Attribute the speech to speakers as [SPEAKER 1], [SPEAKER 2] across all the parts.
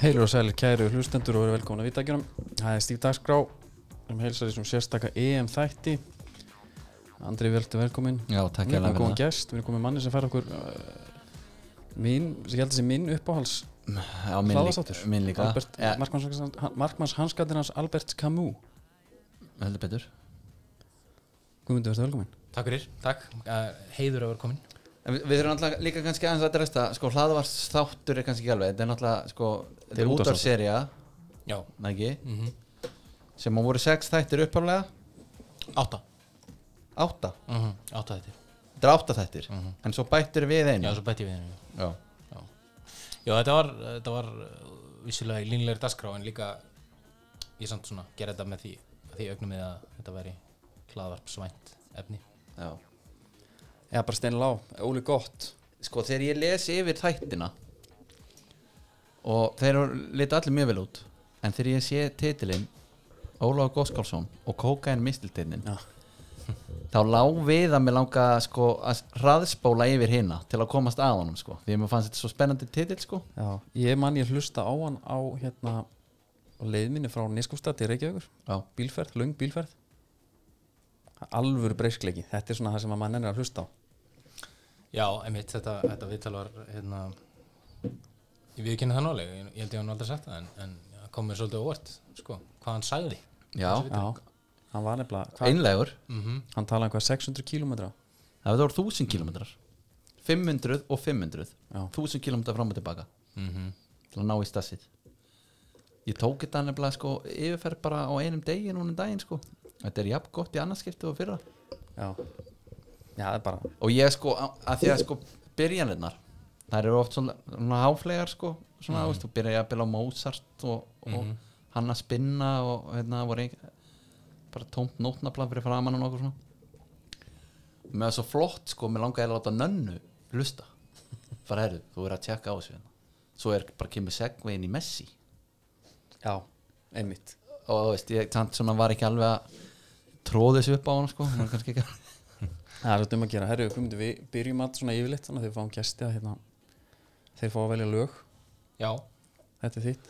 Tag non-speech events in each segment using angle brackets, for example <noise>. [SPEAKER 1] Heilur og sælir kæru hlustendur og verið velkomin að vitakjörum. Það er Stíf Dagskrá, við erum heilsar í þessum sérstaka EM-þætti. Andri Velti velkomin.
[SPEAKER 2] Já, takk
[SPEAKER 1] Við
[SPEAKER 2] ég
[SPEAKER 1] erum
[SPEAKER 2] alveg
[SPEAKER 1] góðan
[SPEAKER 2] fyrir
[SPEAKER 1] gest, við erum komið manni sem fær okkur uh, minn, sem ég held að sé minn uppáhals
[SPEAKER 2] það Já, minn líka,
[SPEAKER 1] hlaðastáttur.
[SPEAKER 2] minn líka.
[SPEAKER 1] Albert,
[SPEAKER 2] Ja,
[SPEAKER 1] ja. Markmanns hanskatinn hans Albert Camus.
[SPEAKER 2] Heldur betur
[SPEAKER 1] Guðmundur, verður velkomin.
[SPEAKER 3] Takk fyrir, takk, uh, heiður að vera komin
[SPEAKER 2] En Við, við þurfum alltaf líka kannski aðeins að dresta sko hlaðvarsþáttur er kannski ekki alveg þetta er náttúrulega sko þetta er
[SPEAKER 1] útvarpsþáttur.
[SPEAKER 2] útvarserja
[SPEAKER 3] Já,
[SPEAKER 2] nægi
[SPEAKER 3] mm
[SPEAKER 2] sem að voru sex þættir upphaflega
[SPEAKER 3] átta
[SPEAKER 2] átta
[SPEAKER 3] mm Átta þetta
[SPEAKER 2] þetta er átta þættir en svo bættur við
[SPEAKER 3] Já,
[SPEAKER 2] einu
[SPEAKER 3] svo bætti ég við henni
[SPEAKER 2] Mhm. Já.
[SPEAKER 3] Já, Já þetta var, þetta var uh, vissulega í línulegri dagskrá en líka ég samt svona gera þetta með því því augnum við að þetta veri hlaðvarpsvænt efni
[SPEAKER 2] Já.
[SPEAKER 1] Já, bara Stein Lá, Óli Gott.
[SPEAKER 2] sko þegar ég les yfir þættina og þeir eru liti allir mjög vel út en þegar ég sé titilinn Ólaug Góskálsson og Kókain Mistiltinnin
[SPEAKER 1] Já.
[SPEAKER 2] þá lá við að mér langa sko, að hraðspóla yfir hina til að komast að honum sko. því að mér fannst þetta svo spennandi titill sko.
[SPEAKER 1] Já, ég man ég hlusta á hann á hérna á leiðminni frá Neskústati Reykjavíkur
[SPEAKER 2] Já.
[SPEAKER 1] bílferð, löng bílferð alvöru breyskleiki þetta er svona það sem að mann ennir að hlusta á
[SPEAKER 3] Já, emitt, þetta, þetta viðtal var hérna ég viðkynna það nálega, ég, ég held ég hann aldrei sagt það en, en það kom mér svolítið á óvart sko, hvað hann sagði
[SPEAKER 2] Já.
[SPEAKER 1] Já, hann var nefnilega hvað,
[SPEAKER 2] einlegur,
[SPEAKER 3] mm -hmm.
[SPEAKER 1] hann talaði um hvað 600 kílómetra
[SPEAKER 2] það voru 1000 kilometrar 500 og 500
[SPEAKER 1] Já.
[SPEAKER 2] 1000 kilometrar fram og tilbaka
[SPEAKER 3] Mm
[SPEAKER 2] til að ná í stassið ég tók þetta nefnilega sko yfirferð bara á einum degi núna um daginn sko þetta er jafn gott í annarskipti og fyrra
[SPEAKER 1] Já, já það er bara
[SPEAKER 2] og ég sko, að að því að sko byrjanirnar, þær eru oft svona, svona háflegar sko, svona þú veist þú byrjar að bila á Mozart og, og hann að spinna og hérna voru ein, bara tómt nótnaflað fyrir framann og nokkuð svona með það svo flott sko, mér langaði að láta nönnu lusta, fara herru, þú er að tjekka á þessu hérna, svo er bara kemur segvegin í Messi
[SPEAKER 1] Já, einmitt
[SPEAKER 2] og þú veist, ég samt svona var ekki alveg að tróða þessu upp á hann sko, hún var kannski ekki að
[SPEAKER 1] Það er þetta um að gera, herru, komum við byrjum allt svona yfirleitt þannig að þeir fáum gesti að hérna þeir fá að velja lög,
[SPEAKER 3] Já,
[SPEAKER 1] þetta er þitt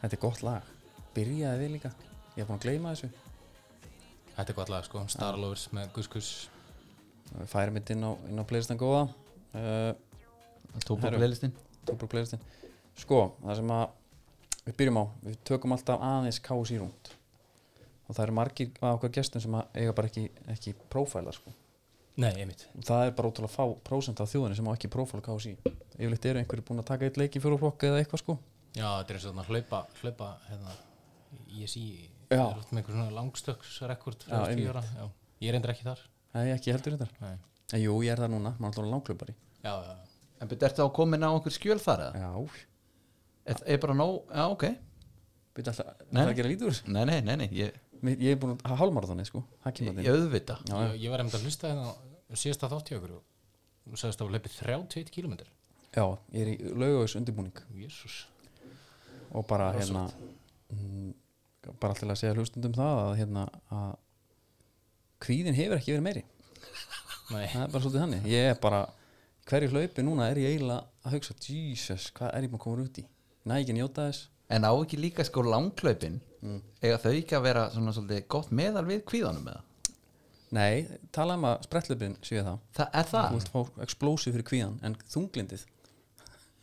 [SPEAKER 1] Þetta er gott lag Byrjaði við líka, ég er búin að gleyma þessu
[SPEAKER 3] þetta er gott lag sko, Starlovers með Gus Gus
[SPEAKER 1] færi mitt inn á, inn á playlistan góða uh,
[SPEAKER 2] tópa
[SPEAKER 1] Herru.
[SPEAKER 2] upp leilistin
[SPEAKER 1] Tóbrók playlistan sko, það sem að við byrjum á, við tökum alltaf aðeins kási rúnd og það eru margir af okkar gestum sem að eiga bara ekki, ekki prófælar sko,
[SPEAKER 3] Nei, emitt
[SPEAKER 1] og það er bara ótrúlega fá prósent af þjóðinni sem á ekki prófæla kási yfirleitt eru einhverju búin að taka eitt leik í fjóruflokk eða eitthvað sko
[SPEAKER 3] Já, þetta er eins og þarna hlaupa, hlaupa hérna, ISI
[SPEAKER 1] Já.
[SPEAKER 3] Það er oft með einhver svona langstöksrekord
[SPEAKER 1] Já,
[SPEAKER 3] fyrir
[SPEAKER 1] einmitt.
[SPEAKER 3] tíu ára Já, ég er endur ekki þar
[SPEAKER 1] Nei, ekki heldur þetta
[SPEAKER 3] Nei.
[SPEAKER 1] en jú, ég er það núna, maður er alltaf langklubari
[SPEAKER 3] Já, já, já.
[SPEAKER 2] En betur þetta á komin á einhver skjöl þar eða?
[SPEAKER 1] já,
[SPEAKER 2] Er, er bara nóg, já ok
[SPEAKER 1] byrja alltaf,
[SPEAKER 2] Nei.
[SPEAKER 1] það er að gera lítur
[SPEAKER 2] Nei, nei, nei, nei, ég,
[SPEAKER 1] ég er búin að hálmara þannig sko, það kemur
[SPEAKER 2] ég
[SPEAKER 1] þetta
[SPEAKER 2] ég
[SPEAKER 1] inn.
[SPEAKER 2] auðvita
[SPEAKER 1] Já, já.
[SPEAKER 3] Ég, ég var einmitt að hlusta hérna á síðasta þátt hjá okkur og þú sagðist að það var hlaupið 31 km
[SPEAKER 1] já, ég er í laugavæs undirbúning
[SPEAKER 3] Jésús
[SPEAKER 1] og bara hérna mm, bara alltaf að segja hlustundum það að hérna að kvíðin hefur ekki verið meiri
[SPEAKER 3] Nei,
[SPEAKER 1] það er bara svolítið þannig ég er bara, hverju hlaupi núna er ég eiginlega að hugsa, Jesus, hvað er ég maður komin út í næ ekki að njóta þess
[SPEAKER 2] En á ekki líka sko langklaupin eiga þau ekki að vera svona svolítið gott meðal við kvíðanum eða?
[SPEAKER 1] nei, tala um að sprettlaupin séu það
[SPEAKER 2] Það er það?
[SPEAKER 1] þú vilt fá explosive fyrir kvíðan en þunglindið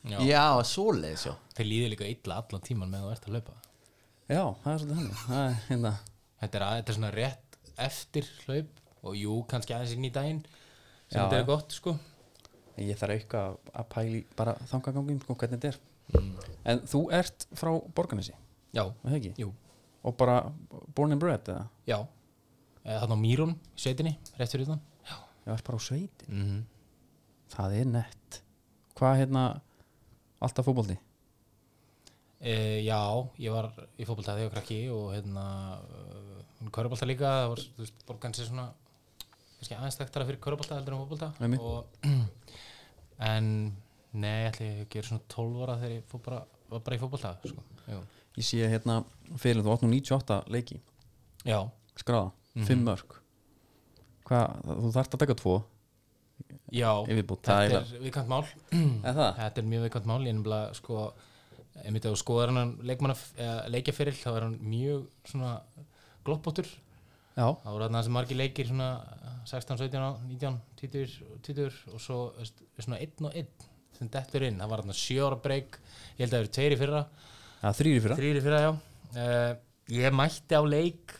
[SPEAKER 3] já,
[SPEAKER 2] Já, svoleiðis já
[SPEAKER 3] þeir líði líka illa allan tíman með þú ert að hlaupa
[SPEAKER 1] já, það er svolítið þannig það er hérna,
[SPEAKER 3] Þetta er, að, þetta er svona rétt eftir hlaup og jú, kannski aðeins inn í daginn sem
[SPEAKER 1] Já,
[SPEAKER 3] þetta
[SPEAKER 1] já.
[SPEAKER 3] er gott, sko
[SPEAKER 1] ég þarf eitthvað að- að pæli bara þangagangum, sko, hvernig þetta er en þú ert frá Borganesi,
[SPEAKER 3] Já,
[SPEAKER 1] er það ekki?
[SPEAKER 3] jú,
[SPEAKER 1] og bara born and bred eða?
[SPEAKER 3] já Þannig á Mýrún, í sveitinni, rétt fyrir utan
[SPEAKER 1] ég var bara á sveiti
[SPEAKER 3] mm -hmm.
[SPEAKER 1] það er nett hvað hérna alltaf fótbolti
[SPEAKER 3] E, já, ég var í fótbolta þegar ég var krakki og hérna hún körubolta líka, það var, þú veist, borgan sér svona kannski aðeins þekktara fyrir körubolta heldur en fótbolta
[SPEAKER 1] Einmitt.
[SPEAKER 3] og, <clears throat> en nei, ætli ég gera svona 12 ára þegar ég fór bara, var bara í fótbolta sko. Jú.
[SPEAKER 1] ég sé hérna fyrir þú 898 leiki
[SPEAKER 3] Já,
[SPEAKER 1] skráða, 5 mörg hvað, þú þarft að taka 2
[SPEAKER 3] Já,
[SPEAKER 1] Yfirbútt, það er
[SPEAKER 3] þetta er viðkant mál
[SPEAKER 1] En það?
[SPEAKER 3] Þetta er mjög viðkvæmt mál, ég er nefnilega sko, einmitt ef þú skoðar hann leikmanna leikjafyrill, þá er hann mjög svona gloppóttur
[SPEAKER 1] Já,
[SPEAKER 3] þá voru þarna þessi margir leikir svona eh, 16, 17, á- 19, 20, 20 og svo veist, svona einn og einn sem dettur inn, það var þarna 7 ára breyk ég held að það eru tveiri fyrra
[SPEAKER 1] það þrýri fyrir
[SPEAKER 3] þrýri fyrra, já uh, ég mætti á leik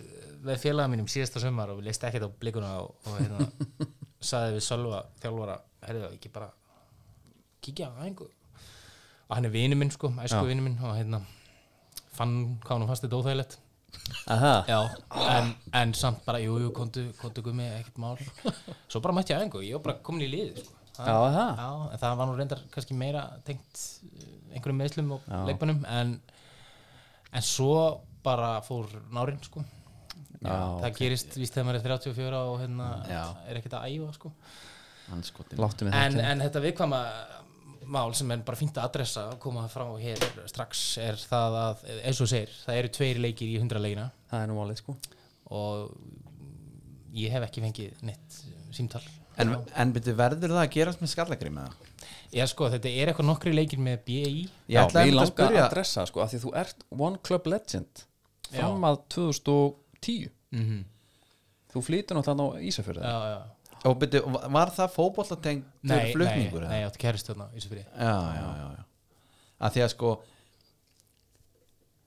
[SPEAKER 3] með félaga mínum síðasta sömar og við leist ekkert á blikuna og, og hérna, saði við Sölva þjálfara, herðu ekki bara kíkja á einhver og hann er vinu minn sko, æsku vinu minn og hérna, fann hvað hann fastið dóþægilegt
[SPEAKER 1] Aha.
[SPEAKER 3] Já, en, en samt bara, jú, jú, kontu, kontu gummi, ekkert mál Svo bara mætti ég aðeins, ég var bara komin í liði sko.
[SPEAKER 1] Já, það
[SPEAKER 3] Já, en það var nú reyndar kannski meira tengt eh, einhverjum meðslum og leikmannum en, en svo bara fór nárin, sko
[SPEAKER 1] Já,
[SPEAKER 3] Já, það gerist víst þegar maður er 34 og hérna
[SPEAKER 2] Já.
[SPEAKER 3] er ekkert að æfa, sko
[SPEAKER 2] hann skotin
[SPEAKER 1] Láttu mig
[SPEAKER 3] en,
[SPEAKER 1] þetta
[SPEAKER 3] en þetta viðkvæma mál sem er bara fínt að adressa og koma frá hér strax er það að, eins og þú segir, það eru tveir leikir í 100 leikina
[SPEAKER 1] Það er nú málið sko
[SPEAKER 3] og ég hef ekki fengið neitt símtal
[SPEAKER 2] en, en byrju, verður það að gerast með skallagrím eða?
[SPEAKER 3] Já sko, þetta er eitthvað nokkri leikir með E. BI
[SPEAKER 1] Já,
[SPEAKER 2] ætlaði
[SPEAKER 1] við
[SPEAKER 2] einmitt að
[SPEAKER 1] langar að,
[SPEAKER 2] spyrja-
[SPEAKER 1] adressa sko af Því þú ert One Club Legend Fram að 2010
[SPEAKER 3] -hmm.
[SPEAKER 1] Þú flytur náttúrulega á Ísafjörði
[SPEAKER 3] Já, já
[SPEAKER 2] og byrju, var það fótbollatengt
[SPEAKER 3] Nei, nei,
[SPEAKER 2] flutningur eða?
[SPEAKER 3] nei, ég átti kæristu þarna í Ísafirði
[SPEAKER 2] já, já, já, já. að því að sko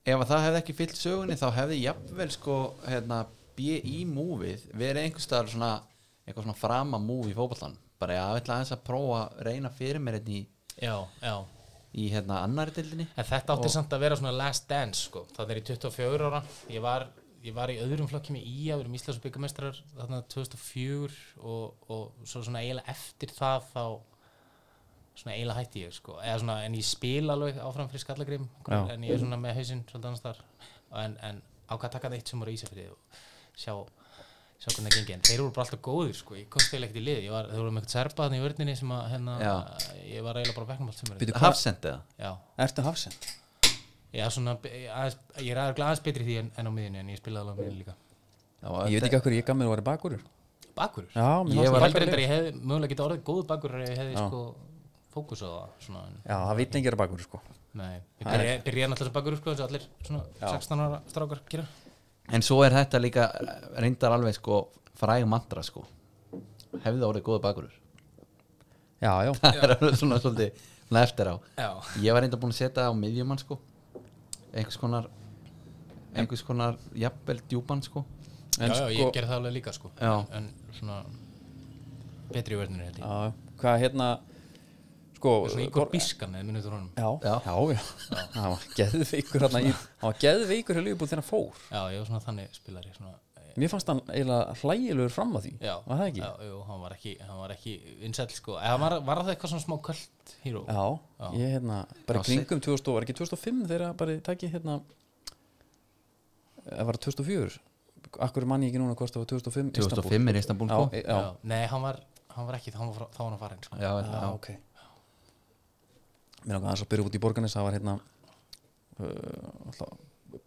[SPEAKER 2] ef að það hefði ekki fyllt sögunni þá hefði jafnvel sko hérna, B.I. múfið verið einhvers staðar svona eitthvað svona frama múfi í fótbollan bara ég ætla aðeins að prófa að reyna fyrir mér hérna í,
[SPEAKER 3] Já, já
[SPEAKER 2] í hérna annari dildinni
[SPEAKER 3] En þetta átti samt að vera svona last dance sko Það er í 24 ára Ég var, ég var í öðrum flokki með IA Við erum Íslands og byggamestrar þarna 2004 og, og svo svona eiginlega eftir það þá svona eiginlega hætti ég sko Eða svona, en ég spil alveg áfram fyrir skallagrim
[SPEAKER 1] Já.
[SPEAKER 3] en ég er svona með hausinn svolítið annars þar en, en ákvað að taka það eitt sem voru í Ísafrið og sjá, sjá hvernig það gengi en þeir voru bara alltaf góðir sko, ég komst eiginlega ekkert í lið Ég var, þeir voru með eitthvað serpa þannig í vörninni sem að hérna, ég var eiginlega bara á bekknum allt sem
[SPEAKER 1] Bíddu, hvað-
[SPEAKER 2] hafsend eða
[SPEAKER 3] Já,
[SPEAKER 1] Ertu hafsend?
[SPEAKER 3] Já, svona, be- aðeins, ég er aðeins aðeins betri í því en, en á miðinu, en ég spilaði alveg á miðinu líka.
[SPEAKER 1] Ég veit ekki að hverju ég gammir að vera bakurur
[SPEAKER 3] Bakurur?
[SPEAKER 1] Já, mér
[SPEAKER 2] Ég
[SPEAKER 3] ég
[SPEAKER 1] fannst
[SPEAKER 2] var
[SPEAKER 3] var
[SPEAKER 1] það
[SPEAKER 3] aldrei
[SPEAKER 1] bakurur.
[SPEAKER 3] reyndar, ég hefði mögulega getað orðið góð bakurur ef ég hefði sko fókus á það, svona, en,
[SPEAKER 1] Já, það veit ekki að bakurur sko
[SPEAKER 3] nei. Ég byrja, byrjaði náttúrulega sem bakurur, sko, þess að allir svona 16 ára strákar gera.
[SPEAKER 2] en svo er þetta líka eh, reyndar alveg sko fræg mantra sko hefði það orðið góða bakurur <laughs>
[SPEAKER 1] Já, já
[SPEAKER 2] það er alveg svona svolítið svona eftir á
[SPEAKER 3] Já.
[SPEAKER 2] ég var reynda búin að setja það á miðjumann sko einhvers konar einhvers konar jafnvel djúpan sko
[SPEAKER 1] En
[SPEAKER 3] já, já,
[SPEAKER 1] sko-
[SPEAKER 3] ég gerði það alveg líka, sko.
[SPEAKER 2] Já.
[SPEAKER 3] En, en svona, betri í verðinu, held ég.
[SPEAKER 1] Já, hvað hérna Sko
[SPEAKER 3] Svona
[SPEAKER 1] Gor-
[SPEAKER 3] Ígor Bískan, eða minnum þú honum.
[SPEAKER 1] Já, já,
[SPEAKER 2] Já.
[SPEAKER 1] já Það var geðveikur hérna í Það var geðveikur hjá Liverpool þegar hann fór
[SPEAKER 3] Já, ég var svona þannig spilari, svona, eh,
[SPEAKER 1] Mér fannst hann eiginlega hlægilegur fram að því
[SPEAKER 3] já.
[SPEAKER 1] Var það ekki?
[SPEAKER 3] Já, jú, hann var ekki, hann var ekki vinsæll, sko. Eða var, var það eitthvað svona smá kvöld híró?
[SPEAKER 1] Já, ég hérna Bara
[SPEAKER 2] Já,
[SPEAKER 1] í kringum 2000 Var ekki 2005 þegar bara takki hérna Það var 2004 Akkur mann ég ekki núna hvort það var 2005 Istanbul.
[SPEAKER 2] 2005 er Istanbul
[SPEAKER 1] Já,
[SPEAKER 2] sko
[SPEAKER 1] e- já,
[SPEAKER 3] já. Nei, hann var, hann var ekki, þá var, þá var hann farin sko.
[SPEAKER 2] já, já,
[SPEAKER 1] já, ok Mér langar aðeins að byrja út í borganis Það var hérna uh, alltaf,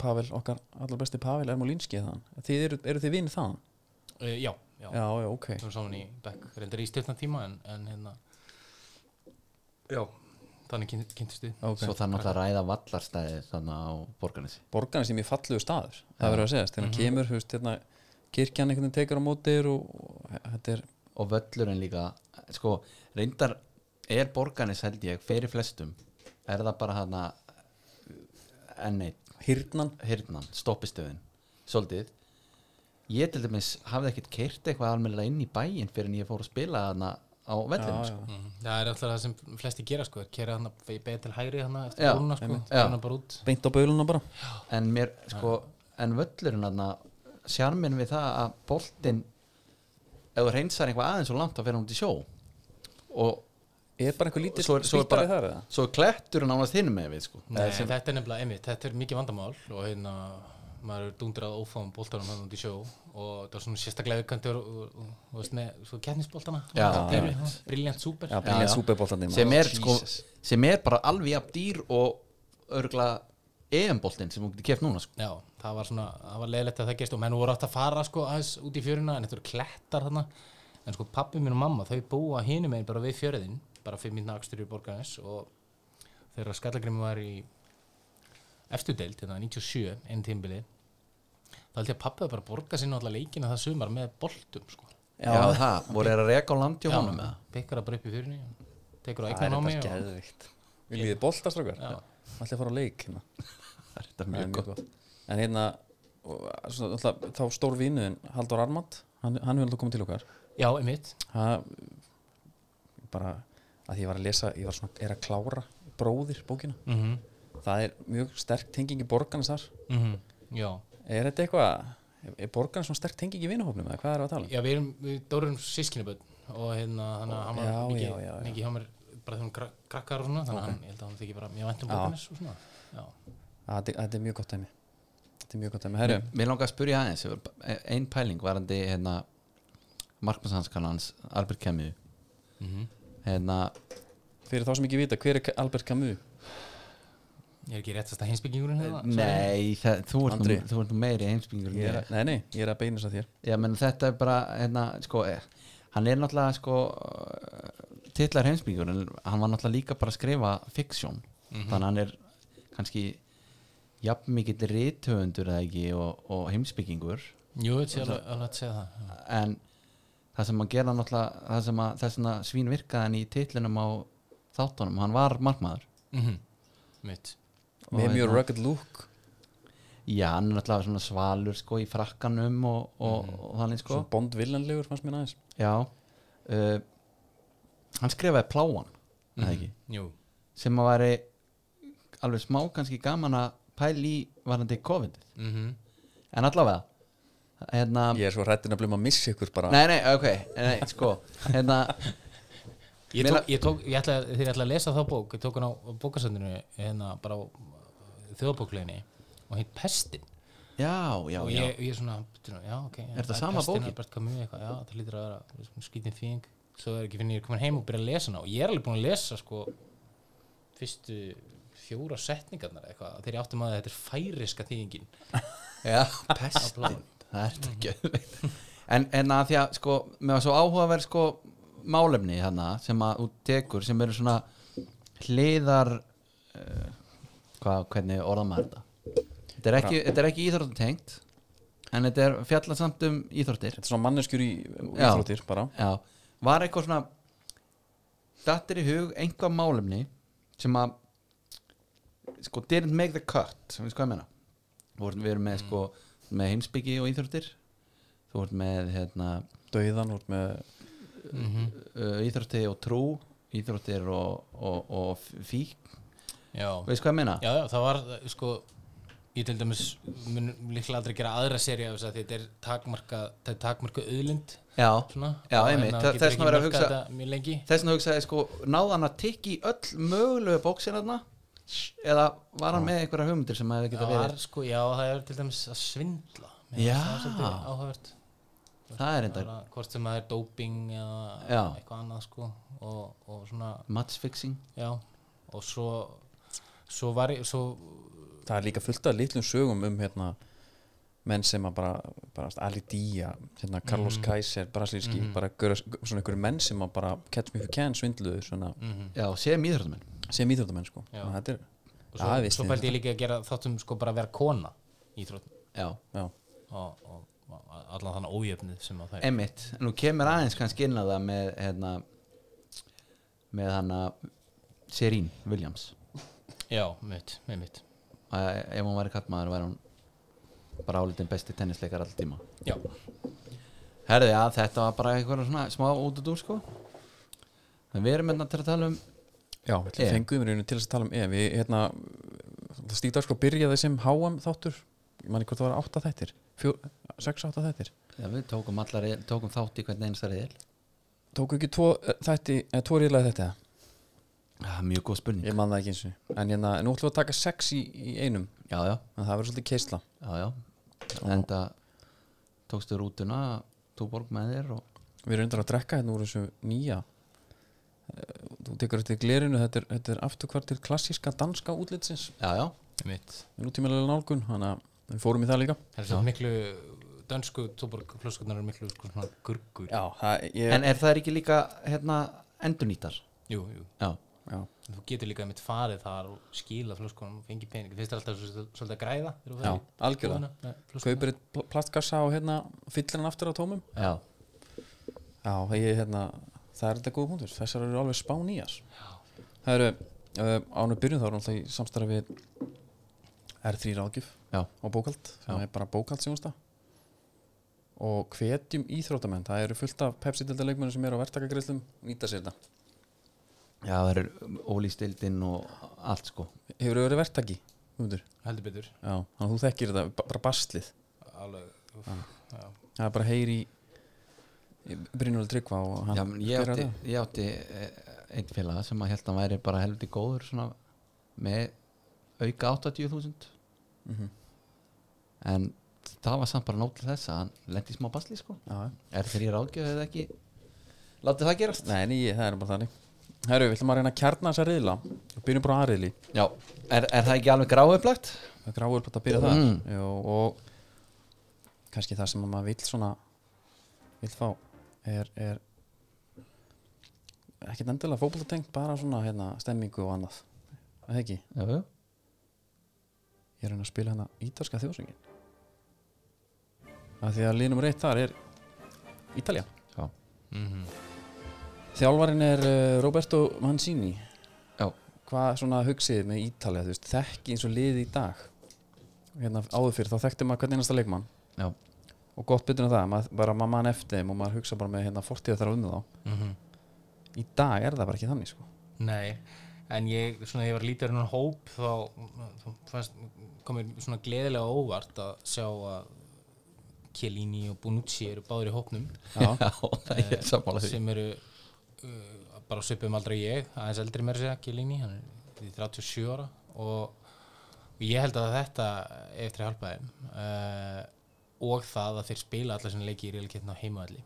[SPEAKER 1] Pavel, okkar allar besti Pavel Ermolínski þann Þið eru, eru þið vinn þann?
[SPEAKER 3] Uh, já, já,
[SPEAKER 1] Já, já, ok
[SPEAKER 3] við erum saman í Beck reyndar í stjórna tíma en, en hérna já, þannig kyn, kynntist þið
[SPEAKER 1] Ok.
[SPEAKER 2] svo það er náttúrulega að ræða vallarstæði þannig á borganessi
[SPEAKER 1] borgarna sem ég falluðu staður það verður að segjast,
[SPEAKER 2] Mhm.
[SPEAKER 1] þegar hann kemur þú veist, hérna, kirkjan einhvern veginn tekur á mótir og, og þetta er,
[SPEAKER 2] og völlurinn líka sko, reyndar er borganess held ég fyrir flestum er það bara þarna enn eitt
[SPEAKER 1] hýrnan
[SPEAKER 2] hirnan, stoppistöðin svolítið ég til dæmis hafði ekkert keirt eitthvað almennilega inn í bæinn fyrir en ég fór að spila þarna á vellinu sko.
[SPEAKER 3] mm, það er alltaf það sem flesti gera sko, er kera hann að beða til hægri hann eftir
[SPEAKER 2] Já,
[SPEAKER 3] brúna sko,
[SPEAKER 2] Já.
[SPEAKER 3] hann bara út
[SPEAKER 1] beint á bauluna bara
[SPEAKER 2] en mér sko en völlurinn þarna sjarminn við það að boltinn ef þú reynsar eitthvað aðeins og langt þá fyrir hún til sjó og
[SPEAKER 1] er bara einhver lítill
[SPEAKER 2] svo er, svo er
[SPEAKER 1] spýtari
[SPEAKER 2] bara
[SPEAKER 1] þar eða?
[SPEAKER 2] svo er klettur hann ánast hinum með við sko
[SPEAKER 3] Nei, þetta er nefnilega einmitt, þetta er mikið vandamál og hérna maður er dundrað ófáum bóltanum hann út í sjó og það er svona sérstaklega viðkantur og, og, og, og veist, með svo keppnisbóltana
[SPEAKER 2] Já, einmitt.
[SPEAKER 3] briljant súper
[SPEAKER 1] já, bara
[SPEAKER 2] Já,
[SPEAKER 1] með
[SPEAKER 2] já.
[SPEAKER 1] súperboltandi
[SPEAKER 2] sem er sko
[SPEAKER 3] Jesus.
[SPEAKER 2] sem er bara alveg jafn dýr og örgla EM-boltinn sem hún getur keft núna sko
[SPEAKER 3] Já, það var svona, það var leiðilegt að það gerst og menn voru átt að fara sko aðeins út í fjöruna en þetta eru klettar þarna en sko pappi mín og mamma þau búa hinum einn bara við fjörðin bara fyrir mín akstur í borgarnes og þegar skallagrimmi var í eftir deild, hérna, þetta 97 enn tímbili þá held ég að pappi var bara að borga sinna alltaf leikina það sumar með boltum sko.
[SPEAKER 2] Já, það, voru þeir að reka á landi á honum eða?
[SPEAKER 3] pikkar það bara upp í fyrirni tekur á
[SPEAKER 1] það er
[SPEAKER 3] eignan á mig
[SPEAKER 1] bara geðvikt Viljið þið bolta strákar?
[SPEAKER 3] Já.
[SPEAKER 1] Alltaf að fara á leik hérna.
[SPEAKER 2] Það er
[SPEAKER 1] Það
[SPEAKER 2] þetta
[SPEAKER 1] er
[SPEAKER 2] mjög
[SPEAKER 1] mjög
[SPEAKER 2] gott
[SPEAKER 1] gott En hérna, og, svona, alltaf, þá stór vinuðin Haldur Armand, hann, hann hefur alltaf komið til okkar
[SPEAKER 3] já, einmitt
[SPEAKER 1] það bara að ég var að lesa ég var svona, er að klára bróðir bókina
[SPEAKER 3] mm
[SPEAKER 2] Mhm.
[SPEAKER 3] -hmm.
[SPEAKER 1] það er mjög sterk tenging í borgarnes þar
[SPEAKER 3] Mhm, já.
[SPEAKER 1] er þetta eitthvað, er- er borgarnes svona sterk tenging í vinahópnum eða hvað er að tala um?
[SPEAKER 3] já, við erum við dórum sískinaböld og hérna þannig að hann var
[SPEAKER 1] Já,
[SPEAKER 3] mikið,
[SPEAKER 1] já, já, já.
[SPEAKER 3] mikið hjá mér bara þegar hún krak- krakkar og svona þannig að hann, ég held að hann þykir bara mjög vænt um
[SPEAKER 1] Já.
[SPEAKER 3] bókanis og svona já,
[SPEAKER 1] Að Ah, Þetta þetta er mjög gott dæmi þetta er mjög gott dæmi, herru
[SPEAKER 2] Mér langar að spyrja aðeins hefur- e- ein pæling varandi hérna, markmannshanskan hans Albert Camus hérna,
[SPEAKER 1] fyrir þá sem ekki vita, hver er Albert Camus?
[SPEAKER 3] ég er ekki réttast að hinsbyggingurinn hérna
[SPEAKER 2] Nei, það, þú, ert nú,
[SPEAKER 1] Andri.
[SPEAKER 2] þú ert nú meiri heimsbyggingur en
[SPEAKER 1] Ég
[SPEAKER 2] ég.
[SPEAKER 1] er, að- nei, nei, ég er að beina þess að þér
[SPEAKER 2] Já, menn þetta er bara hérna, sko, eh, hann er náttúrulega sko, eh, titlar heimsbyggingur en hann var náttúrulega líka bara að skrifa fiksjón, þannig að hann er kannski jafn mikill rithöfundur eða ekki og, og heimsbyggingur
[SPEAKER 3] jú, þetta er alveg alveg að segja það já.
[SPEAKER 2] en það sem að gera náttúrulega það sem að þess að svín virkaði hann í titlinum á þáttunum, hann var markmaður
[SPEAKER 3] Mhm. mitt
[SPEAKER 1] með
[SPEAKER 2] Og
[SPEAKER 1] mjög
[SPEAKER 2] hérna-
[SPEAKER 1] rugged look,
[SPEAKER 2] já, hann er náttúrulega svona svalur sko í frakkanum og, og, og þannig sko
[SPEAKER 1] svona bondvillanlegur fannst mér aðeins
[SPEAKER 2] já uh, hann skrifaði pláan eða
[SPEAKER 3] Mhm.
[SPEAKER 2] ekki,
[SPEAKER 3] jú,
[SPEAKER 2] sem að væri alveg smá kannski gaman að pæli í varandi COVID
[SPEAKER 3] mhm
[SPEAKER 2] en allavega hérna,
[SPEAKER 1] ég er svo hrættin að blöma að missa ykkur bara
[SPEAKER 2] nei nei, ok nei, sko, hérna
[SPEAKER 3] Ég,
[SPEAKER 2] Mér
[SPEAKER 3] tók,
[SPEAKER 2] la-
[SPEAKER 3] ég, tók, ég ætla, þegar ég ætla að lesa þá bók ég tók hann á bókasöndinu hérna bara á þjóðbókleginni og hitt Pestin
[SPEAKER 2] já, já,
[SPEAKER 3] og
[SPEAKER 2] já
[SPEAKER 3] ég, ég svona, "Bíddu nú, já ok
[SPEAKER 2] Er þetta sama bókin?
[SPEAKER 3] Pestin er bara komið eitthvað, já það lítur að vera skýtin fíðing svo er ekki finn ég er komin heim og byrja að lesa hana og ég er alveg búin að lesa sko fyrstu fjóra setningarnar eða eitthvað þegar ég áttum að þetta er færiska þýðingin
[SPEAKER 2] Já, pestin Það er þetta ekki En, en að því að sko, mér var svo áhugaverð sko málefni þarna sem að þú tekur sem eru svona hliðar uh, hvað, hvernig orða maður þetta Þetta er ekki, þetta er ekki íþróttum tengt en þetta er fjalla samt um íþróttir
[SPEAKER 1] þetta er svona manneskjur í
[SPEAKER 2] Já.
[SPEAKER 1] íþróttir bara
[SPEAKER 2] Já, var eitthvað svona dattir í hug einhvað málefni sem að sko didn't make the cut sem við sko að menna Vorum, við erum með sko með heimsbyggi og íþróttir þú ert með hérna
[SPEAKER 1] dauðan út með
[SPEAKER 2] uh, íþrótti og trú íþróttir og, og, og fík
[SPEAKER 3] já
[SPEAKER 2] veist hvað ég meina?
[SPEAKER 3] já, já, það var eh, sko ég til dæmis mun líklega aldrei gera aðra seri af þess að þetta er takmarka þetta er takmarka auðlind
[SPEAKER 2] Já,
[SPEAKER 3] svona
[SPEAKER 2] Já,
[SPEAKER 3] Og
[SPEAKER 2] einmitt.
[SPEAKER 3] hérna
[SPEAKER 2] Þa-
[SPEAKER 3] getur
[SPEAKER 2] þess vegna
[SPEAKER 3] ekki
[SPEAKER 2] verið að
[SPEAKER 3] mörkað
[SPEAKER 2] hugsa-
[SPEAKER 3] þetta mjög lengi
[SPEAKER 2] þess vegna hugsaði sko náði hann að tikki í öll mögulegu bóksirarna eða var hann með einhverja hugmyndir sem hefði
[SPEAKER 3] það
[SPEAKER 2] geta
[SPEAKER 3] var
[SPEAKER 2] verið
[SPEAKER 3] sko, já, það er til dæmis að svindla Mér
[SPEAKER 2] Já.
[SPEAKER 3] finnst það svolítið áhugavert
[SPEAKER 2] það er enda
[SPEAKER 3] Bara hvort sem það er doping eða
[SPEAKER 2] Já.
[SPEAKER 3] eitthvað annað sko og, og svona,
[SPEAKER 2] matchfixing
[SPEAKER 3] já og svo svo var ég, svo
[SPEAKER 1] það er líka fullt af litlum sögum um hérna menn sem að bara, bara Ali Día, hérna
[SPEAKER 3] Mhm.
[SPEAKER 1] Carlos Kaiser brasilíski, bara gör, svona einhverju menn sem að bara catch me if you can svindluðu svona,
[SPEAKER 2] Já, sem íþróttumenn
[SPEAKER 1] sem íþjóttamenn sko
[SPEAKER 3] Mhm. Já.
[SPEAKER 1] Þannig að þetta er,
[SPEAKER 3] og
[SPEAKER 1] Já,
[SPEAKER 3] svo,
[SPEAKER 1] við
[SPEAKER 3] svo
[SPEAKER 1] styðjum
[SPEAKER 3] fældi ég líka að gera þáttum sko bara að vera kona í þróttum
[SPEAKER 2] Já,
[SPEAKER 1] já,
[SPEAKER 3] og, og, og allan þannig ójöfnið sem að það er
[SPEAKER 2] Emmitt, nú kemur aðeins kannski inn að það með hérna með hana Serín Williams
[SPEAKER 3] Já, mitt, með mitt
[SPEAKER 2] að ef hún væri kattmaður væri hún bara álitin besti tennisleikar all tíma
[SPEAKER 3] Já,
[SPEAKER 2] Herði, já, þetta var bara eitthvað svona smá út og dúr sko en við erum hérna til að tala um
[SPEAKER 1] já við
[SPEAKER 2] EM.
[SPEAKER 1] fengum við rauninu til þess að tala um EM við hérna, það stíktar sko byrjaði sem HM þáttur, ég manni hvort það var átta þættir, fjó, sex átta þættir
[SPEAKER 2] já, við tókum, allar, tókum þátt í hvernig einasta reyðil
[SPEAKER 1] tóku ekki tvo eh, þætti, eða tvo ríðlega þetta
[SPEAKER 2] ah, Mjög góð spurning
[SPEAKER 1] ég man það ekki eins og en hérna, nú ætlum við að taka sex í, í einum
[SPEAKER 2] Já, já,
[SPEAKER 1] en það verður svolítið keisla
[SPEAKER 2] já, já Enda tókstu rútuna Túborg með þér og
[SPEAKER 1] Við erum undan að drekka hérna úr þessu nýja Eh, Þú tekur eftir glerinu Þetta er, þetta er afturkvart til klassíska danska útlitsins
[SPEAKER 2] Já, já,
[SPEAKER 3] mitt
[SPEAKER 1] Nútímalega nálgun Þannig að við fórum í það líka
[SPEAKER 3] Það er svo miklu dönsku tóbarkflöskunar er miklu sko, svona gurgur
[SPEAKER 1] já, það, ég,
[SPEAKER 2] En er það ekki líka hérna, endurnýtar?
[SPEAKER 3] jú, jú.
[SPEAKER 2] Já,
[SPEAKER 1] já,
[SPEAKER 3] þú getur líka mitt farið þar og skila flöskunum og fengi pening finnst það alltaf svo- svolítið að græða þegar þú
[SPEAKER 1] já,
[SPEAKER 3] ferð í
[SPEAKER 1] algjörlega
[SPEAKER 3] búðina? Nei, flöskuna.
[SPEAKER 1] kaupir eitt pl- plastkassa og hérna fyllir hann aftur á tómum
[SPEAKER 2] já,
[SPEAKER 1] já, það, ég, hérna, það er þetta góð punktur þessar eru alveg spán í þess það eru, uh, ánum byrjun þá erum alltaf í samstarfi við R3 ráðgjöf
[SPEAKER 2] já,
[SPEAKER 1] og bókald sem
[SPEAKER 2] Já.
[SPEAKER 1] er bara bókaldsjónsta og hvetjum íþróttamenn það eru fullt af Pepsi-delta leikmenn sem eru á verktakagreislum nýta sér þetta
[SPEAKER 2] já það er ólýstildin og allt sko
[SPEAKER 1] hefur verið verktaki, hundur
[SPEAKER 3] heldur betur
[SPEAKER 1] já, þannig að þú þekkir þetta, ba- bara baslið
[SPEAKER 3] alveg uff, já.
[SPEAKER 1] það er bara heyri í Brynjóli Tryggva og hann
[SPEAKER 2] já, menn, ég,
[SPEAKER 1] hver er
[SPEAKER 2] átti,
[SPEAKER 1] það?
[SPEAKER 2] ég átti eh, einn félaga sem að held að hann væri bara helviti góður svona, með auka 80.000
[SPEAKER 1] Mhm.
[SPEAKER 2] en það var samt bara nót til þess að hann lendi í smá basli sko
[SPEAKER 1] Já, já.
[SPEAKER 2] er þeir í ráðgjöf eða ekki látið það gerast
[SPEAKER 1] nei, nei, það er bara þannig Herru, við ætlum að reyna að kjarna þessa riðla og byrjum bara að riðli
[SPEAKER 2] já, er, er það ekki alveg gráðuplagt?
[SPEAKER 1] það er gráður bara að byrja það
[SPEAKER 2] Mm.
[SPEAKER 1] Jó, og kannski það sem að maður vill svona vill fá er, er ekkert endilega fótboltatengt bara svona hérna, stemmingu og annað Er það ekki,
[SPEAKER 2] já, já,
[SPEAKER 1] ég er að reyna að spila hérna ítalska þjóðsöngin af því að línum reitt þar er Ítalja
[SPEAKER 2] já,
[SPEAKER 1] Þjálfarin er uh, Roberto Mancini
[SPEAKER 2] já.
[SPEAKER 1] hvað svona hugsið með Ítalja þú veist, þekki eins og liði í dag hérna áður fyrir, þá þekkti maður hvernig einasta leikmann
[SPEAKER 2] Já.
[SPEAKER 1] og gott betur en það, maður, bara maður mann eftir þeim og maður hugsa bara með hérna fortíða þar á unni þá
[SPEAKER 2] Mhm.
[SPEAKER 1] í dag er það bara ekki þannig sko
[SPEAKER 3] Nei, en ég, svona, ég var lítið hennar hóp þá, þá fannst, kom mér svona gleðilega óvart að sjá að Kjellini og Bonucci eru báður í hópnum
[SPEAKER 1] <laughs> Já.
[SPEAKER 2] já <laughs> það er ég sammála því
[SPEAKER 3] sem eru uh, bara svipum aldrei ég, aðeins eldri mér segja Kjellini, hann er í 37 ára og, og ég held að þetta eftir halbæðin uh, og það að þeir spila allar sem leiki í reilkettinu á heimavalli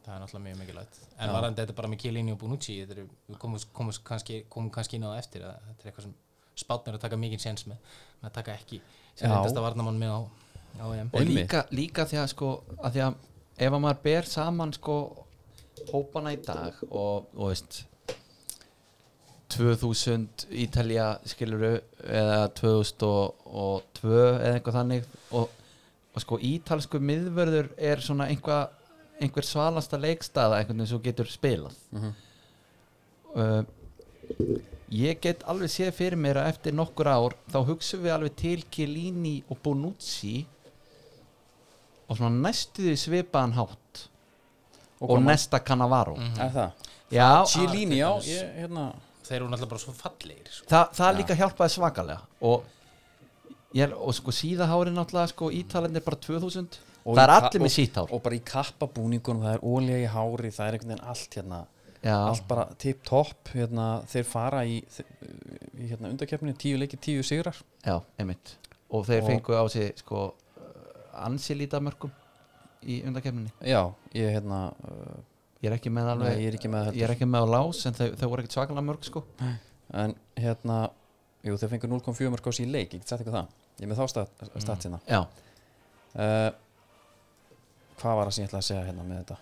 [SPEAKER 3] það er náttúrulega mjög mikilvægt en varandi þetta bara með Kjellini og Bonucci þetta eru- við komum komu kannski, komu kannski inn á það eftir að þetta er eitthvað sem spátnir að taka mikið séns með, með að taka ekki sem
[SPEAKER 1] Já.
[SPEAKER 3] reyndast að varnamann með á, á EM
[SPEAKER 2] og
[SPEAKER 1] Einmitt.
[SPEAKER 2] líka, líka því að sko að því að ef að maður ber saman sko hópana í dag og, og veist 2000 Ítalja skiluru eða 2002 eða eitthvað þannig og, og sko ítalsku miðvörður er svona einhva, einhver svalasta leikstaða einhvern veginn sem þú getur spilað
[SPEAKER 1] Mhm.
[SPEAKER 2] uh, ég get alveg séð fyrir mér að eftir nokkur ár þá hugsum við alveg til Chiellini og Bonucci og svona næstu því svipaðan hátt og,
[SPEAKER 1] hvað
[SPEAKER 2] næsta Cannavaro
[SPEAKER 3] Mhm.
[SPEAKER 1] maður- er það,
[SPEAKER 2] já,
[SPEAKER 1] Chilini, Mm. já
[SPEAKER 3] dæmis.
[SPEAKER 1] ég, hérna,
[SPEAKER 3] þeir eru náttúrulega bara svo fallegir sko.
[SPEAKER 2] það, það líka hjálpaði svakalega og, ég, og sko síðahárin náttúrulega sko ítalinn er bara 2000
[SPEAKER 1] Og
[SPEAKER 2] það er
[SPEAKER 1] í ka-
[SPEAKER 2] allir með
[SPEAKER 1] og-
[SPEAKER 2] síðhár
[SPEAKER 1] og bara í kappabúningunum, það er ólega í hári það er einhvern veginn allt hérna
[SPEAKER 2] já,
[SPEAKER 1] allt bara tip top, hérna, þeir fara í, í hérna undarkeppni tíu leiki, tíu sigrar
[SPEAKER 2] já, einmitt og þeir
[SPEAKER 1] Og-
[SPEAKER 2] fengu á sig sko uh, ansi lítið af mörgum í undakefninni
[SPEAKER 1] já, ég hérna uh,
[SPEAKER 2] ég er ekki með alveg
[SPEAKER 1] nei, ég er ekki með heldur
[SPEAKER 2] Ég er ekki með á lás en þau, þau voru ekkert svakalega mörg sko
[SPEAKER 1] en hérna jú, þeir fengur 0,4 mörg á sín leik ég get sagt eitthvað það, ég er með þá stat,
[SPEAKER 2] Mm.
[SPEAKER 1] stat hérna
[SPEAKER 2] Já,
[SPEAKER 1] uh, hvað var það sem ég ætlaði að segja hérna með þetta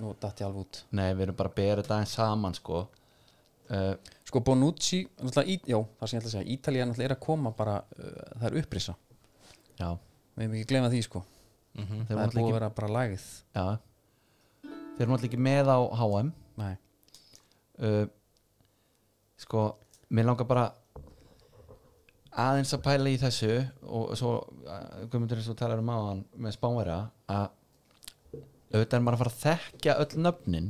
[SPEAKER 1] nú datt ég alveg út
[SPEAKER 2] nei við erum bara að bera þetta aðeins saman sko uh,
[SPEAKER 1] sko Bonucci, náttúrulega, í- já, það sem ég ætlaði að segja Ítalía náttúrulega er að koma bara uh, það er upprisa,
[SPEAKER 2] Já,
[SPEAKER 1] við hefum ekki glemað því sko
[SPEAKER 2] þeir
[SPEAKER 1] það
[SPEAKER 2] voru
[SPEAKER 1] er búið
[SPEAKER 2] náttúrulega
[SPEAKER 1] að
[SPEAKER 2] ekki,
[SPEAKER 1] vera bara lagið
[SPEAKER 2] já, þeir voru náttúrulega ekki með á HM
[SPEAKER 1] nei,
[SPEAKER 2] uh, Sko, mér langar bara aðeins að pæla í þessu og svo uh, Guðmundur eins og talar um áðan með spánverja að auðvitað er maður að fara að þekkja öll nöfnin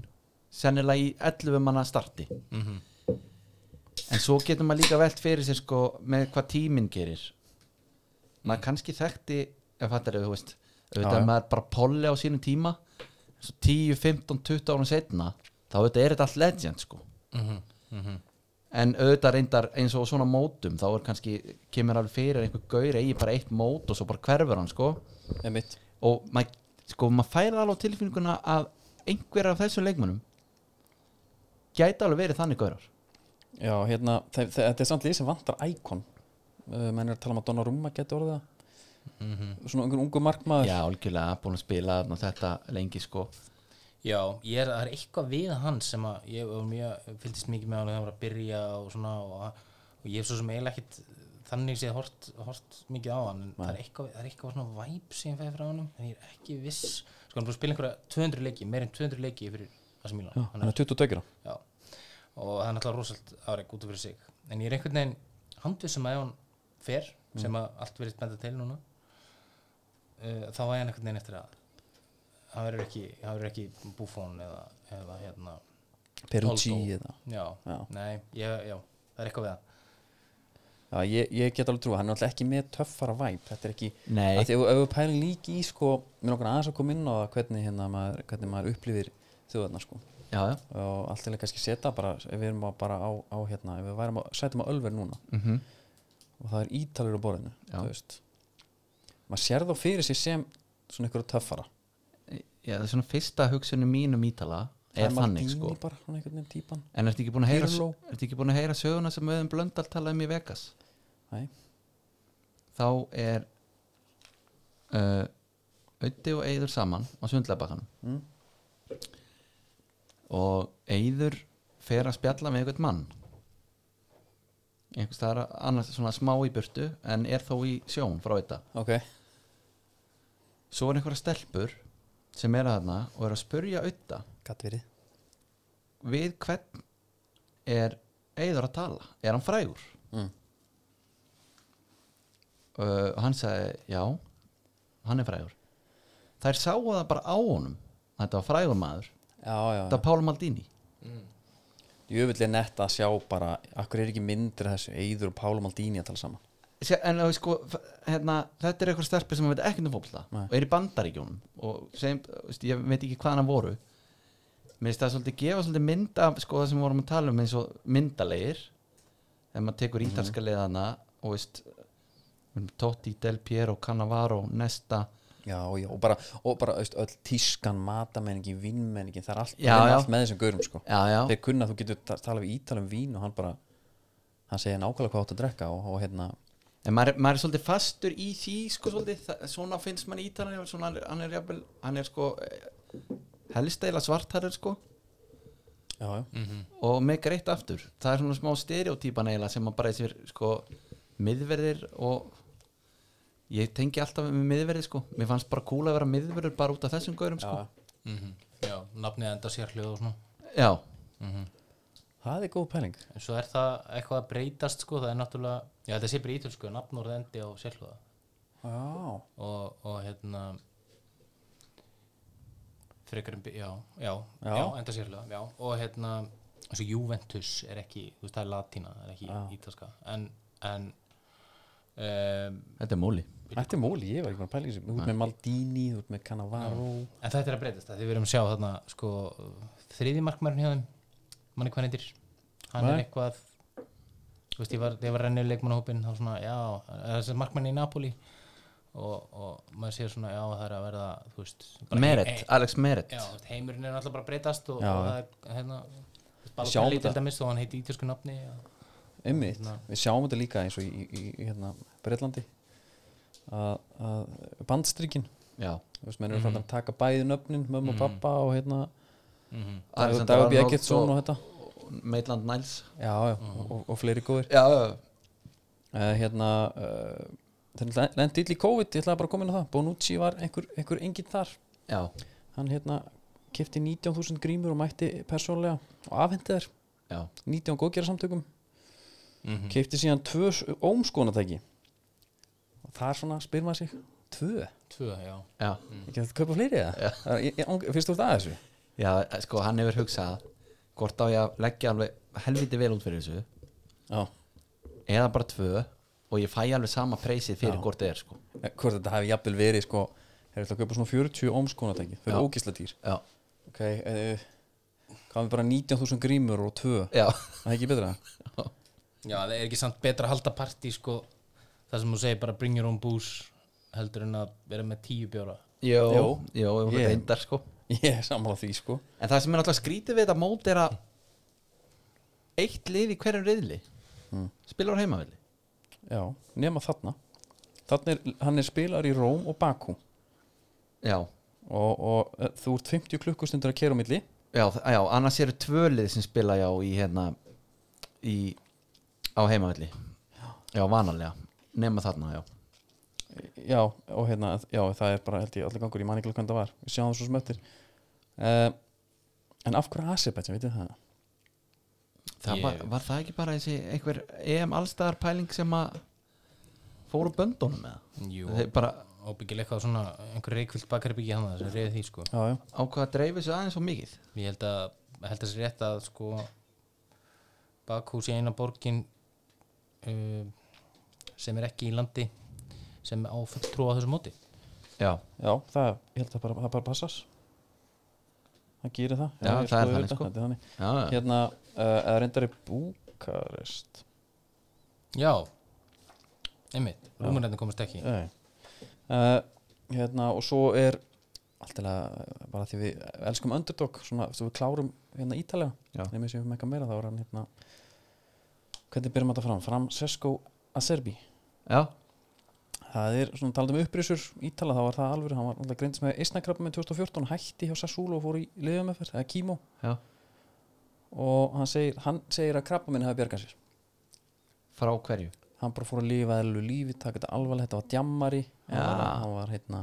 [SPEAKER 2] sennilega í 11 manna starti En svo getur maður líka velt fyrir sér sko með hvað tíminn gerir maður kannski þekkti ef þetta er, þú veist auðvitað
[SPEAKER 1] Já, já.
[SPEAKER 2] er maður bara polli á sínum tíma svo 10, 15, 20 árum setna þá auðvitað er þetta allt legend sko en auðvitað reyndar eins og á svona mótum þá er kannski, kemur alveg fyrir einhver gaur eigi bara eitt mót og svo bara hverfur hann sko
[SPEAKER 1] emitt
[SPEAKER 2] og maður sko, mað færa alveg á tilfinninguna að einhver af þessum leikmönnum gæti alveg verið þannig gaurar
[SPEAKER 1] já, Eh, hérna, þe- þe- þetta er samt líf sem vantar íkon uh, menn er að tala um að Donnarumma getur orðið það svona einhver ungu markmaður
[SPEAKER 2] Mhm. já, algjörlega, búin að spila þarna og þetta lengi sko
[SPEAKER 3] Já, ég er, það er eitthvað við hann sem að ég var mjög, fylgdist mikið með hann þegar hann var að byrja og svona og, og ég hef svo sem eiginlega ekkit þannig séð hort, hort mikið á hann en það er, eitthvað, það er eitthvað svona væp sem ég fæði frá hann en ég er ekki viss sko hann búið að spila einhverja 200 leiki, meir en 200 leiki fyrir Asi Milan
[SPEAKER 1] Já,
[SPEAKER 3] Hann
[SPEAKER 1] hann er 22 ára.
[SPEAKER 3] Já, og það er náttúrulega rosalt áreg út af fyrir sig en ég er einhvern veginn handvissum að ef hann fer sem að allt verið benda til núna uh, þá var ég einhvern veginn eftir að hann verður ekki, hann verður ekki búfón eða, eða hérna
[SPEAKER 1] Perucci
[SPEAKER 3] Aldo.
[SPEAKER 1] eða
[SPEAKER 3] já,
[SPEAKER 1] Já.
[SPEAKER 3] nei, ég, já, það er eitthvað við það
[SPEAKER 1] Já, ég, ég get alveg trú, hann er alltaf ekki með töffara væp þetta er ekki,
[SPEAKER 2] Nei.
[SPEAKER 1] að því ef ef við pælum líki í sko, mér okkur aðeins að koma inn á það hvernig, hérna, maður, hvernig maður upplifir þjóðarna sko,
[SPEAKER 2] já, já,
[SPEAKER 1] og allt til að kannski setja bara, ef við erum að bara á, á hérna, ef við værum að sætum að ölver núna
[SPEAKER 2] mm -hmm.
[SPEAKER 1] og það er ítalur á borðinu,
[SPEAKER 2] Já.
[SPEAKER 1] þú veist maður sér þá fyrir sér sem svona ykkur töffara,
[SPEAKER 2] já það er svona fyrsta hugsunum mín um Ítala er þannig
[SPEAKER 1] Maldini
[SPEAKER 2] sko
[SPEAKER 1] bara, svona einhvern veginn típan
[SPEAKER 2] en ertu ekki búin að heyra,
[SPEAKER 1] Pirlo.
[SPEAKER 2] ertu ekki búin að heyra söguna sem auðan Blöndal talaði um í Vegas
[SPEAKER 1] Nei.
[SPEAKER 2] þá er uh, Ötti og Eyður saman á sundlabakkanum
[SPEAKER 1] Mm.
[SPEAKER 2] og Eyður fer að spjalla með einhvern mann einhvers staðar annars svona smá í burtu en er þó í sjón frá þetta
[SPEAKER 1] ok,
[SPEAKER 2] svo er einhverja stelpur sem er að þarna og er að spurja auðta
[SPEAKER 1] gatt verið
[SPEAKER 2] við hvern er Eyður að tala, er hann frægur
[SPEAKER 1] mm.
[SPEAKER 2] uh, og hann sagði já, hann er frægur þær sáu það bara á honum að þetta var frægur maður,
[SPEAKER 1] já, já,
[SPEAKER 2] þetta var Pála Maldini
[SPEAKER 1] jöfull er nett að sjá bara akkur er ekki myndir af þessu, Eyður og Pála Maldini að tala saman
[SPEAKER 2] Sér, en þú veist, sko, f- hérna, þetta er eitthvað stelpi sem veit ekki um fótbolta
[SPEAKER 1] Nei.
[SPEAKER 2] og er í bandaríkjónum og sem, þú veist, ég veit ekki hvað hann voru mér finnst það svolítið gefa svolítið mynd af sko, það sem við vorum að tala um eins og myndalegir ef maður tekur ítalska leiðana og veist við erum Totti, Del Piero, Cannavaro, Nesta
[SPEAKER 1] já, já, og bara, og bara veist, öll tískan, matamenningin, vinnmenningin það er allt,
[SPEAKER 2] Já,
[SPEAKER 1] það er
[SPEAKER 2] já.
[SPEAKER 1] allt með þessum gaurum sko.
[SPEAKER 2] já, já,
[SPEAKER 1] þeir kunna að þú getur ta- talað við ítal um vín og hann bara hann segir nákvæmlega hvað átt að drekka og, og hérna,
[SPEAKER 2] en maður, er- maður er svolítið fastur í því sko svolítið, það, svona finnst mann ítalan svona, hann er, hann er, jafnvel- hann er sko eh, helst eila svartarður sko
[SPEAKER 1] já, já,
[SPEAKER 2] og með greitt aftur það er svona smá stereotýpan eiginlega sem að bara þessir sko miðverðir og ég tengi alltaf með miðverði sko mér fannst bara cool að vera miðverður bara út af þessum gaurum sko já,
[SPEAKER 3] já, nafnið enda sér hljóð og svona
[SPEAKER 1] það er góð pæling
[SPEAKER 3] en svo er það eitthvað að breytast sko, það er náttúrulega, já þetta sé bara ítöl sko, nafnúrð endi á sér hljóða
[SPEAKER 1] já,
[SPEAKER 3] og, og hérna frekar en bi- já, já,
[SPEAKER 1] Já.
[SPEAKER 3] já, enda sérlega já, og hérna, þessu Juventus er ekki, þú veist það er latína það er ekki ítalska en, en um,
[SPEAKER 2] þetta er múli
[SPEAKER 1] þetta er móli, ég var ekki bara pæling þú ert með Maldini, þú ert með Cannavaro
[SPEAKER 3] en þetta er að breytast, af því við erum að sjá þarna sko, þriði markmærin hjá þeim manni hvað neytir, hann
[SPEAKER 1] Nei.
[SPEAKER 3] er eitthvað þú veist, ég var, ég var rennið leikmannahópin, þá svona, já eh, þessi markmærin í Napoli og, og maður sér svona, já, það er að verða þú veist, bara
[SPEAKER 2] Meret,
[SPEAKER 3] ein- ein-
[SPEAKER 2] Alex Meret
[SPEAKER 3] Já, þú veist, heimurinn er alltaf bara að breytast og,
[SPEAKER 1] Já,
[SPEAKER 3] og
[SPEAKER 1] já.
[SPEAKER 3] það er hérna
[SPEAKER 1] Sjáum
[SPEAKER 3] Balotelli til
[SPEAKER 1] þetta.
[SPEAKER 3] dæmis og hann heiti ítösku nafni já.
[SPEAKER 1] Einmitt, við sjáum þetta líka eins og í, í, í hérna, Breitlandi að, að bandstrykkin
[SPEAKER 2] já,
[SPEAKER 1] þú veist, menn eru mm -hmm. að taka bæði nöfnin mömmu og pappa og hérna
[SPEAKER 2] Alexander
[SPEAKER 1] Dagur B.
[SPEAKER 2] Arnold
[SPEAKER 1] Eggertsson og
[SPEAKER 2] og- Mhm.
[SPEAKER 1] þetta
[SPEAKER 2] Maitland Niles
[SPEAKER 1] já, já, og, og fleiri góðir
[SPEAKER 2] já, já,
[SPEAKER 1] uh, hérna uh, þeir lendi ill í COVID, ég ætlaði bara að koma inn á það Bonucci var einhver, einhver enginn þar
[SPEAKER 2] já,
[SPEAKER 1] hann hérna kefti 19.000 grímur og mætti persónlega og afhendi þær
[SPEAKER 2] já.
[SPEAKER 1] 19 góðgjara samtökum
[SPEAKER 2] Mhm.
[SPEAKER 1] kefti síðan tvö ómskonatæki og það er svona, spyr maður sig tvö,
[SPEAKER 3] Tvö, já
[SPEAKER 2] já.
[SPEAKER 1] ekki þetta kaupa fleiri eða? Það er- ég- ég ang- finnst þú þetta að þessu?
[SPEAKER 2] já sko hann hefur hugsað hvort á ég að leggja alveg helviti vel út fyrir þessu
[SPEAKER 1] Já,
[SPEAKER 2] eða bara tvö og ég fæ alveg sama preysið fyrir hvort það er sko
[SPEAKER 1] Eh, hvort þetta hefði jafnvel verið sko, hefur þetta að kaupa svona 40 ómskonatæki þau eru
[SPEAKER 2] Já.
[SPEAKER 1] ógisla dýr
[SPEAKER 2] já,
[SPEAKER 1] ok, uh, hvað við bara 19.000 grímur og tvö,
[SPEAKER 2] já,
[SPEAKER 1] það er ekki betra
[SPEAKER 3] Já, það er ekki samt betra að halda partí sko, það sem þú segir bara bring your own booze heldur en að vera með tíu bjóra
[SPEAKER 2] jó, jó,
[SPEAKER 1] Jó.
[SPEAKER 2] jó
[SPEAKER 1] Ég-
[SPEAKER 2] reyndar sko
[SPEAKER 1] ég er sammála því sko
[SPEAKER 2] En það sem er alltaf skrítið við þetta mót er að Hmm. eitt lið í hverjum riðli spilar á heimavilli
[SPEAKER 1] já, nema þarna Þannig er, hann er spilar í Róm og Bakú
[SPEAKER 2] já,
[SPEAKER 1] og, og eh, þú ert 50 klukkustundur að kera á milli
[SPEAKER 2] já, þ- já, annars eru tvölið sem spila já í hérna í, á heimavalli já, vanalega, nema þarna já,
[SPEAKER 1] já, og hérna, já, það er bara held ég allir gangur, ég man ekki alveg hvernig það var við sjáum það svo sem eftir uh, en af hverju Aserbaidsjan, veitir það?
[SPEAKER 2] það
[SPEAKER 3] Ég-
[SPEAKER 2] var, var það ekki bara þessi einhver EM allstæðar pæling sem að fóru böndunum með
[SPEAKER 3] Jú,
[SPEAKER 2] Þeir bara
[SPEAKER 3] og byggja eitthvað svona einhver reikvilt bakarbyggja hann sem reyði því sko
[SPEAKER 1] Já, já,
[SPEAKER 2] ákvað að dreifu sig aðeins og mikið
[SPEAKER 3] ég held að, held að sér rétt að sko bakhús í eina borgin uh, sem er ekki í landi sem á fulltrúa á þessu móti
[SPEAKER 2] já,
[SPEAKER 1] já, það, ég held að bara, það bara passas það gerir það
[SPEAKER 2] Já,
[SPEAKER 1] ég
[SPEAKER 2] það er
[SPEAKER 1] skoði
[SPEAKER 2] þannig,
[SPEAKER 1] þetta,
[SPEAKER 2] sko.
[SPEAKER 1] þetta er þannig.
[SPEAKER 2] já, já.
[SPEAKER 1] hérna, uh, eða reyndar í Búkarest
[SPEAKER 3] já einmitt, rúmurnarnir komast ekki
[SPEAKER 1] Nei. uh, hérna, og svo er alltaf eh, bara því við elskum underdog, svona, svo við klárum hérna ítalega,
[SPEAKER 2] Já.
[SPEAKER 1] nema sem við með eitthvað meira þá er hann hérna hvernig byrjum þetta fram? Fram Sesko Acerbi
[SPEAKER 2] já,
[SPEAKER 1] Það er svona talað um upprisur ítala þá var það alveg, hann var alltaf greindist með eisnakrabba með 2014, hætti hjá Sassúlu og fór í liðumöferð, eða kímó
[SPEAKER 2] já.
[SPEAKER 1] og hann segir, hann segir að krabba minni hafi bjargað sér
[SPEAKER 2] frá hverju
[SPEAKER 1] hann bara fór að lifa eðlu lífi, taka þetta alvarlega þetta var djammari, hann var,
[SPEAKER 2] Já.
[SPEAKER 1] hann var heitna,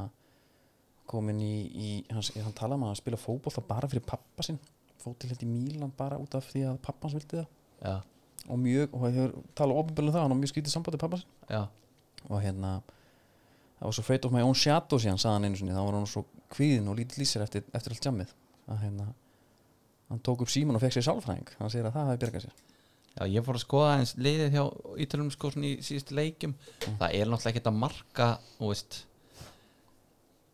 [SPEAKER 1] komin í, í hann, s- hann talaði maður að spila fótbolta bara fyrir pappa sinn, fótið held í Mílan bara út af því að pappa hans vildi það
[SPEAKER 2] já,
[SPEAKER 1] og mjög, og hefur talað ofinbjörnum það, hann var mjög skrítið sambandi pappa sinn
[SPEAKER 2] já,
[SPEAKER 1] og hérna það var svo afraid of my own shadow síðan sagði hann einu sinni, þá var hann svo kvíðin og lítill í sér eftir, eftir allt jammið að hérna hann tók upp síman og fekk sér sálfræðing hann segir að það hafi bjargað sér
[SPEAKER 2] já, ég fór að skoða eins liðið hjá Ítalum sko svona í síðustu leikjum það er náttúrulega ekkert að marka þú veist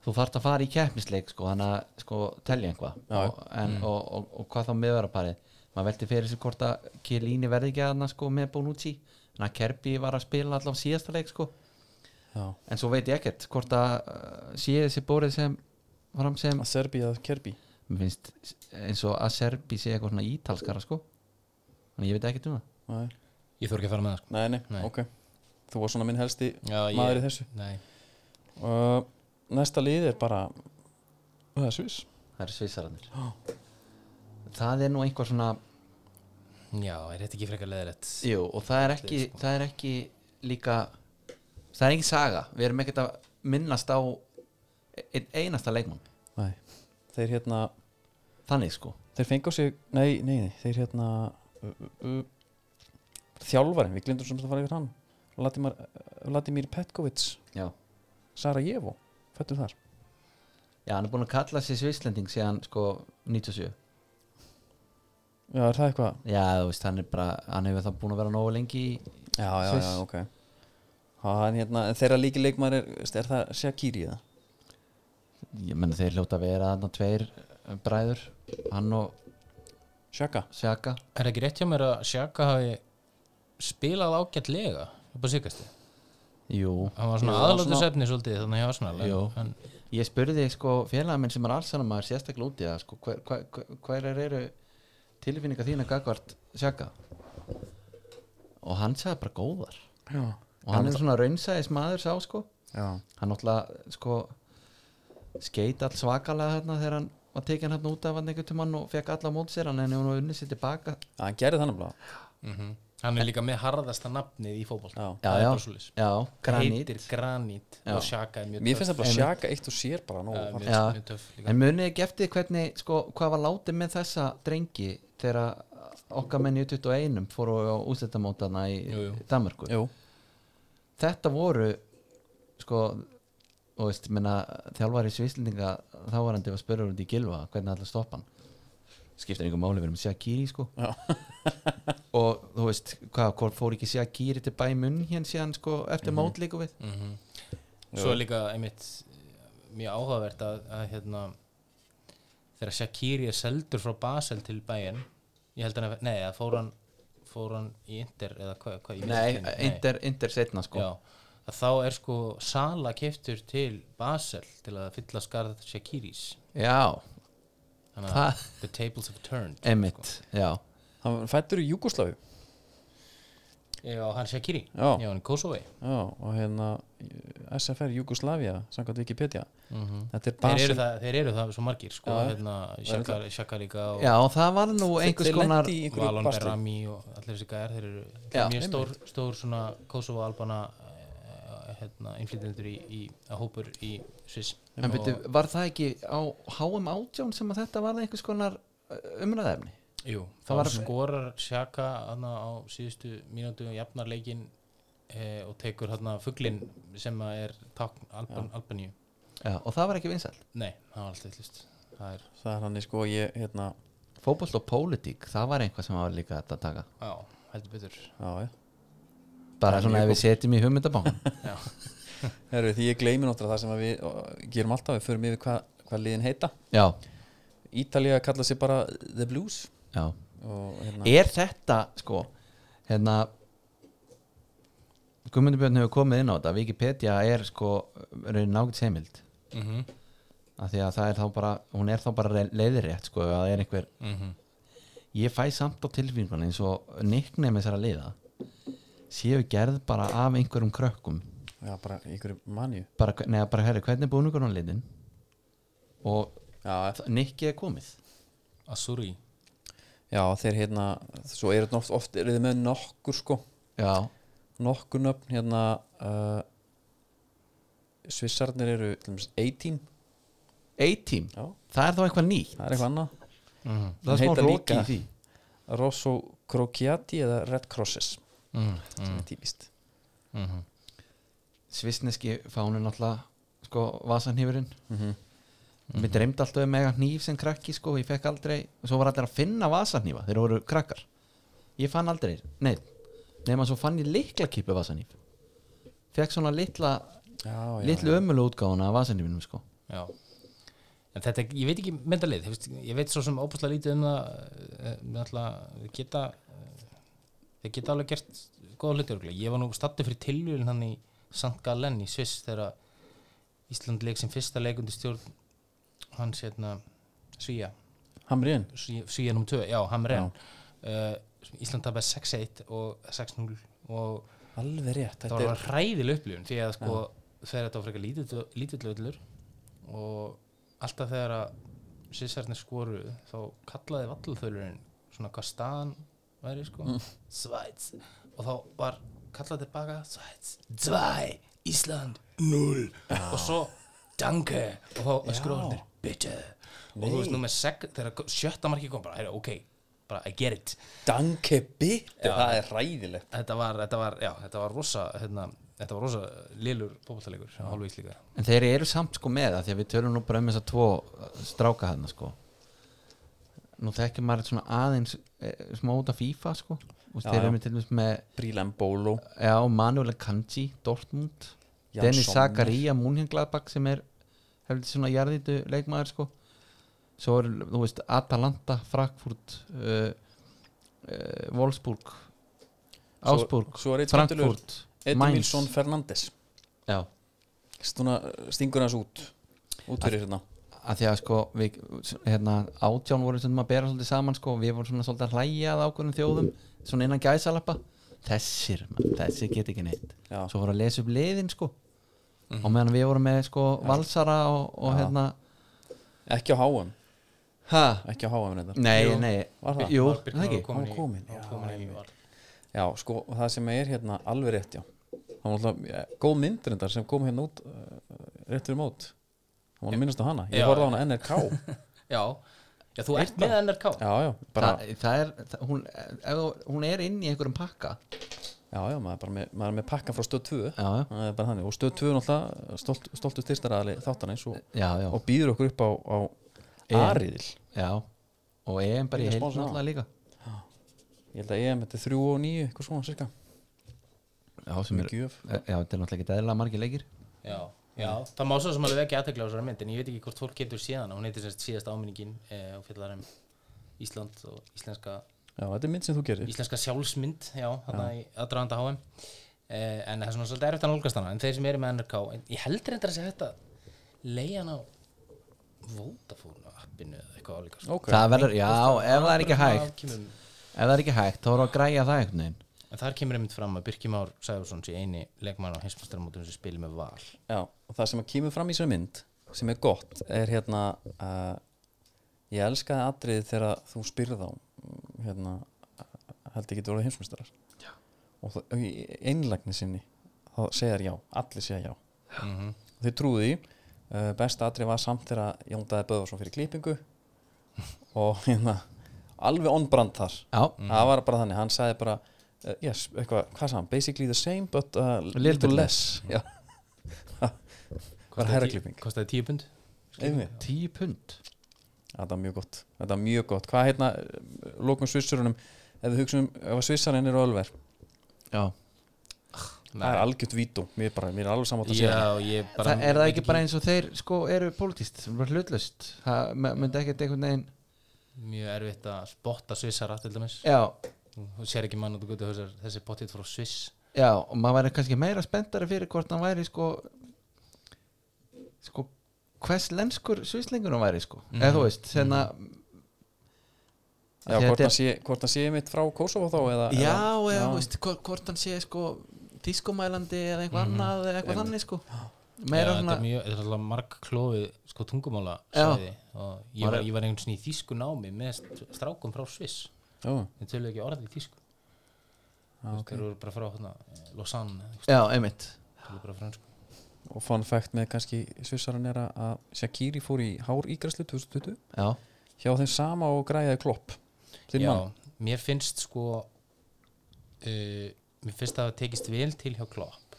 [SPEAKER 2] þú þarft að fara í keppnisleik sko þannig að sko telja einhvað
[SPEAKER 1] Já.
[SPEAKER 2] og, en, og, og, og hvað þá miðveraparið maður velti fyrir sér hvort að Kjelíni verði ekki aðna sko með Bonucci en að Kerbi var að spila allan síðasta leik sko
[SPEAKER 1] já.
[SPEAKER 2] en svo veit ég ekkert hvort að uh, sé þessi bórið sem fram sem
[SPEAKER 1] að Serbi að Kerbi
[SPEAKER 2] mér finnst eins og að Serbi sé eitthvað svona ítalskara sko en ég veit ekkert um það
[SPEAKER 1] nei,
[SPEAKER 3] ég þurf ekki að fara með það sko
[SPEAKER 1] nei, nei,
[SPEAKER 3] Nei.
[SPEAKER 1] ok þú var svona minn helsti
[SPEAKER 3] já,
[SPEAKER 1] maður í þessu
[SPEAKER 3] nei,
[SPEAKER 1] uh, næsta lið er bara það er Sviss
[SPEAKER 2] það eru svissaranir það er nú einhver svona
[SPEAKER 3] já, er þetta ekki frekar leðilegt
[SPEAKER 2] jú, og það er ekki, það er ekki líka það er ekki saga, við erum ekkert að minnast á einn einasta leikmann
[SPEAKER 1] nei. þeir hérna,
[SPEAKER 2] þannig sko,
[SPEAKER 1] þeir fengu á sig nei, nei, nei, þeir hérna uh, uh, uh, þjálfarinn, við glindum sem það var yfir hann Vladimir, Vladimir Petkovic
[SPEAKER 2] já
[SPEAKER 1] Sarajevo, fættur þar
[SPEAKER 2] já, hann er búin að kalla sig svisslending síðan sko 97
[SPEAKER 1] Já, er það eitthvað?
[SPEAKER 2] já, þú veist, hann er bara, hann hefur það búin að vera nógu lengi í
[SPEAKER 1] Já,
[SPEAKER 2] já, já,
[SPEAKER 1] ok ha, en hérna, en þeirra líki leikmaður er, er það Shakiri eða?
[SPEAKER 2] ég menna þeir hljóta að vera þarna tveir eh, bræður hann og
[SPEAKER 1] Shaka?
[SPEAKER 2] Sjaka
[SPEAKER 3] er það ekki rétt hjá mér að Sjaka hafi spilað ágætlega upp á síkastu
[SPEAKER 2] jú,
[SPEAKER 3] hann var svona
[SPEAKER 1] Jú, hann var
[SPEAKER 3] aðlótu sefni svolítið þannig hjá Arsenal en-
[SPEAKER 2] Jú.
[SPEAKER 3] en,
[SPEAKER 2] ég spurði sko félagar minn sem er allsanum maður sérstaklega út í það sko, hver, hver, hver, hver eru tilfinningar þína gagvart Sjaka og hann sagði bara góðar
[SPEAKER 1] Já,
[SPEAKER 2] og hann er svona raunsæðis maður sá sko
[SPEAKER 1] já,
[SPEAKER 2] hann náttúrulega sko skeit all svakalega hérna þegar hann var tekinn hérna út af hann einhvern tímann og fekk alla á móti sér hann en hún var unnið sér tilbaka
[SPEAKER 1] hann gerði þannig blá
[SPEAKER 3] hann er líka með harðasta nafnið í fótboll
[SPEAKER 1] Já.
[SPEAKER 2] Já, já. já, granít
[SPEAKER 3] heitir Granít
[SPEAKER 2] Já.
[SPEAKER 3] og Sjaka er mjög
[SPEAKER 1] Mér finnst það bara
[SPEAKER 2] Einmitt.
[SPEAKER 1] Shaka eitt og sér bara nóg
[SPEAKER 3] Já,
[SPEAKER 1] uh,
[SPEAKER 3] mjög,
[SPEAKER 2] Já.
[SPEAKER 3] mjög töff líka
[SPEAKER 2] En munið ekki eftir hvernig, sko, hvað var látið með þessa drengi þegar okkar menn í 21 fóru á úsletamótana í
[SPEAKER 3] Jú, jú.
[SPEAKER 2] Danmörku
[SPEAKER 1] Jú,
[SPEAKER 2] Þetta voru, sko, og veist, minna, þjálfari svislendinga þávarandi var spurður út í gilva hvernig allir stoppa hann skiptir einhver máli, við erum Shakiri, sko
[SPEAKER 1] Já.
[SPEAKER 2] <laughs> og þú veist, hvað, hvort fór ekki Shakiri til bæ munn hérna síðan, sko, eftir
[SPEAKER 3] Mhm.
[SPEAKER 2] mm mót líka við
[SPEAKER 3] Svo er líka einmitt eh, mjög áhugavert að, að hérna, þegar Shakiri er seldur frá Basel til bæinn ég held hann að, nei, að fór hann fór hann í Inter eða hvað, hvað ég veit
[SPEAKER 2] Nei,
[SPEAKER 3] ekki,
[SPEAKER 2] Inter, inter setna, sko
[SPEAKER 3] Já, að þá er sko Sala keftur til Basel til að fylla skarð Shakiris
[SPEAKER 2] Já,
[SPEAKER 3] þannig að
[SPEAKER 2] það,
[SPEAKER 3] the tables have turned
[SPEAKER 2] emitt, já
[SPEAKER 1] hann fættur í Júkoslavi
[SPEAKER 3] Já, hann Shakiri,
[SPEAKER 1] Já.
[SPEAKER 3] já hann er Kosovi
[SPEAKER 1] Já, og hérna SFR Jugoslavia, samkvæmt Wikipedia Þetta er
[SPEAKER 3] þeir
[SPEAKER 1] Basel
[SPEAKER 3] eru, það, þeir eru það svo margir sko,
[SPEAKER 1] Já, já.
[SPEAKER 3] hérna, Shakar- Shakarika og
[SPEAKER 2] Já, það var nú einhvers
[SPEAKER 1] Þeir
[SPEAKER 2] konar
[SPEAKER 1] lentu í einhverju
[SPEAKER 3] Valon
[SPEAKER 1] basli.
[SPEAKER 3] Berami og allir þessi gæjar þeir eru þeir
[SPEAKER 2] Já,
[SPEAKER 3] eru mjög stór, stór svona Kosovo Albana eh, hérna, innflytendur í, í að hópur í Sviss
[SPEAKER 2] En byrju, var það ekki á HM átján sem að þetta var einhvers konar uh, umræðefni?
[SPEAKER 3] Jú, þá
[SPEAKER 2] Það var-
[SPEAKER 3] skorar Sjaka hana, á síðustu mínútu og jafnar leikin eh, og tekur hana fugglin sem að er takn Alban, Albaníu
[SPEAKER 2] Já, og það var ekki vinsæl.
[SPEAKER 3] Nei, það var alltaf hlust Það er,
[SPEAKER 1] Það er hann sko, ég, hérna
[SPEAKER 2] Fótbolt og pólitík, það var eitthvað sem var líka þetta að taka.
[SPEAKER 3] já, heldur betur
[SPEAKER 1] Já, já
[SPEAKER 2] Bara svona ef við setjum í hugmyndabangun. <laughs>
[SPEAKER 3] Já,
[SPEAKER 1] Heru, Því ég gleymi náttúrulega það sem að við og, gerum alltaf, við förum yfir hvað hva liðin heita
[SPEAKER 2] já,
[SPEAKER 1] Ítalía kalla sér bara The Blues
[SPEAKER 2] já.
[SPEAKER 1] og hérna
[SPEAKER 2] Er þetta, sko, hérna, Guðmundur Björn hefur komið inn á þetta, Wikipedia er sko, raunin nákvæmt heimild.
[SPEAKER 3] mm -hmm.
[SPEAKER 2] Af því að það er þá bara, hún er þá bara leiðirétt, sko, ef það er einhver ég fæ samt á tilfinningunni eins og nickname þessara liða séu gerð bara af einhverjum krökkum
[SPEAKER 1] Já, bara í einhverju manju
[SPEAKER 2] bara, neða bara herri, hvernig er búningur á liðin og
[SPEAKER 1] Já,
[SPEAKER 2] nikki er komið
[SPEAKER 3] Asuri
[SPEAKER 1] já þeir hérna Svo eru þetta oft, oft eru þið með nokkur sko
[SPEAKER 2] já,
[SPEAKER 1] Nokkur nöfn hérna uh, Svissarnir eru til dæmis, A-team
[SPEAKER 2] A-team,
[SPEAKER 1] Já,
[SPEAKER 2] það er þá eitthvað nýtt
[SPEAKER 1] það er eitthvað annað
[SPEAKER 2] það er
[SPEAKER 1] Hún
[SPEAKER 2] smá
[SPEAKER 1] heitir
[SPEAKER 2] róki
[SPEAKER 1] líka-
[SPEAKER 2] í því
[SPEAKER 1] Rosso Crociati eða Red Crosses
[SPEAKER 3] mm,
[SPEAKER 1] sem er típist
[SPEAKER 3] mm -hmm.
[SPEAKER 2] svissneski fánu náttúrulega sko, vasanhýfurinn
[SPEAKER 1] mm Mhm.
[SPEAKER 2] mér dreymdi alltaf um mega hníf sem krakki sko, og ég fekk aldrei, og svo var allir að finna vasanhýfa þeir voru krakkar ég fann aldrei, nei, nema svo fann ég likla kipu vasanhýf fekk svona litla,
[SPEAKER 1] Já, já,
[SPEAKER 2] litlu ömmulega útgáfuna af vasanhýfinum sko.
[SPEAKER 3] Já En þetta, ég veit ekki myndalið, hefst, ég veit svo sem óbúslega lítið um það eh, með alltaf, við geta eh, þeir geta alveg gert góða hluti örugglega. ég var nú stattu fyrir tilvíðin hann í St. Gallen í Sviss þegar Ísland leik sem fyrsta leikundi stjórn hans hérna Svíja,
[SPEAKER 1] Hamriðin
[SPEAKER 3] Svíja, Svíja nr. 2 já, Hamren uh, Ísland tapaði 6-1 og 6-0 og
[SPEAKER 1] Alveg rétt, þetta
[SPEAKER 3] það
[SPEAKER 1] er
[SPEAKER 3] var hræðil upplifun því að sko þegar þetta var frekar lítill- lítill völlur og alltaf þegar að sísarnir skoru þá kallaði vallþölurinn svona hvað staðan væri sko Svæts og þá var kallaði tilbaka Svæts 2 Ísland 0 og svo Danke og þá skróðanir Bitte og þú veist nú með seg þegar sjötta marki kom bara, heyrðu, ok bara I get it
[SPEAKER 1] Danke bitte, það er ræðilegt
[SPEAKER 3] þetta var, þetta var, já, þetta var rosa hérna, þetta var rosa lélur fótballtalegur sem hálfa íslíka
[SPEAKER 2] en þeir eru samt sko með það því að við tölum nú bara um þess að tvo eh, stráka hann sko. nú þekkir maður svona aðeins e, smá út af FIFA sko. og
[SPEAKER 1] Já,
[SPEAKER 2] þeir
[SPEAKER 1] já.
[SPEAKER 2] eru með til dæmis með
[SPEAKER 1] Brílan Bólo
[SPEAKER 2] já, Manuel Kanji, Dortmund
[SPEAKER 1] Jan
[SPEAKER 2] Dennis
[SPEAKER 1] Sommer.
[SPEAKER 2] Zakaria, Múnhengladbak sem er hefði svona jarðitu leikmaður sko svo er, þú veist, Atalanta, Frankfurt uh, uh, Wolfsburg Augsburg,
[SPEAKER 1] svo er einn skemmtilegur.
[SPEAKER 2] Frankfurt Mainz
[SPEAKER 1] Edmilson Fernandes
[SPEAKER 2] já,
[SPEAKER 1] Stúna, stingur hans út út fyrir hérna
[SPEAKER 2] að því að sko við, hérna, átján vorum sem að bera svolítið saman sko, við vorum svona svolítið að hlæja að ákvörðum þjóðum, svona innan gæsalappa þessir, man, þessir get ekki neitt
[SPEAKER 1] Já. Mhm.
[SPEAKER 2] svo voru að lesa upp liðin sko og meðan við vorum með sko valsara og, og
[SPEAKER 1] Já.
[SPEAKER 2] hérna
[SPEAKER 1] ekki á háum,
[SPEAKER 2] ha,
[SPEAKER 1] ekki á háum reyndar
[SPEAKER 2] Nei,
[SPEAKER 3] Jú.
[SPEAKER 2] nei,
[SPEAKER 1] Var það?
[SPEAKER 2] Jú,
[SPEAKER 3] Var Birkir
[SPEAKER 2] það ekki
[SPEAKER 3] Þór kominn
[SPEAKER 1] Hann
[SPEAKER 3] í-
[SPEAKER 1] kominn,
[SPEAKER 3] hann
[SPEAKER 1] já,
[SPEAKER 3] kominn í
[SPEAKER 1] einmitt.
[SPEAKER 3] var-
[SPEAKER 1] já, sko, það sem er hérna alveg rétt, já það var alltaf ja, góð mynd reyndar sem kom hérna út uh, rétt fyrir mót það var að minnast á hana, ég
[SPEAKER 3] <laughs> Já.
[SPEAKER 1] horfði á hana NRK
[SPEAKER 3] já, já, þú ert með NRK
[SPEAKER 1] já, já, bara,
[SPEAKER 2] það, það er, það, hún, ef, þú- hún er inn í einhverjum pakka
[SPEAKER 1] já, já, maður er bara með, maður er með pakka frá stöð 2
[SPEAKER 2] Já, já,
[SPEAKER 1] það er bara þannig, og stöð 2 er náttúrulega stolt, stoltu styrstarraðli þáttan eins og,
[SPEAKER 2] já, já,
[SPEAKER 1] og býður okkur upp á, á
[SPEAKER 3] E.
[SPEAKER 2] EM.
[SPEAKER 1] Ariðil
[SPEAKER 2] já. Og EM bara í
[SPEAKER 1] Líka
[SPEAKER 2] heild
[SPEAKER 1] sponsor á.
[SPEAKER 2] náttúrulega líka
[SPEAKER 1] ég held að E ég með þetta er 3 og 9, eitthvað svona cirka
[SPEAKER 2] Já, sem er,
[SPEAKER 1] gjöf
[SPEAKER 2] já, þetta er náttúrulega ekki eðlilega margir leikir
[SPEAKER 3] já, já, það má svo sem alveg vekja aðtekla á þessari mynd en ég veit ekki hvort fólk getur síðan hún heitir semst síðasta áminningin eh, og fjallar um Ísland og íslenska
[SPEAKER 1] já, þetta er mynd sem þú gerir
[SPEAKER 3] íslenska sjálfsmynd já, þarna í aðdraganda HM eh, en það er svona svolítið erfitt að nálgast hana en þeir sem eru með NRK, en ég held reyndar að segja þetta leiðan á Vodafone appinu eða eitthvað álíka sko.
[SPEAKER 1] ok,
[SPEAKER 2] Það verður, já, ef það er ekki hægt
[SPEAKER 3] Afkimum-
[SPEAKER 2] Ef það er ekki hægt, þá voru að græja það einhvern veginn
[SPEAKER 3] en þar kemur einmitt fram að Birkir Már Sæðursson sé eini leikmann á heimsmastramótunum sem spilir með val
[SPEAKER 1] Já, og það sem að kemur fram í sér mynd sem er gott er hérna uh, ég elskaði atriðið þegar þú spyrð á hérna, held ég getur orðið heimsmyndstarar og það, í einlægni sinni þá segja þær já, allir segja já
[SPEAKER 3] mm -hmm.
[SPEAKER 1] og þeir trúðu því, uh, besta atrið var samt þegar að Jón Daði Böðvarsson fyrir <laughs> klippingu og hérna alveg onbrand þar
[SPEAKER 2] Já,
[SPEAKER 1] það var bara þannig, hann sagði bara uh, yes, eitthvað, hvað sagði hann, basically the same but uh, little
[SPEAKER 2] bit
[SPEAKER 1] less, less. Bara herraklipping.
[SPEAKER 3] kostaði tíu pund
[SPEAKER 1] Einmitt.
[SPEAKER 2] tíu pund
[SPEAKER 1] Þetta var mjög gott, þetta var mjög gott Hvað hérna, eh, lokum svissurunum ef við hugsaum, um- ef að svissarinn eru ölver
[SPEAKER 2] Já
[SPEAKER 1] það er algjört vító, mér bara, mér er alveg samátt að segja
[SPEAKER 3] Já, ég bara
[SPEAKER 2] það, er það ekki bara eins og þeir sko eru pólitíst, bara hlutlaust það me- myndi ekkert einhvern veginn
[SPEAKER 3] mjög erfitt að spotta svissara til dæmis
[SPEAKER 2] já,
[SPEAKER 3] þú sér ekki mann út og gutu þessar þessi pottit frá Sviss
[SPEAKER 2] já, og maður væri kannski meira spenntari fyrir hvort hann væri sko sko hvers lenskur svislingur hann væri sko eða
[SPEAKER 3] Mhm.
[SPEAKER 2] þú veist, hérna
[SPEAKER 3] Mm.
[SPEAKER 1] Já, hvort hann sé, hvort hann sé mitt frá Kosovo þá eða,
[SPEAKER 2] já,
[SPEAKER 1] eða,
[SPEAKER 2] eða þú veist, hvort, hvort hann sé sko tískumælandi eða eitthvað annað eða eitthvað þannig sko meira
[SPEAKER 3] Mhm. já, þetta
[SPEAKER 2] svona,
[SPEAKER 3] er mjög, þetta er alltaf marg klófið sko tungumála
[SPEAKER 2] Já.
[SPEAKER 3] sæði og ég var, ég var einhvern svona í þýsku námi með st- strákum frá Sviss
[SPEAKER 1] já,
[SPEAKER 3] þeir tölu ekki orðið í þýsku
[SPEAKER 1] já,
[SPEAKER 3] okay.
[SPEAKER 1] okay.
[SPEAKER 3] þeir voru bara frá hérna, Lausanne
[SPEAKER 2] Ah, já, einmitt
[SPEAKER 3] tölu bara fransku
[SPEAKER 1] Og fun fact með kannski svissarinn er að- að Shakiri fór í hár ígræslu 2020
[SPEAKER 2] já,
[SPEAKER 1] hjá þeim sama og græjaði klopp þinn mann,
[SPEAKER 3] mér finnst sko uh, mér finnst það að tekist vel til hjá Klopp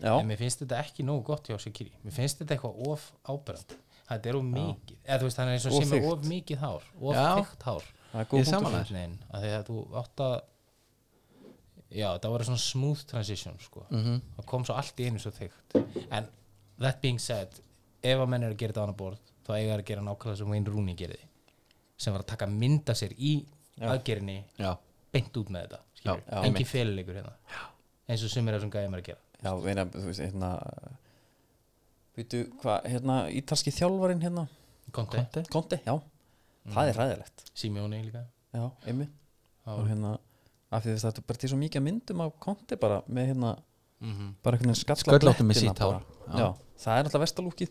[SPEAKER 3] en
[SPEAKER 1] já,
[SPEAKER 3] mér finnst þetta ekki nógu gott hjá Shakiri mér finnst þetta eitthvað of ábyrðan þetta er of mikið, eða þú veist hann er eins og
[SPEAKER 1] Of
[SPEAKER 3] sem er
[SPEAKER 1] þykkt.
[SPEAKER 3] of mikið hár, of
[SPEAKER 2] Já.
[SPEAKER 3] þykkt hár
[SPEAKER 1] það er góð
[SPEAKER 2] Ég er
[SPEAKER 1] punktur
[SPEAKER 2] sammála.
[SPEAKER 3] einhvern veginn að því að þú átt að já, það var svona smooth transition sko,
[SPEAKER 1] Mm.
[SPEAKER 3] það kom svo allt í einu svo þygt en that being said ef að menn eru að gera þetta á annar borð þá eiga þeir að gera nákvæmlega sem Wayne Rooney gerði sem var að taka mynda sér í aðgerinni
[SPEAKER 2] já,
[SPEAKER 3] beint út með þetta skilur,
[SPEAKER 1] Já, já,
[SPEAKER 3] engin féluleikur hérna eins og sumir af þessum gæðum er að gera
[SPEAKER 1] Já, meina, þú veist, hérna Býtu, hvað, hérna, ítalski þjálfarinn hérna
[SPEAKER 3] Conte,
[SPEAKER 1] Konti, já, það
[SPEAKER 2] Mhm.
[SPEAKER 1] er ræðilegt
[SPEAKER 3] Simeone líka
[SPEAKER 1] Já, einmitt
[SPEAKER 3] Já.
[SPEAKER 1] og hérna af því þess að þetta er bara til svo mikið af myndum af konti bara með hérna
[SPEAKER 3] mm -hmm.
[SPEAKER 1] bara einhvern veginn skalla
[SPEAKER 2] Sköllóttum með
[SPEAKER 1] blettina
[SPEAKER 2] sítt hár.
[SPEAKER 1] bara. já, það er alltaf vestalúkið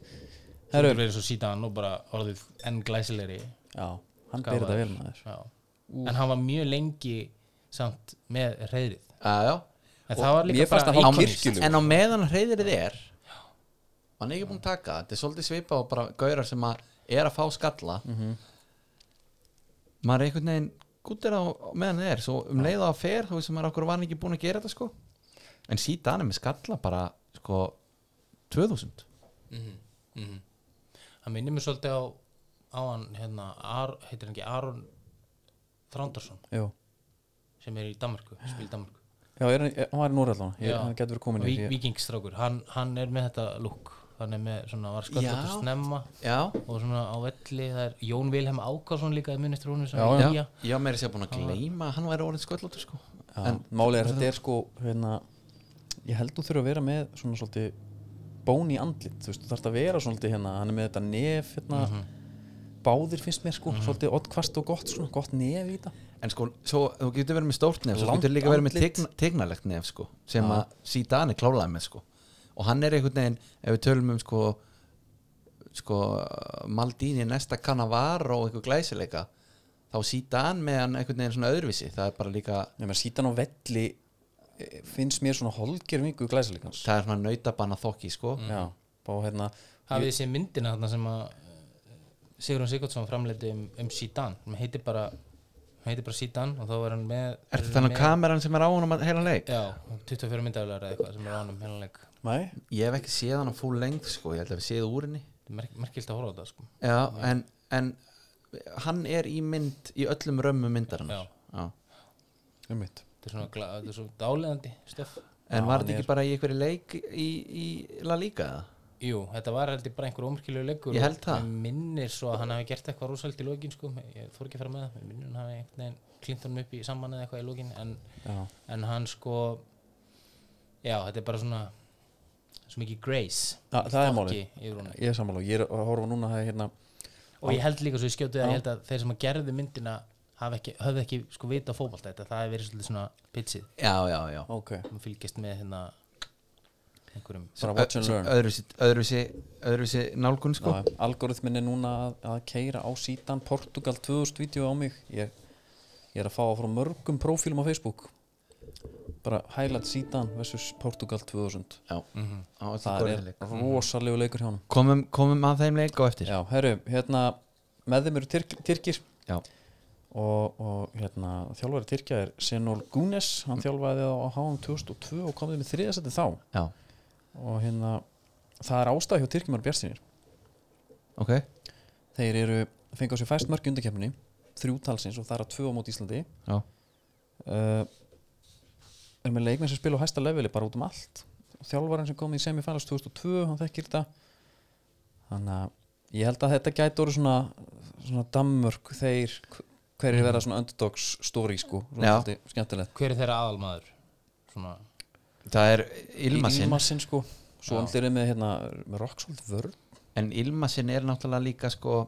[SPEAKER 3] það
[SPEAKER 1] Herru,
[SPEAKER 3] er eins og síðan og bara orðið enn glæsilegri
[SPEAKER 1] já, hann byrði þetta vel maður
[SPEAKER 3] Já. en hann var mjög lengi samt með reyðrið
[SPEAKER 2] já, já
[SPEAKER 3] en það var líka
[SPEAKER 1] mér fannst að
[SPEAKER 3] bara
[SPEAKER 1] hann
[SPEAKER 3] íkonist.
[SPEAKER 1] kirkju- Skilur.
[SPEAKER 2] en á sko. meðan hreyðir þið er hann er ekki búin að taka það þetta er svolítið svipa og bara gaurar sem að er að fá skalla maður er einhvern veginn gúttir á á meðan þið er svo um leið á að fer þú veist að maður okkur var ekki búin að gera þetta sko en síðan er með skalla bara sko 2000
[SPEAKER 3] hann minnir mér svolítið á, á hann hérna, Ar, heitir hann ekki Aron Þrándarsson
[SPEAKER 1] já,
[SPEAKER 3] sem er í Danmarku, spil Danmarku
[SPEAKER 1] já er, hann- hann var í Núri allan
[SPEAKER 3] Já.
[SPEAKER 1] hann getur verið komin í
[SPEAKER 3] Ví, vikingstrákur, hann, hann er með þetta lúk hann er með svona var sköldotur
[SPEAKER 2] Já.
[SPEAKER 3] snemma
[SPEAKER 2] já,
[SPEAKER 3] og svona á velli það er Jón Vilhelm Ákarsson líka í munist rúnu sem
[SPEAKER 1] Já,
[SPEAKER 3] er í
[SPEAKER 2] já,
[SPEAKER 3] Ía.
[SPEAKER 2] já meira sér búin að gleyma að hann væri orðin sköllóttur sko
[SPEAKER 1] en málið er þetta er sko hérna, ég held þú þurfa að vera með svona svolítið bón í andlit þú veist, þú þarft að vera svolítið hérna hann er með þetta nef hérna báðir finnst mér sko, svolítið oddkvast og gott svona gott nef í þetta
[SPEAKER 2] En sko, svo, þú getur verið með stórt nef Svo
[SPEAKER 1] Langt
[SPEAKER 2] getur líka verið með
[SPEAKER 1] andlit.
[SPEAKER 2] tegna, tegnalegt nef sko, sem að síðan er klálaði með sko. og hann er einhvern veginn ef við tölum um sko, sko Maldini næsta kanavar og einhver glæsileika þá síðan með hann einhvern veginn svona öðruvísi það er bara líka,
[SPEAKER 1] Nefnir sítan á velli eh, finnst mér svona holger vingu glæsileikans
[SPEAKER 2] það er svona nautabanna þokki sko.
[SPEAKER 1] Já, og hérna
[SPEAKER 3] hafið þessi myndina þarna sem að eh, Sigurðun Sigurdsson framleiti um, um Sídan hann heitir bara hann heitir bara Sídan og þá er hann með
[SPEAKER 2] Er þetta þannig kameran sem er á honum að heila leik?
[SPEAKER 3] Já, 24 myndaflegar eða eitthvað sem er ánum heilanleik
[SPEAKER 1] Nei,
[SPEAKER 2] Ég hef ekki séð hann á full length sko, ég held að við séð úr henni
[SPEAKER 3] Þetta er merk, merkilt að horfa á þetta sko.
[SPEAKER 2] Já, en, en hann er í mynd, í öllum römmu myndarinnar
[SPEAKER 3] Já.
[SPEAKER 2] Já.
[SPEAKER 1] um mitt
[SPEAKER 3] Þetta er svona gla, þetta er svo dáleðandi stöf
[SPEAKER 2] En
[SPEAKER 1] Já,
[SPEAKER 2] var
[SPEAKER 1] hann
[SPEAKER 2] þetta ekki bara í einhverju leik í, í La Liga eða?
[SPEAKER 3] Jú, þetta var heldur bara einhver ómyrkilegu leikur
[SPEAKER 2] Ég held það.
[SPEAKER 3] og Mér minnir svo að hann hafi gert eitthvað rúsald í lokin sko. ég þór ekki að fara með það Mér minnir hann hafi einhvern veginn klint honum upp í saman eða eitthvað í lokin en,
[SPEAKER 1] Já,
[SPEAKER 3] en hann sko Já, þetta er bara svona svo mikið grace
[SPEAKER 1] Þa, það er málið
[SPEAKER 3] Ekki yfir honum.
[SPEAKER 1] Ég er sammála, ég er að horfa núna að hérna
[SPEAKER 3] og ég held líka svo ég skjótu það ég held að þeir sem að gerðu myndina hafa ekki, höfðu ekki sko vita fótbolta þetta, það hefur verið svolítið svona pitsið
[SPEAKER 2] já, já, já
[SPEAKER 1] ok,
[SPEAKER 3] maður fylgist með hérna einhverjum
[SPEAKER 1] bara watch and learn
[SPEAKER 2] öðruvísi, öðruvísi, öðruvísi nálgun sko
[SPEAKER 1] Já, algoritmin er núna að, að keira á sítan Portugal 2000 vídeo á mig ég, ég er að fá að frá mörgum prófílum á Facebook bara highlight sítan versus Portugal 2000
[SPEAKER 2] Á, þetta
[SPEAKER 1] Mhm. það er
[SPEAKER 2] er góður leik.
[SPEAKER 1] rosalegu leikur hjá hann
[SPEAKER 2] komum, komum að þeim leik á eftir
[SPEAKER 1] já, herru, hérna með þeim eru tyrk, tyrkir
[SPEAKER 2] Já.
[SPEAKER 1] og, og hérna, þjálfari Tyrkja er Senol Gunes, hann þjálfaði á HM 2002 og komið með þriðasetti þá
[SPEAKER 2] já,
[SPEAKER 1] og hérna, það er ástæð hjá Tyrkjum og Bjarsinir
[SPEAKER 2] ok
[SPEAKER 1] þeir eru fengu á sér fæst mörg undarkeppni þrjú talsins og það er að tvö á móti Íslandi
[SPEAKER 2] Já.
[SPEAKER 1] uh, er með leikmenn sem spila á hæsta leveli bara út um allt þjálfarinn sem kom í semifinals 2002 hann þekkir þetta þannig að ég held að þetta gæti orðið svona, svona dammörk þeir hverjir verða svona underdogs story sko, svona
[SPEAKER 2] Já.
[SPEAKER 1] svolítið skemmtilegt
[SPEAKER 3] hver er þeirra aðalmaður svona,
[SPEAKER 2] það er Ilmasinn
[SPEAKER 1] Ilmasinn sko, svo
[SPEAKER 3] Já.
[SPEAKER 1] allir er með hérna, með Roxhold Vörn
[SPEAKER 2] en Ilmasinn er náttúrulega líka sko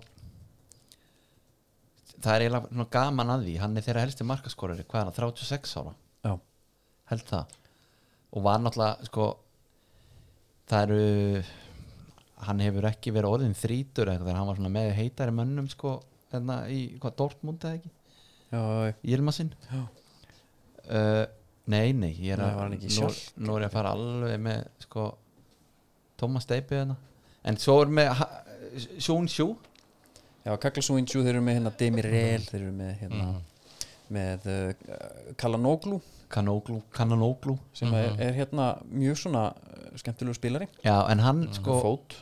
[SPEAKER 2] það er eiginlega svona gaman að því hann er þeirra helsti markaskorari, hvað er hann, 36 ára
[SPEAKER 1] Já.
[SPEAKER 2] held það og var náttúrulega sko það eru hann hefur ekki verið orðin þrítur eða eitthvað, þegar hann var svona með heitari mönnum sko, þarna í, hvað, Dortmund eða ekki
[SPEAKER 1] já,
[SPEAKER 2] Ilmasinn
[SPEAKER 1] Já.
[SPEAKER 2] uh, Nei, nei, ég er
[SPEAKER 1] Nei, var hann ekki í
[SPEAKER 2] nú, nú er ég að fara alveg með sko, Thomas Deipi hérna. en svo er með ha- Sjón Sjú
[SPEAKER 1] Já, Kaklasúinju, þeir eru með hérna Demirel, þeir eru með
[SPEAKER 3] Mhm.
[SPEAKER 1] hérna með uh, Kalanoglu
[SPEAKER 2] Kanóglú, Kananóglú
[SPEAKER 1] sem er, er hérna mjög svona uh, skemmtilegu spilari
[SPEAKER 2] Já, en hann sko
[SPEAKER 1] fót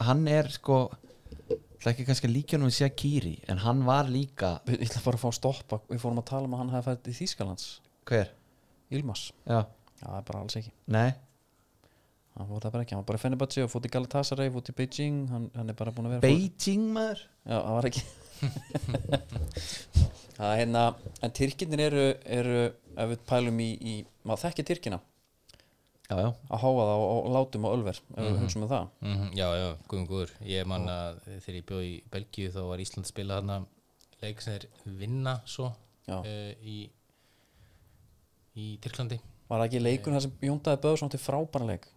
[SPEAKER 2] hann er sko það er ekki kannski líka nú að segja Kýri en hann var líka,
[SPEAKER 1] Við ætla bara að fá að stoppa, við fórum að tala um að hann hafi fætt í Þýskalands,
[SPEAKER 2] hver?
[SPEAKER 1] Ilmas
[SPEAKER 2] Já,
[SPEAKER 1] Já, það er bara alls ekki,
[SPEAKER 2] nei,
[SPEAKER 1] hann fór það bara ekki hann var bara í Fenerbahce og fótt í Galatasaray, fótt í Beijing hann, hann er bara búin að vera
[SPEAKER 2] Beijing maður
[SPEAKER 1] Já, það var ekki Það er hérna en Tyrkinir eru, eru ef við pælum í, í maður þekkir Tyrkina
[SPEAKER 2] Já, já,
[SPEAKER 1] að háa það og, og látum á Ölver ef við hugsaum með það
[SPEAKER 3] mm já, já, guðum góður ég man að þegar ég bjóð í Belgíu þá var Ísland spilað þarna leik sem þeir vinna svo
[SPEAKER 1] Já.
[SPEAKER 3] uh, í í Tyrklandi
[SPEAKER 1] Var það ekki leikur þar sem Jóndaði Böðsson átti frábæra leik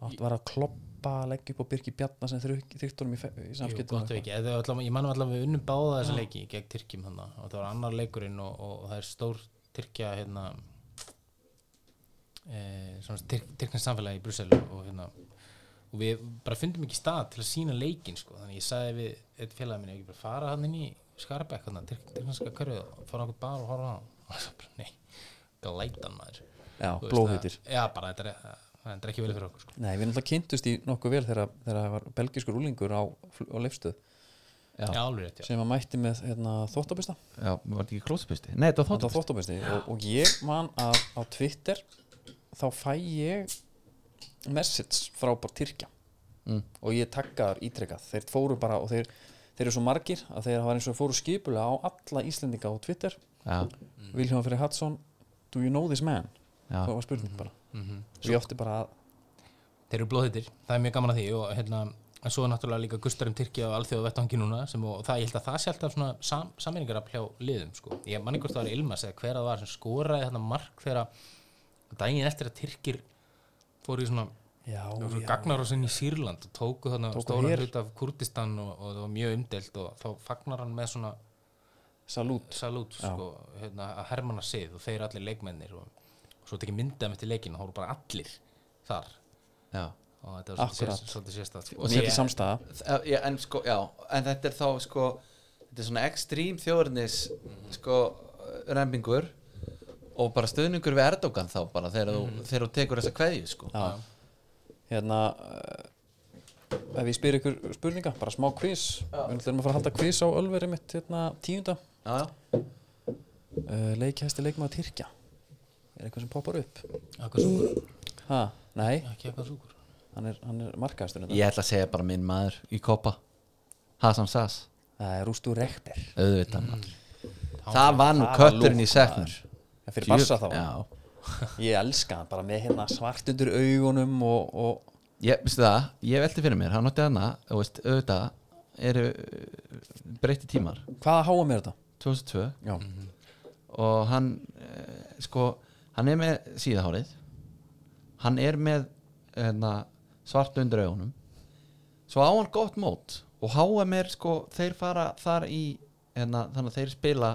[SPEAKER 1] átti var að kloppa að leggja upp á Birki Bjarna sem þrygt honum í, fe- í
[SPEAKER 3] Jú,
[SPEAKER 1] samskiptum
[SPEAKER 3] gott ef ekki. Eða allavega- ég manum allavega við unnum báða þessa leiki gegn Tyrkjum hann og það var annar leikurinn og, og það er stór Tyrkja hérna e, svona tyrk, Tyrkjans samfélagi í Brussel og hérna og við bara fundum ekki stað til að sína leikin sko. þannig ég sagði við eitt félagi minni ekki bara fara hann inn í Skarbekk hann Tyrkjanska körfið og fara okkur bar og horfa á hann <laughs> og það bara nei, glætan maður
[SPEAKER 1] Já,
[SPEAKER 3] Þú veist,
[SPEAKER 1] blóðhýttir
[SPEAKER 3] það- Já, bara þetta er, þetta er ekki vel fyrir okkur sko.
[SPEAKER 1] Nei, við erum alltaf kynntust í nokkuð vel þegar þegar það var belgiskur úlingur á, fl- á leifstöð
[SPEAKER 2] Já.
[SPEAKER 3] Já, alveg rétt, já
[SPEAKER 1] sem að mætti með hérna, þóttabusta
[SPEAKER 2] já, var þetta ekki klósapusti? Nei, þetta var
[SPEAKER 1] Þetta
[SPEAKER 2] þótt
[SPEAKER 1] var þóttabusti og, og ég man að á Twitter þá fæ ég message frá bara Tyrkja
[SPEAKER 2] Mm.
[SPEAKER 1] og ég taggar ítrekkað þeir fóru bara og þeir, þeir eru svo margir að þeir hafa eins og fóru skipulega á alla Íslendinga á Twitter
[SPEAKER 2] Já,
[SPEAKER 1] Vilhjóðan fyrir Hudson Do you know this man?
[SPEAKER 2] já,
[SPEAKER 1] Það var spurning bara og ég átti bara að
[SPEAKER 3] þeir eru blóðhittir, það er mjög gaman að því og hérna, en svo er náttúrulega líka um gustarum Tyrkja og alþjóða vettvangi núna sem, og það, ég held að það sé alltaf svona sam, sameiningar að pljá liðum, sko, ég man einhvers það var Ilmas eða hver að það var sem skoraði þetta mark þegar að- daginn eftir að Tyrkir fóru í svona,
[SPEAKER 1] Já,
[SPEAKER 3] svona gagnarósin í Sýrland og tóku þarna
[SPEAKER 1] Tóku
[SPEAKER 3] stóra
[SPEAKER 1] her.
[SPEAKER 3] hlut af Kurdistan og, og það var mjög umdelt og þá fagnar hann með svona
[SPEAKER 1] salút
[SPEAKER 3] salút, sko, hérna, að hermanna sið og þeir allir leikmennir og, og svo tekið myndað með til leikin og hóru bara allir þar
[SPEAKER 2] já.
[SPEAKER 3] og þetta var svolítið
[SPEAKER 1] Akkurat.
[SPEAKER 3] sérst- svolítið sérstætt sko.
[SPEAKER 1] og mikið samstæða
[SPEAKER 2] Þa- já, en sko, já, en þetta er þá sko, þetta er svona ekstrím þjóðurnis sko, rembingur og bara stuðningur við Erdogan þá bara þegar, þú, þegar þú tekur þessa kveðju sko.
[SPEAKER 1] Já. Hérna eh, ef ég spyr ykkur spurninga bara smá quiz við erum að fara að halda quiz á Ölveri mitt hérna tíunda
[SPEAKER 2] já, já,
[SPEAKER 1] uh, leikjæsti leikmaður Tyrkja er eitthvað sem poppar upp
[SPEAKER 3] Akka súkur,
[SPEAKER 1] ha, nei,
[SPEAKER 3] ekki akka súkur
[SPEAKER 1] hann er, hann er hérna. markaðastur
[SPEAKER 2] ég ætla að segja bara minn maður í kopa Hasan Sass,
[SPEAKER 1] það er Rústu Rekter
[SPEAKER 2] auðvitað maður það var nú kötturinn í seknur
[SPEAKER 1] ja, fyrir Barsa þá,
[SPEAKER 2] já,
[SPEAKER 1] ég elska hann bara með hérna svart undir augunum og, og
[SPEAKER 2] ég, veistu það, ég velti fyrir mér hann átti hana, þú veist, auðvitað eru uh, breytti tímar
[SPEAKER 1] hvaða háa mér þetta?
[SPEAKER 2] 2002
[SPEAKER 1] já,
[SPEAKER 2] og hann eh, sko, hann er með síðahárið hann er með hérna, svart undir augunum svo á hann gott mót og HM er sko, þeir fara þar í hérna, þannig að þeir spila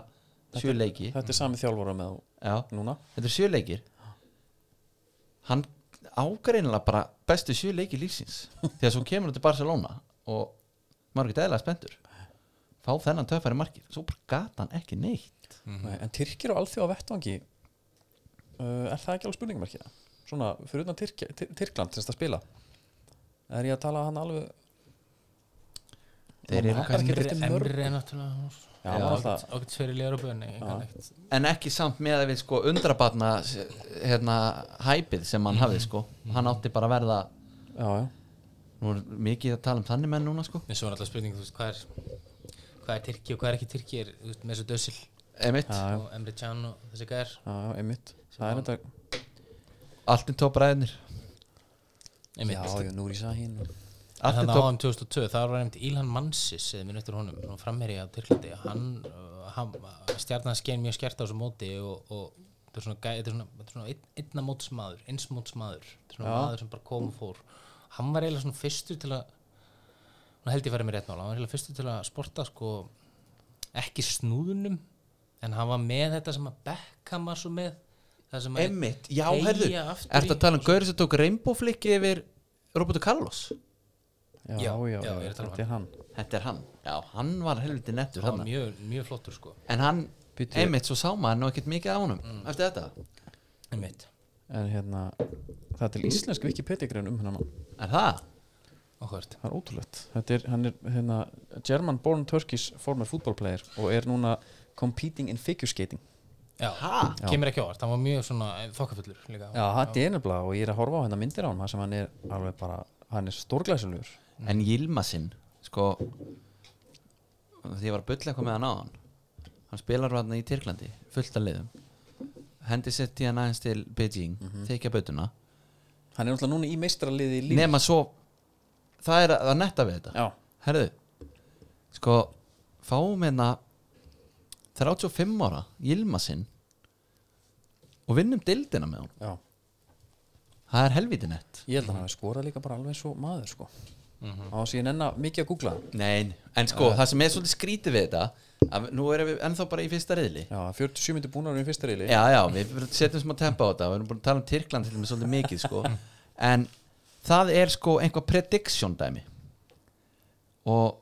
[SPEAKER 2] sjö leiki
[SPEAKER 1] þetta er sami þjálfara með þú
[SPEAKER 2] Já,
[SPEAKER 1] núna
[SPEAKER 2] þetta er sjö leikir hann ágreinilega bara bestu sjö leiki lífsins því að svo kemur hann til Barcelona og maður er ekki eðlega spendur fá þennan töffæri markið svo bara gata hann ekki neitt
[SPEAKER 1] Nei, en Tyrkir og alþjóða vettvangi uh, er það ekki alveg spurningmarki svona, fyrir utan Tyrkja, Tyr- Tyrkland sem það spila er ég að tala hann alveg
[SPEAKER 2] Þeir eru
[SPEAKER 1] Hann er ekkert eftir mörg
[SPEAKER 3] Emre er náttúrulega
[SPEAKER 1] Já, hann var alltaf-
[SPEAKER 3] Ágætt fyrir í Európa en ég kann ekkert
[SPEAKER 2] en ekki samt með að við sko undrabatna hérna hæpið sem hann hafði sko hann átti bara að verða
[SPEAKER 1] já, já,
[SPEAKER 2] nú er mikið að tala um þannig menn núna sko
[SPEAKER 3] En svo er alltaf spurning, þú veist, hvað er hvað er Tyrki og hvað er ekki Tyrki er, þú veist, með þessu dösil
[SPEAKER 2] emitt,
[SPEAKER 1] Já.
[SPEAKER 3] og Emre Can og þessi gæðar
[SPEAKER 1] já, já, einmitt það er þetta,
[SPEAKER 2] allt í tópræðinir
[SPEAKER 1] já, já, nú er ég sæð hinn
[SPEAKER 2] allt í
[SPEAKER 3] Þannig
[SPEAKER 2] tóp,
[SPEAKER 3] á hann 2002, þar var nefnd Ilhan Mansis eða minn eftir honum, hann framherji á Tyrklandi hann, uh, hann stjarnan skein mjög skert á þessu móti og, og þetta er svona, gæ- þetta er svona, þetta er svona ein, einna mótsmaður, eins mótsmaður þetta er svona maður sem bara kom og fór hann var eiginlega svona fyrstur til að nú held ég að færi mér rétt mála, hann var eiginlega fyrstur til að sporta sko ekki snúðunum en hann var með þetta sem að Beckham var svo með það sem að
[SPEAKER 2] emitt, já
[SPEAKER 3] Teygja
[SPEAKER 2] herðu
[SPEAKER 3] aftur
[SPEAKER 2] ertu
[SPEAKER 3] í-
[SPEAKER 2] að tala um gauri sem tók rainbow flikki yfir Roberto Carlos
[SPEAKER 1] já, já,
[SPEAKER 3] Já,
[SPEAKER 1] já,
[SPEAKER 3] já, ég er að tala um
[SPEAKER 1] þetta er hann
[SPEAKER 2] þetta er hann, já, hann var helviti nettur
[SPEAKER 3] það var
[SPEAKER 2] hann
[SPEAKER 3] mjög, mjög flottur sko
[SPEAKER 2] en hann,
[SPEAKER 1] Bíddu.
[SPEAKER 2] emitt, svo sá maður nú ekkert mikið á honum eftir þetta,
[SPEAKER 3] einmitt,
[SPEAKER 1] en hérna, það er til íslensk Wikipedia-grein um hennan mann
[SPEAKER 2] er það?
[SPEAKER 3] áhvert
[SPEAKER 1] Það er ótrúlegt. Þetta er, hann er hérna, German born Turkish former football player og er núna competing in figure skating.
[SPEAKER 3] Já,
[SPEAKER 2] Ha?
[SPEAKER 3] kemur ekki ávart, hann var mjög svona eh, þokkafullur líka
[SPEAKER 1] Já, þetta er nefnilega og ég er að horfa á hérna myndir á hann sem hann er alveg bara, hann er stórglæsilegur.
[SPEAKER 2] en Yilmazinn sko því ég var að bulla eitthvað með hann á hann hann spilar hann í Tyrklandi fullt af liðum hendi setti hann aðeins til Beijing mm -hmm. þykja bautuna
[SPEAKER 1] Hann er náttúrulega núna í meistraliði líf.
[SPEAKER 2] nema svo það er að, að netta við þetta
[SPEAKER 1] Já,
[SPEAKER 2] herðu sko fáum hérna 35 ára Yilmazinn og vinnum dildina með hann
[SPEAKER 1] já.
[SPEAKER 2] það er helviti nett
[SPEAKER 1] Ég held að hann hafi skorað líka bara alveg eins og maður, sko.
[SPEAKER 2] Mhm.
[SPEAKER 1] Á þess að ég nennar mikið að googla það.
[SPEAKER 2] Nein. en sko það sem er svolítið skrítið við þetta að nú erum við ennþá bara í fyrsta reyðli
[SPEAKER 1] Já, 47 myndir búnar um fyrsta reyli.
[SPEAKER 2] Já, já, við setjum smá tempa á þetta Við erum búin að tala um Tyrkland til með svolítið mikið <laughs> sko. En það er sko einhvað prediction dæmi Og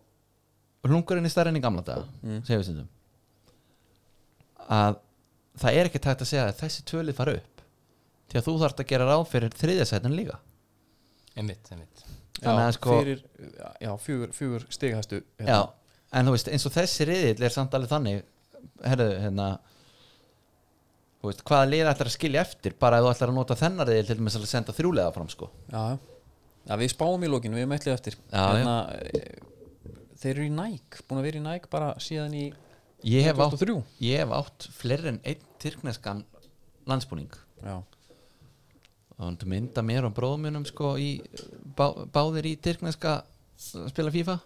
[SPEAKER 2] hlungurinn er stærri enn í gamla daga Segjum við stundum Að það er ekki tægt að segja að þessi tölið fara upp Því að þú þarft að gera ráð fyrir þriðjasætin líka
[SPEAKER 3] Einmitt, einmitt
[SPEAKER 2] Þannig að sko
[SPEAKER 1] Fyrir, já, fjögur, fjögur hérna. stighastu.
[SPEAKER 2] já, En þú veist, eins og þessi riðill er samt alveg þannig Herðu, hérna Þú veist, hvaða liða ætlar að skilja eftir bara ef þú ætlar að nota þennar riðil til þess að senda þrjúlega fram sko
[SPEAKER 1] Já, já. Já, við spáum í lókinu, við mætlið eftir
[SPEAKER 2] Já,
[SPEAKER 1] já. Þeir eru í næk, búin að vera í næk bara síðan í
[SPEAKER 2] ég hef, átt,
[SPEAKER 1] 2003.
[SPEAKER 2] ég hef átt fleiri en einn tyrkneskan landsbúning
[SPEAKER 1] Já,
[SPEAKER 2] og hann mynda mér og bróðum mínum sko í, bá, báðir í tyrkneska að spila FIFA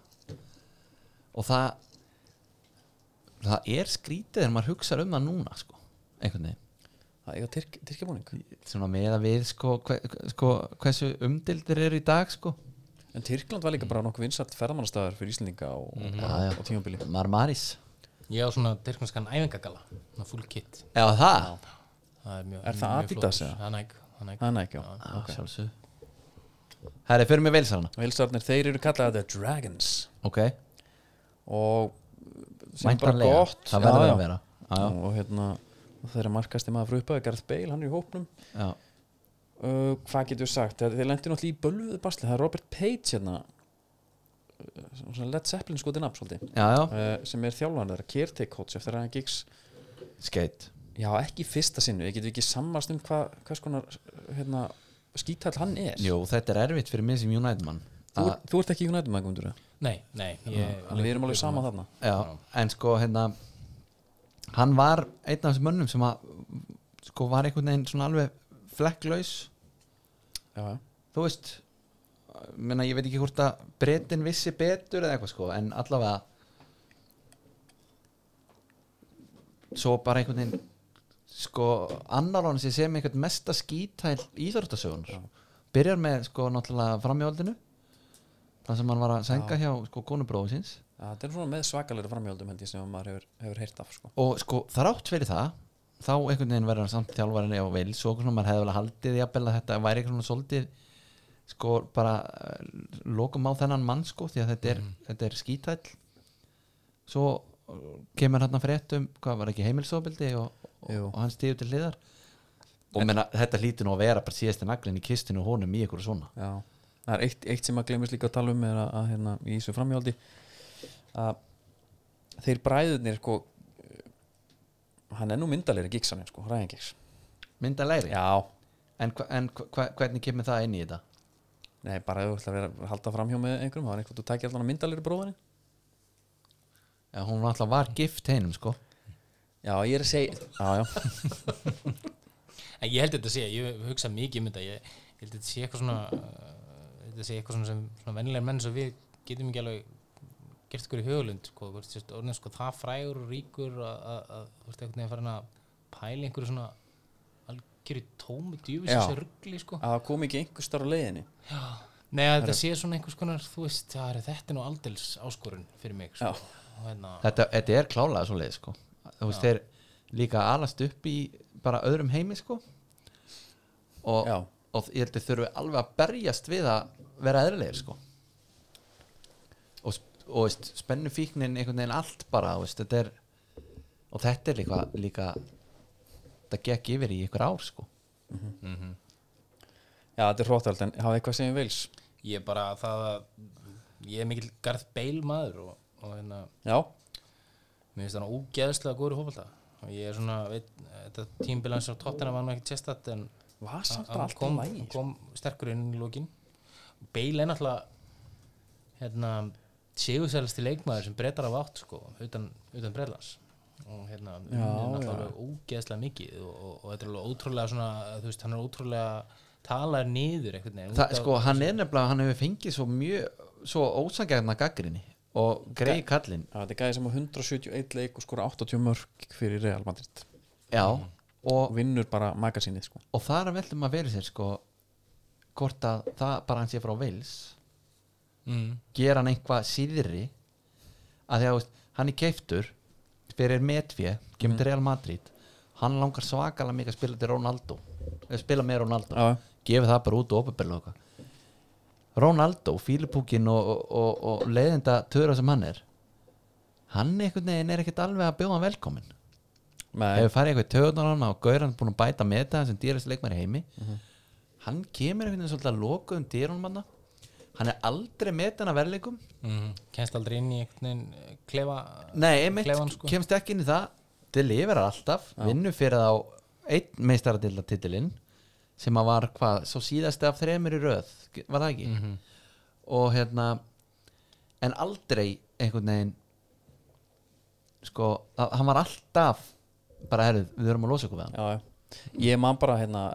[SPEAKER 2] og það það er skrítið þegar maður hugsa um það núna sko einhvern veginn
[SPEAKER 1] það eiga tyrk, tyrkjabúning
[SPEAKER 2] svona með að við sko, hve, sko hversu umdildir eru í dag sko
[SPEAKER 1] En Tyrkland var líka bara nokkuð vinsalt ferðamannastæðar fyrir Íslendinga og, mm
[SPEAKER 2] Mhm. Já, já.
[SPEAKER 1] og, og tímabili
[SPEAKER 2] Marmaris
[SPEAKER 3] Ég á svona tyrknanskan æfingagala Svona full kit
[SPEAKER 2] Já það,
[SPEAKER 3] Það er, mjög,
[SPEAKER 1] Er það
[SPEAKER 3] mjög
[SPEAKER 1] Adidas
[SPEAKER 3] flottur.
[SPEAKER 1] eða?
[SPEAKER 3] Það er næg, það er næg
[SPEAKER 1] Það er næk, já
[SPEAKER 2] Já, sjálfsög Herri, fyrir mig velsarana
[SPEAKER 1] Velsarnir, þeir eru kallaðið The Dragons
[SPEAKER 2] Ok,
[SPEAKER 1] og sem er bara
[SPEAKER 2] mæntanlega,
[SPEAKER 1] gott
[SPEAKER 2] það verður
[SPEAKER 1] Já,
[SPEAKER 2] að
[SPEAKER 1] já.
[SPEAKER 2] vera Já, já,
[SPEAKER 1] Og hérna, og þeirra markasti maður frá uppaði Garð Bale, hann er í hópnum
[SPEAKER 2] já
[SPEAKER 1] uh, Hvað getur sagt? Þeir, þeir lendir náttúrulega í bölvuðu basli Það er Robert Page hérna uh, svona Led Zeppelin skotin af svolítið
[SPEAKER 2] Já, já,
[SPEAKER 1] uh, sem er þjálfan þeirra, Kjertek coach eftir að hann gigs
[SPEAKER 2] skeitt
[SPEAKER 1] Já, ekki í fyrsta sinnu, ég getur ekki sammast um hvað, hvers konar hérna, skítall hann er
[SPEAKER 2] Jú, þetta er erfitt fyrir mig sem United mann
[SPEAKER 1] þú, ert- þú ert ekki United maður, Gundur
[SPEAKER 3] Nei, nei ég,
[SPEAKER 1] Þannig við erum alveg sama þarna
[SPEAKER 2] Já, en sko hérna hann var einn af þessum mönnum sem að sko var einhvern veginn svona alveg flekklaus,
[SPEAKER 1] Já, já.
[SPEAKER 2] þú veist menna ég veit ekki hvort að breytin vissi betur eða eitthvað sko, en allavega svo bara einhvern veginn sko annar honum sé sem einhvern mesta skítæl íþróttasögunar byrjar með sko náttúrulega framjólinu þar sem hann var að senga hjá sko konubróðu síns
[SPEAKER 1] Það er svona með svakalega framhjöldum held ég sem maður hefur, hefur heyrt af sko.
[SPEAKER 2] og sko þrátt fyrir það þá einhvern veginn verður hann samt þjálfarinni á vils og svona maður hefði vel haldið jafnvel að þetta væri eitthvað svona svolítið sko bara eh, lokum á þennan mann sko því að þetta er, þetta er skítæll svo eh, kemur hann að fréttum hvað var ekki heimilsofabildi og, og,
[SPEAKER 1] Jú.
[SPEAKER 2] og hann stíður til hliðar og menna, þetta lítur nú að vera bara síðasti naglinn í kistinu og honum í ykkur svona
[SPEAKER 1] Já, það er eitt, eitt sem að glemist líka að tala um er að, að hérna, í þessu framhjáldi að þeir bræðunir sko, eh, hann er nú myndalegri giksanir sko, ræðin giks
[SPEAKER 2] mynda læri,
[SPEAKER 1] Já,
[SPEAKER 2] en, hva- en hva, hva- hvernig kemur það inn í þetta?
[SPEAKER 1] nei, bara ef þú ætlar að vera að halda framhjá með einhverjum, þá er eitthvað þú tækir allan að myndalegri bróðaninn
[SPEAKER 2] Já, hún alltaf var gift heinum sko
[SPEAKER 1] Já, ég er að segja Já, já,
[SPEAKER 3] En ég held þetta sé, ég hugsa mikið um þetta ég, ég held þetta sé eitthvað svona uh, þetta sé eitthvað svona sem svona vennilegar menn sem við getum ekki alveg gert ykkur í hugulund, sko, þú veist, þú veist, orðin sko það frægur og ríkur að, að, að þú veist, einhvern veginn farin að pæla einhverju svona algjöru tómi djúfis
[SPEAKER 1] Já.
[SPEAKER 3] þessu ruggli, sko
[SPEAKER 1] <laughs> að það kom ekki einhver starf á leiðinni
[SPEAKER 3] Já, nei, að þetta sé svona einhvers konar þú veist, það er þetta er nú aldils áskorun fyrir mig, sko
[SPEAKER 1] Já.
[SPEAKER 3] Og hérna,
[SPEAKER 2] þetta, þetta er klálega svo leið sko. þú veist þeir líka alast upp í bara öðrum heimi sko. og,
[SPEAKER 1] Já.
[SPEAKER 2] og ég held að þurfi alveg að berjast við að vera eðrilegir sko. og, sp- og veist, spennu fíknin einhvern veginn allt bara þú veist, þetta er, og þetta er líka, líka þetta gekk yfir í ykkur ár sko.
[SPEAKER 1] Já, þetta er hróttald, en hafa eitthvað sem ég veils
[SPEAKER 3] ég bara það að ég er mikill garð beil maður og, og hérna
[SPEAKER 1] Já,
[SPEAKER 3] mér finnst hann ógeðslega góður í fótbolta og ég er svona, veit, þetta tímbil hans á tóttina var nú ekki tjestat en
[SPEAKER 1] var samt bara
[SPEAKER 3] hann
[SPEAKER 1] allt
[SPEAKER 3] kom,
[SPEAKER 1] í lagi sko.
[SPEAKER 3] kom sterkur inn í lókin Bale er náttúrulega hérna sigursælasti leikmaður sem breytar af átt sko, utan, utan breyðlands og hérna, hann er náttúrulega alveg ógeðslega mikið og, og, og þetta er alveg ótrúlega svona, þú veist, hann er ótrúlega talar niður einhvern veginn
[SPEAKER 2] Þa,
[SPEAKER 3] út af-
[SPEAKER 2] sko, hann er nefnilega, hann hefur fengið svo mjög, svo ósangjarna gaggrinni og greið kallinn
[SPEAKER 1] Já, þetta er gæði sem á 171 leik og skora 80 mörg fyrir Real Madrid
[SPEAKER 2] já, og
[SPEAKER 1] og vinnur bara magasínið sko
[SPEAKER 2] og þar veldur maður verið sér sko hvort að það bara hann sé frá Vils
[SPEAKER 3] mm.
[SPEAKER 2] gera hann einhvað síðri að því að þú veist, hann er keiftur fyrir Medvje, kemur til Real Madrid hann langar svakalega mikið að spila til Ronaldo eða spila með Ronaldo
[SPEAKER 1] Já,
[SPEAKER 2] gefi það bara út og opinberlega okkar Ronaldo, fílipúkin og, og, og, og leiðinda töra sem hann er hann einhvern veginn er ekkert alveg að bjóða hann velkominn
[SPEAKER 1] með
[SPEAKER 2] hefur farið eitthvað í töðunar hann og Gaur hann búin að bæta með þetta sem dýrast leikmæri heimi hann kemur einhvern veginn svolítið að loka um dýrunum hann hann er aldrei með þetta verðleikum
[SPEAKER 3] Mm. kennst aldrei inn í einhvern veginn eh, klefa
[SPEAKER 2] nei, einmitt,
[SPEAKER 3] klefann, sko.
[SPEAKER 2] kemst ekki inn í það til lifir alltaf, vinnu fyrir þá einn meistaradilda titilinn sem að var hvað, svo síðasti af þremur í röð, var það ekki og hérna en aldrei einhvern veginn sko, að- hann var alltaf bara herrið, við erum að losa okkur við hann
[SPEAKER 1] Já, já. Ég man bara hérna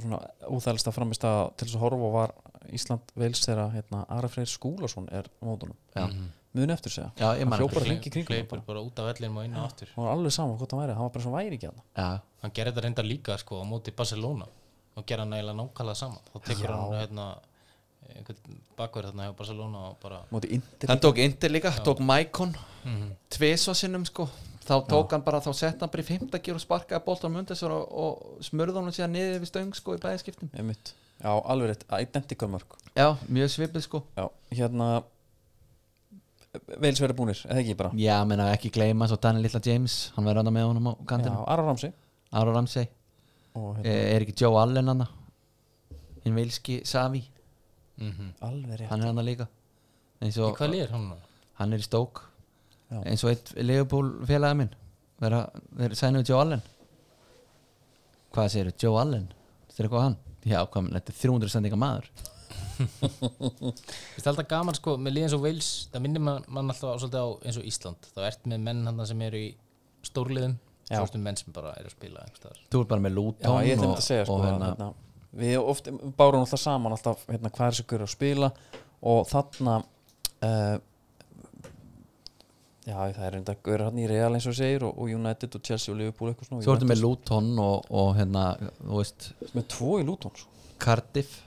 [SPEAKER 1] svona úþælsta framist að til þess að horfa og var Ísland veils þegar hérna Ari Freyr Skúlason er á mótunum. Já. Muni eftir segja.
[SPEAKER 2] Já, ég man
[SPEAKER 1] Hann hljóp bara
[SPEAKER 3] Hle-
[SPEAKER 1] hringi kringum hann
[SPEAKER 3] hleypur
[SPEAKER 1] bara.
[SPEAKER 3] bara út af vellinum og inn og aftur
[SPEAKER 1] Hann var alveg sama hvort hann væri, hann var bara svo væri ekki hann.
[SPEAKER 2] já,
[SPEAKER 3] hann gerði þetta reyndar líka sko á móti Barcelona og gerði hann eiginlega nákvæmlega saman þá tekur hann hérna einhvern bakverð hérna hjá Barcelona og bara
[SPEAKER 1] Móti Inter.
[SPEAKER 2] Hann tók Inter líka, tók Maikon mm -hmm. sinnum sko þá tók hann bara, þá sett hann bara í fymta og sparkaði boltanum undir sér og, og smurði hann síðan niður við stöng sko í bæðiskiptum
[SPEAKER 1] Einmitt. Já, alveg rétt. Identical mörg.
[SPEAKER 2] Já, mjög svipið sko
[SPEAKER 1] Já, hérna veils verið búnir, eða ekki bara.
[SPEAKER 2] Já, menna ekki gleyma svo Daniel Lilla James hann verður hann með honum á
[SPEAKER 1] Já,
[SPEAKER 2] kantinu
[SPEAKER 1] Ara Ramsey
[SPEAKER 2] Ára Ramsey,
[SPEAKER 1] og hérna,
[SPEAKER 2] e, er ekki Joe Allen hann hinn vilski Savi,
[SPEAKER 3] Mhm.
[SPEAKER 1] alveg rétt.
[SPEAKER 2] hann er hann líka eins
[SPEAKER 3] í
[SPEAKER 2] og
[SPEAKER 3] hvað lýr hann?
[SPEAKER 2] hann er í stók
[SPEAKER 1] Já.
[SPEAKER 2] eins og eitt Leopold félaga minn vera, vera sænaðu Joe Allen hvað segir þau, Joe Allen þetta er eitthvað hann já, hvað, menn, þetta er 300 sendinga maður
[SPEAKER 3] Þetta er alltaf gaman sko með liðin svo Wales það minnir man, mann alltaf á, svolítið á eins og Ísland þá ert með menn hann sem eru í stórliðum
[SPEAKER 1] Já.
[SPEAKER 3] svo ertu með menn sem bara eru að spila einhvers staðar.
[SPEAKER 2] þú er bara með
[SPEAKER 1] Já,
[SPEAKER 2] Luton
[SPEAKER 1] ég ætla
[SPEAKER 2] og,
[SPEAKER 1] að segja sko
[SPEAKER 2] og
[SPEAKER 1] hérna,
[SPEAKER 2] hérna,
[SPEAKER 1] Við ofta bárum alltaf saman alltaf hérna, hvað er þessi gaur að spila og þarna uh, eh, Já, það er reynda að gauðra hann í Real eins og þú segir og, og United og Chelsea og Liverpool eitthvað svona
[SPEAKER 2] Svo ertu
[SPEAKER 1] United-
[SPEAKER 2] með Luton og, og hérna, þú veist,
[SPEAKER 1] með tvo í Luton sko.
[SPEAKER 2] Cardiff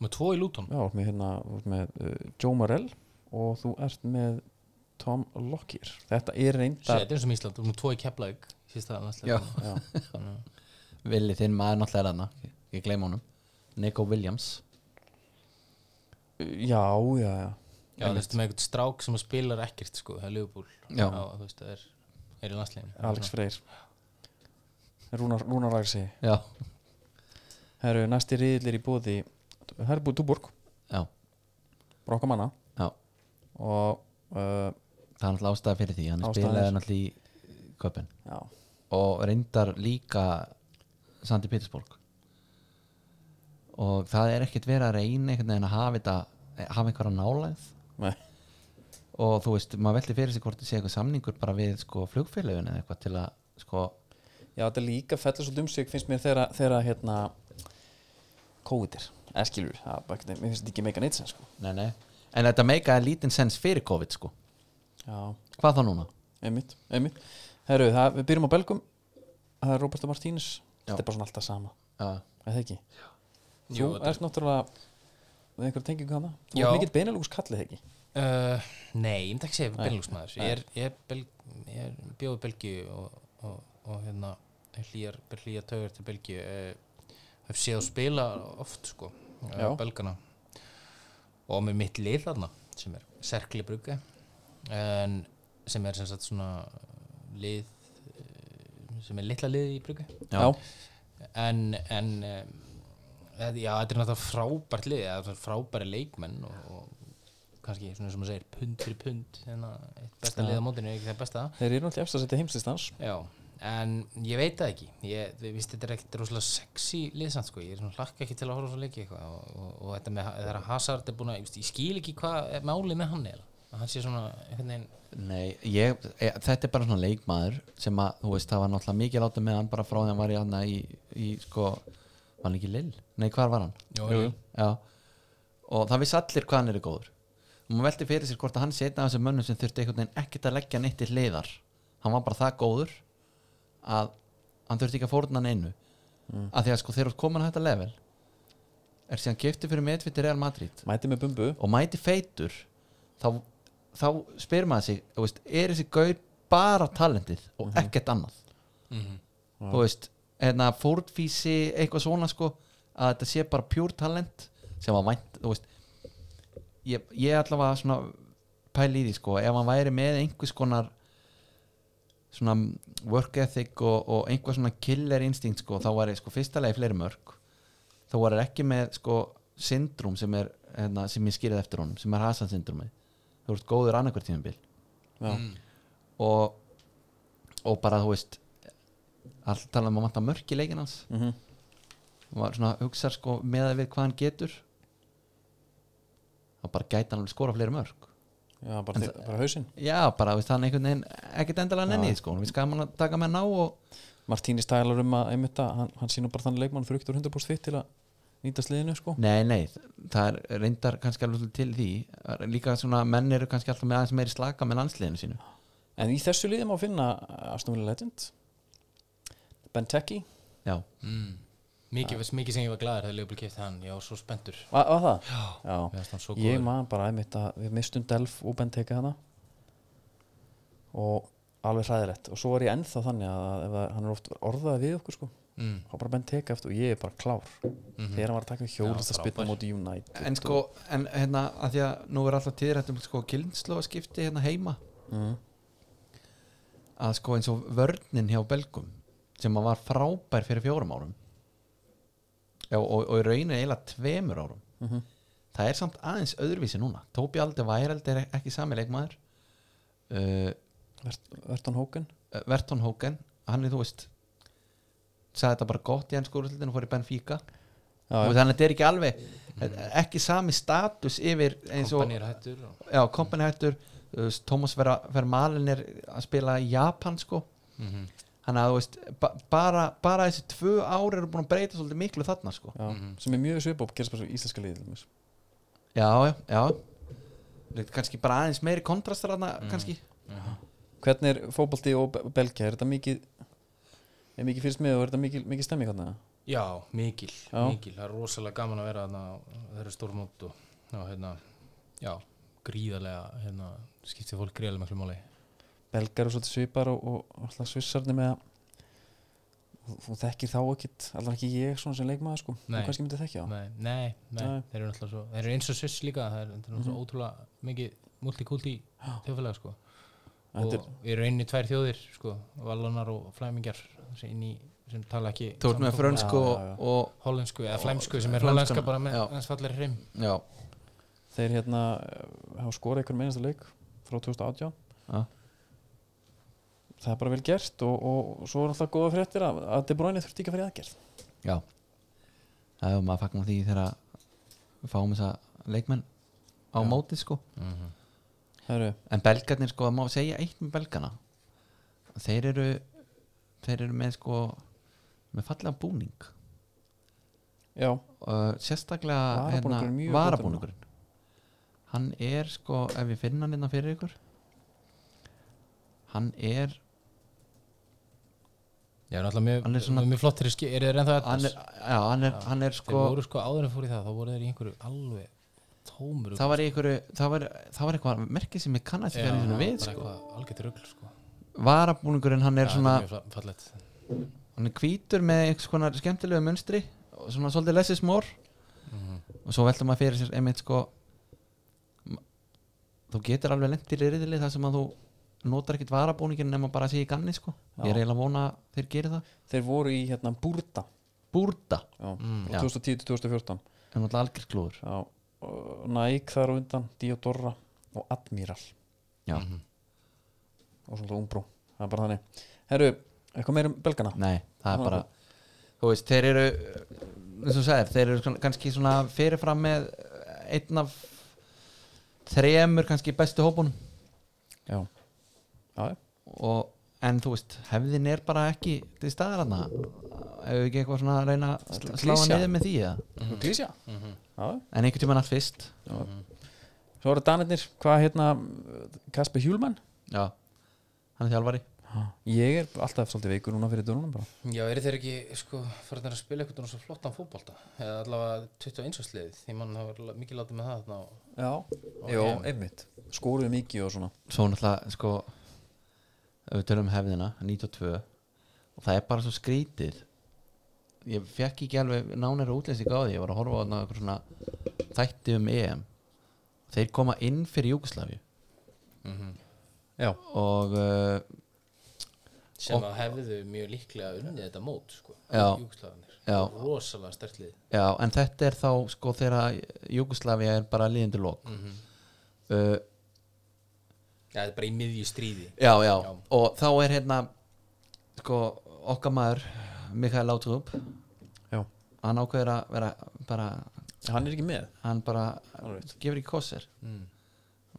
[SPEAKER 3] með tvo í Luton
[SPEAKER 1] Já, þú ert með, hérna, þú ert með uh, Joe Morell og þú ert með Tom Lockyer Þetta er
[SPEAKER 3] Sér,
[SPEAKER 1] reynda
[SPEAKER 3] þetta er eins og með Ísland, þú með tvo í Keflavík sísta
[SPEAKER 2] Já.
[SPEAKER 3] landsleik
[SPEAKER 1] Já,
[SPEAKER 2] Willi, þinn maður náttúrulega er þarna Ég- Ég gleyma honum Nico Williams
[SPEAKER 1] já, já, já.
[SPEAKER 3] Já, þú veist með einhvern strák sem spilar ekkert sko, það er Liverpool
[SPEAKER 2] Já.
[SPEAKER 3] þú veist, það er, er í landsleginu
[SPEAKER 1] Alex Freyr Rúnar, Rúnar Ragsi
[SPEAKER 2] Já,
[SPEAKER 1] Það eru næsti riðilir í bóði Það er búið Túborg,
[SPEAKER 2] já,
[SPEAKER 1] Brokkamanna
[SPEAKER 2] já
[SPEAKER 1] og uh,
[SPEAKER 2] Það er náttúrulega ástæða fyrir því Hann
[SPEAKER 1] Ástæða
[SPEAKER 2] spilaði
[SPEAKER 1] er-
[SPEAKER 2] náttúrulega í köpinn
[SPEAKER 1] já,
[SPEAKER 2] og reyndar líka Sandi Pétursborg og það er ekkert verið að reyna einhvern veginn að hafa þetta hafa einhverja nálæð
[SPEAKER 1] nei,
[SPEAKER 2] og þú veist, maður veldi fyrir sig hvort það sé eitthvað samningur bara við sko flugfélögun eða eitthvað til að sko,
[SPEAKER 1] já, þetta er líka fellur svo dumsík finnst mér þegar þegar að, hérna COVID er, eða skilur það, er bara einhvern veginn- mér finnst þetta ekki meika neitt sem sko
[SPEAKER 2] nei nei en þetta meikaði lítinn sens fyrir COVID sko
[SPEAKER 1] já,
[SPEAKER 2] hvað þá núna?
[SPEAKER 1] einmitt, einmitt Herru, það, við byrjum á Belgum það er Roberto Martínez
[SPEAKER 2] Já.
[SPEAKER 1] þetta er bara svona alltaf sama,
[SPEAKER 2] Já,
[SPEAKER 1] er það ekki? þú
[SPEAKER 3] Jú, þetta er-
[SPEAKER 1] ert náttúrulega með einhver tengingu hana, þú
[SPEAKER 3] Já.
[SPEAKER 1] ert mikill Benelux kallið ekki
[SPEAKER 3] uh, Nei, ég myndi ekki segja
[SPEAKER 1] Nei.
[SPEAKER 3] Benelux-maður Ég, er- ég, er Bel- ég er bjóði Belgíu og, og, og hérna hlýjar, hlýjar taugar til Belgíu uh, hef séð að spila oft sko, uh,
[SPEAKER 1] Já.
[SPEAKER 3] Belgana og með mitt lið þarna sem er Serkli Brugge en sem er sem sagt svona lið eh, sem er litla lið í Brugge
[SPEAKER 2] Já.
[SPEAKER 3] en, en um, þetta- já, þetta er náttúrulega frábært lið eða svona frábæri leikmenn og, og kannski svona sem maður segir pund fyrir pund hérna, eitt besta
[SPEAKER 1] Já.
[SPEAKER 3] lið á mótinu er ekki það besta
[SPEAKER 1] þeir eru náttúrulega efst að setja heimsistans
[SPEAKER 3] já, en ég veit það ekki ég, við vist þetta er ekkert rosalega sexy liðsamt sko, ég er svona hlakka ekki til að horfa á svona leiki eitthvað og, og, og þetta með það er að Hazard er búin að, ég, veist, ég skil ekki hvað er málið með hann eða, að hann sé svona hvernig,
[SPEAKER 2] Nei, ég, e, þetta er bara svona leikmaður sem að, þú veist, það var náttúrulega mikið láta með hann bara frá því að hann var í hann í, í sko, var hann ekki Lill? Nei, hvar var hann?
[SPEAKER 3] Jú, Jú. Lill.
[SPEAKER 2] Já, og það vissi allir hvað hann er góður og maður velti fyrir sér hvort að hann sé einn af þessum mönnum sem þurfti einhvern veginn ekkert að leggja neitt til hliðar hann var bara það góður að hann þurfti ekki að fórna hann einu mm. að því að sko þegar þú ert komin að þetta level er síðan gifti fyrir meðviti Real Madrid
[SPEAKER 1] mæti með bumbu,
[SPEAKER 2] og mæti feitur þá, þá spyr maður sig þú veist, er þessi gaur bara talentið og
[SPEAKER 3] Mhm.
[SPEAKER 2] ekkert annað þú veist, hérna fórtfísi eitthvað svona sko að þetta sé bara pure talent sem var vænt, þú veist ég, ég allavega svona pæli í því sko, ef hann væri með einhvers konar svona work ethic og, og einhver svona killer instinct sko, þá var ég sko fyrsta leið fleiri mörg þá var ég ekki með sko syndrúm sem er hérna, sem ég skýrið eftir honum, sem er Hasan syndrúmi þú ert góður annarkvært tímabil
[SPEAKER 1] já,
[SPEAKER 2] og, og bara þú veist allt tala um að matta mörk í leikin hans
[SPEAKER 1] mhm
[SPEAKER 2] var svona hugsa sko með við hvað hann getur þá bara gæti hann alveg skora fleiri mörk
[SPEAKER 1] já, bara, þi- bara hausinn
[SPEAKER 2] já bara þú veist hann einhvern veginn ekkert endalega nenni því, sko, við skaman að taka með hann á og
[SPEAKER 1] Martínis tælar um að einmitt að hann, hann sínur bara þannig leikmann fyrir ykkur 100% fit til að nýta sliðinu sko
[SPEAKER 2] Nei, nei, það er reyndar kannski alveg til því líka svona menn eru kannski alltaf með aðeins meiri slaka með landsliðinu sínu
[SPEAKER 1] en í þessu liði má finna Aston Villa Legend Benteke,
[SPEAKER 2] Já,
[SPEAKER 3] mm. mikið, mikið sem ég var gladur þegar Leopold kefti hann, ég var svo spenntur
[SPEAKER 1] var, var það?
[SPEAKER 3] já,
[SPEAKER 1] Já,
[SPEAKER 3] Mér fannst hann svo
[SPEAKER 1] ég
[SPEAKER 3] góður.
[SPEAKER 1] man bara einmitt að við mistum Delf og Benteke hana og alveg hræðilegt og svo er ég ennþá þannig að ef að hann er oft orðað við okkur sko
[SPEAKER 3] mm.
[SPEAKER 1] þá bara Benteke eftir og ég er bara klár þegar hann var að taka hjólist að spytta
[SPEAKER 3] Mhm. frábær.
[SPEAKER 1] móti United
[SPEAKER 2] en sko, en hérna að því að nú er alltaf tíðrættum sko kildslóa skipti hérna heima
[SPEAKER 3] Mhm.
[SPEAKER 1] mm.
[SPEAKER 2] að sko eins og vörnin hjá Belgum sem að var frábær fyrir fjórum árum Já, og, og í rauninni eiginlega tveimur árum
[SPEAKER 1] Mhm.
[SPEAKER 2] það er samt aðeins öðruvísi núna Tóbi Aldi Væreld er ekki sami leikmaður uh,
[SPEAKER 1] Verton Hóken
[SPEAKER 2] Verton Hóken hann er þú veist sagði þetta bara gott í ennsku úrslutinu og fór í Benfica
[SPEAKER 1] Já,
[SPEAKER 2] og þannig að þetta er ekki alveg ekki sami status yfir eins og
[SPEAKER 3] kompanir hættur og,
[SPEAKER 2] já, kompani hættur þú veist, Thomas Vermalin er að spila í Japan sko þannig að þú veist ba bara, bara þessi tvö ár eru búin að breyta svolítið miklu þarna sko
[SPEAKER 1] Já,
[SPEAKER 3] Mhm.
[SPEAKER 1] sem er mjög svipað og gerst bara svo í íslenska liðið til dæmis.
[SPEAKER 2] Mm. já, já, já Þetta er kannski bara aðeins meiri kontrastar þarna kannski
[SPEAKER 1] Hvernig er fótbolti og Be- Belgía, er þetta mikið er mikið fyrst með og er þetta mikið, mikið stemming hann
[SPEAKER 3] Já, mikil,
[SPEAKER 1] Já.
[SPEAKER 3] mikil Það er rosalega gaman að vera þarna á þeirri stórmót og já, hérna, já, gríðarlega hérna, skiptir fólk gríðarlega miklu máli
[SPEAKER 1] Belgar og svolítið svipar og, og alltaf svissarni með að þú- þú þekkir þá ekkit, allavega ekki ég svona sem leikmaður sko,
[SPEAKER 3] Nei.
[SPEAKER 1] þú kannski myndi þekkja það
[SPEAKER 3] nei, nei, nei,
[SPEAKER 1] Nei.
[SPEAKER 3] þeir eru náttúrulega svo þeir eru eins og sviss líka, það er, það er mm
[SPEAKER 2] Mhm.
[SPEAKER 3] -hmm. ótrúlega mikið multikulti þjóðfélag sko.
[SPEAKER 1] Þetta er-
[SPEAKER 3] og við erum einni tvær þjóðir sko, Vallanar og Flæmingjar sem, inn í- sem tala ekki
[SPEAKER 2] Þú ert með frönsku
[SPEAKER 1] Já,
[SPEAKER 2] og,
[SPEAKER 1] já, já.
[SPEAKER 2] og
[SPEAKER 3] hollensku eða flæmsku sem er
[SPEAKER 2] Flæmskuna,
[SPEAKER 3] hollenska bara með
[SPEAKER 2] já.
[SPEAKER 3] hans fallir hrim
[SPEAKER 2] já,
[SPEAKER 1] þeir hérna eh, hafa skorað einhver meinasta leik frá 2018
[SPEAKER 2] já,
[SPEAKER 1] það er bara vel gert og, og, svo er alltaf góða fréttir að, að De Bruyne þurfti ekki að fara í aðgerð
[SPEAKER 2] já. Það er maður fagnar því þegar að við fáum þessa leikmenn á
[SPEAKER 1] Já.
[SPEAKER 2] móti sko
[SPEAKER 1] Heru,
[SPEAKER 2] En belgarnir sko, það má segja eitt með belgana Þeir eru Þeir eru með sko Með fallega búning
[SPEAKER 1] já,
[SPEAKER 2] uh, Sérstaklega
[SPEAKER 1] Varabúningurinn er mjög
[SPEAKER 2] varabúningurinn Hann er sko, ef ég finn hann innan fyrir ykkur Hann er
[SPEAKER 3] Já, náttúrulega mjög,
[SPEAKER 2] Hann er svona-
[SPEAKER 3] mjög flottir ski, eru þeir ennþá
[SPEAKER 2] Hann er,
[SPEAKER 3] Adidas?
[SPEAKER 2] já, hann er, hann er
[SPEAKER 3] Þeir
[SPEAKER 2] sko
[SPEAKER 3] voru sko áður en fór í það, þá voru þeir í einhverju alveg tómur
[SPEAKER 2] Það var í einhverju, það var, það var eitthvað merkið sem ég kannast ekki að við sko.
[SPEAKER 3] Algætt rugl sko
[SPEAKER 2] Varabúningurinn, hann er svona
[SPEAKER 3] Það er mjög fallet
[SPEAKER 2] hann er hvítur með einhvers konar skemmtilegu munstri og svona svolítið lessis mór og svo veltum maður fyrir sér einmitt sko m- þú getur alveg lent í riðli þar sem að þú notar ekkert varabúningin nema bara að sé í ganni sko ég er
[SPEAKER 1] Já.
[SPEAKER 2] eiginlega að vona að þeir geri það
[SPEAKER 1] þeir voru í hérna Burda
[SPEAKER 2] búrda,
[SPEAKER 1] já,
[SPEAKER 2] Já.
[SPEAKER 3] Mm,
[SPEAKER 1] frá 2010-2014
[SPEAKER 2] en alltaf algjör klúður
[SPEAKER 1] já, og uh, Nike þar á undan Diodora og Admiral
[SPEAKER 2] já,
[SPEAKER 1] og svona Umbro, það er bara þannig herru, eitthvað meir um belgana
[SPEAKER 2] nei, það er
[SPEAKER 1] Já.
[SPEAKER 2] bara þú veist, þeir eru eins og þú sagðir, þeir eru svona- kannski svona fyrirfram með einn af þremur kannski bestu hópunum
[SPEAKER 1] já, já, já.
[SPEAKER 2] og, en þú veist, hefðin er bara ekki til staðar hana ef við ekki eitthvað svona að reyna að sl-
[SPEAKER 1] Þetta er
[SPEAKER 2] slá hann
[SPEAKER 1] klisja.
[SPEAKER 2] niður með því eða?
[SPEAKER 1] Mm. klísja
[SPEAKER 3] Mhm.
[SPEAKER 1] já, já.
[SPEAKER 2] en einhvern tímann allt fyrst
[SPEAKER 1] svo eru Danirnir, hvað hérna Kasper Hjúlmann
[SPEAKER 2] já. hann er þjálfari
[SPEAKER 1] ég er alltaf svolítið veikur núna fyrir dörunum bara
[SPEAKER 3] Já, eru þeir ekki sko farin að spila eitthvað svo flottan fótbolta eða allavega 21. sliðið því mann hafa mikið látið með það þarna og
[SPEAKER 1] já, Jó, einmitt skoruðu mikið og svona
[SPEAKER 2] svo náttúrulega sko ef við tölum um hefðina, 92 og það er bara svo skrítið ég fekk ekki alveg nánæri útlýsing á því, ég var að horfa á þarna einhver svona þætti um EM þeir koma inn fyrir Júkoslavju
[SPEAKER 3] Mhm.
[SPEAKER 1] já,
[SPEAKER 2] og uh,
[SPEAKER 3] sem að hefðu mjög líklega unnið þetta mót sko
[SPEAKER 2] Já.
[SPEAKER 3] Júkslaðanir
[SPEAKER 2] Já.
[SPEAKER 3] Rosalega stertlið
[SPEAKER 2] Já, en þetta er þá sko þegar Júgoslavia er bara líðandi lók uh,
[SPEAKER 3] Mhm. Já, þetta er bara í miðju stríði
[SPEAKER 2] já, já,
[SPEAKER 3] Já.
[SPEAKER 2] og þá er hérna sko okkar maður Mikael Látrup
[SPEAKER 1] já,
[SPEAKER 2] hann ákveður að vera bara
[SPEAKER 1] hann er ekki með
[SPEAKER 2] hann bara
[SPEAKER 1] Alright.
[SPEAKER 2] gefur ekki kosir
[SPEAKER 3] mm.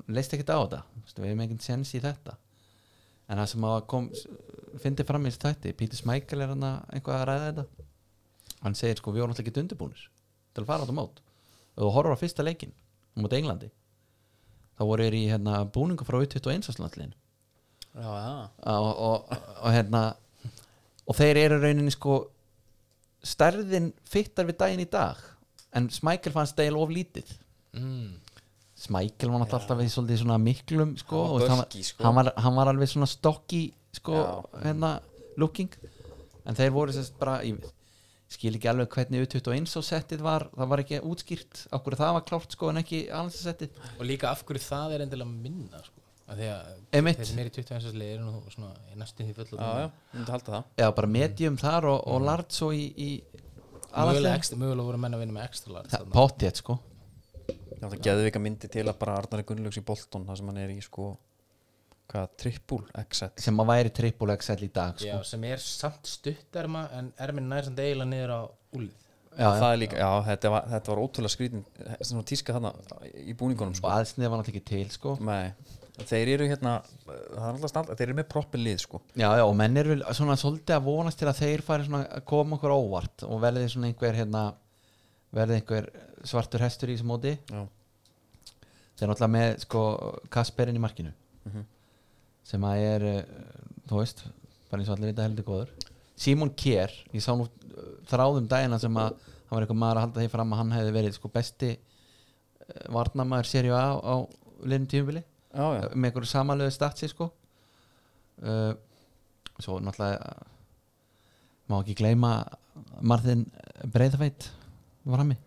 [SPEAKER 2] leist ekkert á þetta, Þú veist, við hefum enginn sens í þetta en það sem að kom fyndi fram í þessu þætti, Pítur Smækkel er hann eitthvað að ræða þetta hann segir sko, við vorum alltaf ekki undirbúnir til að fara á þetta mót og þú horfur á fyrsta leikin á móti Englandi þá voru þeir í hérna, búningu frá U21 áslandliðin
[SPEAKER 1] já, já,
[SPEAKER 2] og, og, og hérna og þeir eru rauninni sko stærðin fittar við daginn í dag en Smækkel fannst deil of lítið
[SPEAKER 3] Mm.
[SPEAKER 2] Smækkel var náttúrulega alltaf í svolítið svona miklum sko,
[SPEAKER 1] Hann var
[SPEAKER 2] og veist,
[SPEAKER 1] bulky, sko.
[SPEAKER 2] hann, var, hann var alveg svona stokki sko,
[SPEAKER 1] Já.
[SPEAKER 2] hérna, looking en þeir voru sérst bara í, skil ekki alveg hvernig U21 og settið var, það var ekki útskýrt af hverju það var klárt sko en ekki alls að settið
[SPEAKER 3] og líka af hverju það er endilega minna sko. af því að
[SPEAKER 2] Einmitt.
[SPEAKER 3] þeir sem eru í 21. sliði eru nú svona í næstum því fulla
[SPEAKER 1] já, já, myndi halda það
[SPEAKER 2] eða bara medium þar og,
[SPEAKER 1] Mm.
[SPEAKER 2] og large svo í, í
[SPEAKER 3] mögulega,
[SPEAKER 2] aðalsliðinu.
[SPEAKER 3] ekstra, mögulega voru menn að vinna með ekstra large
[SPEAKER 2] það
[SPEAKER 3] þarna.
[SPEAKER 2] potið sko
[SPEAKER 1] Já, það geði vika myndi til að bara Arnari Gunnlaugs í Bolton þar sem hann er í sko hvað, trippul XL
[SPEAKER 2] sem að væri triple XL í dag sko.
[SPEAKER 3] já, sem er samt stutterma en er minn nærsamt eiginlega niður á úlið
[SPEAKER 2] já, já.
[SPEAKER 1] það er líka, já, þetta var, þetta var ótrúlega skrítin sem var tíska þarna í búningunum
[SPEAKER 2] og
[SPEAKER 1] sko.
[SPEAKER 2] aðsnið var náttúrulega ekki til sko.
[SPEAKER 1] Nei, þeir eru hérna það er alltaf standa, þeir eru með proppin lið sko.
[SPEAKER 2] já, já, og menn eru vel svona svolítið að vonast til að þeir fari svona að koma okkur óvart og verði svona einhver hérna, verði einhver svartur hestur í þessu móti
[SPEAKER 1] Já.
[SPEAKER 2] þeir eru náttúrulega með sko, Kasperin í markinu sem að er eh, þú veist, bara eins og allir þetta heldur góður Simon Kjær, ég sá nú eh, þráðum dagina sem að hann var eitthvað maður að halda því fram að hann hefði verið sko besti eh, varnamaður serið á, á liðnum tímubili
[SPEAKER 1] já, já,
[SPEAKER 2] með einhverju samanlegu statsi sko uh, svo náttúrulega uh, má ekki gleyma Marðin Breiðafeit var hann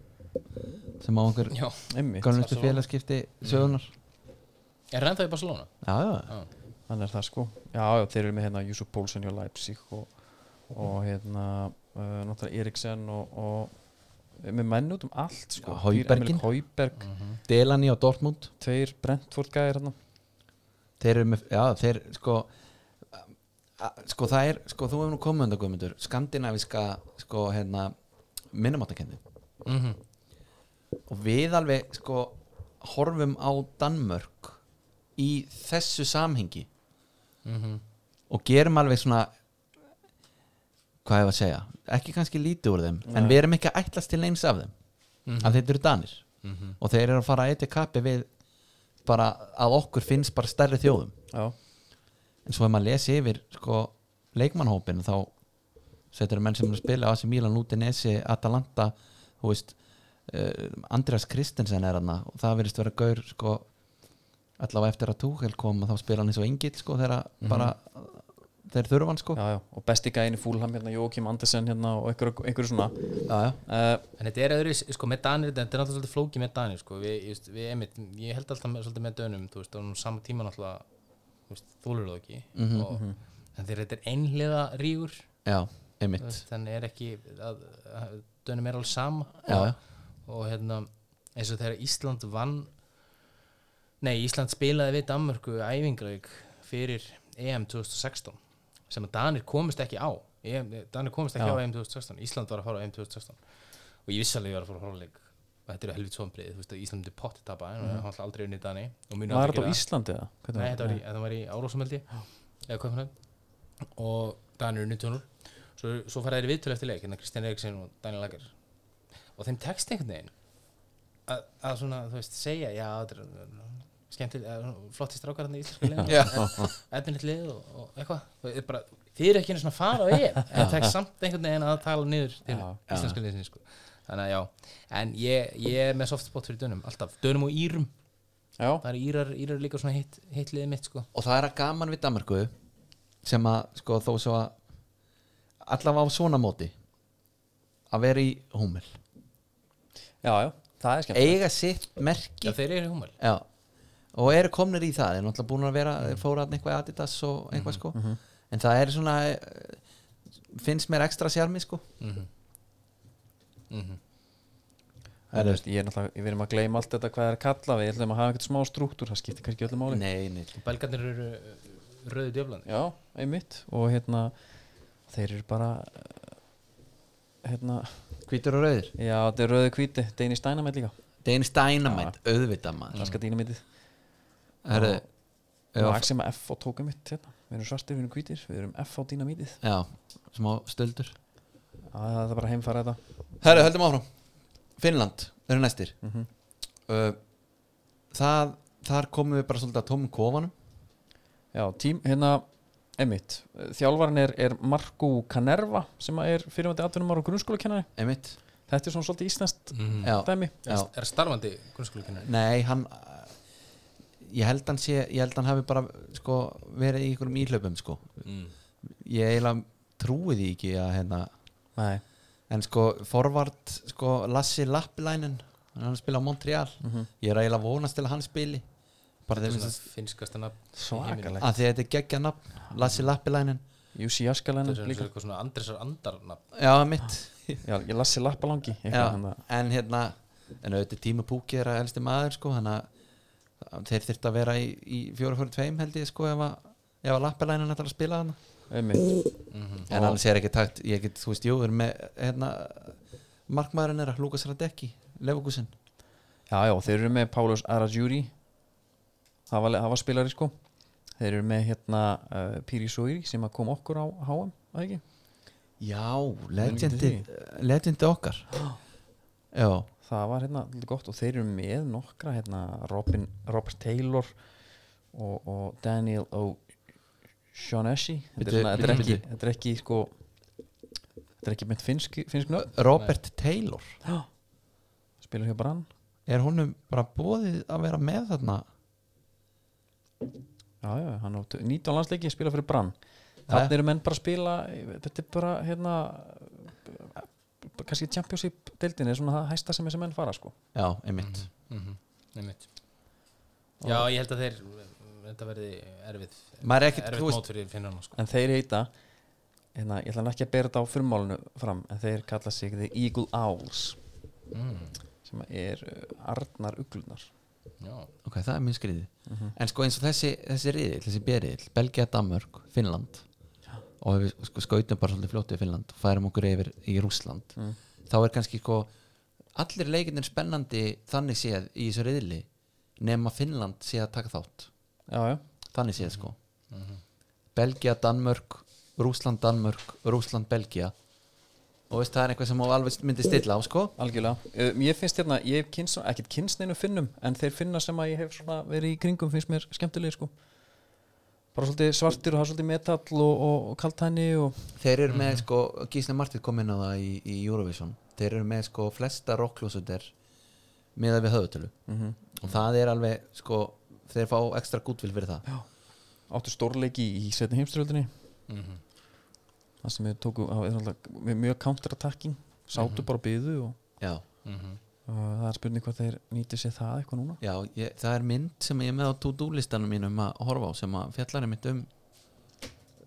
[SPEAKER 2] sem á einhver
[SPEAKER 3] Já,
[SPEAKER 1] einmitt
[SPEAKER 2] gönnustu
[SPEAKER 3] Barcelona.
[SPEAKER 2] félagskipti sögunar
[SPEAKER 3] er hann það í Barcelona?
[SPEAKER 2] já, já,
[SPEAKER 1] hann er það sko já, já, þeir eru með hérna Jusuf Poulsen hjá Leipzig og, og hérna uh, náttúrulega Eriksen og, og með menn út um allt sko
[SPEAKER 2] Já, Højbjerginn.
[SPEAKER 1] Hauberg,
[SPEAKER 3] Mm.
[SPEAKER 2] Delani á Dortmund
[SPEAKER 1] tveir Brentford gæðir hérna
[SPEAKER 2] þeir eru með, já, þeir sko a- sko það er, sko þú hefur nú komið undan guðmundur, skandinaviska sko hérna, minnumáttakendi
[SPEAKER 3] Mm
[SPEAKER 2] og við alveg sko horfum á Danmörk í þessu samhengi
[SPEAKER 3] Mhm.
[SPEAKER 2] og gerum alveg svona hvað ég var að segja ekki kannski lítið úr þeim en við erum ekki að ætlast til neins af þeim
[SPEAKER 3] Mhm.
[SPEAKER 2] af þeir eru danir og þeir eru að fara að eitja kappi við bara að okkur finnst bara stærri þjóðum
[SPEAKER 1] já,
[SPEAKER 2] en svo ef maður lesi yfir sko, leikmannhópin þá setur menn sem eru að spila á þessi Mílan út í Nesi, Atalanta þú veist, uh, Andreas Kristensen er hann og það verðist vera gaur sko, allavega eftir að Tuchel kom þá spila hann eins og engill sko, þegar mm bara þeir þurfa hann sko
[SPEAKER 1] já, já, og besti gæðin í fúlham hérna Jókim Andersen hérna og einhverju, einhverju svona
[SPEAKER 2] já, já.
[SPEAKER 1] uh,
[SPEAKER 3] En þetta er öðru, sko, með Danir, þetta er náttúrulega svolítið flókið með Danir, sko, við, ég, veist, við einmitt, ég held alltaf með, svolítið með Dönum, þú veist, og nú sama tíma náttúrulega, þú veist, þúlur það ekki, og, en þegar þetta er einhliða rígur,
[SPEAKER 2] já,
[SPEAKER 3] þú
[SPEAKER 2] einmitt
[SPEAKER 3] veist, þannig er ekki, að, að, Dönum er alveg sama,
[SPEAKER 2] Já, já.
[SPEAKER 3] og, og hérna, eins og þegar Ísland vann, nei, Ísland spilaði við Danmörku æfingraug fyrir EM 2016, sem að Danir komist ekki á, EM, Danir komist ekki á EM 2016, Ísland var að fara á EM 2016 og ég vissi alveg að ég var að fara að horfa á leik og þetta eru helvits vonbrið, þú veist að Íslandi potti tapa en hann alltaf aldrei unni Dani og muni
[SPEAKER 1] var
[SPEAKER 3] aldrei
[SPEAKER 1] þetta á
[SPEAKER 3] gera
[SPEAKER 1] Íslandi eða? Hvernig
[SPEAKER 3] það. Nei, þetta var í,
[SPEAKER 1] það?
[SPEAKER 3] þetta var í Árósumeldi eða Kaupmannhöfn og Dani er unni tjónur svo, svo fara þeir í viðtölu eftir leik hérna Kristján Eriksson og Daniel Lager og þeim tekst einhvern veginn að, að svona, þú veist, segja já, þetta er skemmtilega flottist rákar hann í Íslandsku leik <laughs>
[SPEAKER 2] já,
[SPEAKER 3] efnilegt lið og, og eitthvað og er bara, þið eru ekki einu svona að fara á EM en það er samt einhvern veginn að tala niður til
[SPEAKER 1] Já.
[SPEAKER 3] íslenska liðsinni sko. þannig að já, en ég, ég er með softspot fyrir dönum, alltaf, dönum og írum
[SPEAKER 1] já,
[SPEAKER 3] það eru írar, írar líka svona hitt, hitt liðið mitt sko.
[SPEAKER 2] og það er að gaman við Danmarku sem að sko þó svo að allavega á svona móti að vera í húmil
[SPEAKER 1] já, já, það er skemmt
[SPEAKER 2] eiga sitt merki
[SPEAKER 3] já, þeir eru húmal
[SPEAKER 2] já. og eru komnir í það þeir eru náttúrulega búin að vera mm. fóra hann eitthvað í Adidas og eitthvað
[SPEAKER 1] Mhm,
[SPEAKER 2] sko en það er svona eh, finnst mér ekstra sjarmi sko
[SPEAKER 3] Mhm.
[SPEAKER 1] En þú veist, ég er náttúrulega, við erum að gleyma allt þetta hvað það er að kalla við, ég ætlum að hafa eitthvað smá strúktúr, það skiptir kannski öllu máli
[SPEAKER 2] nei, nei
[SPEAKER 3] belgarnir eru uh, rauðu djöflandi
[SPEAKER 1] Já, einmitt og hérna, þeir eru bara eh, hérna,
[SPEAKER 2] hvítur og rauður
[SPEAKER 1] já, þetta er rauði hvíti Danish Dynamite líka,
[SPEAKER 2] Danish Dynamite auðvitað maður
[SPEAKER 1] franska Dynamitið
[SPEAKER 2] Herru,
[SPEAKER 1] og
[SPEAKER 2] Mm. já,
[SPEAKER 1] Axema F og tókum mitt hérna, við erum svartir, við erum hvítir við erum F á Dynamitið,
[SPEAKER 2] já, smá stöldur
[SPEAKER 1] Já, það er bara að heimfara þetta
[SPEAKER 2] Herru, höldum áfram Finnland, þeir eru næstir
[SPEAKER 1] Mhm.
[SPEAKER 2] uh, það, Þar komum við bara svolítið að tómum kofanum
[SPEAKER 1] Já, tím, hérna, einmitt þjálfarin er, er Marko Kanerva sem að er fyrirvændi atvinnumar og grunnskólakennari
[SPEAKER 2] Einmitt
[SPEAKER 1] þetta er svona svolítið íslenskt
[SPEAKER 3] Mm.
[SPEAKER 2] Já,
[SPEAKER 1] dæmi
[SPEAKER 2] já.
[SPEAKER 3] er starfandi grunnskólukennar
[SPEAKER 2] Nei, hann Ég held hann sé, ég held hann hafi bara sko, verið í einhverjum íhlöpum sko.
[SPEAKER 3] mm.
[SPEAKER 2] Ég eiginlega trúi því ekki að hérna
[SPEAKER 1] Nei,
[SPEAKER 2] En sko, forvart sko, Lassi Lappilænin hann spila á Montreal Ég er eiginlega vonast til að hann spili bara þegar
[SPEAKER 3] svona
[SPEAKER 2] þess
[SPEAKER 3] finskasta nafn
[SPEAKER 1] svakalegt
[SPEAKER 2] að því að þetta er geggja nafn Lassi Lappilænin
[SPEAKER 1] Jussi Jaskalainen
[SPEAKER 3] það er
[SPEAKER 1] líka
[SPEAKER 3] svona, svona Andresar Andar nafn
[SPEAKER 2] Já, mitt
[SPEAKER 1] Já, ég lassi lappalangi
[SPEAKER 2] Já,
[SPEAKER 1] Já,
[SPEAKER 2] en hérna en auðvitað tími púki er að elsti maður sko, þannig að þeir þyrft að vera í, í 4-4-2 held ég sko ef að, ef að lappelænin ætlar að spila hann
[SPEAKER 1] einmitt
[SPEAKER 3] Mhm.
[SPEAKER 2] en annars er ekki takt, ég get, þú veist, jú er með, hérna, markmaðurinn er að Lukas Radecki, Lefugusin
[SPEAKER 1] Já, já, þeir eru með Pálus Arajuri það var, það var spilari sko Þeir eru með hérna uh, Píri Sóiri sem að kom okkur á HM eða ekki?
[SPEAKER 2] Já,
[SPEAKER 1] legendi-
[SPEAKER 2] legendi legendi okkar Já,
[SPEAKER 1] Það var hérna lítið gott og þeir eru með nokkra hérna Robin, Robert Taylor og, og Daniel O. Sean Eshi þetta er,
[SPEAKER 2] Bíddu,
[SPEAKER 1] svona, þetta er
[SPEAKER 2] bíddu,
[SPEAKER 1] ekki,
[SPEAKER 2] bíddu.
[SPEAKER 1] þetta er ekki sko, þetta er ekki mynd finnsk, finnsk nöfn
[SPEAKER 2] Robert Taylor
[SPEAKER 1] spilur hjá Brann
[SPEAKER 2] er honum bara bóðið að vera með þarna
[SPEAKER 1] já, já, hann á t- 19 landsleiki spila fyrir Brann
[SPEAKER 2] Jæja.
[SPEAKER 1] þannig eru menn bara að spila þetta er bara hérna b- kannski Championship deildin er svona það hæsta sem þessi menn fara sko
[SPEAKER 2] já, einmitt
[SPEAKER 3] Mhm. Einmitt. Já, ég held að þeir þetta verði erfið
[SPEAKER 2] Maður er ekkit-
[SPEAKER 3] erfið
[SPEAKER 2] þú veist-
[SPEAKER 3] mót fyrir finnana sko.
[SPEAKER 1] en þeir heita hérna, ég ætla nú ekki að bera þetta á frummálinu fram en þeir kalla sig The Eagle Owls
[SPEAKER 3] Mhm.
[SPEAKER 1] sem er uh, Arnar Uglunar
[SPEAKER 3] Já,
[SPEAKER 2] ok, það er mjög skriði en sko eins og þessi, þessi riðil, þessi beriðil Belgia, Danmörk, Finnland og við sko, skautum bara svolítið fljótið Finnland og færum okkur yfir í Rússland þá er kannski sko allir leikinnir spennandi þannig séð í þessu riðli nema Finnland sé að taka þátt
[SPEAKER 1] já, já,
[SPEAKER 2] þannig séð sko Belgia, Danmörk, Rússland, Danmörk Rússland, Belgia og veist það er eitthvað sem má alveg myndi stilla á sko
[SPEAKER 1] algjörlega um, ég finnst hérna, ég hef kynst, ekkit kynst neinu finnum en þeir finna sem að ég hef svona verið í kringum finnst mér skemmtilegir sko bara svolítið svartir og hafa svolítið metall og, og, og kaltæni og
[SPEAKER 2] Þeir eru
[SPEAKER 1] Mhm.
[SPEAKER 2] með sko, Gísli Martið kom inn á það í, í Eurovision Þeir eru með sko flesta rockljósutir meða við höfutölu
[SPEAKER 1] Mhm.
[SPEAKER 2] og það er alveg sko þeir fá ekstra gútvil fyrir það
[SPEAKER 1] áttu stórleiki í setni heimströldinni
[SPEAKER 3] Mhm.
[SPEAKER 1] það sem við tóku, það er alltaf með mjög counterattacking, sátu bara byðu og
[SPEAKER 2] Já,
[SPEAKER 3] Mhm.
[SPEAKER 1] uh, það er spurning hvað þeir nýti sér það eitthvað núna
[SPEAKER 2] já ég, það er mynd sem ég er með á to-do-listanum mínum að horfa á sem að fjallar er mitt um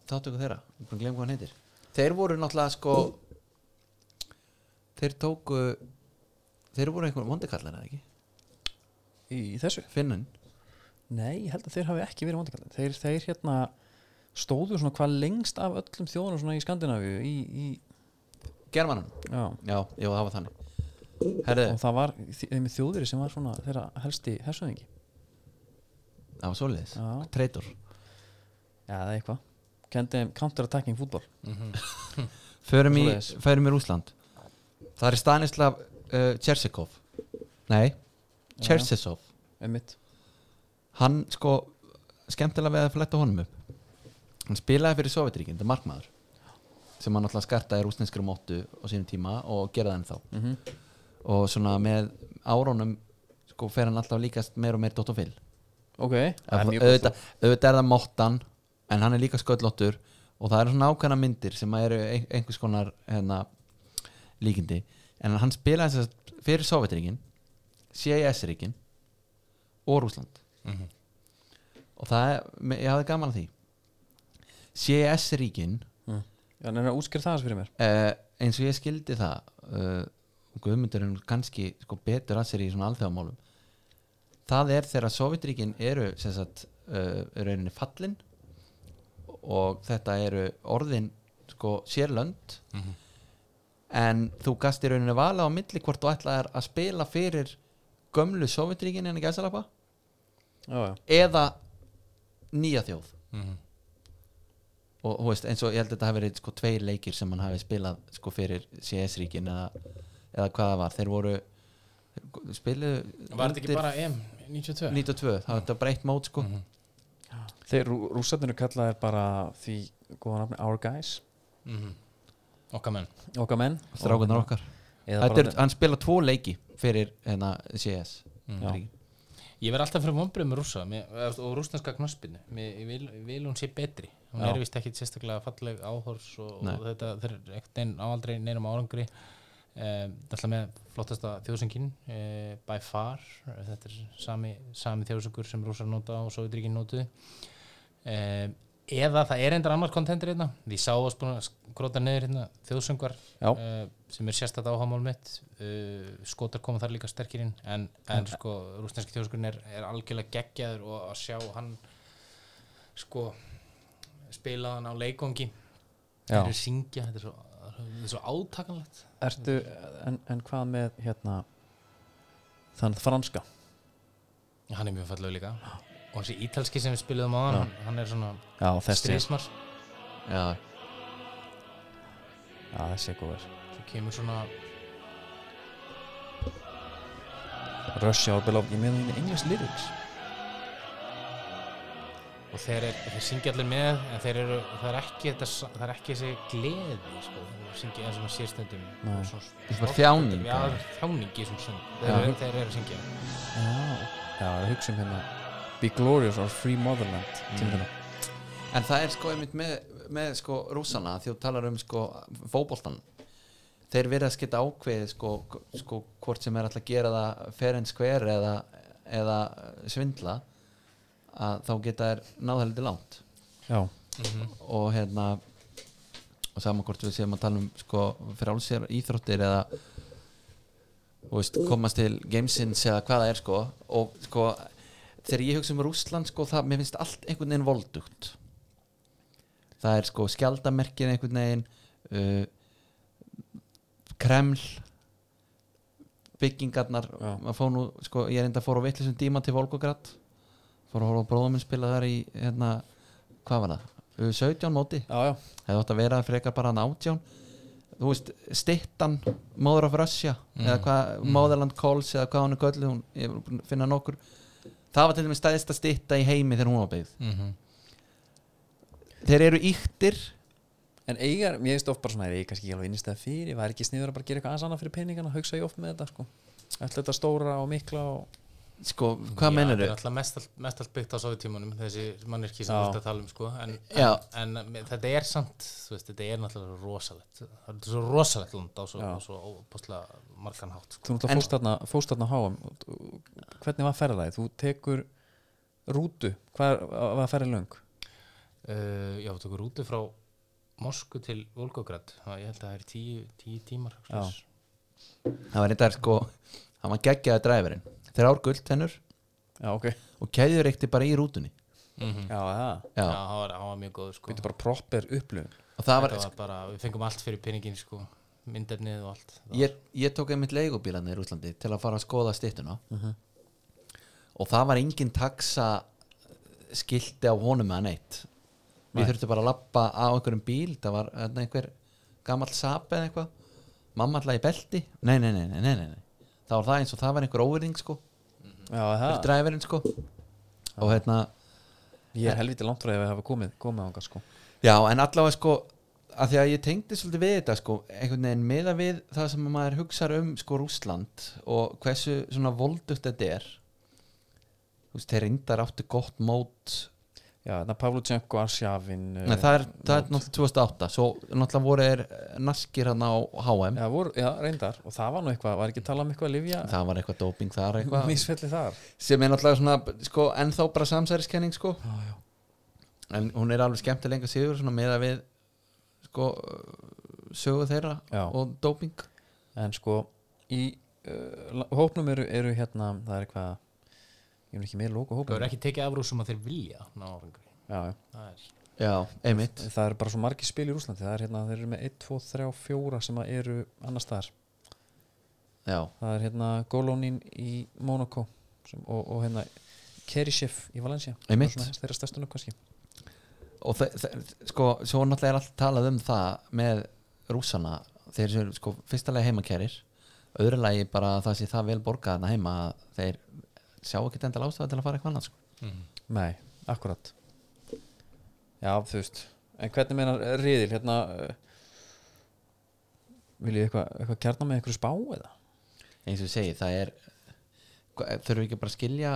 [SPEAKER 2] þáttöku þeirra, ég búin að glemma hvað hann heitir Þeir voru náttúrulega sko þeir tóku þeir voru einhver vondikallar eða ekki
[SPEAKER 1] í þessu?
[SPEAKER 2] Finnun
[SPEAKER 1] Nei, ég held að þeir hafi ekki verið vandakallin þeir, þeir hérna stóðu svona hvað lengst af öllum þjóðunum svona í Skandinavíu í, í,
[SPEAKER 2] Germanum,
[SPEAKER 1] já,
[SPEAKER 2] já, já, það var þannig Herðu,
[SPEAKER 1] og það var þi- þeim þjóðveri sem var svona þeirra helsti hersöðingi
[SPEAKER 2] það var svoleiðis
[SPEAKER 1] Já.
[SPEAKER 2] Traitor
[SPEAKER 1] Já, það er eitthvað Kendi þeim counterattacking fútbol
[SPEAKER 2] Förum í,
[SPEAKER 1] Svoleiðis.
[SPEAKER 2] förum í Rúsland Það er Stanislav uh, Chersikov Nei, Chersisov
[SPEAKER 1] einmitt
[SPEAKER 2] Hann sko skemmtilega við að fletta honum upp Hann spilaði fyrir Sovjetríkin, þetta er markmaður sem hann alltaf skartaði rúsneskri móttu á sínum tíma og gera það ennþá
[SPEAKER 1] Mhm.
[SPEAKER 2] og svona með árónum sko fer hann alltaf líkast meir og meir Dóttu Fyll
[SPEAKER 1] Ok, það er mjög gott
[SPEAKER 2] auðvitað, auðvitað er það mottan en hann er líka sköllóttur og það eru svona ákveðna myndir sem eru ein- einhvers konar hérna, líkindi en hann spilaði þess að fyrir Sovjetríkin CIS-ríkin og Rúsland
[SPEAKER 3] Mhm.
[SPEAKER 2] og það, er, me- ég hafði gaman að því CIS-ríkin
[SPEAKER 1] mm. Já, hann er að útskýra það aðeins fyrir mér
[SPEAKER 2] uh, eins og ég skildi það uh, Guðmundur er nú kannski sko, betur að sér í svona alþjóðamálum það er þegar Sovjetríkin eru sem sagt, uh, rauninni fallin og þetta eru orðin sko, sérlönd
[SPEAKER 3] Mhm.
[SPEAKER 2] en þú gast í rauninni vala á milli hvort þú ætlaðir að spila fyrir gömlu Sovjetríkin en ekki aðsalapa
[SPEAKER 1] Já, já,
[SPEAKER 2] eða nýja þjóð
[SPEAKER 3] Mhm.
[SPEAKER 2] og þú veist, eins og ég held að þetta hafi verið sko tveir leikir sem hann hafi spilað sko fyrir CS-ríkin eða, eða hvað það var, þeir voru þeir spiluðu
[SPEAKER 3] Var þetta ekki
[SPEAKER 2] undir
[SPEAKER 3] bara Mm. EM 92?
[SPEAKER 2] 92, það var þetta breytt mót sko
[SPEAKER 3] Mhm.
[SPEAKER 1] þeir rú, rússarnir eru kallaðir bara því góða nafni Our Guys
[SPEAKER 3] Mhm. Okkar menn
[SPEAKER 1] Okkar menn
[SPEAKER 2] strákunar okkar,
[SPEAKER 1] Eða
[SPEAKER 2] þetta
[SPEAKER 1] bara
[SPEAKER 2] er, hann spilað tvo leiki fyrir hérna CS
[SPEAKER 3] Mhm.
[SPEAKER 1] Já.
[SPEAKER 3] Ég verð alltaf fyrir vombrið með rúsa mér, eða, og rúsneska knaspinu mér, ég, vil, ég vil hún sé betri hún
[SPEAKER 1] Já.
[SPEAKER 3] er vist ekki sérstaklega falleg áhors og,
[SPEAKER 2] Nei.
[SPEAKER 3] og þetta þeir eru ekkert neinn áaldrei neinum árangri um, alltaf með flottasta þjóðsöngin uh, by far þetta er sami, sami þjóðsöngur sem rúsar nota og sovjetrygin notu um, eða það er endur annar kontentur hérna því sá oss búin að skróta niður hérna þjóðsöngvar
[SPEAKER 1] Já.
[SPEAKER 3] eh, sem er sérstætt áhámál mitt uh, skotar koma þar líka sterkirinn en, en sko rúsneski þjóðskurinn er, er algjörlega geggjaður og að sjá hann sko spilaðan á leikongi
[SPEAKER 1] Já.
[SPEAKER 3] þeir eru syngja, þetta er svo, þetta er svo átakanlegt
[SPEAKER 1] Ertu, en, en hvað með hérna þann franska
[SPEAKER 3] hann er mjög fallegu líka og þessi ítalski sem við spiluðum á hann hann er svona
[SPEAKER 1] Já, þessi,
[SPEAKER 3] stresmar
[SPEAKER 2] Já.
[SPEAKER 1] já, þessi er góður
[SPEAKER 3] svo kemur svona
[SPEAKER 1] Rush Hour Beloved, ég meðan í English Lyrics
[SPEAKER 3] og þeir, er, þeir syngja allir með en þeir eru, það er ekki þetta, sa- það er ekki þessi gleði sko, þeir eru að syngja eins og maður sér stundum
[SPEAKER 1] Nei.
[SPEAKER 3] svona-
[SPEAKER 2] er bara þjáning,
[SPEAKER 3] já,
[SPEAKER 2] eða?
[SPEAKER 3] þjáning í svona söng þeir,
[SPEAKER 1] Já.
[SPEAKER 3] eru- þeir eru að syngja
[SPEAKER 1] Já, já, við hugsaum hérna Be Glorious or Free Motherland mm.
[SPEAKER 2] En það er sko einmitt með, með sko rússana því þú talar um sko fótboltan þeir verið að skita ákveðið sko, sko hvort sem er alltaf að gera það fair and square eða, eða svindla að þá geta þær náða lítið langt
[SPEAKER 1] Já,
[SPEAKER 2] og hérna og saman hvort við séum að tala um sko frálsir íþróttir eða þú veist, komast til gamesins eða hvað það er sko og sko þegar ég hugsa um Rússland sko það, mér finnst allt einhvern veginn voldugt það er sko skjaldamerkin einhvern veginn uh, Kreml byggingarnar
[SPEAKER 1] Já.
[SPEAKER 2] maður fór nú, sko, ég er enda fór á vitlisum díma til Volgograd fór að horfa á bróðuminn spila þar í hérna, hvað var það, U 17 móti
[SPEAKER 1] já, já,
[SPEAKER 2] hefði átt að vera frekar bara nátján þú veist, stittan Mother of Russia
[SPEAKER 3] Mm.
[SPEAKER 2] eða hvað, Motherland Calls eða hvað hún er köllu hún, ég er búinn að finna nokkur það var til dæmis stæðist að stitta í heimi þegar hún var byggð þeir eru íktir
[SPEAKER 1] En eigar, ég veist oft bara svona, er ég kannski ekki alveg innstæða fyrir, var ekki sniður að bara gera eitthvað aðsanna fyrir peningana, hugsa ég oft með þetta, sko. Alltaf þetta stóra og mikla og...
[SPEAKER 2] sko, hvað meinar
[SPEAKER 3] þetta er
[SPEAKER 2] þau?
[SPEAKER 3] alltaf mest, allt- mest allt byggt á sovjetímanum þessi mannirki sem
[SPEAKER 1] Já.
[SPEAKER 3] þú ert að tala um sko. en,
[SPEAKER 2] Já.
[SPEAKER 3] en, en þetta er samt þú veist, þetta er náttúrulega rosalegt það er svo rosalegt land á svo,
[SPEAKER 1] Já.
[SPEAKER 3] á svo óbúslega margan hátt sko.
[SPEAKER 1] Þú náttúrulega fórst þarna, fórst þarna á háum, hvernig var ferðaði? Þú tekur rútu, hvað er- var ferðið löng?
[SPEAKER 3] uh, já, þú tekur rútu frá Mosku til Volgograd það, ég held að það er tíu, tíu tímar
[SPEAKER 1] Já.
[SPEAKER 3] slags.
[SPEAKER 2] það var þetta sko, hann var geggjaði dræfurinn þeir ár gulltennur
[SPEAKER 1] Já, ok.
[SPEAKER 2] og kæður reykti bara í rútunni
[SPEAKER 1] Já, það.
[SPEAKER 2] Já.
[SPEAKER 3] já, það var, það var mjög góð sko.
[SPEAKER 1] Býttu bara proper upplöfun.
[SPEAKER 2] og það var,
[SPEAKER 3] þetta var bara, við fengum allt fyrir peningin sko. myndefnið og allt Það
[SPEAKER 2] ég, ég tók einmitt leigubílarnir í Úslandi til að fara að skoða styttuna og það var engin taxa skilti á honum eða neitt við þurftum bara að lappa á einhverjum bíl það var þarna einhver gamall sapi eða eitthvað mamma alltaf í belti nei, nei, nei, nei, nei, nei, nei það var það eins og það var einhver óverðing sko
[SPEAKER 1] Já,
[SPEAKER 2] fyrir
[SPEAKER 1] það.
[SPEAKER 2] dræfurinn sko og hérna Eh.
[SPEAKER 1] Ég er helviti langt frá því að hafa komið, komið ánga, sko.
[SPEAKER 2] Já, en allavega sko að því að ég tengdi svolítið við þetta sko einhvern veginn meða við það sem maður hugsar um sko Rússland og hversu svona voldugt þetta er þú veist, þeir reyndar áttu gott mót
[SPEAKER 1] Já, þannig að Pavluchenko, Arsjavin...
[SPEAKER 2] Nei, það er, það er náttúrulega 2008 svo náttúrulega voru þeir eh, naskir hann á HM,
[SPEAKER 1] Já, voru, já, reyndar og það var nú eitthvað, var ekki að tala um eitthvað að lifja
[SPEAKER 2] það var eitthvað doping þar eitthvað,
[SPEAKER 1] misfelli þar
[SPEAKER 2] sem er náttúrulega svona sko ennþá bara samsæriskenning sko
[SPEAKER 1] já, já.
[SPEAKER 2] en hún er alveg skemmtilega síður svona meða við sko sögu þeirra
[SPEAKER 1] Já.
[SPEAKER 2] og doping
[SPEAKER 1] en sko í uh, la- hópnum eru, eru hérna það er eitthvað ég er nú ekki með logo
[SPEAKER 3] það
[SPEAKER 1] hópnum
[SPEAKER 3] er ekki tekið afrúsum að þeir vilja ná árangri
[SPEAKER 1] já, já.
[SPEAKER 3] það er
[SPEAKER 2] Já, einmitt
[SPEAKER 1] það eru bara svo margir spil í Rúslandi það er hérna, þeir eru með 1, 2, 3, 4 sem að eru annars staðar
[SPEAKER 2] Já,
[SPEAKER 1] það er hérna Golonin í Monaco sem, og, og hérna Kerishev í Valencia Það
[SPEAKER 2] Einmitt.
[SPEAKER 1] er svona þeirra stærstunum kannski
[SPEAKER 2] og þe- þe- sko, svo náttúrulega er allt talað um það með rússana þeir eru sko fyrsta lagi heimakerir öðru lagi bara að það sé það vel borgað þarna heima að þeir sjá ekki endal ástæða til að fara eitthvað annað sko.
[SPEAKER 1] nei, akkurat já, þú veist en hvernig meinar eh, riðil hérna uh, vil ég eitthvað eitthva kjarna með einhverju spá eða
[SPEAKER 2] eins og ég segi, það er hva- þurfum við ekki bara að skilja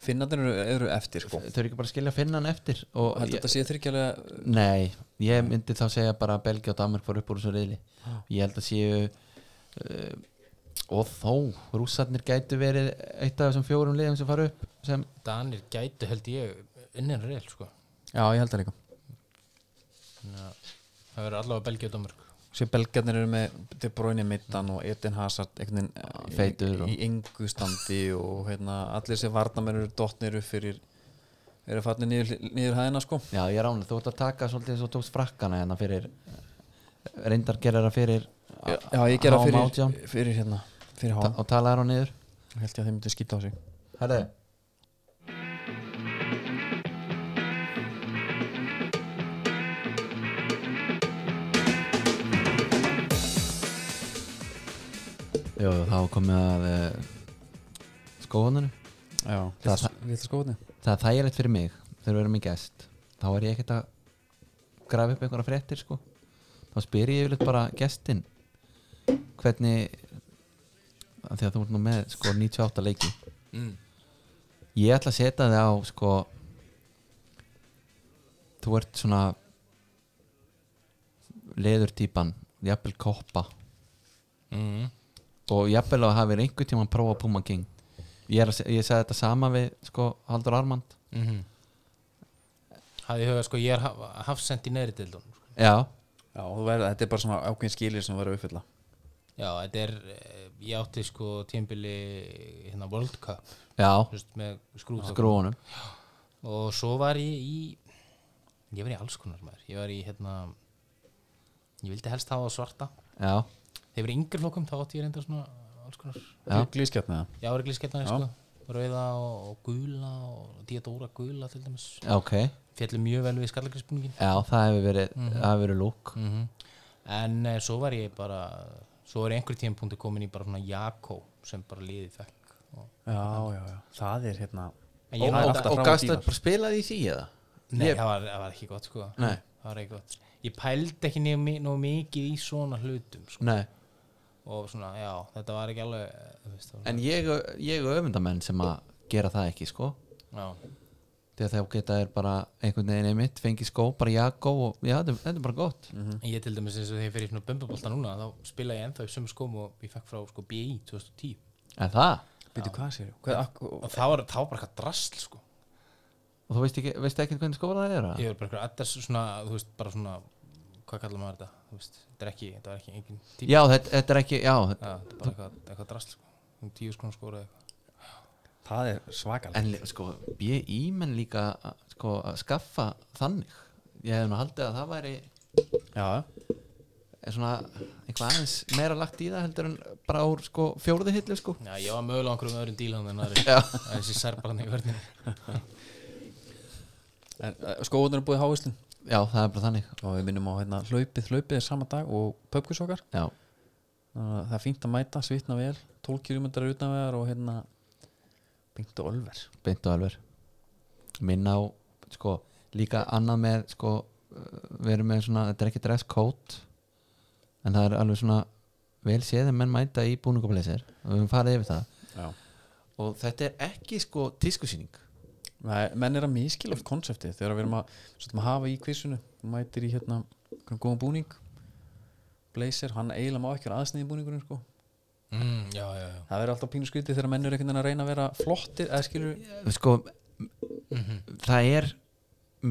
[SPEAKER 1] Finnarnir eru, eru eftir sko
[SPEAKER 2] þurfum við ekki bara að skilja finnan eftir og
[SPEAKER 1] Heldur
[SPEAKER 2] ég,
[SPEAKER 1] þetta sé þryggjalega
[SPEAKER 2] nei, ég myndi þá segja bara að Belgia og Danmark fór upp úr þessu reyðli ég held að séu uh, og þó, rússarnir gætu verið eitt af þessum fjórum liðum sem fara upp sem
[SPEAKER 3] Danir gætu held ég innan reil sko
[SPEAKER 1] Já, ég held það líka
[SPEAKER 3] þannig að það verður allavega Belgíu og Danmark
[SPEAKER 1] Sér belgarnir eru með De Bruyne mittan og Eden Hazard einhvern veginn
[SPEAKER 2] feitur
[SPEAKER 1] í, í engu standi og hérna, allir sem varnamenn eru dottnir upp fyrir eru farnir niður, niður hæðina sko
[SPEAKER 2] Já, ég rána, þú ert að taka svolítið eins og tókst frakkana hérna fyrir reyndar gerir það fyrir
[SPEAKER 1] Já, ég gera
[SPEAKER 2] HM
[SPEAKER 1] fyrir,
[SPEAKER 2] 18.
[SPEAKER 1] fyrir hérna fyrir
[SPEAKER 2] Ta-
[SPEAKER 1] háum,
[SPEAKER 2] og talaði hann niður
[SPEAKER 1] held ég að þeim myndi skipta á sig
[SPEAKER 2] Herðu Jó, þá er komið að uh, skóðaninu
[SPEAKER 1] Já,
[SPEAKER 2] Það-
[SPEAKER 1] við ætlum skóðni
[SPEAKER 2] Það er þægilegt fyrir mig þegar við erum í gest þá er ég ekkert að grafa upp einhverja fréttir sko þá spyr ég yfirleitt bara gestin hvernig af því að þú ert nú með sko 98 leiki
[SPEAKER 4] mm.
[SPEAKER 2] ég ætla að setja þig á sko þú ert svona leður típan jafnvel koppa
[SPEAKER 4] Mm.
[SPEAKER 2] og jafnvel að hafa einhvern tíma að prófa Puma King ég, er að, se- ég sagði þetta sama við sko Haldur Armand
[SPEAKER 4] Mm
[SPEAKER 3] hafði hugað sko ég er hafsend í neðri deildun sko.
[SPEAKER 2] já,
[SPEAKER 1] Já, þú verður, þetta er bara svona ákveðin skilir sem verður að uppfylla
[SPEAKER 3] já, þetta er eh, ég átti sko tímbili hérna World Cup
[SPEAKER 2] já,
[SPEAKER 3] þú veist, með skrúð
[SPEAKER 2] skrúunum
[SPEAKER 3] og svo var ég í ég var í alls konar maður ég var í hérna ég vildi helst hafa svarta
[SPEAKER 2] já,
[SPEAKER 3] þegar ég var í yngri flokkum þá átti ég reynda svona alls konar
[SPEAKER 2] Já.
[SPEAKER 1] Glískjarni það
[SPEAKER 3] já, var ekki skemmtna
[SPEAKER 1] Já.
[SPEAKER 3] sko rauða og, og gula og diadóra gula til dæmis
[SPEAKER 2] ok
[SPEAKER 3] fjallu mjög vel við skallagrisbúningin
[SPEAKER 2] já, það hefur verið, mm hefur verið lúk
[SPEAKER 3] Mhm. mm en eh, svo var ég bara svo var ég einhver tímapunkti komin í bara svona Jakó sem bara liði fekk og,
[SPEAKER 1] Já, já, já, það er hérna
[SPEAKER 3] en ég
[SPEAKER 1] Ó,
[SPEAKER 3] náði
[SPEAKER 1] alltaf frá dýrar.
[SPEAKER 2] bara spilaði í sí eða?
[SPEAKER 3] Nei, það, var, það var ekki gott sko
[SPEAKER 2] Nei.
[SPEAKER 3] Það var ekki gott Ég pældi ekki nefn nóg mikið í svona hlutum sko.
[SPEAKER 2] nei,
[SPEAKER 3] og svona, já, þetta var ekki alveg eh, þú veist, það var-
[SPEAKER 2] en ég, ég og öfundamenn sem að gera það ekki sko
[SPEAKER 3] já,
[SPEAKER 2] þegar þá geta þér bara einhvern veginn einmitt fengi skó, bara jakó og já, þetta, þetta er bara gott
[SPEAKER 3] En Ég til dæmis eins og þegar ég fer í svona bömbabolta núna þá spila ég ennþá í sömu skóm og ég fekk frá sko, BI 2010
[SPEAKER 2] en það,
[SPEAKER 1] Býtu hvað sér, hvað, akkur,
[SPEAKER 3] og það var, það var bara eitthvað drasl sko.
[SPEAKER 2] og þú veist ekki, veist ekki hvernig skóla það er
[SPEAKER 3] ég var bara eitthvað adders svona, þú veist, bara svona hvað kallar maður þetta, þú veist, þetta er ekki þetta var ekki engin tíma,
[SPEAKER 2] já, þetta, þetta er ekki, já,
[SPEAKER 3] já, þetta er bara eitthvað, eitthvað drasl sko. um tíu skóna skóra eitthvað
[SPEAKER 1] það er svakalega
[SPEAKER 2] en li- sko, BI menn líka að- sko, að skaffa þannig ég hef nú haldið að það væri
[SPEAKER 1] Já,
[SPEAKER 2] er svona eitthvað aðeins meira lagt í það heldur en bara úr sko fjóruði hillu sko
[SPEAKER 3] Já, ég var mögulega á einhverjum öðrum dílan en aðri
[SPEAKER 2] Já.
[SPEAKER 3] þessi serbarni í verðinu
[SPEAKER 1] en eh, skóðunar er búið háislinn
[SPEAKER 2] já það er bara þannig
[SPEAKER 1] og við minnum á hérna hlaupið, hlaupið er sama dag og pöpkusokkar,
[SPEAKER 2] já,
[SPEAKER 1] það er fínt að mæta svitna vel, 12 km utan vegar og hérna Bindu Olver
[SPEAKER 2] beint og alver minna á sko líka annað með sko uh, við erum með svona, þetta er ekki dress code en það er alveg svona vel séð að menn mæta í búningablesir og við höfum farið yfir það
[SPEAKER 1] Já.
[SPEAKER 2] og þetta er ekki sko tískusýning
[SPEAKER 1] Nei, menn er að miskila oft konseptið þegar við erum að, svolítið, að hafa í kvissunu mætir í hérna einhvern góðan búning Blazer, hann eiginlega má ekki vera aðsniði búningurinn sko.
[SPEAKER 3] mm, Já, já, já
[SPEAKER 1] það verður alltaf pínu skrítið þegar menn eru einhvern veginn að reyna að vera flottir eða skilur
[SPEAKER 2] sko það er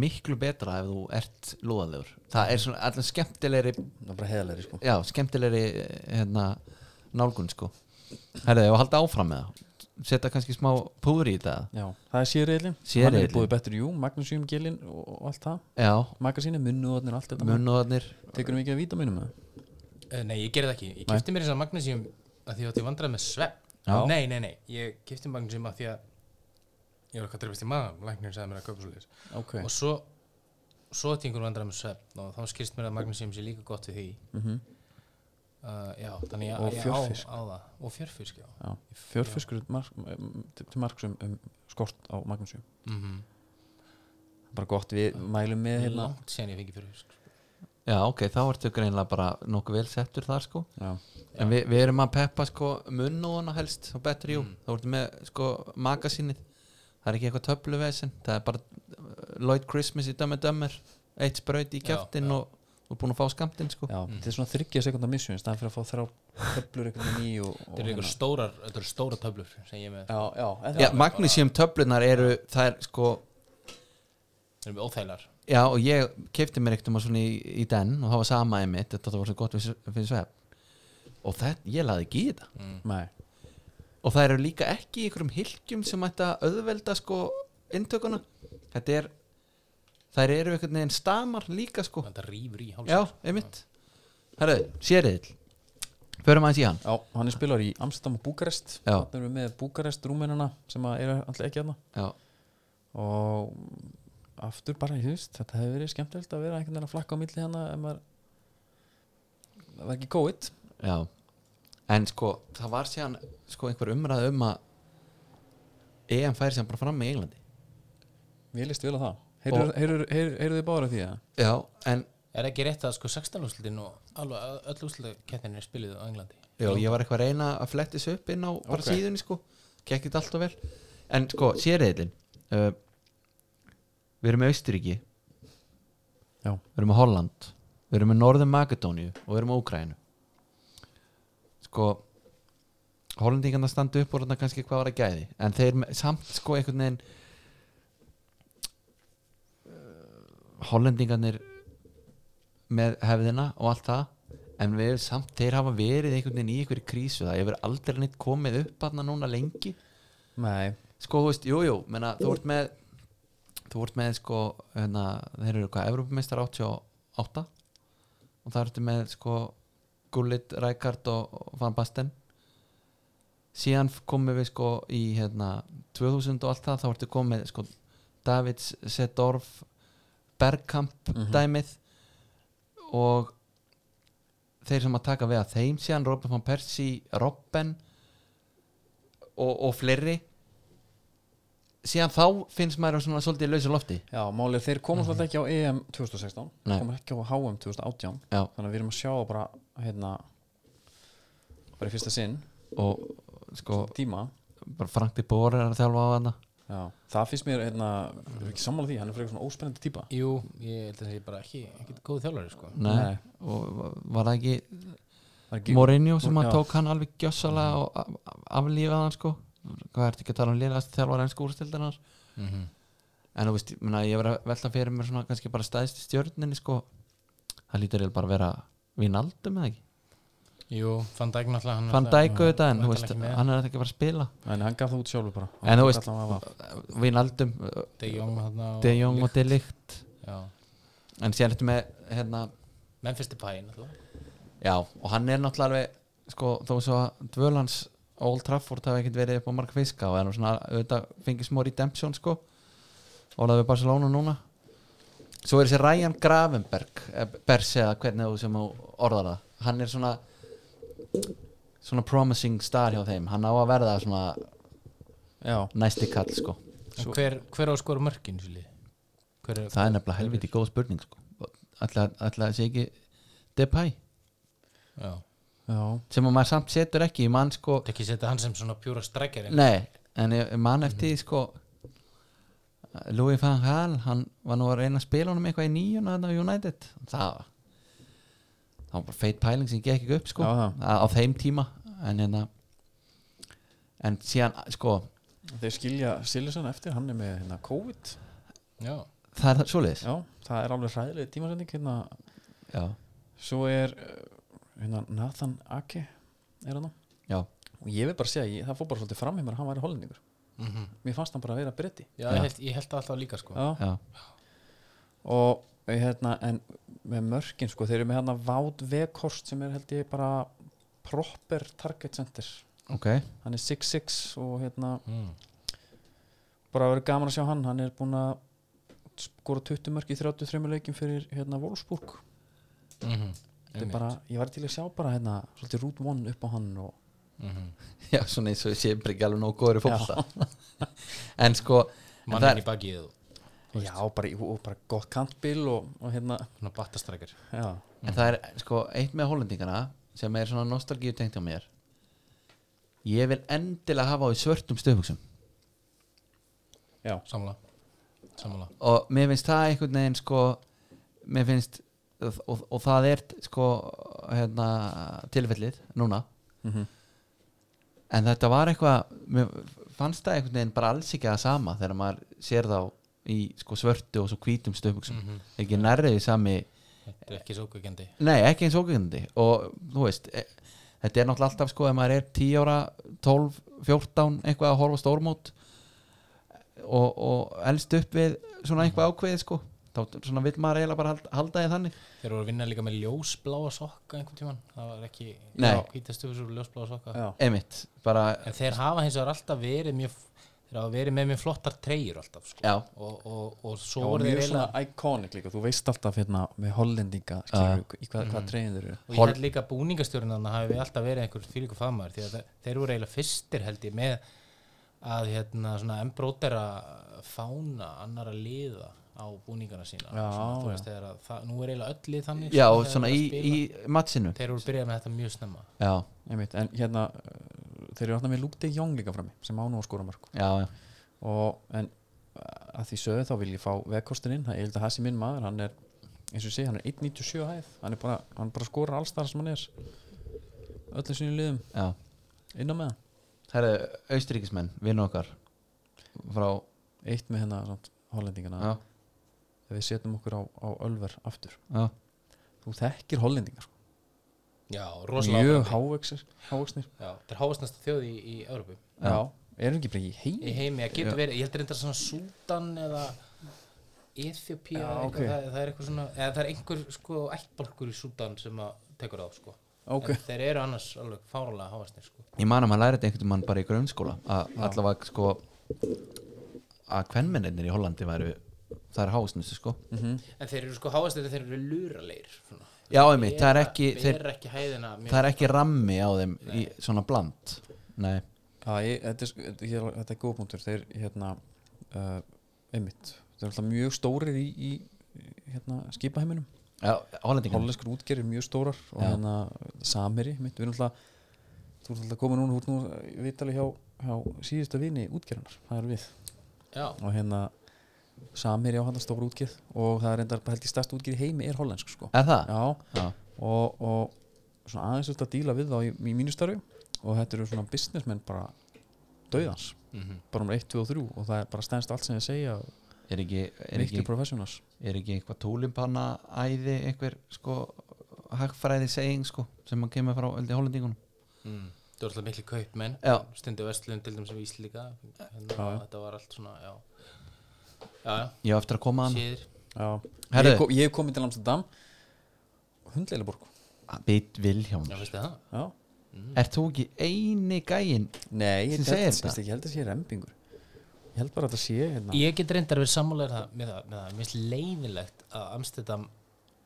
[SPEAKER 2] miklu betra ef þú ert lúðalegur það er svona allan skemmtilegri
[SPEAKER 1] það er bara heðalegri sko.
[SPEAKER 2] já, skemmtilegri eh, hérna, nálgun sko Herðu, ég var að halda áfram með það setja kannski smá púður í þetta
[SPEAKER 1] Já, það er sérriðlin
[SPEAKER 2] Sérriðillinn.
[SPEAKER 1] er búið betur, jú, magnusjum gilin og og allt það,
[SPEAKER 2] já,
[SPEAKER 1] magasíni, munnuðarnir og allt þetta
[SPEAKER 2] munnuðarnir
[SPEAKER 1] tekur mikið að vítaminum með
[SPEAKER 3] Eh, Nei, ég gerði það ekki, ég kipti mér þess að magnesíum að því ég átti vandrað með svepp
[SPEAKER 2] Já.
[SPEAKER 3] Nei, nei, nei, ég kipti magnesíum að því að ég var eitthvað að dreifast í maðan læknir sagði mér að kaupa svo leis
[SPEAKER 1] ok,
[SPEAKER 3] og svo, svo átti einhver vandrað með svepp og þá skilst mér að magnesíum sé líka gott við því
[SPEAKER 1] Mhm.
[SPEAKER 3] uh, Já, þannig ég,
[SPEAKER 1] Og
[SPEAKER 3] ég
[SPEAKER 1] fjörfisk.
[SPEAKER 3] á, á það og fjörfisk, já
[SPEAKER 1] já, fjörfiskur mark, um, til til marks um, um skort á magnusjum
[SPEAKER 3] mm -hmm.
[SPEAKER 1] bara gott við mælum með Mhm. hérna
[SPEAKER 3] Langt síðan ég fengi fjörfisk sko.
[SPEAKER 2] já, ok, þá ertu greinlega bara nokkuð vel settur þar sko
[SPEAKER 1] já,
[SPEAKER 2] en við, við erum að peppa sko munnuðana helst og betur jú, þá ertu með sko magasínið það er ekki eitthvað töfluvesin það er bara eh, Lloyd Christmas í dömur dömur eitt spraut í
[SPEAKER 3] Já,
[SPEAKER 2] kjæftin
[SPEAKER 3] já.
[SPEAKER 2] og þú er búin að fá skamtinn sko
[SPEAKER 1] já þetta er svona 30 sekundar misjum í staðan fyrir að fá þrjá höflur einhvern veginn í og, og
[SPEAKER 3] Þetta eru einhver stórar, þetta eru stóra töflur sem ég er með,
[SPEAKER 1] hérna- já, já, en
[SPEAKER 2] Já,
[SPEAKER 1] það-
[SPEAKER 2] magnesium töflunar eru það er sko
[SPEAKER 3] þetta eru óþælar
[SPEAKER 2] Já, og ég kefti mér ekkert um að svona í, í den og það var sama einmitt, þetta var svo gott fyrir, fyrir svefn og það, ég laði ekki í þetta
[SPEAKER 3] Mm.
[SPEAKER 1] nei,
[SPEAKER 2] og það eru líka ekki í einhverjum hylgjum sem ætti að auðvelda sko inntökuna þetta er, þær eru einhvern veginn stamar líka sko
[SPEAKER 3] þetta rýfur í hálsum
[SPEAKER 2] Já, einmitt Herðu, sérriðil, förum aðeins í hann
[SPEAKER 1] já, hann er spilar í Amsterdam og Búkarest
[SPEAKER 2] Já.
[SPEAKER 1] þannig erum við með Búkarest rúmenina sem að eru alltaf ekki aðna
[SPEAKER 2] Já,
[SPEAKER 1] og mm, aftur bara, ég veist, þetta hefur verið skemmtilegt að vera einhvern veginn að flakka á milli hérna ef maður það var ekki COVID
[SPEAKER 2] já En sko, það var síðan E sko einhver umræð um að EM færi sem bara fram með Englandi
[SPEAKER 1] Mér líst vel á það Heyrðu- Heyrðu heyrðu- heyrðu þið bára því að
[SPEAKER 2] já, en
[SPEAKER 3] Er ekki rétt að sko 16 úrslutin og alveg öll úrslutakettin er spiluð á Englandi
[SPEAKER 2] já, ég var eitthvað að reyna að fletti þessu upp inn á bara
[SPEAKER 1] Ok.
[SPEAKER 2] síðunni sko, gekkit alltaf vel en sko, sérriðlin uh, við erum með Austuríki
[SPEAKER 1] Já.
[SPEAKER 2] við erum með Holland við erum með Norður Makedóníu og við erum með Úkrænu sko Hollandingarna standa upp og þarna kannski hvað var að gæði en þeir með, samt sko einhvern veginn uh, Hollendingarnir með hefðina og allt það en við erum samt, þeir hafa verið einhvern veginn í einhverju krísu það hefur aldrei neitt komið upp aðna núna lengi
[SPEAKER 1] Nei,
[SPEAKER 2] sko, þú veist, jú, jú, menna, þú ert með þú ert með, sko hérna, þeir eru hvað, Evrópumeistar 88 og það ertu með, sko Gullit, Rækard og og Van Basten síðan f- komum við, sko, í hérna, 2000 og allt það, þá ertu komið sko, Davids, Sedorf Bergkamp
[SPEAKER 1] Mhm.
[SPEAKER 2] dæmið og þeir sem að taka við að þeim síðan, Robin van Persie, Robben og, og fleiri síðan þá finnst maður svona svolítið í lausu lofti
[SPEAKER 1] já, málið er þeir komast alltaf ekki á EM 2016
[SPEAKER 2] Mhm. Nei.
[SPEAKER 1] komast ekki á HM 2018
[SPEAKER 2] Já.
[SPEAKER 1] þannig að við erum að sjá bara hérna bara í fyrsta sinn,
[SPEAKER 2] og sko,
[SPEAKER 1] tíma
[SPEAKER 2] bara Frank de Boer er að þjálfa á hana
[SPEAKER 1] já. það finnst mér, hérna, við erum ekki sammála því hann er fyrir svona óspennandi típa
[SPEAKER 3] Jú, ég held að það er bara ekki, ekki góð þjálfari sko
[SPEAKER 2] Nei.
[SPEAKER 1] Nei.
[SPEAKER 2] og var það ekki
[SPEAKER 1] Það er ekki-
[SPEAKER 2] Mourinho sem
[SPEAKER 1] Já.
[SPEAKER 2] að tók hann alveg gjössalega og a- a- aflífaði hann sko hvað ertu ekki að tala um liðast þjálfar enn skúrstildanar
[SPEAKER 3] mm -hmm.
[SPEAKER 2] en þú veist, ég meina, ég verið að velta fyrir mér svona kannski bara stæðst stjörninni sko það lítur eiginlega bara að vera Vínaldum eða ekki,
[SPEAKER 3] Jú, fann dæk náttúrulega hann
[SPEAKER 2] fann
[SPEAKER 3] náttúrulega-
[SPEAKER 2] dæku þetta en
[SPEAKER 3] hann
[SPEAKER 2] þú
[SPEAKER 3] var
[SPEAKER 2] veist,
[SPEAKER 3] ekki með.
[SPEAKER 2] hann er ekki bara að spila
[SPEAKER 1] en hann gaf það út sjálfur bara
[SPEAKER 2] En þú veist-
[SPEAKER 1] veist
[SPEAKER 2] Vínaldum,
[SPEAKER 3] De Jong þarna og
[SPEAKER 2] De Jong og De Ligt
[SPEAKER 3] Já.
[SPEAKER 2] en sér þetta með hérna,
[SPEAKER 3] Memphis Depay náttúrulega
[SPEAKER 2] já, og hann er náttúrulega alveg sko, þó svo að dvölans á Old Trafford hafi ekkert verið upp á mark fiska og er nú svona, auðvitað fengið smá redemption sko, ólaðu við Barcelona núna svo er þessi Ryan Gravenberg eh, Bers eða hvernig þú sem þú orðar það hann er svona svona promising star hjá þeim hann á að verða svona
[SPEAKER 1] já,
[SPEAKER 2] næsti kall sko
[SPEAKER 3] En hver, hver á að skora mörkin svolítið? Hver er
[SPEAKER 2] það er nefnilega helviti góð spurning sko ætla ætla að sé ekki Depay
[SPEAKER 3] Já
[SPEAKER 1] já,
[SPEAKER 2] sem að maður samt setur ekki ég man sko,
[SPEAKER 3] Þetta ekki setja hann sem svona pjúra strækjar
[SPEAKER 2] nei en ég ég man
[SPEAKER 1] Mm.
[SPEAKER 2] eftir því sko Louis van Gaal hann var nú að reyna að spila honum eitthvað í nýjuna þarna á United það var það var bara feit pæling sem gekk ekki upp sko
[SPEAKER 1] Já, það.
[SPEAKER 2] á, á þeim tíma en hérna en síðan sko
[SPEAKER 1] þeir skilja Siljason eftir, hann er með hérna, COVID
[SPEAKER 3] Já
[SPEAKER 2] það er það svoleiðis
[SPEAKER 1] já, það er alveg hræðileg tímasending hérna,
[SPEAKER 2] já,
[SPEAKER 1] svo er eh, hérna, Nathan Ake er hann á
[SPEAKER 2] já,
[SPEAKER 1] og ég vil bara segja, ég, það fór bara svolítið fram í mér að hann væri hollendingur,
[SPEAKER 3] Mhm.
[SPEAKER 1] mér fannst hann bara að vera bretti
[SPEAKER 2] Já.
[SPEAKER 3] Já, Ég, held, ég held það alltaf líka sko
[SPEAKER 1] já.
[SPEAKER 2] já,
[SPEAKER 1] og eh, hérna, en með mörkin sko, þeir eru með hérna Vád Vekhorst sem er held ég bara proper target center,
[SPEAKER 2] ok
[SPEAKER 1] hann er 6'6 og hérna,
[SPEAKER 3] mm.
[SPEAKER 1] bara verið gaman að sjá hann hann er búin að skora 20 mörk í 33 leikin fyrir hérna Wolfsburg,
[SPEAKER 3] Mm -hmm.
[SPEAKER 1] þetta er bara ég var til að sjá bara hérna, svolítið root one upp á hann og
[SPEAKER 3] Mhm.
[SPEAKER 2] já, svona eins og ég sé bara ekki alveg nóg góður í fólksta <laughs> en sko en það
[SPEAKER 3] Mannin
[SPEAKER 2] er-
[SPEAKER 3] í bakið og
[SPEAKER 1] Já, bara, í- og bara gott kantbil og, og hérna
[SPEAKER 3] svona battastrækjar
[SPEAKER 1] já,
[SPEAKER 2] en það er sko eitt með hollendingana sem er svona nostalgíu tengt á mér ég vil endilega hafa á í svörtum stöðbuksum
[SPEAKER 1] já,
[SPEAKER 3] Samla Samla
[SPEAKER 2] og mér finnst það einhvern veginn sko mér finnst og, og það er sko hérna, tilfellið núna
[SPEAKER 1] Mhm.
[SPEAKER 2] en þetta var eitthvað mér fannst það einhvern veginn bara alls ekki að sama þegar maður sér þá í sko svörtu og svo hvítum stöðbuksum
[SPEAKER 3] Mm.
[SPEAKER 2] ekki nærriði sami
[SPEAKER 3] Mhm. Þetta er ekki svo guðgjandi
[SPEAKER 2] Nei, ekki eins ógjöndi og þú veist, e, þetta er náttúrulega alltaf sko ef maður er 10 ára, 12, 14 eitthvað að horfa á stórmót og, og elst upp við
[SPEAKER 3] Mhm.
[SPEAKER 2] svona eitthvað ákveðið sko þá svona vill maður eiginlega bara halda, halda því þannig
[SPEAKER 3] Þeir voru að vinna líka með ljósbláa sokka einhvern tíman Það var ekki
[SPEAKER 2] Nei.
[SPEAKER 3] Hvítastu fyrir ljósbláa sokka
[SPEAKER 1] já,
[SPEAKER 2] einmitt, bara,
[SPEAKER 3] En þeir hafa hins vegar alltaf verið mjög Þeir hafa verið með mjög flottar treyjur alltaf sko.
[SPEAKER 2] já,
[SPEAKER 3] og, og, og
[SPEAKER 1] já
[SPEAKER 3] svo
[SPEAKER 1] og
[SPEAKER 3] voru þeir
[SPEAKER 1] mjög
[SPEAKER 3] eiginlega
[SPEAKER 1] svona iconic líka, þú veist alltaf hérna með hollendinga, skilur, uh, í hvað, mm.
[SPEAKER 3] Mhm.
[SPEAKER 1] hvað treyðin þeir eru
[SPEAKER 3] og ég held líka búningastjórnarna hafi alltaf verið einhver fylgur faðmaður því að þe- þeir voru eiginlega fyrstir held ég með að hérna svona embrótera fána annara liða á búningana sína
[SPEAKER 1] Já,
[SPEAKER 3] svona,
[SPEAKER 1] já.
[SPEAKER 3] þú veist, þegar að það, nú er eiginlega öll lið þannig
[SPEAKER 2] já,
[SPEAKER 3] sko, þegar
[SPEAKER 2] svona
[SPEAKER 3] þeir
[SPEAKER 2] í,
[SPEAKER 3] eru að
[SPEAKER 2] í
[SPEAKER 3] spila.
[SPEAKER 2] matsinu
[SPEAKER 3] þeir eru byrjað með þetta mjög snemma
[SPEAKER 2] já,
[SPEAKER 1] einmitt, en hérna uh, þeir eru alltaf með Luke de Jong líka frammi sem án og skóra mörg
[SPEAKER 2] já, já,
[SPEAKER 1] og, en uh, að því sögðu þá vil ég fá vekkostin inn, það er eitthvað þessi minn maður hann er, eins og ég segi, hann er 1.97 hæð hann er bara, hann bara skora alls þar sem hann er öllu sinni liðum
[SPEAKER 2] já.
[SPEAKER 1] inn á með hann,
[SPEAKER 2] það eru austuríkismenn, vinn okkar frá,
[SPEAKER 1] eitt með hérna samt, hollendingana,
[SPEAKER 2] já,
[SPEAKER 1] þegar við setjum okkur á, á ölver aftur,
[SPEAKER 2] já
[SPEAKER 1] þú þekkir hollendingar sko.
[SPEAKER 3] já,
[SPEAKER 1] mjög
[SPEAKER 3] rosalega
[SPEAKER 1] hávegsir, hávegsnir
[SPEAKER 3] það er háastnasta þjóð í, í Európu
[SPEAKER 1] já, erum ekki bara í heimi
[SPEAKER 2] Mm.
[SPEAKER 3] í heimi, það getur verið, ég heldur þetta svona Súdan eða Ethiopia,
[SPEAKER 1] Já,
[SPEAKER 3] eitthvað,
[SPEAKER 1] ok.
[SPEAKER 3] það, það er eitthvað svona eða það er einhver sko ættbálkur í Súdan sem að tekur á sko
[SPEAKER 1] ok,
[SPEAKER 3] en þeir eru annars alveg fárlega háastnir sko
[SPEAKER 2] ég man að maður læri þetta einhvern mann bara í grunnskóla að allavega sko að kvenmenninir í Hollandi væru það er hásnustu sko
[SPEAKER 1] Mhm.
[SPEAKER 3] en þeir eru sko háastnir þeir eru lúralegir svona.
[SPEAKER 2] já, einmitt, það er ekki, þeir,
[SPEAKER 3] bera ekki hæðina mjög-
[SPEAKER 2] það er ekki rammi á þeim í svona bland nei,
[SPEAKER 1] já, ég, þetta, er, sko- þetta, er, þetta er góð punktur þeir hérna uh, einmitt, þeir eru alltaf mjög stórir í, í hérna, skipaheiminum
[SPEAKER 2] já, Hollandingar
[SPEAKER 1] hollenskur útgerð er mjög stórar og
[SPEAKER 2] Já.
[SPEAKER 1] hérna samiri, mitt, við erum alltaf þú ert alltaf komin núna, þú ert nú vitali hjá, hjá síðasta vini útgerðunar það er við
[SPEAKER 3] já,
[SPEAKER 1] og hérna samiri á hann stóra útgerð og það er enda held ég stærst útgerð í heimi er hollensk sko
[SPEAKER 2] er það?
[SPEAKER 1] já,
[SPEAKER 2] já,
[SPEAKER 1] og, og svona aðeins þetta að díla við þá í, í mínu starfi og þetta eru svona businessmenn bara dauðans,
[SPEAKER 2] Mhm.
[SPEAKER 1] bara um 1, 2 og 3 og það er bara stendst allt sem ég segja
[SPEAKER 2] er ekki, er
[SPEAKER 1] miklu
[SPEAKER 2] ekki,
[SPEAKER 1] professionals
[SPEAKER 2] er ekki eitthvað tólimpanna æði einhver sko hagfræði seging sko sem að kemur frá öldi Hollandingunum
[SPEAKER 3] mm. þú eru alltaf miklu kaupmenn
[SPEAKER 2] Já.
[SPEAKER 3] stundu vestlun til dæmis við Íslíka hérna,
[SPEAKER 1] Já, já.
[SPEAKER 3] þetta var allt svona já, já, já
[SPEAKER 2] ég á eftir að koma hann
[SPEAKER 3] síður
[SPEAKER 1] já,
[SPEAKER 2] Herðu.
[SPEAKER 1] ég, kom, ég hef komið til Amsterdam hundleilaborg
[SPEAKER 2] bit Vilhjálm
[SPEAKER 3] já, veistu það
[SPEAKER 1] já.
[SPEAKER 2] er þú ekki eini gæin
[SPEAKER 1] nei, ég
[SPEAKER 2] Sem segir
[SPEAKER 1] held,
[SPEAKER 2] þetta?
[SPEAKER 1] veistu, ég held að sé rembingur ég held bara að þetta sé hérna.
[SPEAKER 3] Ég get reyndar að vera sammálaður það með það, með það, mér finnst leiðilegt að Amsterdam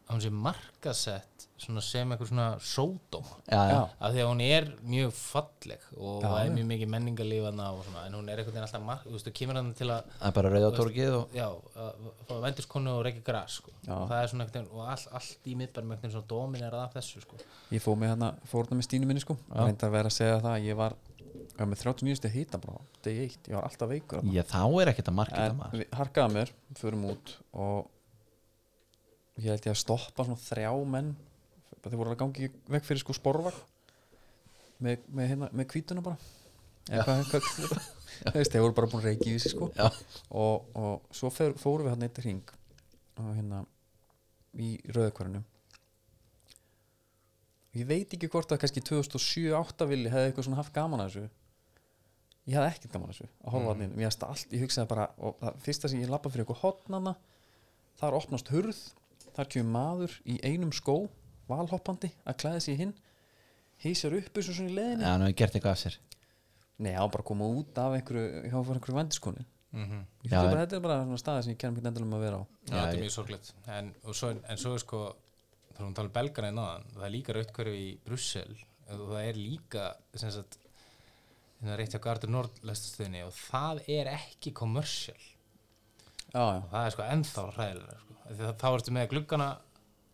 [SPEAKER 3] að hún sé markasett svona sem einhver svona sódóma
[SPEAKER 2] já, já,
[SPEAKER 1] Já.
[SPEAKER 3] af því að hún er mjög falleg og
[SPEAKER 1] Já,
[SPEAKER 3] það er
[SPEAKER 1] já.
[SPEAKER 3] mjög mikið menningalífana og svona, en hún er einhvern veginn alltaf mark, þú veist, þú kemur hann til að
[SPEAKER 2] það er bara rauða torgið og
[SPEAKER 3] já, að fá vendurskonu og reykja gras sko.
[SPEAKER 1] Já.
[SPEAKER 3] það er svona einhvern veginn, og all, allt í miðbærum einhvern veginn svona dominerað af þessu sko.
[SPEAKER 1] ég fór með hérna, fór hérna með stínu minni sko og reynda að vera að segja það að ég var ég var með 39 stið hýta bara, degi eitt ég var alltaf veikur þarna.
[SPEAKER 2] já, þá er ekkert að markita
[SPEAKER 1] en
[SPEAKER 2] maður
[SPEAKER 1] við harkaðum mér, förum út og ég held ég að stoppa svona þrjá menn þeir voru að gangi vekk fyrir sko sporvag með, með, hérna, með kvítuna bara eða hvað, hvað, hvað Þú veist, þeir voru bara búin að reykja í þessi sko
[SPEAKER 2] Já.
[SPEAKER 1] og, og svo fer, fórum við hann eitt hring og hérna í rauðakvarinu ég veit ekki hvort að kannski 2007-08 vilji hefði eitthvað svona haft gaman að þessu ég hafði ekkert gaman að þessu að horfa mm. hann allt, ég hugsaði bara og það fyrsta sem ég lappa fyrir eitthvað hotnana þar opnast hurð þar kemur maður í einum skó valhoppandi að klæða sig í hinn hýsjar upp þessu svona í leðinu
[SPEAKER 2] já, hann hefur gert eitthvað af sér
[SPEAKER 1] Nei, hann var bara að koma út af einhverju hjá fyrir einhverju vendiskonu Ég
[SPEAKER 2] Já,
[SPEAKER 1] hugsa bara, þetta er bara svona staði sem ég kennum ekki endalum að vera á
[SPEAKER 3] Já, þetta er mjög sorglegt en, og svo, en svo er sko þá erum við talað um belgana en aðan það er líka raut hverfi í Brussel og það er líka sem sagt hérna rétt hjá Gardur Nordlæstastöðinni og það er ekki kommersial
[SPEAKER 1] Já, já,
[SPEAKER 3] og það er sko ennþá hræðilega sko. Af því að þá ertu með gluggana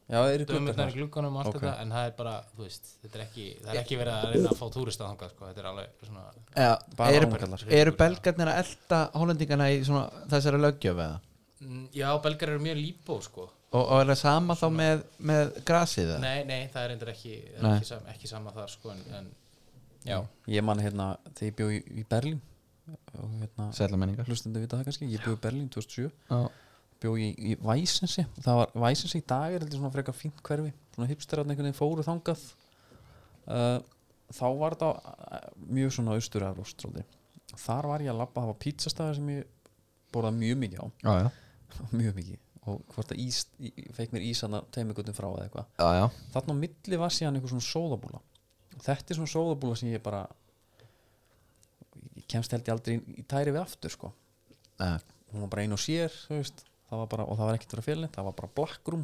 [SPEAKER 1] já, það eru gluggar
[SPEAKER 3] dömurnar í
[SPEAKER 1] þar
[SPEAKER 3] glugganum og allt
[SPEAKER 1] Ok.
[SPEAKER 3] þetta en það er bara, þú veist, þetta er ekki það er ekki verið að reyna að fá túrist að þangað sko. þetta er alveg svona
[SPEAKER 2] Já,
[SPEAKER 1] Bara
[SPEAKER 2] eru,
[SPEAKER 1] ámungallar.
[SPEAKER 2] eru belgarnir að elta hollendingana í svona þessari löggjöf eða?
[SPEAKER 3] Mm, já, belgar eru mjög líbó sko.
[SPEAKER 2] Og, og er það sama þá með, með grasið eða?
[SPEAKER 3] nei, nei, það er reyndar ekki, það er
[SPEAKER 2] Nei. Mm.
[SPEAKER 3] ekki, sama, ekki sama þar sko, en, en já,
[SPEAKER 1] Ég man hérna, þegar ég bjó í, í Berlín og hérna,
[SPEAKER 2] Sætla menningar
[SPEAKER 1] hlustandi vita það kannski Ég bjó í Berlín 2007,
[SPEAKER 2] Já,
[SPEAKER 1] bjó í, í Væsensi og það var Væsensi í dag er heldur svona frekar fínt hverfi svona hipsterarn einhvern veginn fóru þangað uh, Þá var þetta uh, mjög svona austur að rústróði Þar var ég að labba, það var pítsastæði sem ég borðaði mjög mikið á <laughs>
[SPEAKER 2] já, já,
[SPEAKER 1] mjög mikið og hvort að ís, í, fekk mér ísana teimigutin frá eða eitthvað
[SPEAKER 2] já, já.
[SPEAKER 1] þarna á milli var síðan einhver svona sóðabúla og þetta er svona sóðabúla sem ég bara ég kemst held ég aldrei í, í tæri við aftur sko
[SPEAKER 2] Nei.
[SPEAKER 1] hún var bara ein og sér þú veist, það var bara, og það var ekkert verið að félni það var bara blackroom,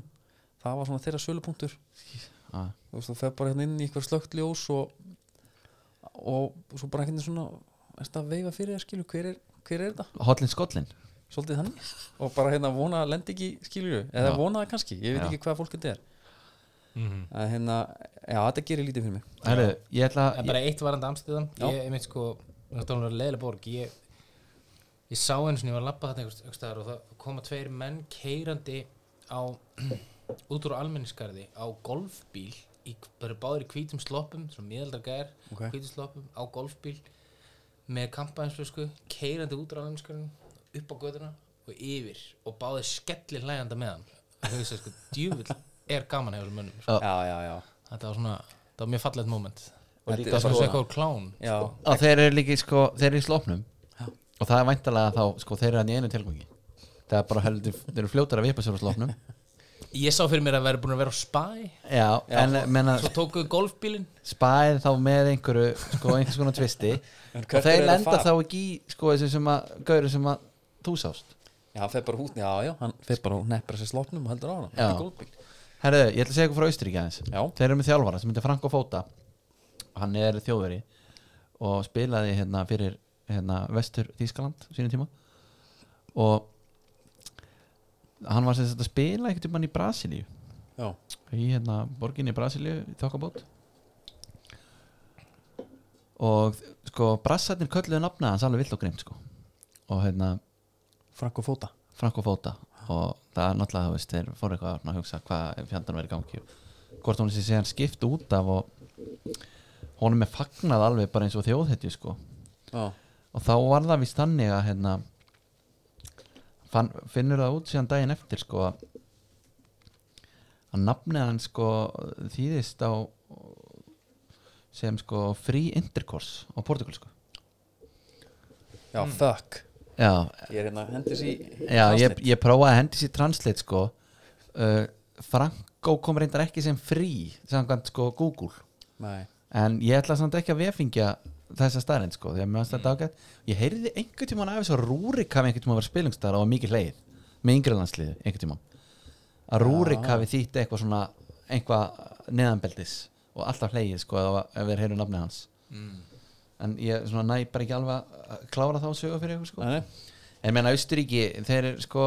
[SPEAKER 1] það var svona þeirra sölupunktur
[SPEAKER 2] já,
[SPEAKER 1] þú veist, þú fer bara hérna inn í eitthvað slögt ljós og og svo bara einhvern veginn svona erst að veifa fyrir það skilu hver er, hver er þetta?
[SPEAKER 2] Hollin skollin
[SPEAKER 1] svolítið þannig og bara hérna vona að lendi ekki skilju eða
[SPEAKER 2] Já.
[SPEAKER 1] vona það kannski, ég veit
[SPEAKER 2] Já.
[SPEAKER 1] ekki hvað fólk þetta er
[SPEAKER 3] Mhm.
[SPEAKER 1] að hérna, já þetta gerir lítið fyrir mig
[SPEAKER 2] Herru, ég ætla
[SPEAKER 3] En bara eitt varandi Amstæðan
[SPEAKER 1] Já.
[SPEAKER 3] Ég er mitt sko, þetta var leðilega borg Ég, ég sá einu sinni, ég var að labba þarna einhvers staðar og það koma tveir menn keirandi á <clears throat> út úr almenningskarði á golfbíl í, bara báður í hvítum sloppum svona miðaldra gær,
[SPEAKER 1] Ok.
[SPEAKER 3] hvítum sloppum á golfbíl með kampænsflösku keirandi út úr almenningskarðin upp á göduna og yfir og báður skellir hlæganda með hann þau veist sko, djúvill er gaman hefur mönnum sko.
[SPEAKER 2] Já.
[SPEAKER 1] já, já, já,
[SPEAKER 3] þetta var svona, þetta var mjög fallegt moment
[SPEAKER 2] Og
[SPEAKER 1] Þetta
[SPEAKER 2] líka
[SPEAKER 1] er
[SPEAKER 3] það
[SPEAKER 1] bara
[SPEAKER 3] var
[SPEAKER 2] sko
[SPEAKER 3] svona eitthvað úr klán
[SPEAKER 1] já.
[SPEAKER 2] að þeir eru líka í, sko, þeir eru í slopnum
[SPEAKER 1] Já.
[SPEAKER 2] og það er væntalega þá sko þeir eru hann í einu tilgangi það er bara heldur, þeir eru fljótar að vipa sér á slopnum
[SPEAKER 3] Ég sá fyrir mér að vera búin að vera á spæ
[SPEAKER 2] já,
[SPEAKER 1] Já.
[SPEAKER 2] en menna
[SPEAKER 3] Svo tókuðu golfbílinn
[SPEAKER 2] spæði þá með einhverju sko einhvers konar tvisti
[SPEAKER 1] En
[SPEAKER 2] og
[SPEAKER 1] hvert eru
[SPEAKER 2] þeir
[SPEAKER 1] þeir að
[SPEAKER 2] lenda þá
[SPEAKER 1] fara?
[SPEAKER 2] ekki í sko þessu sem að gauru sem að þú sást
[SPEAKER 1] já, hann fer bara hút, já, já, hann fer bara og neppar sér slóknum og heldur á hana
[SPEAKER 2] Já.
[SPEAKER 1] Þetta er golfbíll.
[SPEAKER 2] herðu, ég ætla að segja eitthvað frá Austuríki aðeins
[SPEAKER 1] Já.
[SPEAKER 2] þeir eru með þjálfara sem heitir Franko Fóta hann er þjóðveri og spilaði hérna fyrir hérna vestur Þískaland sínum tíma og hann var sem sagt að spila einhvern tímann í Brasilíu
[SPEAKER 1] já,
[SPEAKER 2] í hérna borginni í Brasilíu í þokkabót og sko brassarnir kölluðu nafna hans alveg vill og grimt sko og hérna
[SPEAKER 1] Frank og Fóta
[SPEAKER 2] Frank og Fóta og það er náttúrulega, þú veist, þeir fóru eitthvað svona að hugsa hvað fjandarn verið í gangi og hvort hún sé síðan skipt út af og honum er fagnað alveg bara eins og þjóðhetju sko
[SPEAKER 1] já,
[SPEAKER 2] og þá var það vist þannig að hérna fann, finnur það út síðan daginn eftir sko að að nafnið hann sko þýðist á sem sko free intercourse á sko. portugalsku
[SPEAKER 1] já, fuck
[SPEAKER 2] já,
[SPEAKER 1] ég er hérna, hendur sér í
[SPEAKER 2] Já, ég, ég prófaði að hendi sér translate sko uh, Franko kom reyndar ekki sem frí samkvæmt sko Google
[SPEAKER 1] Nei.
[SPEAKER 2] en ég ætla samt ekki að vefingja þessa staðrind sko, því að mér varst þetta ágætt ég heyrði einhvern tímann af þess að Rúrik hafi einhvern tímann verið spilungstar og var mikið hleið með yngri landsliðu einhvern tímann að Rúrik hafi þýtt eitthvað svona einhvað neðanbeldis og alltaf hleið sko ef ef við heyrðum nafnið hans en ég svona næ bara ekki alveg að klára þá sögu fyrir ykkur sko
[SPEAKER 1] Nei, nei.
[SPEAKER 2] En menna Austuríki, þeir eru sko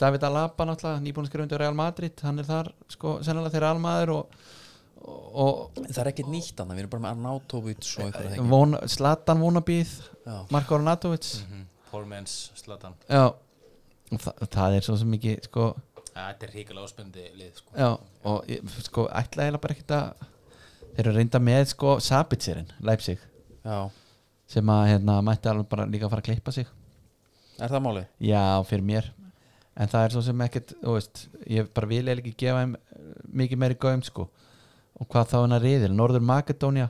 [SPEAKER 2] David Alaba náttúrulega, nýbúin skrifundur Real Madrid, hann er þar sko sennilega þeirra almaður og, og,
[SPEAKER 1] það er ekkert nýtt annað, við erum bara með Arnautovic og einhverja
[SPEAKER 2] og
[SPEAKER 1] þegar
[SPEAKER 2] von, Zlatan vonabíð
[SPEAKER 1] Já.
[SPEAKER 2] Marko Arnatovic
[SPEAKER 3] Poor man's Slatan
[SPEAKER 2] Já, og þa það er svo sem ekki sko,
[SPEAKER 3] Þetta er ríkilega áspöndi lið sko.
[SPEAKER 2] já, og ég, sko ætla eiginlega bara ekkert að þeir eru reynda með sko Sabitzerin, Leipzig
[SPEAKER 1] já,
[SPEAKER 2] sem að hérna mætti alveg bara líka að fara að klippa sig
[SPEAKER 1] er það málið?
[SPEAKER 2] Já, fyrir mér En það er svo sem ekkert, þú veist Ég bara vil eiginlega ekki gefa þeim eh, mikið meiri gaum sko Og hvað þá hennar riðil, Norður Makedónia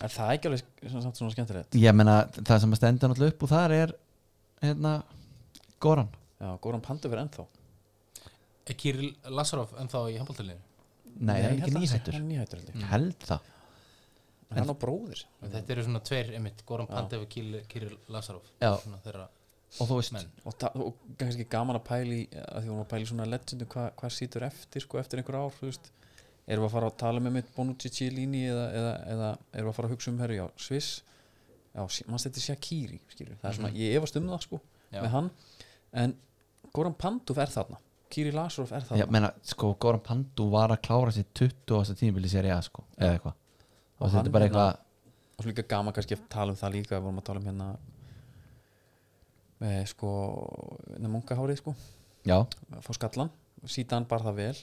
[SPEAKER 1] Er það ekki alveg sem sagt svona skemmtilegt?
[SPEAKER 2] Ég meina, það sem að stendur náttúrulega upp úr þar er Hérna, Goran
[SPEAKER 1] Já, Goran Pandufer ennþá
[SPEAKER 3] Er Kirill Lazarov ennþá í handbóltalinu
[SPEAKER 2] Nei, það er
[SPEAKER 1] ég held
[SPEAKER 2] ekki
[SPEAKER 1] að hann sé-
[SPEAKER 2] nýhættur
[SPEAKER 1] Hann er nýhættur held ég,
[SPEAKER 2] Ég Held það
[SPEAKER 1] en hann á bróðir
[SPEAKER 3] Þetta eru svona tveir einmitt Goran Pandev og Kirill, Kirill Lazarov
[SPEAKER 2] Já.
[SPEAKER 3] Svona þeirra
[SPEAKER 2] Og þú veist,
[SPEAKER 3] Menn.
[SPEAKER 1] og, ta- og kannski gaman að pæli að því vorum að pæli svona legendu hvað hva sýtur eftir sko, eftir einhver ár þú veist. erum við að fara að tala með mitt Bonucci Cielini eða, eða, eða erum við að fara að hugsa um herri á Sviss já, mannst þetta Shakiri skilur. það er svona, ég efast um það sko
[SPEAKER 3] Já.
[SPEAKER 1] með hann, en Goran Panduf er þarna Kiri Lasarov er
[SPEAKER 2] ég
[SPEAKER 1] þarna
[SPEAKER 2] meina, sko, Goran Pandu var að klára sér 20. tímabili sér ég að sko Eða eitthvað
[SPEAKER 1] Og
[SPEAKER 2] Og þetta
[SPEAKER 1] hann
[SPEAKER 2] er bara
[SPEAKER 1] hérna-
[SPEAKER 2] eitthvað
[SPEAKER 1] og svo líka gaman kannski að tala um það líka við vorum að tala um hérna eh, sko, munkahárið sko
[SPEAKER 2] Já,
[SPEAKER 1] fá skallan, síðan bar það vel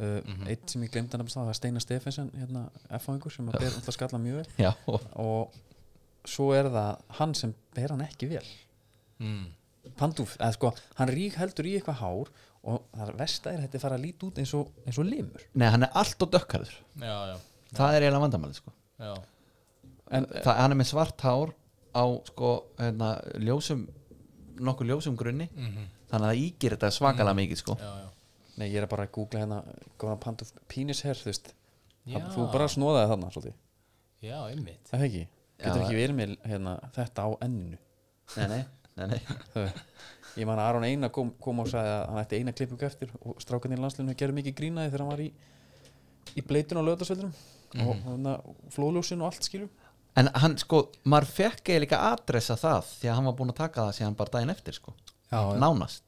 [SPEAKER 1] uh, eitt sem ég glemdi hann það er Steinar Stefensen, hérna F-fáingur sem að ber alltaf skallan mjög vel
[SPEAKER 2] já, og-
[SPEAKER 1] og svo er það hann sem ber hann ekki vel
[SPEAKER 3] mm.
[SPEAKER 1] Pandúf, eða sko, hann rík heldur í eitthvað hár og það er versta er að þetta er fara að líta út eins og, eins og limur
[SPEAKER 2] Nei, hann er allt og dökkarður
[SPEAKER 3] Já, já,
[SPEAKER 2] Það er eiginlega vandamæli sko
[SPEAKER 3] já
[SPEAKER 1] en,
[SPEAKER 2] Eh, það, hann er með svart hár á sko hérna, ljósum nokkuð ljósum grunni þannig að það ígir þetta svakalega mikið sko
[SPEAKER 3] Mhm, Já, já
[SPEAKER 1] nei, ég er bara að googla hérna góðan Pandúf penisher, þú veist
[SPEAKER 3] Já.
[SPEAKER 1] Það- þú bara snóðaði þarna svolítið,
[SPEAKER 3] Já, einmitt
[SPEAKER 1] það er ekki getur
[SPEAKER 2] Já.
[SPEAKER 1] ekki verið með hérna, þetta á enninu
[SPEAKER 2] nei, nei, nei, nei.
[SPEAKER 1] Það er- ég man að Aron Einar kom, kom og sagði að hann ætti eina klippingu eftir og strákarnir í landslinu gerði mikið grínaði þegar hann var í, í bleitun á löðarsveldunum og, og flóðljósin og allt skilur
[SPEAKER 2] <laughs> en hann sko, maður fekk eða líka adressa það því að hann var búin að taka það síðan bara daginn eftir sko,
[SPEAKER 3] Já, já.
[SPEAKER 2] nánast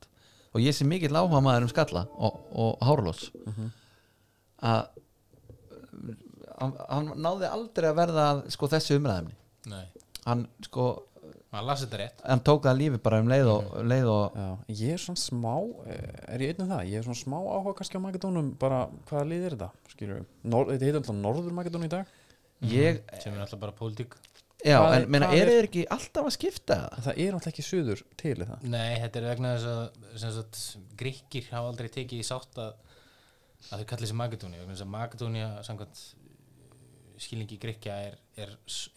[SPEAKER 2] og ég sem mikill áhuga maður um skalla og, og hárlós að hann, hann náði aldrei að verða að, sko þessu umræðumni
[SPEAKER 3] Nei,
[SPEAKER 2] hann sko,
[SPEAKER 3] maður las þetta rétt
[SPEAKER 2] hann tók það lífi bara um leið og, leið og
[SPEAKER 1] Já, ég er svona smá eh, er ég einn um það, ég er svona smá áhuga kannski á Makedónum, bara hvaða lið er þetta skilur við, Nor þetta heitir alltaf Norður Makedónu í dag
[SPEAKER 2] ég,
[SPEAKER 3] sem er alltaf bara pólitík
[SPEAKER 2] já,
[SPEAKER 1] Hvað er-
[SPEAKER 2] en meina,
[SPEAKER 1] hvað er-
[SPEAKER 2] eru þeir ekki alltaf að skipta það?
[SPEAKER 1] en það er alltaf ekki suður til í það
[SPEAKER 3] Nei, þetta er vegna þess að sem sagt, gríkir hafa aldrei tekið í sátt að, að þau kallir sig Makedóni vegna þess að Makedónia samkvæmt eh, skilningi gríkja er, er,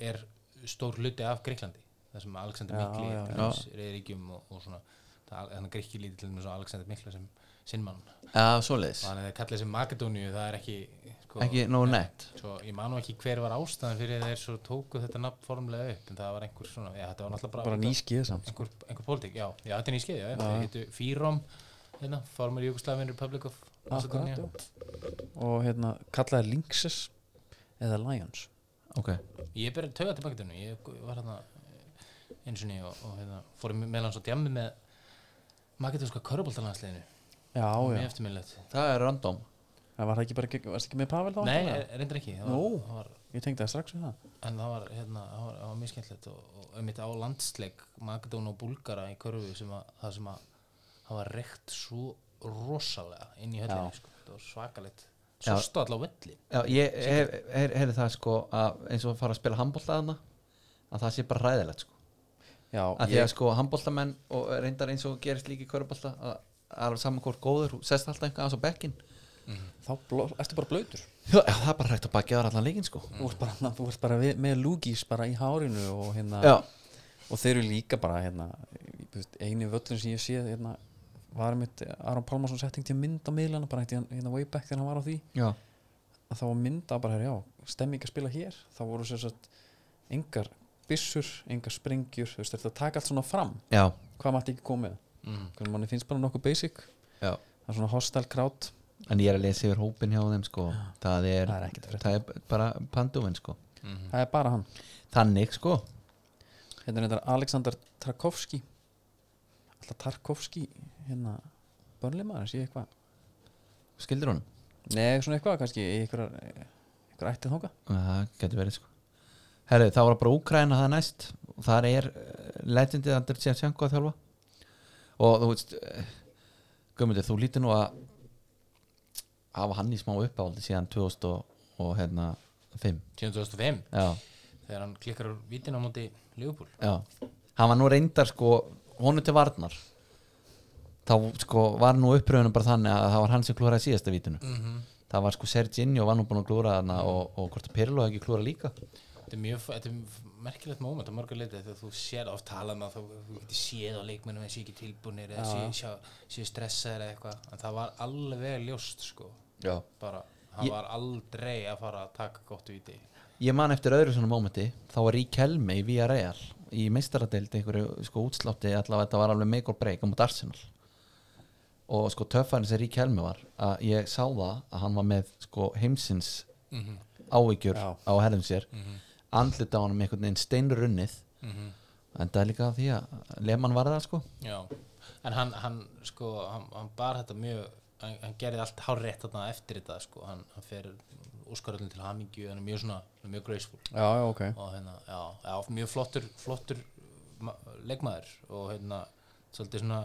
[SPEAKER 3] er stór hluti af Gríklandi það sem Alexander
[SPEAKER 1] Já,
[SPEAKER 3] Mikli
[SPEAKER 1] já,
[SPEAKER 3] er
[SPEAKER 2] já.
[SPEAKER 3] hans reyðríkjum og, og svona þannig að gríkki lítið til þess að Alexander Mikla sem sinnmann og
[SPEAKER 2] já, svoleiðis,
[SPEAKER 3] þannig að þau kallir sig Makedóniu það er ekki sko,
[SPEAKER 2] ekki nóg nett
[SPEAKER 3] svo ég manu ekki hver var ástæðan fyrir þeir svo tóku þetta nafn formlega upp en það var einhver svona, já þetta var náttúrulega bara,
[SPEAKER 1] bara nýskið samt
[SPEAKER 3] einhver, einhver pólitík, já, já þetta er nýskið já, já. það heitu FIROM hérna, Former Yugoslavian Republic of Macedonia
[SPEAKER 1] Akkurat, já. og hérna kallaði Lynxes eða Lions
[SPEAKER 2] ok,
[SPEAKER 3] ég byrja að tauga til Makedónu ég var hérna eins og nýja og, og hérna, fór meðlan svo djammi með makedónska köruboltalandsliðinu
[SPEAKER 1] já, já,
[SPEAKER 3] mjög eftirminnilegt
[SPEAKER 2] það er random
[SPEAKER 1] það var það ekki bara gegn- varstu ekki með Pavel þá?
[SPEAKER 3] nei,
[SPEAKER 1] væntanlega?
[SPEAKER 3] er- reyndar ekki það
[SPEAKER 1] Nú.
[SPEAKER 3] var, það var,
[SPEAKER 1] ég tengdi það strax við það
[SPEAKER 3] en það var, hérna, það var, það var mjög skemmtilegt og, og einmitt á landsleik Makedón og Búlgara í körfu sem að, það sem að það var reykt svo rosalega inn í höllinu sko. það var svakalegt svo
[SPEAKER 2] Já.
[SPEAKER 3] stóð allá velli
[SPEAKER 2] Já, ég hef, hef, hef það sko að eins og að fara að spila handbóltaðana að það sé bara hræðilegt sko
[SPEAKER 1] já,
[SPEAKER 2] að því að
[SPEAKER 1] ég,
[SPEAKER 2] sko handbóltamenn og reyndar eins og gerist líka í körbólta að að alveg saman hvort góður, þú sest alltaf einhvern aðeins á bekkin
[SPEAKER 1] þá bló, ertu bara blöytur
[SPEAKER 2] Já, já, það er bara hrægt að baki ára allan leikinn sko
[SPEAKER 1] þú ert bara, þú ert bara við, með lúgís bara í hárinu og hérna
[SPEAKER 2] Já,
[SPEAKER 1] og þeir eru líka bara hérna, ég- þú veist, eini völlin sem ég sé hérna, var mitt Aron Pálmarsson setting til mynd á miðlana bara hérna, hérna way back þegar hann var á því
[SPEAKER 2] já,
[SPEAKER 1] að þá var mynd að bara, herra, já, stemming að spila hér þá voru sem sagt engar byssur, engar sprengjur þú veist, þetta taka allt svona fram,
[SPEAKER 2] já,
[SPEAKER 1] hvað maður ekki komið
[SPEAKER 3] mm.
[SPEAKER 1] hvernig manni finnst bara nokkuð basic
[SPEAKER 2] já
[SPEAKER 1] það er svona hostile crowd
[SPEAKER 2] En ég er að lesa yfir hópin hjá þeim sko Það er,
[SPEAKER 1] Það er ekkert að frétta.
[SPEAKER 2] það er bara pandúminn sko
[SPEAKER 3] Mhm.
[SPEAKER 1] það er bara hann,
[SPEAKER 2] Þannig sko
[SPEAKER 1] hérna er þetta Alexander Tarkovski alltaf Tarkovski hérna, börnleimaður, sé ég eitthvað
[SPEAKER 2] Skildir honum?
[SPEAKER 1] Nei, svona eitthvað kannski í einhverjar einhverjar ættið þóka
[SPEAKER 2] Það getur verið sko Herri, það var bara Úkraina það næst og þar er uh, legendið Andr Tjertjenko að þjálfa og þú veist uh, Guðmundur, þú lítur nú að hafa hann í smá uppáhaldi síðan 2000 og, og hérna 5
[SPEAKER 3] 2005
[SPEAKER 2] já,
[SPEAKER 3] þegar hann klikkar úr vítin á móti Liverpool
[SPEAKER 2] já hann var nú reyndar sko honum til varnar þá sko var nú uppröðunum bara þannig að það var hann sem klúraði síðasta vítinu
[SPEAKER 3] -hmm.
[SPEAKER 2] það var sko Serginho var nú búin að klúra þarna og, og hvort að Pirlo hefði ekki klúra líka
[SPEAKER 3] þetta er mjög þetta er merkilegt moment á mörgur leiti þegar þú sér oft talað með að þú, þú getur séð á leikmennum eða sé ekki tilbúinir eða sé, sjá, sé stressaðir eða eitthvað en það var alveg ljóst sko
[SPEAKER 2] já
[SPEAKER 3] bara, hann
[SPEAKER 2] Ég-
[SPEAKER 3] var aldrei að fara að taka gott víti
[SPEAKER 2] Ég man eftir öðru svona mómenti þá var í Kelmi í Villarreal í meistaradeildi einhverju sko útslátti allavega þetta var alveg make or break á múti Arsenal og sko töffarinn sem í Kelmi var að ég sá það að hann var með sko heimsins áhyggjur
[SPEAKER 1] Já.
[SPEAKER 2] á herðum sér mm á hann með einhvern veginn steinrunnið en það er líka á því að Lehmann var það sko
[SPEAKER 3] já en hann, hann sko hann, hann bar þetta mjög hann, hann gerði allt hár rétt þarna eftir þetta sko hann, hann fer úskaröldin til hamingju hann er mjög svona, hann er mjög graceful
[SPEAKER 1] Já, já, ok
[SPEAKER 3] og hérna, já, já mjög flottur, flottur ma- leikmaður og hérna, svolítið svona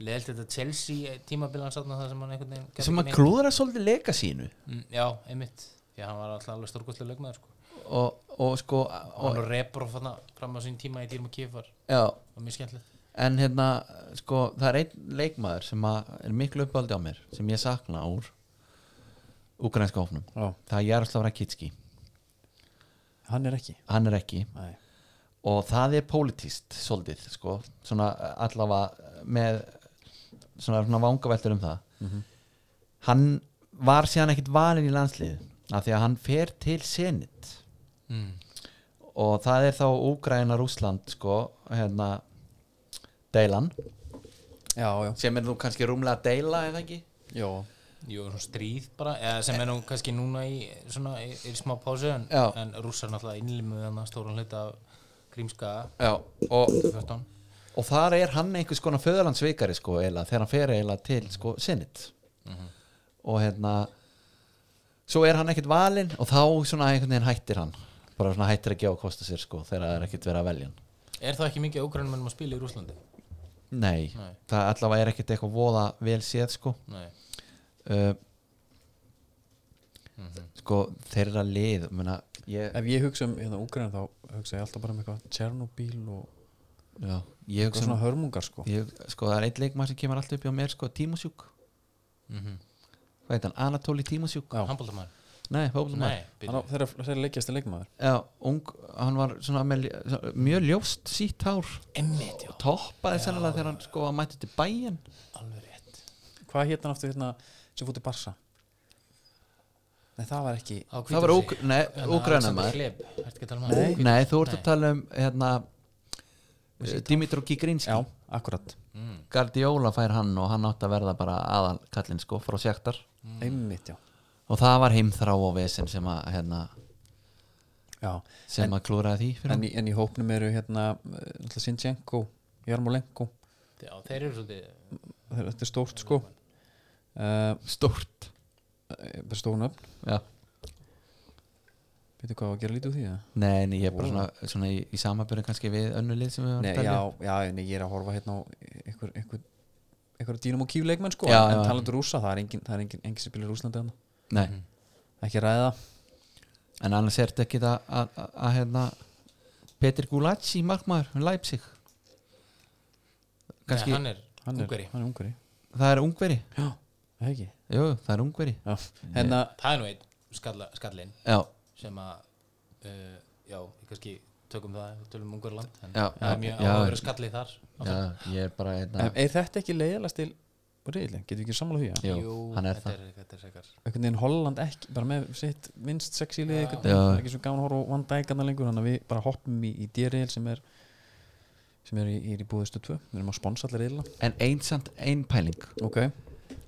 [SPEAKER 3] leðilt þetta Chelsea tímabilan satna það sem hann einhvern veginn gerði
[SPEAKER 2] sem að
[SPEAKER 3] ekki neitt.
[SPEAKER 2] klúðra svolítið leika sínu
[SPEAKER 3] Mm, Já, einmitt, já, hann var alltaf alveg stórkostlega leikmaður sko.
[SPEAKER 2] og, og sko
[SPEAKER 3] og hann og Rebrov þarna fram á sín tíma í Dýrma Kif var,
[SPEAKER 2] já,
[SPEAKER 3] var mjög skemmtilegt
[SPEAKER 2] En hérna, sko, það er einn leikmaður sem að er miklu uppaldi á mér sem ég sakna úr ukrainska hófnum.
[SPEAKER 1] já.
[SPEAKER 2] Það er Jaroslav Rakitski.
[SPEAKER 1] Hann er ekki
[SPEAKER 2] Hann er ekki
[SPEAKER 1] Nei.
[SPEAKER 2] og það er pólitíst svolítið, sko, svona eh, allavega með svona, svona vangaveltur um það. Hann var síðan ekkit valinn í landslið af því að hann fer til senit
[SPEAKER 3] mm.
[SPEAKER 2] og það er þá Úgræna-Rúsland, sko, hérna, deilan
[SPEAKER 1] Já, já,
[SPEAKER 2] sem er nú kannski rúmlega að deila, eða ekki?
[SPEAKER 1] já
[SPEAKER 3] Jú, svona stríð bara, eða sem er nú kannski núna í, svona, í, í smá pásu en,
[SPEAKER 2] Já.
[SPEAKER 3] en rússar náttúrulega innlimuð þannig stóran hluta af Krímska
[SPEAKER 2] já, og,
[SPEAKER 3] 14
[SPEAKER 2] og þar er hann einhvers konar föðalandsvikari sko eiginlega þegar hann fer eiginlega til sko sinnit
[SPEAKER 1] Mhm.
[SPEAKER 2] og hérna svo er hann ekkert valinn og þá svona einhvern veginn hættir hann bara svona hættir að gefa og kosta sér sko þegar það er ekkert verið að velja hann
[SPEAKER 3] Er það ekki mikið ógrænum ennum að spila í Rúslandi?
[SPEAKER 2] nei,
[SPEAKER 3] Nei.
[SPEAKER 2] það allavega er ekkert eitthvað voða vel séð sko
[SPEAKER 3] Nei
[SPEAKER 2] uh,
[SPEAKER 3] Mhm.
[SPEAKER 2] sko þeirra lið mena, ég,
[SPEAKER 1] ef ég hugsa um hérna Úgræn þá hugsa ég alltaf bara um eitthvað Tjernobyl og
[SPEAKER 2] já, ég
[SPEAKER 1] eitthvað
[SPEAKER 2] hugsa um
[SPEAKER 1] svona hörmungar sko
[SPEAKER 2] ég, sko það er einn leikmað sem kemur alltaf upp hjá mér sko tímusjúk
[SPEAKER 3] mm
[SPEAKER 1] Mhm.
[SPEAKER 3] -hmm.
[SPEAKER 2] hvað heit hann, Anatoly Tímusjúk
[SPEAKER 1] Já.
[SPEAKER 3] Handbóltamæður?
[SPEAKER 2] nei, hóflumar
[SPEAKER 3] Nei,
[SPEAKER 1] Hann á-
[SPEAKER 3] byrju
[SPEAKER 1] þeirra þeirra leggjast leikmaður
[SPEAKER 2] Já, ung, hann var svona með, svona mjög ljóst sítt hár
[SPEAKER 3] Emmitt, já,
[SPEAKER 2] toppaði sennilega þegar hann sko að mæti til bæin
[SPEAKER 3] alveg rétt
[SPEAKER 1] hvað hétt hann aftur hérna sem fótti Barsa nei það var ekki
[SPEAKER 3] Á
[SPEAKER 2] það var
[SPEAKER 3] Hvítrússi.
[SPEAKER 2] úk, nei,
[SPEAKER 3] En
[SPEAKER 2] úgræna
[SPEAKER 3] Alexander
[SPEAKER 2] maður
[SPEAKER 3] Kleb, ertu ekki að tala um
[SPEAKER 1] Nei.
[SPEAKER 3] hann?
[SPEAKER 2] nei, þú ert að
[SPEAKER 3] Nei.
[SPEAKER 2] tala um hérna Dimitro Gigrinski
[SPEAKER 1] já, akkurat,
[SPEAKER 3] Mm.
[SPEAKER 2] Guardiola fær hann og hann átti að verða bara aðal kallinn sko frá sjaktar
[SPEAKER 1] Mm. einmitt já
[SPEAKER 2] og það var heimþrá og vesen sem að hérna,
[SPEAKER 1] já,
[SPEAKER 2] sem að klúraði því fyrir
[SPEAKER 1] en
[SPEAKER 2] hann
[SPEAKER 1] í, en í hópnum eru hérna Sinchenko, Jarmolenko
[SPEAKER 3] Já, þeir eru svolítið
[SPEAKER 1] þetta er stórt sko uh,
[SPEAKER 2] stórt
[SPEAKER 1] stóðun upp,
[SPEAKER 2] já.
[SPEAKER 1] veitu hvað á að gera lítið úr því eða?
[SPEAKER 2] nei, en ég er bara svona, svona í, í samabjörn kannski við önnulið sem við varum
[SPEAKER 1] Nei,
[SPEAKER 2] að tala
[SPEAKER 1] já,
[SPEAKER 2] um.
[SPEAKER 1] já, nei, ég er að horfa hérna á einhver, einhver, einhver dýnum og kýfleikmenn sko,
[SPEAKER 2] Já,
[SPEAKER 1] en
[SPEAKER 2] já.
[SPEAKER 1] talandur rúsa það er engin, það er engin, engin sem byrjar Rúslandi hann
[SPEAKER 2] nei
[SPEAKER 1] ekki ræða,
[SPEAKER 2] En annars er þetta ekki að- að að- að hérna Petir Gulacsi markmaður, hann Leipzig
[SPEAKER 3] Nei,
[SPEAKER 2] Kanski,
[SPEAKER 3] hann er
[SPEAKER 1] hann er
[SPEAKER 3] Ungveri.
[SPEAKER 1] hann er ungari,
[SPEAKER 2] það er ungveri
[SPEAKER 1] já, það er ekki
[SPEAKER 2] Jú, það er ungveri
[SPEAKER 1] já, hérna,
[SPEAKER 3] Það er nú einn skalla, skallin
[SPEAKER 2] Já,
[SPEAKER 3] sem að uh, já, við kannski tökum það ef við tölum Ungarland en
[SPEAKER 2] Já,
[SPEAKER 3] það
[SPEAKER 2] já,
[SPEAKER 3] er mjög sko.
[SPEAKER 2] já.
[SPEAKER 3] áhugaverður skalli þar áfram.
[SPEAKER 2] já, ég er bara
[SPEAKER 1] en
[SPEAKER 2] hérna
[SPEAKER 1] er þetta ekki leiðilegast til reyðileg, getum við ekki sammála því já?
[SPEAKER 2] Jú, hann er
[SPEAKER 3] þetta
[SPEAKER 2] það
[SPEAKER 3] er, þetta er sekar
[SPEAKER 1] einhvern veginn Holland ekki, bara með sitt minnst sexy lið, einhvern
[SPEAKER 2] Já.
[SPEAKER 1] veginn, það er ekki svo gaman að horfa á Van Dijk annað lengur, þannig að við bara hoppum í, í D-reil sem er sem er í, er í búðistu 2, við erum að sponsa allir reyðila
[SPEAKER 2] En einsamt ein pæling
[SPEAKER 1] ok,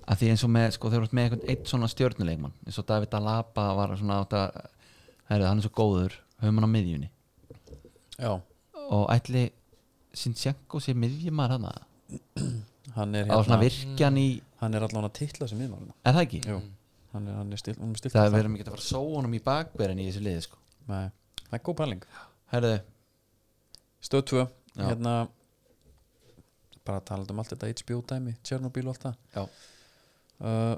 [SPEAKER 2] að því eins og með, sko, þeir eru með einhvern eitt svona stjörnuleikmann eins og David Alaba var svona átt að herri, hann er svo góður, höfum hann á miðjunni
[SPEAKER 1] já,
[SPEAKER 2] og ætli Sinchenko sé miðjumar hann að
[SPEAKER 1] hann er hérna-
[SPEAKER 2] á svona
[SPEAKER 3] hérna-
[SPEAKER 2] virkjan í,
[SPEAKER 1] hann er allan að titla sem viðmálina
[SPEAKER 2] er það
[SPEAKER 3] Mm.
[SPEAKER 2] ekki?
[SPEAKER 1] Jú, hann er, hann er stil, hún er stilt
[SPEAKER 2] það er verið mikið að fara að sóa honum í bakberin í þessu liði sko
[SPEAKER 1] Nei, það er góð pæling
[SPEAKER 2] Herðu,
[SPEAKER 1] Stöð 2,
[SPEAKER 2] Já.
[SPEAKER 1] hérna bara að tala um allt þetta HBO dæmi, Tjernobyl og allt það
[SPEAKER 2] Já.
[SPEAKER 1] uh,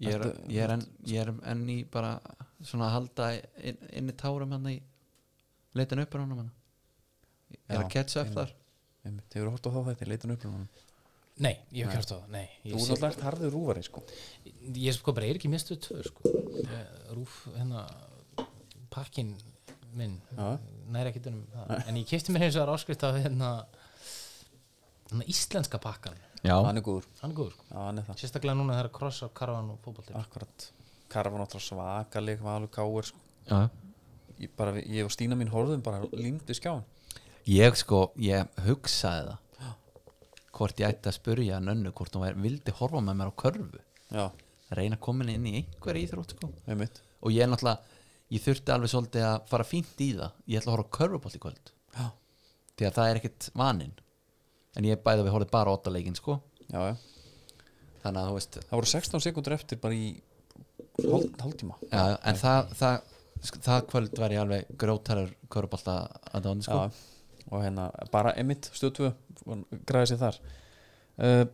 [SPEAKER 2] ég er,
[SPEAKER 1] Ertu-
[SPEAKER 2] ég er, enn, ég er enn í bara svona að halda inn, inn í tárum hann í leitin upp á hann hann er
[SPEAKER 1] Já,
[SPEAKER 2] að catch up
[SPEAKER 1] einmitt.
[SPEAKER 2] þar
[SPEAKER 1] einmitt, Þið eru hótt á þá þetta, leitin upp um honum
[SPEAKER 3] Nei, ég hef ekki hægt á það Nei,
[SPEAKER 1] Þú
[SPEAKER 3] ég,
[SPEAKER 1] er
[SPEAKER 3] sé,
[SPEAKER 1] alltaf harður rúvari sko
[SPEAKER 3] ég sko bara er ekki mistuð tvö sko. Ég- Rúf, hérna pakkin minn
[SPEAKER 1] Já.
[SPEAKER 3] næri ekki dunum það en ég kefti mér eins og það er áskrift af hérna, hérna íslenska pakkan
[SPEAKER 1] Hann er góður,
[SPEAKER 3] hann er góður sko
[SPEAKER 1] já hann er það
[SPEAKER 3] Sérstaklega núna þegar krossar, karvan og fótbolti
[SPEAKER 1] Akkurat, Karfa náttúrulega svakaleg valur káir sko
[SPEAKER 2] já.
[SPEAKER 1] Ég, bara, við- ég og Stína mín horfðum bara límt við skjáin
[SPEAKER 2] ég sko, ég hugsaði það hvort ég ætti að spurja nönnu hvort hún væri, vildi horfa með mér á körfu
[SPEAKER 1] Já,
[SPEAKER 2] reyna að koma henni inn í einhver íþrótt sko
[SPEAKER 1] einmitt
[SPEAKER 2] og ég er náttúrulega, ég þurfti alveg svolítið að fara fínt í það, ég ætla að horfa á körfubólt í kvöld
[SPEAKER 1] Já,
[SPEAKER 2] því að það er ekkert vaninn en ég bæði að við horfið bara óttaleikin sko
[SPEAKER 1] já, já
[SPEAKER 2] þannig að þú veist já,
[SPEAKER 1] Það voru 16 sekundur eftir bara í hál- hálftíma
[SPEAKER 2] já, en það, það, sk- það kvöld var ég alveg grótarur körubalta að dáni sko
[SPEAKER 1] Já, og hérna bara emitt stöðtöð græði sér þar uh,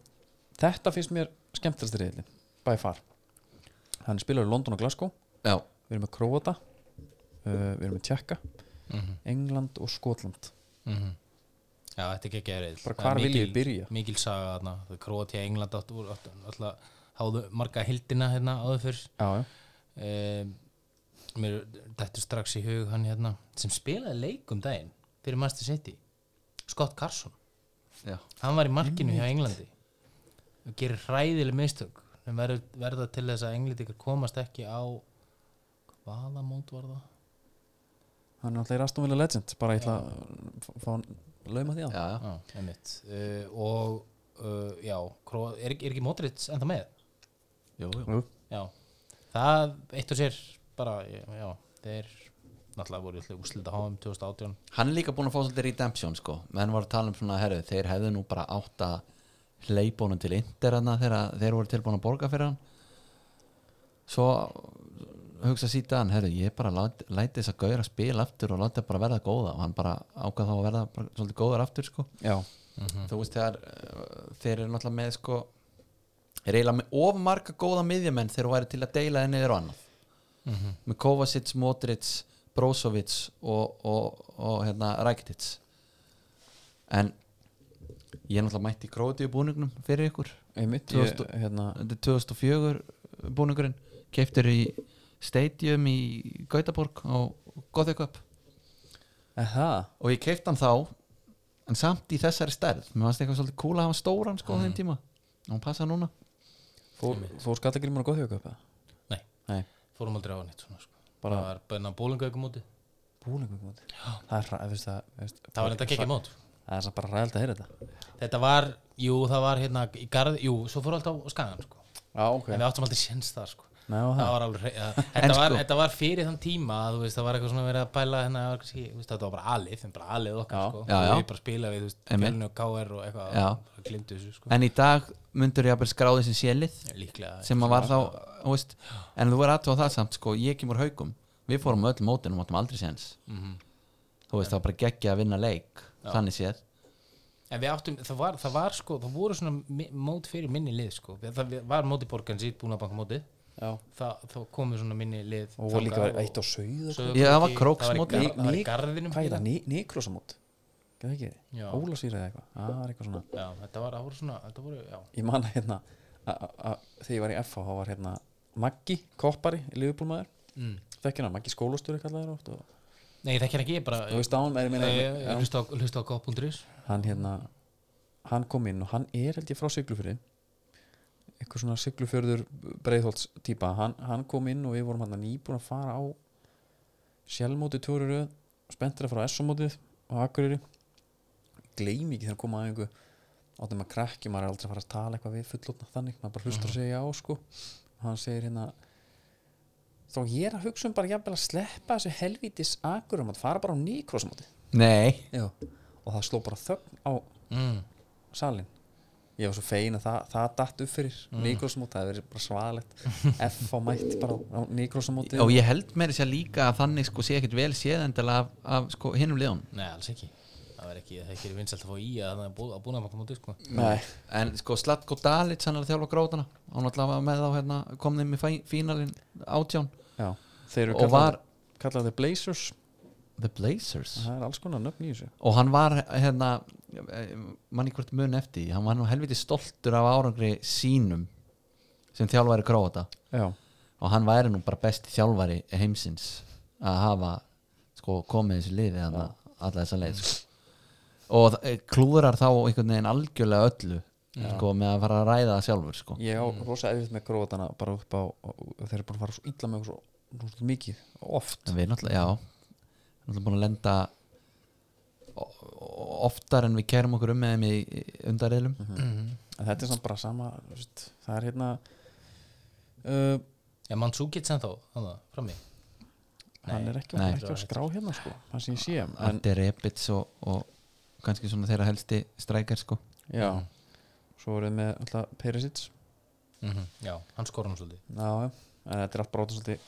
[SPEAKER 1] þetta finnst mér skemmtilegst reyðli by far hann er spilaður í London og Glasgow
[SPEAKER 2] já,
[SPEAKER 1] við erum með Króata uh, við erum með Tjekka, England og Skotland
[SPEAKER 3] Já, þetta er ekki erið
[SPEAKER 1] Bara hvar viljið þið byrja?
[SPEAKER 3] Mikil saga þarna, Króatía, England áttu úr alltaf háðu marga hildina hérna áður fyrr
[SPEAKER 1] já, já,
[SPEAKER 3] um, Mér dættu strax í hug hann hérna sem spilaði leik um daginn fyrir Master City Scott Carson,
[SPEAKER 2] já.
[SPEAKER 3] hann var í markinu hjá Englandi og gerir hræðileg mistök sem verður- verða til þess að englendingar komast ekki á hvaða mót var það?
[SPEAKER 1] hann er alltaf í Rastum Villa Legend bara ég ætla að fá- fá hann lauma því að
[SPEAKER 2] já.
[SPEAKER 3] Já, einmitt uh, og uh, já, Kró, er, ekki- er ekki Modric enda með?
[SPEAKER 2] jú, jú.
[SPEAKER 1] Jú.
[SPEAKER 3] já, það eitt og sér bara, já, þeir náttúrulega voru alltaf úrslita HM 2018
[SPEAKER 2] hann er líka búin að fá svolítið redemption sko menn var að tala um svona, herru, þeir hefðu nú bara átt að hleypa honum til Inter þarna þegar þeir voru tilbúin að borga fyrir hann svo hugsa síðan, herru, ég bara lát, læti þess að gauðra spil aftur og láti það bara verða góða og hann bara ákvað þá að verða bara, svolítið góður aftur sko
[SPEAKER 1] já,
[SPEAKER 2] þú veist þegar uh, þeir eru náttúrulega með sko er eiginlega með of marga góða miðjumenn þegar þú væri til að deila þeir niður og annað með Kovacic, Modric, Brozovic og, og, og hérna Rakitic en ég er náttúrulega mætti í Króatíu búningnum fyrir ykkur
[SPEAKER 1] einmitt ég,
[SPEAKER 2] 2000
[SPEAKER 1] hérna,
[SPEAKER 2] þetta er 2004 búningurinn keiftur í stadium í Gautaborg og gott eitthvað
[SPEAKER 1] aha,
[SPEAKER 2] og ég keifti hann þá en samt í þessari stærð mér fannst eitthvað svolítið cool að hafa stóran sko á þeim tíma og hann passa núna
[SPEAKER 1] fór, fór skallagrimur að góðhjóka upp eða?
[SPEAKER 3] nei,
[SPEAKER 1] nei,
[SPEAKER 3] fórum aldrei á nýtt svona, sko.
[SPEAKER 1] Bara-
[SPEAKER 3] það var bæna bólingaugum úti
[SPEAKER 1] búlingum móti það er ræð, veist það veist,
[SPEAKER 3] það var þetta ekki mót
[SPEAKER 1] það er samt bara ræðilt að heyra þetta
[SPEAKER 3] þetta var, jú, það var hérna í garð, jú, svo fór alltaf á skagan sko.
[SPEAKER 1] já, ok,
[SPEAKER 3] en við áttum aldrei séns þar sko.
[SPEAKER 1] Ná,
[SPEAKER 3] það
[SPEAKER 1] það.
[SPEAKER 3] var alveg, ja, þetta,
[SPEAKER 2] Ah. En
[SPEAKER 3] var,
[SPEAKER 2] sko-
[SPEAKER 3] þetta var fyrir þann tíma að, þú veist, það var eitthvað svona verið að pæla hérna, var kannski, þú veist, þetta var bara alið, en bara alið okkar
[SPEAKER 1] Já,
[SPEAKER 3] sko.
[SPEAKER 2] já, já.
[SPEAKER 3] við bara spila við, þú veist,
[SPEAKER 2] Einmitt.
[SPEAKER 3] fjölni og KR og eitthvað,
[SPEAKER 2] Já.
[SPEAKER 3] bara glindu þessu sko.
[SPEAKER 2] en í dag myndur ég að byrja skráði sem sélið
[SPEAKER 3] líklega,
[SPEAKER 2] sem að var þá þú veist, en þú verður aðtóða það samt sko ég kemur haugum við fórum á öll mótin og máttum aldrei séns þú veist það var bara geggja að vinna leik þannig séð
[SPEAKER 3] en við áttum, það var, það var sko, það voru svona mi- mót fyrir minni lið sko. Við- það var móti borgarn sýtt búin að banka móti
[SPEAKER 1] já
[SPEAKER 3] það, það komu svona minni lið
[SPEAKER 1] og voru líka
[SPEAKER 3] þangað
[SPEAKER 1] eitt á sauð
[SPEAKER 3] Sauðárkróki,
[SPEAKER 2] Já, það var
[SPEAKER 3] í
[SPEAKER 2] Króksmót.
[SPEAKER 3] gar- það var í
[SPEAKER 1] Ný-
[SPEAKER 3] garðinum
[SPEAKER 1] hvað er það, Nikrosamót Gæði ekki,
[SPEAKER 3] Já.
[SPEAKER 1] Ólasýra eða eitthvað það var eitthvað svona
[SPEAKER 3] Já, þetta var, það voru svona, þetta voru, já
[SPEAKER 1] ég man að hérna a- a- a- þegar ég var í FH þá var hérna Maggi, koppari, liðbúlmaður
[SPEAKER 3] mm.
[SPEAKER 1] þekkir hann, Maggi skólastjóri kallaði þér oft og
[SPEAKER 3] Nei, það kynna ekki, ég bara
[SPEAKER 1] þú veist á hann, er ég meina
[SPEAKER 3] Ég
[SPEAKER 1] já,
[SPEAKER 3] hlusta á, hlusta á gop.is
[SPEAKER 1] hann hérna, hann kom inn og hann er held ég frá Siglufjörði eitthvað svona Siglufjörður breiðholts típa, hann, hann kom inn og við vorum hann nýbúin að fara á sjálfmóti tóruru spenntir að fara á S-mótið á Akureyri gleym ekki þegar hann kom að einhver áttum að krakki, maður er aldrei að fara að tala eitthvað við fullotna þannig, maður bara hlustar að segja á sko og hann segir hérna þá ég er að hugsa um bara jafnvel að sleppa þessu helvítis Akurum að fara bara á nýkrosamótið
[SPEAKER 2] nei
[SPEAKER 1] Já. og það sló bara þögn á
[SPEAKER 3] mm.
[SPEAKER 1] salin ég var svo fegin að það, það datt upp fyrir mm. Nikrosamóti, það hefði verið bara <laughs> svalegt F á mætt bara á Nikrosamóti
[SPEAKER 2] og ég held meiri sér líka að þannig sko sé ekkert vel séð endilega af, af sko hinnum liðun
[SPEAKER 3] Nei, alls ekki Það var ekki, það er ekki vinsælt að fá í að það er búið að búna að maður móti sko.
[SPEAKER 1] Nei,
[SPEAKER 2] en sko Slatko Dalic hann er að þjálfa grótana hann alltaf var með þá hérna kom þeim í fæ- fínalinn átján
[SPEAKER 1] já, þeir eru
[SPEAKER 2] og var
[SPEAKER 1] kallaði, kallaði Blazers
[SPEAKER 2] The Blazers
[SPEAKER 1] það er alls konar nöfn í þessu
[SPEAKER 2] og hann var hérna eh, manni hvort mun eftir því, hann var nú helviti stoltur af árangri sínum sem þjálfari gróta
[SPEAKER 1] já,
[SPEAKER 2] og hann væri nú bara besti þjálfari heimsins að hafa sko komið þessu liði hann alla þessa leið sko. og þ- eh, klúðrar þá einhvern veginn algjörlega öllu sko með að fara að ræða það sjálfur sko
[SPEAKER 1] ég á rosa erfitt með gróðana bara upp á, og þeir eru bara að fara svo illa með okkur svo, svo mikið, oft
[SPEAKER 2] En við náttúrulega, já náttúrulega búin að lenda o- o- oftar en við kærum okkur um með þeim í undarriðlum
[SPEAKER 1] en þetta er samt bara sama þú veist, það er hérna uh,
[SPEAKER 3] Já, mann svo gett sem þá, þannig að, frammi
[SPEAKER 1] hann er ekki,
[SPEAKER 2] Nei.
[SPEAKER 1] ekki á skrá hérna sko, það sem ég sé en,
[SPEAKER 2] Andi Rebits og, og kannski svona þeirra helsti strækjar sko
[SPEAKER 1] Já Svo voruð með alltaf Perisic
[SPEAKER 3] Já, hann skora hann svolítið
[SPEAKER 1] Já, já En þetta er allt bróta svolítið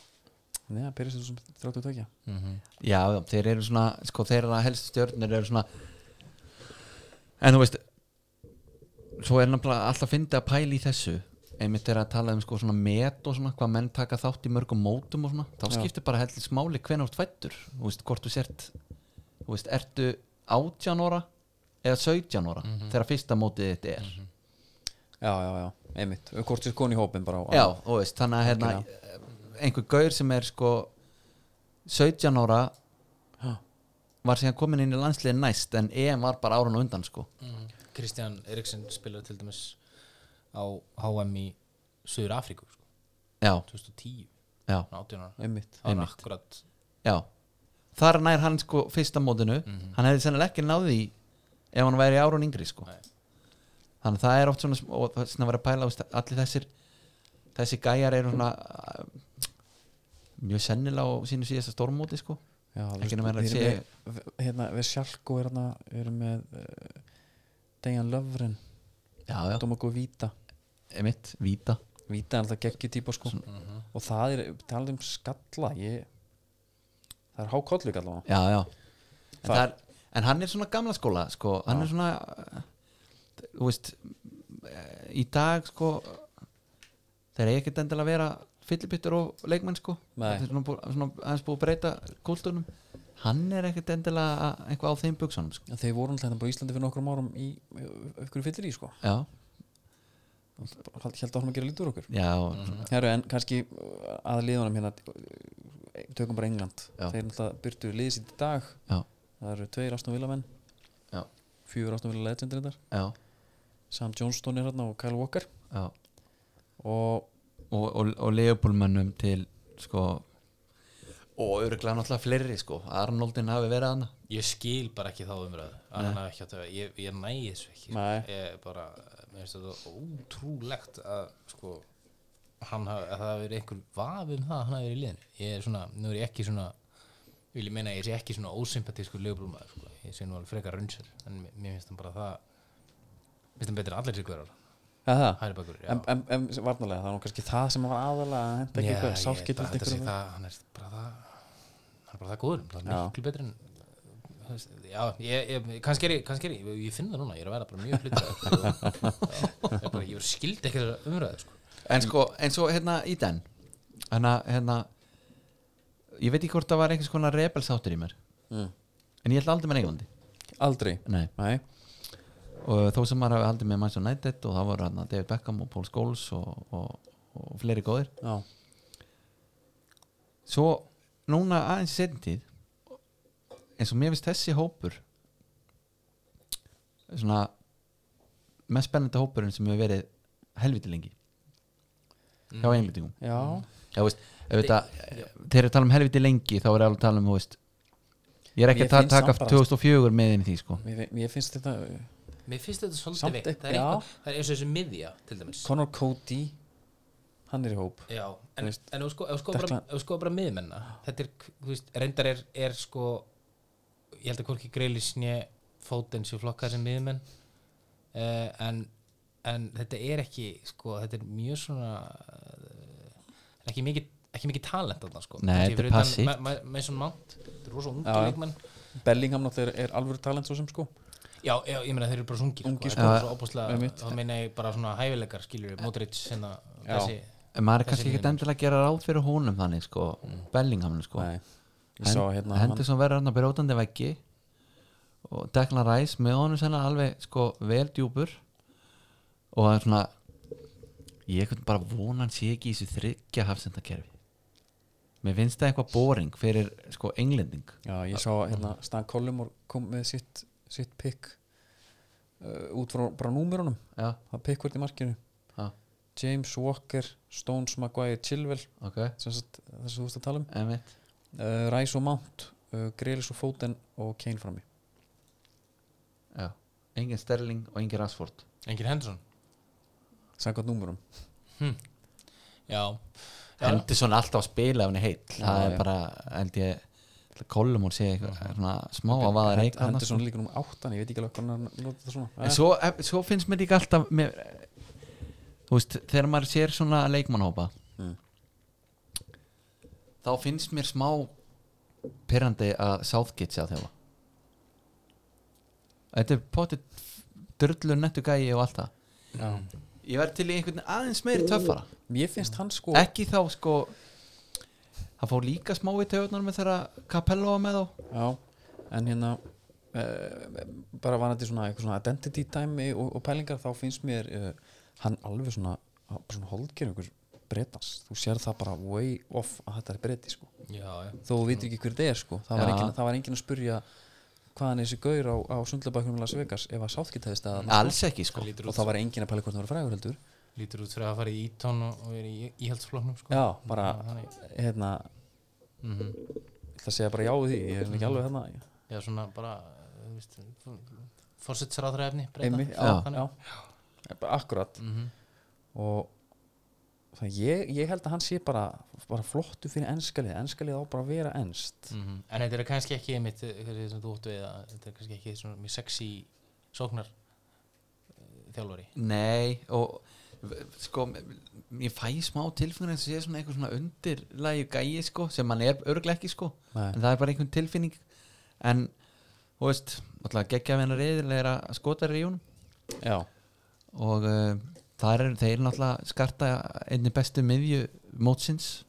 [SPEAKER 1] Neða, Perisic sem 30 tökja
[SPEAKER 2] Já, já, þeir eru svona, sko þeirra helsti stjörnir eru svona En þú veist Svo er náttúrulega alltaf að fyndi að pæla í þessu einmitt er að tala um sko svona met og svona hvað menn taka þátt í mörgum mótum og svona þá
[SPEAKER 1] Já.
[SPEAKER 2] skiptir bara heldur smáli hvenær þú ert fættur þú veist hvort þú sért þú veist ertu 18 ára eða 17 ára þegar fyrsta mótið þitt er
[SPEAKER 1] Já, já, já, einmitt Hvort sér koni í hópin bara á
[SPEAKER 2] Já, þú veist, þannig að hérna, einhver gaur sem er sko 17 ára
[SPEAKER 1] Já.
[SPEAKER 2] var síðan komin inn í landsliðin næst en EM var bara árun og undan sko
[SPEAKER 3] Mhm. Kristján Eriksson spilaði til dæmis á HM í Suður Afríku sko,
[SPEAKER 2] Já,
[SPEAKER 3] 2010,
[SPEAKER 2] já,
[SPEAKER 3] hann 18 ára
[SPEAKER 1] Einmitt
[SPEAKER 3] Það var akkurat
[SPEAKER 2] já Þar nær hann sko fyrsta mótinu hann hefði sennilega ekki náði í ef hann væri árun yngri sko
[SPEAKER 3] Nei.
[SPEAKER 2] Þannig að það er oft svona sm- og það er svona að vera að pæla þú veist, allir þessir þessi gæjar eru svona uh, mjög sennilega á sínu síðasta stormóti sko
[SPEAKER 1] Já, þú
[SPEAKER 2] Ekki
[SPEAKER 1] veist,
[SPEAKER 2] nema að
[SPEAKER 1] við erum
[SPEAKER 2] sé-
[SPEAKER 1] með- við- hérna, við Sjalko er hérna við erum með uh, Dejan Löfren,
[SPEAKER 2] já, já,
[SPEAKER 1] Domagó Víta
[SPEAKER 2] emitt, víta
[SPEAKER 1] Víta er alltaf geggi típa sko og það er, talað um skalla ég, það er hákollug allavega
[SPEAKER 2] já, já. En,
[SPEAKER 1] Það-
[SPEAKER 2] það er, en hann er svona gamla skóla sko,
[SPEAKER 1] Já.
[SPEAKER 2] hann er svona eh, þú veist eh, í dag sko þeir eru ekkert endilega að vera fyllipyttur og leikmenn sko
[SPEAKER 1] Nei.
[SPEAKER 2] Það er svona, bú- svona, hans búið að breyta kúltunum hann er ekkert endilega að- eitthvað á þeim buksanum sko.
[SPEAKER 1] En þeir voru alltaf hérna bara á Íslandi fyrir nokkrum árum í ykkur fyllir í sko
[SPEAKER 2] já,
[SPEAKER 1] held að hann að gera lítur okkur
[SPEAKER 2] já,
[SPEAKER 1] Heru, en kannski uh, að liðunum hérna uh, tökum bara England
[SPEAKER 2] Já.
[SPEAKER 1] þeir náttúrulega byrtu liðið sitt í dag
[SPEAKER 2] já,
[SPEAKER 1] það eru tveir Aston Villa menn
[SPEAKER 2] Já.
[SPEAKER 1] fjögur Aston Villa legendir þetta
[SPEAKER 2] já,
[SPEAKER 1] Sam Johnston er hérna og Kyle Walker
[SPEAKER 2] já.
[SPEAKER 1] og
[SPEAKER 2] og, og, og leifbólmönnum til sko og öruglega náttúrulega fleiri sko Arnoldin hafi verið hana
[SPEAKER 3] ég skil bara ekki þá umræðu að hann hafi ekki átt að vera- ég, ég næði þessu ekki sko.
[SPEAKER 1] Nei.
[SPEAKER 3] ég bara, mér finnst þetta ótrúlegt að sko hann hafi, að það hafi verið einhver vaf um það að hann hafi verið í liðinu ég er svona, nú er ég ekki svona vil ég meina að ég sé ekki svona ósympatískur lögbólmaður sko, ég sé nú alveg frekar raunsel en mér, mér finnst hann bara það finnst hann betur en allir sér hverjar
[SPEAKER 1] ja, það,
[SPEAKER 3] hæri bakur, já
[SPEAKER 1] en, en, en varnalega það var nú kannski það sem var aðalega að henda ekki eitthvað
[SPEAKER 3] ég held
[SPEAKER 1] sálkitt
[SPEAKER 3] að þetta sé
[SPEAKER 1] eitthvað
[SPEAKER 3] það, hann er bara það hann er bara það góður,
[SPEAKER 1] Já.
[SPEAKER 3] það er miklu betri en þú veist, já, ég, ég, kannski er ég kannski er ég, ég finn það núna, ég er að vera bara mjög hlutur ég er skildi ekki þessar umræðu sko.
[SPEAKER 2] en sko, en svo hérna í den hérna, hérna ég veit ekki hvort það var einhvers konar rebelsáttur í mér
[SPEAKER 1] Mm.
[SPEAKER 2] en ég held aldrei með Englandi
[SPEAKER 1] aldrei
[SPEAKER 2] Nei.
[SPEAKER 1] Nei.
[SPEAKER 2] og þó sem maður hafi aldrei með Manchester United og það voru hérna David Beckham og Paul Scholes og, og, og fleiri góðir
[SPEAKER 1] Já.
[SPEAKER 2] svo núna aðeins setjum eins og mér finnst þessi hópur svona mest spennandi hópurinn sem hefur verið helviti lengi hjá englendingum
[SPEAKER 1] Já.
[SPEAKER 3] Mm.
[SPEAKER 2] Já, veist, auðvitað, þegar við tala um helviti lengi þá er alveg að tala um þú veist, ég er ekki
[SPEAKER 1] Mér
[SPEAKER 2] að ta-
[SPEAKER 1] finnst
[SPEAKER 2] taka
[SPEAKER 1] samt bara- Mm.
[SPEAKER 2] 2004 með inn í því sko.
[SPEAKER 1] Mér, mér finnst þetta uh,
[SPEAKER 3] mér finnst þetta
[SPEAKER 1] Samt
[SPEAKER 3] svolítið veikt
[SPEAKER 1] eitthvað-
[SPEAKER 3] það er,
[SPEAKER 1] já.
[SPEAKER 3] eitthvað, það er eins og þessi miðja til dæmis
[SPEAKER 1] Conor Cody hann er í hóp
[SPEAKER 3] já,
[SPEAKER 1] Þú
[SPEAKER 3] en,
[SPEAKER 1] veist,
[SPEAKER 3] en ef sko, ef sko, bara,
[SPEAKER 1] Declan-
[SPEAKER 3] ef sko bara miðmenna þetta er, þú veist, reyndar er, er sko ég held að hvorki greilisnje fótinn sem flokkar sem miðmenn uh, en, en þetta er ekki sko, þetta er mjög svona uh, ekki mikið ekki mikið talent þarna sko
[SPEAKER 2] Nei, þetta er passíft.
[SPEAKER 3] með svona mánt, þetta er rosa ungi
[SPEAKER 1] Já, já.
[SPEAKER 3] leikmenn
[SPEAKER 1] Bellingham náttúrulega er, er alvöru talent svo sem sko
[SPEAKER 3] já, já, ég meina þeir eru bara svo ungir
[SPEAKER 1] Ungir,
[SPEAKER 3] sko,
[SPEAKER 1] sko.
[SPEAKER 3] þetta er svo opaslega,
[SPEAKER 1] Einmitt.
[SPEAKER 3] þá meina ég bara svona hæfileikar skilur, Modric, hérna,
[SPEAKER 1] Já.
[SPEAKER 3] þessi
[SPEAKER 2] en maður er
[SPEAKER 3] Þessi
[SPEAKER 2] kannski ekkert
[SPEAKER 3] miðjumenn.
[SPEAKER 2] endilega að gera ráð fyrir honum þannig sko, Bellingham sko.
[SPEAKER 1] Mm. Nei. ég sá
[SPEAKER 2] Hend-
[SPEAKER 1] hérna hann-
[SPEAKER 2] Henderson verður hann að brjótandi veggi og Declan Rice með honum sennan alveg sko vel djúpur og það er svona ég einhvern bara vona hann sé ekki í þessu þryggja hafsendakerfi mér finnst það eitthvað boring fyrir sko englending
[SPEAKER 1] Já, ég sá hérna Stan Collumor kom með sitt, sitt pick uh, út frá bara númerunum
[SPEAKER 2] já,
[SPEAKER 1] það pick hvert í markinu
[SPEAKER 2] já,
[SPEAKER 1] James Walker, Stones, Maguire, Chilwell
[SPEAKER 2] ok
[SPEAKER 1] sem sagt, þess að þú veist að tala um
[SPEAKER 2] emitt,
[SPEAKER 1] uh, Rice og Mount, uh, Grealis og Foden og Kane frammi
[SPEAKER 2] já, engin Sterling og engin Rashford
[SPEAKER 3] Engin Henderson
[SPEAKER 1] samkvæmt númerum
[SPEAKER 3] já, Já.
[SPEAKER 2] Henderson alltaf að spila ef hann er heill
[SPEAKER 1] Já,
[SPEAKER 2] það
[SPEAKER 1] já.
[SPEAKER 2] er bara, held ég kollum hún sé eitthvað svona smá að vaða reik þarna,
[SPEAKER 1] Henderson er líka númer 8 en ég veit ekki alveg hvernig hann notar það svona
[SPEAKER 2] En
[SPEAKER 1] Eh,
[SPEAKER 2] svo, svo finnst mér líka alltaf mér, Þú veist, þegar maður sér svona leikmannhópa
[SPEAKER 1] Mm.
[SPEAKER 2] Þá finnst mér smá Pyrrandi að Southgate sé að þjófa Þetta er potið Dörlur nettu gæi og allt það
[SPEAKER 1] já.
[SPEAKER 2] Ég verð til í einhvern aðeins meiri töffara
[SPEAKER 1] Mér finnst hann sko
[SPEAKER 2] Ekki þá sko Það fór líka smá í töðunar með þeirra Capello var með þá
[SPEAKER 1] Já, en hérna uh, bara varandi svona eitthvað svona identity time og, og pælingar þá finnst mér uh, hann alveg svona, bara svona holdgerð einhver bretans, þú sér það bara way off að þetta er breti sko
[SPEAKER 3] já, já
[SPEAKER 1] þó þú vitur ekki hver það er sko það var,
[SPEAKER 2] Já.
[SPEAKER 1] engin, það var engin að spurja hvaðan þessi gaur á, á sundlabæknum Las Vegas ef að sáttkitt hefði staðan
[SPEAKER 2] Alls ekki sko
[SPEAKER 3] það lítur
[SPEAKER 1] og
[SPEAKER 3] út,
[SPEAKER 1] það var engin að pæla hvort það var frægur heldur
[SPEAKER 3] lítur út fyrir að fara í ítón og, og er í íhaldsfloknum sko.
[SPEAKER 1] Já, bara
[SPEAKER 3] þannig,
[SPEAKER 1] hérna
[SPEAKER 3] mm
[SPEAKER 1] það segja bara já við því, ég er ekki alveg hérna
[SPEAKER 3] já svona bara þú veist, fórsettsráðræfni
[SPEAKER 1] einmi, já, Mhm.
[SPEAKER 2] Já.
[SPEAKER 1] já, já. akkurat
[SPEAKER 3] Mm -hmm.
[SPEAKER 1] og það ég, ég held að hann sé bara, bara flottu fyrir enskalið enskalið á bara að vera enskt
[SPEAKER 3] Mhm. en þetta er kannski ekki mitt, sem þú óttu við að þetta er kannski ekki svona mjög sexy sóknar eh, þjálfari
[SPEAKER 2] Nei og v- sko, m- ég fæ smá tilfinningar sem sé svona eitthvað svona undirlægi gæi sko, sem hann er örglega ekki sko
[SPEAKER 1] Nei.
[SPEAKER 2] en það er bara einhvern tilfinning en, þú veist, alltaf geggja hennar reyðilega skotar í hún
[SPEAKER 1] já,
[SPEAKER 2] og uh, þar eru þeir náttúrulega skarta einni bestu miðju mótsins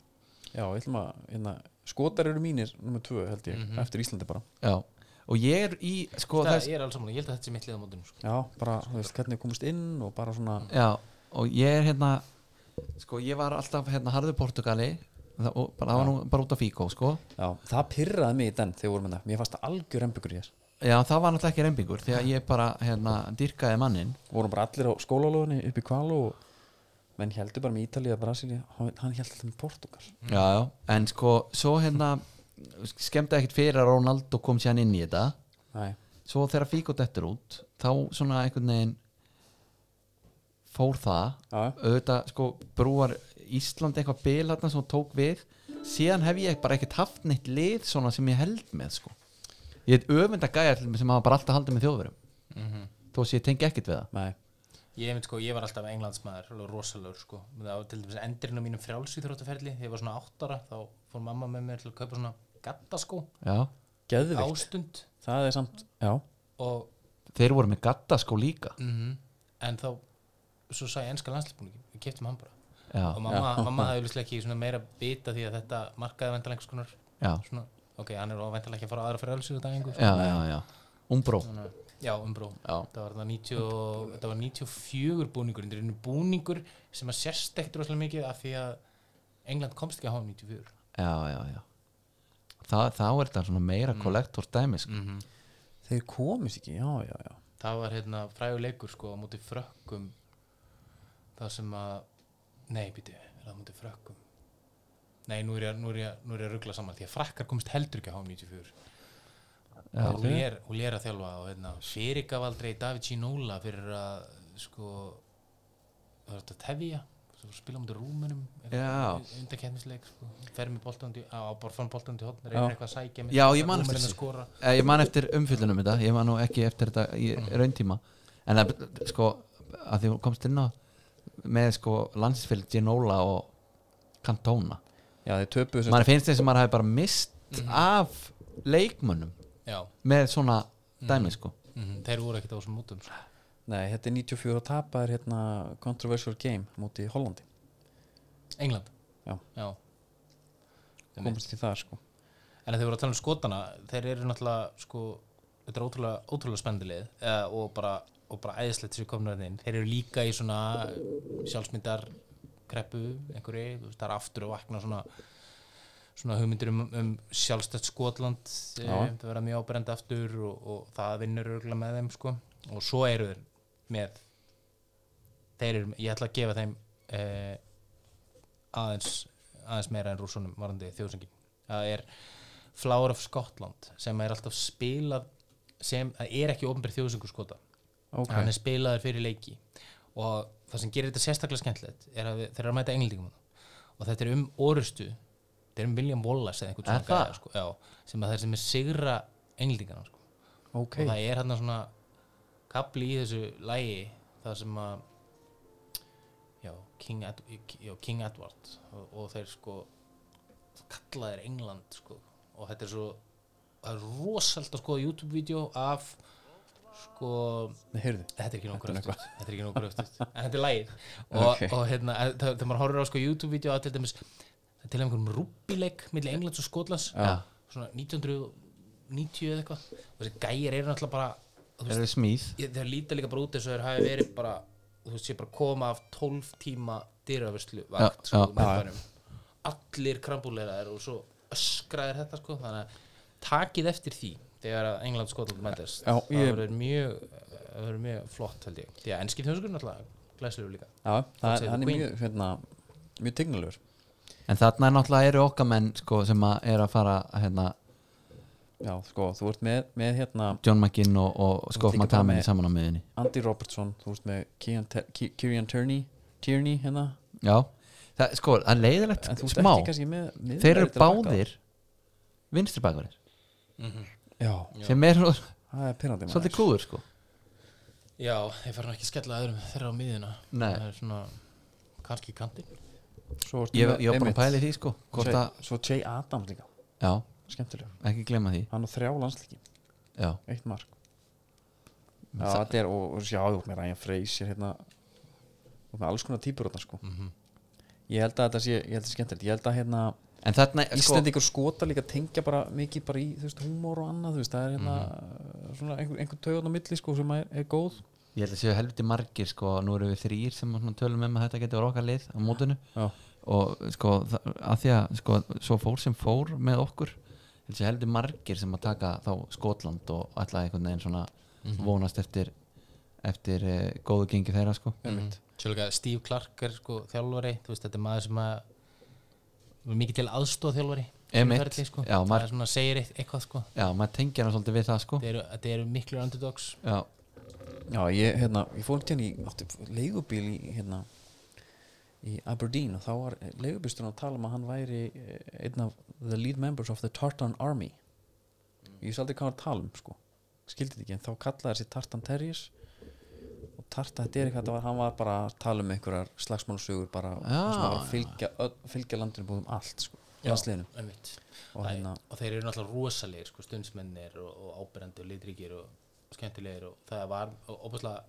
[SPEAKER 1] já, ég ætlum að hérna, skotar eru mínir nummer tvö held ég, eftir Íslandi bara
[SPEAKER 2] já, og ég er í sko,
[SPEAKER 3] það
[SPEAKER 2] þess,
[SPEAKER 3] ég er alls saman, ég held að þetta sé mitt liða mótum sko.
[SPEAKER 1] já, bara, þú veist, hvernig þau komist inn og bara svona,
[SPEAKER 2] já, og ég er hérna sko, ég var alltaf hérna harður Portugali það, og bara, það var nú bara út af fíkó sko
[SPEAKER 1] já, það pyrraði mig í den þegar við vorum þetta, mér fannst það algjör embyggur í þess
[SPEAKER 2] Já, það var náttúrulega ekki reymbingur því að ég bara hérna, dyrkaði mannin
[SPEAKER 1] vorum bara allir á skólalóðinni upp í kvalu og menn heldur bara með Ítalíu að Brasilíu, hann hann held alltaf með Portugal
[SPEAKER 2] Já, já, en sko, svo hérna skemmti ekkert fyrir að Ronaldo kom sér inn í þetta
[SPEAKER 1] Nei.
[SPEAKER 2] svo þegar Figo dettur út þá svona einhvern veginn fór það
[SPEAKER 1] Já,
[SPEAKER 2] auðvitað sko brúar Ísland eitthvað bil þarna sem hún tók við síðan hef ég bara ekkert haft neitt lið svona sem ég held með sko ég er öfund að gæja til mig sem hafa bara alltaf haldið með þjóðverum
[SPEAKER 1] Mhm.
[SPEAKER 2] þó sé ég tengi ekkert við það
[SPEAKER 1] nei,
[SPEAKER 3] ég, einmitt, sko, ég var alltaf englandsmaður, alveg rosalögur sko. það var til dæmis endirinn á mínum frjálsýþróttaferli þegar ég var svona áttara, þá fór mamma með mér til að kaupa svona gattaskó
[SPEAKER 2] Já,
[SPEAKER 1] geðvikt
[SPEAKER 3] ástund
[SPEAKER 1] það er samt, já,
[SPEAKER 3] og
[SPEAKER 2] þeir voru með gatta sko líka
[SPEAKER 3] Mhm. en þá, svo sagði ég enska landsleikbúningin við keftum hann bara
[SPEAKER 2] Já,
[SPEAKER 3] og mamma, mamma hafði auðvitað ekki svona meira bita því að þetta markaði vendalega einhvers konar
[SPEAKER 2] já,
[SPEAKER 3] svona, ok, hann er óvendalega ekki að fara aðra fyrir öllu síðu dagengu
[SPEAKER 2] já, já, já. Umbró
[SPEAKER 3] sko. já, umbró,
[SPEAKER 2] Já.
[SPEAKER 3] það var, það 90, og- þetta var 94 búningur þetta er einu búningur sem að sérst ekkert rosalega mikið af því að England komst ekki að hafa 94
[SPEAKER 2] já, já, já. Þa, þá er þetta svona meira kollektor dæmi sko.
[SPEAKER 1] þeir komist ekki, já, já, já
[SPEAKER 3] það var hérna fræguleikur sko á móti frökkum það sem að nei, býti, er það á móti frökkum nei, nú er ég, nú er ég, nú er ég að ruggla saman því að frakkar komist heldur ekki á HM94 hún er, hún er að þjálfa og hérna, fyrirgaf aldrei David Ginola fyrir að sko það var þetta tefja svo var að spila á móti rúmunum
[SPEAKER 2] Já.
[SPEAKER 3] undarkennisleik sko, fer með boltandi á, bara fann boltandi hótt
[SPEAKER 1] Já.
[SPEAKER 3] reynir eitthvað að sækja
[SPEAKER 2] Já, ég man eftir
[SPEAKER 3] eftir
[SPEAKER 2] þessu. Eh, Ég man eftir umfyllunum þetta, ég man nú ekki eftir þetta í
[SPEAKER 1] Mhm.
[SPEAKER 2] rauntíma en það, sko, að því þú komst inn á með sko landsinsfélag Ginola og Cantona
[SPEAKER 1] já, þeir töpuðu sem Mhm.
[SPEAKER 2] maður finnst þess að maður hafi bara mist af leikmönnum
[SPEAKER 3] já,
[SPEAKER 2] með svona
[SPEAKER 1] Mhm.
[SPEAKER 2] dæmi sko
[SPEAKER 3] mm þeir voru ekkert á þessum mótum sko.
[SPEAKER 1] Nei, þetta er 94 og tapa er hérna controversial game mútið Hollandi
[SPEAKER 3] England
[SPEAKER 1] Já.
[SPEAKER 3] Einmitt.
[SPEAKER 1] komast ekki það sko
[SPEAKER 3] En þeir voru að tala um skotana Þeir eru náttúrulega sko Þetta er ótrúlega, ótrúlega spendilið uh, og, bara, og bara æðislegt sem komnar inn Þeir eru líka í svona sjálfsmyndar kreppu einhverju, þú veist, það er aftur að vakna svona svona hugmyndir um, um sjálfstætt Skotland eh,
[SPEAKER 1] Já.
[SPEAKER 3] það verða mjög ábrend aftur og, og það vinnur örgulega með þeim sko. og svo eru þeir með þeir eru, ég ætla að gefa þeim eh, aðeins aðeins meira en rússunum varandi þjóðsengin það er Flower of Scotland sem er alltaf spilað sem það er ekki ofnbæri þjóðsengur skota
[SPEAKER 1] Ok.
[SPEAKER 3] hann er spilaður fyrir leiki og það sem gerir þetta sérstaklega skemmtilegt er að við, þeir eru að mæta englendingum þarna. og þetta er um orustu þetta er um William Wallace eða einhvern
[SPEAKER 2] Er það?
[SPEAKER 3] gæja, sko, já, sem að þeir sem er sigra englendingana sko.
[SPEAKER 1] ok,
[SPEAKER 3] og það er hann svona kapli í þessu lægi það sem að já, King, Ed, já, King Edward og, og þeir sko kalla þeir England sko og þetta er svo það er rosalt að sko YouTube-vídeó af sko
[SPEAKER 1] Nei, heyrðu
[SPEAKER 3] þetta er ekki nóg gröftut þetta er ekki nóg gröftut en þetta er lægið og,
[SPEAKER 1] Ok.
[SPEAKER 3] og hérna en þa- þegar maður horfir á sko YouTube-vídeó að til dæmis það er til einhverjum rúbbileik milli Englands og Skotlands
[SPEAKER 1] Já.
[SPEAKER 3] svona 1990 eða eitthvað og þessi gæjar eru náttúrulega bara þú
[SPEAKER 2] er það smíð
[SPEAKER 3] Ég- þeir líta líka bara út eins og þeir hafi verið bara þú veist ég bara koma af 12 tíma dyrafislu vakt
[SPEAKER 2] Já,
[SPEAKER 3] sko,
[SPEAKER 2] já,
[SPEAKER 3] með bænum. allir krambúleiraðir og svo öskraðir þetta sko þannig að takið eftir því þegar að England Skotland mætast
[SPEAKER 1] Já,
[SPEAKER 3] það
[SPEAKER 1] ég-
[SPEAKER 3] verður mjög, það verður mjög flott held ég því að ennski þjóðskur náttúrulega glæslegur líka
[SPEAKER 1] já, það,
[SPEAKER 3] segir
[SPEAKER 1] hann er
[SPEAKER 3] Queen.
[SPEAKER 1] mjög, hérna, mjög tignalur
[SPEAKER 2] en þarna er náttúrulega eru okkar menn sko sem að er að fara hérna,
[SPEAKER 1] já, sko, þú ert með, með hérna
[SPEAKER 2] John McGinn og, og Scott
[SPEAKER 1] líka bara
[SPEAKER 2] McTominay
[SPEAKER 1] með-
[SPEAKER 2] saman á miðinni
[SPEAKER 1] Andy Robertson, þú ert með Kieran, Te- Ki- Kieran Tierney Tierney, hérna
[SPEAKER 2] Já, það, sko, það er leiðilegt
[SPEAKER 1] en þú ert
[SPEAKER 2] smá
[SPEAKER 1] ekki kannski með miðverði
[SPEAKER 2] þeir
[SPEAKER 1] til
[SPEAKER 2] eru
[SPEAKER 1] að baka það.
[SPEAKER 2] báðir vinstri bakverðir Mhm.
[SPEAKER 1] já,
[SPEAKER 3] Já.
[SPEAKER 2] sem er
[SPEAKER 1] það er pirrandi maður.
[SPEAKER 2] svolítið klúður sko
[SPEAKER 3] Já, ég fer nú ekki að skella öðrum þeirra á miðina
[SPEAKER 2] Nei.
[SPEAKER 3] Það er svona, kannski kanti
[SPEAKER 1] svo ertu
[SPEAKER 2] ég,
[SPEAKER 1] með-
[SPEAKER 2] ég var bara
[SPEAKER 1] einmitt.
[SPEAKER 2] að pæla í því sko hvort að,
[SPEAKER 1] Svo- svo Jay Adams líka,
[SPEAKER 2] já,
[SPEAKER 1] skemmtilega
[SPEAKER 2] ekki glemma því
[SPEAKER 1] hann á þrjá landsleiki,
[SPEAKER 2] já,
[SPEAKER 1] eitt mark já, þetta er, og, og sjá, þú ert með Ryan Fraser hérna, og með alls konar típur þarna, sko
[SPEAKER 2] Mhm.
[SPEAKER 3] Mhm.
[SPEAKER 1] ég held að þetta sé, ég held að þetta sé skemmtilegt ég held að hérna,
[SPEAKER 2] en þarna sko,
[SPEAKER 1] Íslendingur skota líka tengja bara mikið bara í, þú veist, húmór og annað, þú veist, það er hérna svona einhver, einhver taugun á milli, sko, sem er, er góð
[SPEAKER 2] ég held að séu helviti margir sko, nú eru við þrýr sem svona tölum um að þetta getur okkar lið á mótinu
[SPEAKER 1] já,
[SPEAKER 2] og sko, það- að því að sko, svo fór sem fór með okkur ég held að séu heldur margir sem að taka þá Skotland og alltaf einhvern veginn svona vonast eftir eftir e, góðu gengi þeirra sko
[SPEAKER 3] Sjölega, Steve Clark er sko þjálfari Þú veist, þetta er maður sem að var mikið til aðstóð þjálfari
[SPEAKER 2] Einmitt.
[SPEAKER 3] sko.
[SPEAKER 2] Já,
[SPEAKER 3] Það
[SPEAKER 2] maður-
[SPEAKER 3] er svona, segir eitt- eitthvað sko
[SPEAKER 2] já, maður tengja hana svolítið við það sko
[SPEAKER 3] Þetta eru, þetta eru miklu underdogs
[SPEAKER 2] já,
[SPEAKER 1] já, ég, hérna, ég fór hérna í átti leigubíl í, hérna í Aberdeen og þá var leigubílsturinn að tala um að hann væri eh, einn af the lead members of the Tartan Army ég vissi aldrei hvað hann var að tala um, sko skildi þetta ekki, en þá kallaði þessi Tartan Terriers og Tartan, þetta er eitthvað þetta var, hann var bara að tala um einhverjar slagsmálsugur bara, og
[SPEAKER 2] Já.
[SPEAKER 1] sem var að fylgja, öll, fylgja landinu búðum allt, sko, landsliðinu
[SPEAKER 3] einmitt.
[SPEAKER 1] og
[SPEAKER 3] Það-
[SPEAKER 1] hérna,
[SPEAKER 3] og þeir eru náttúrulega rosalegir sko, stundsmennir og, og ábyrjandi og litríkir og skemmtilegir og það var óbúslega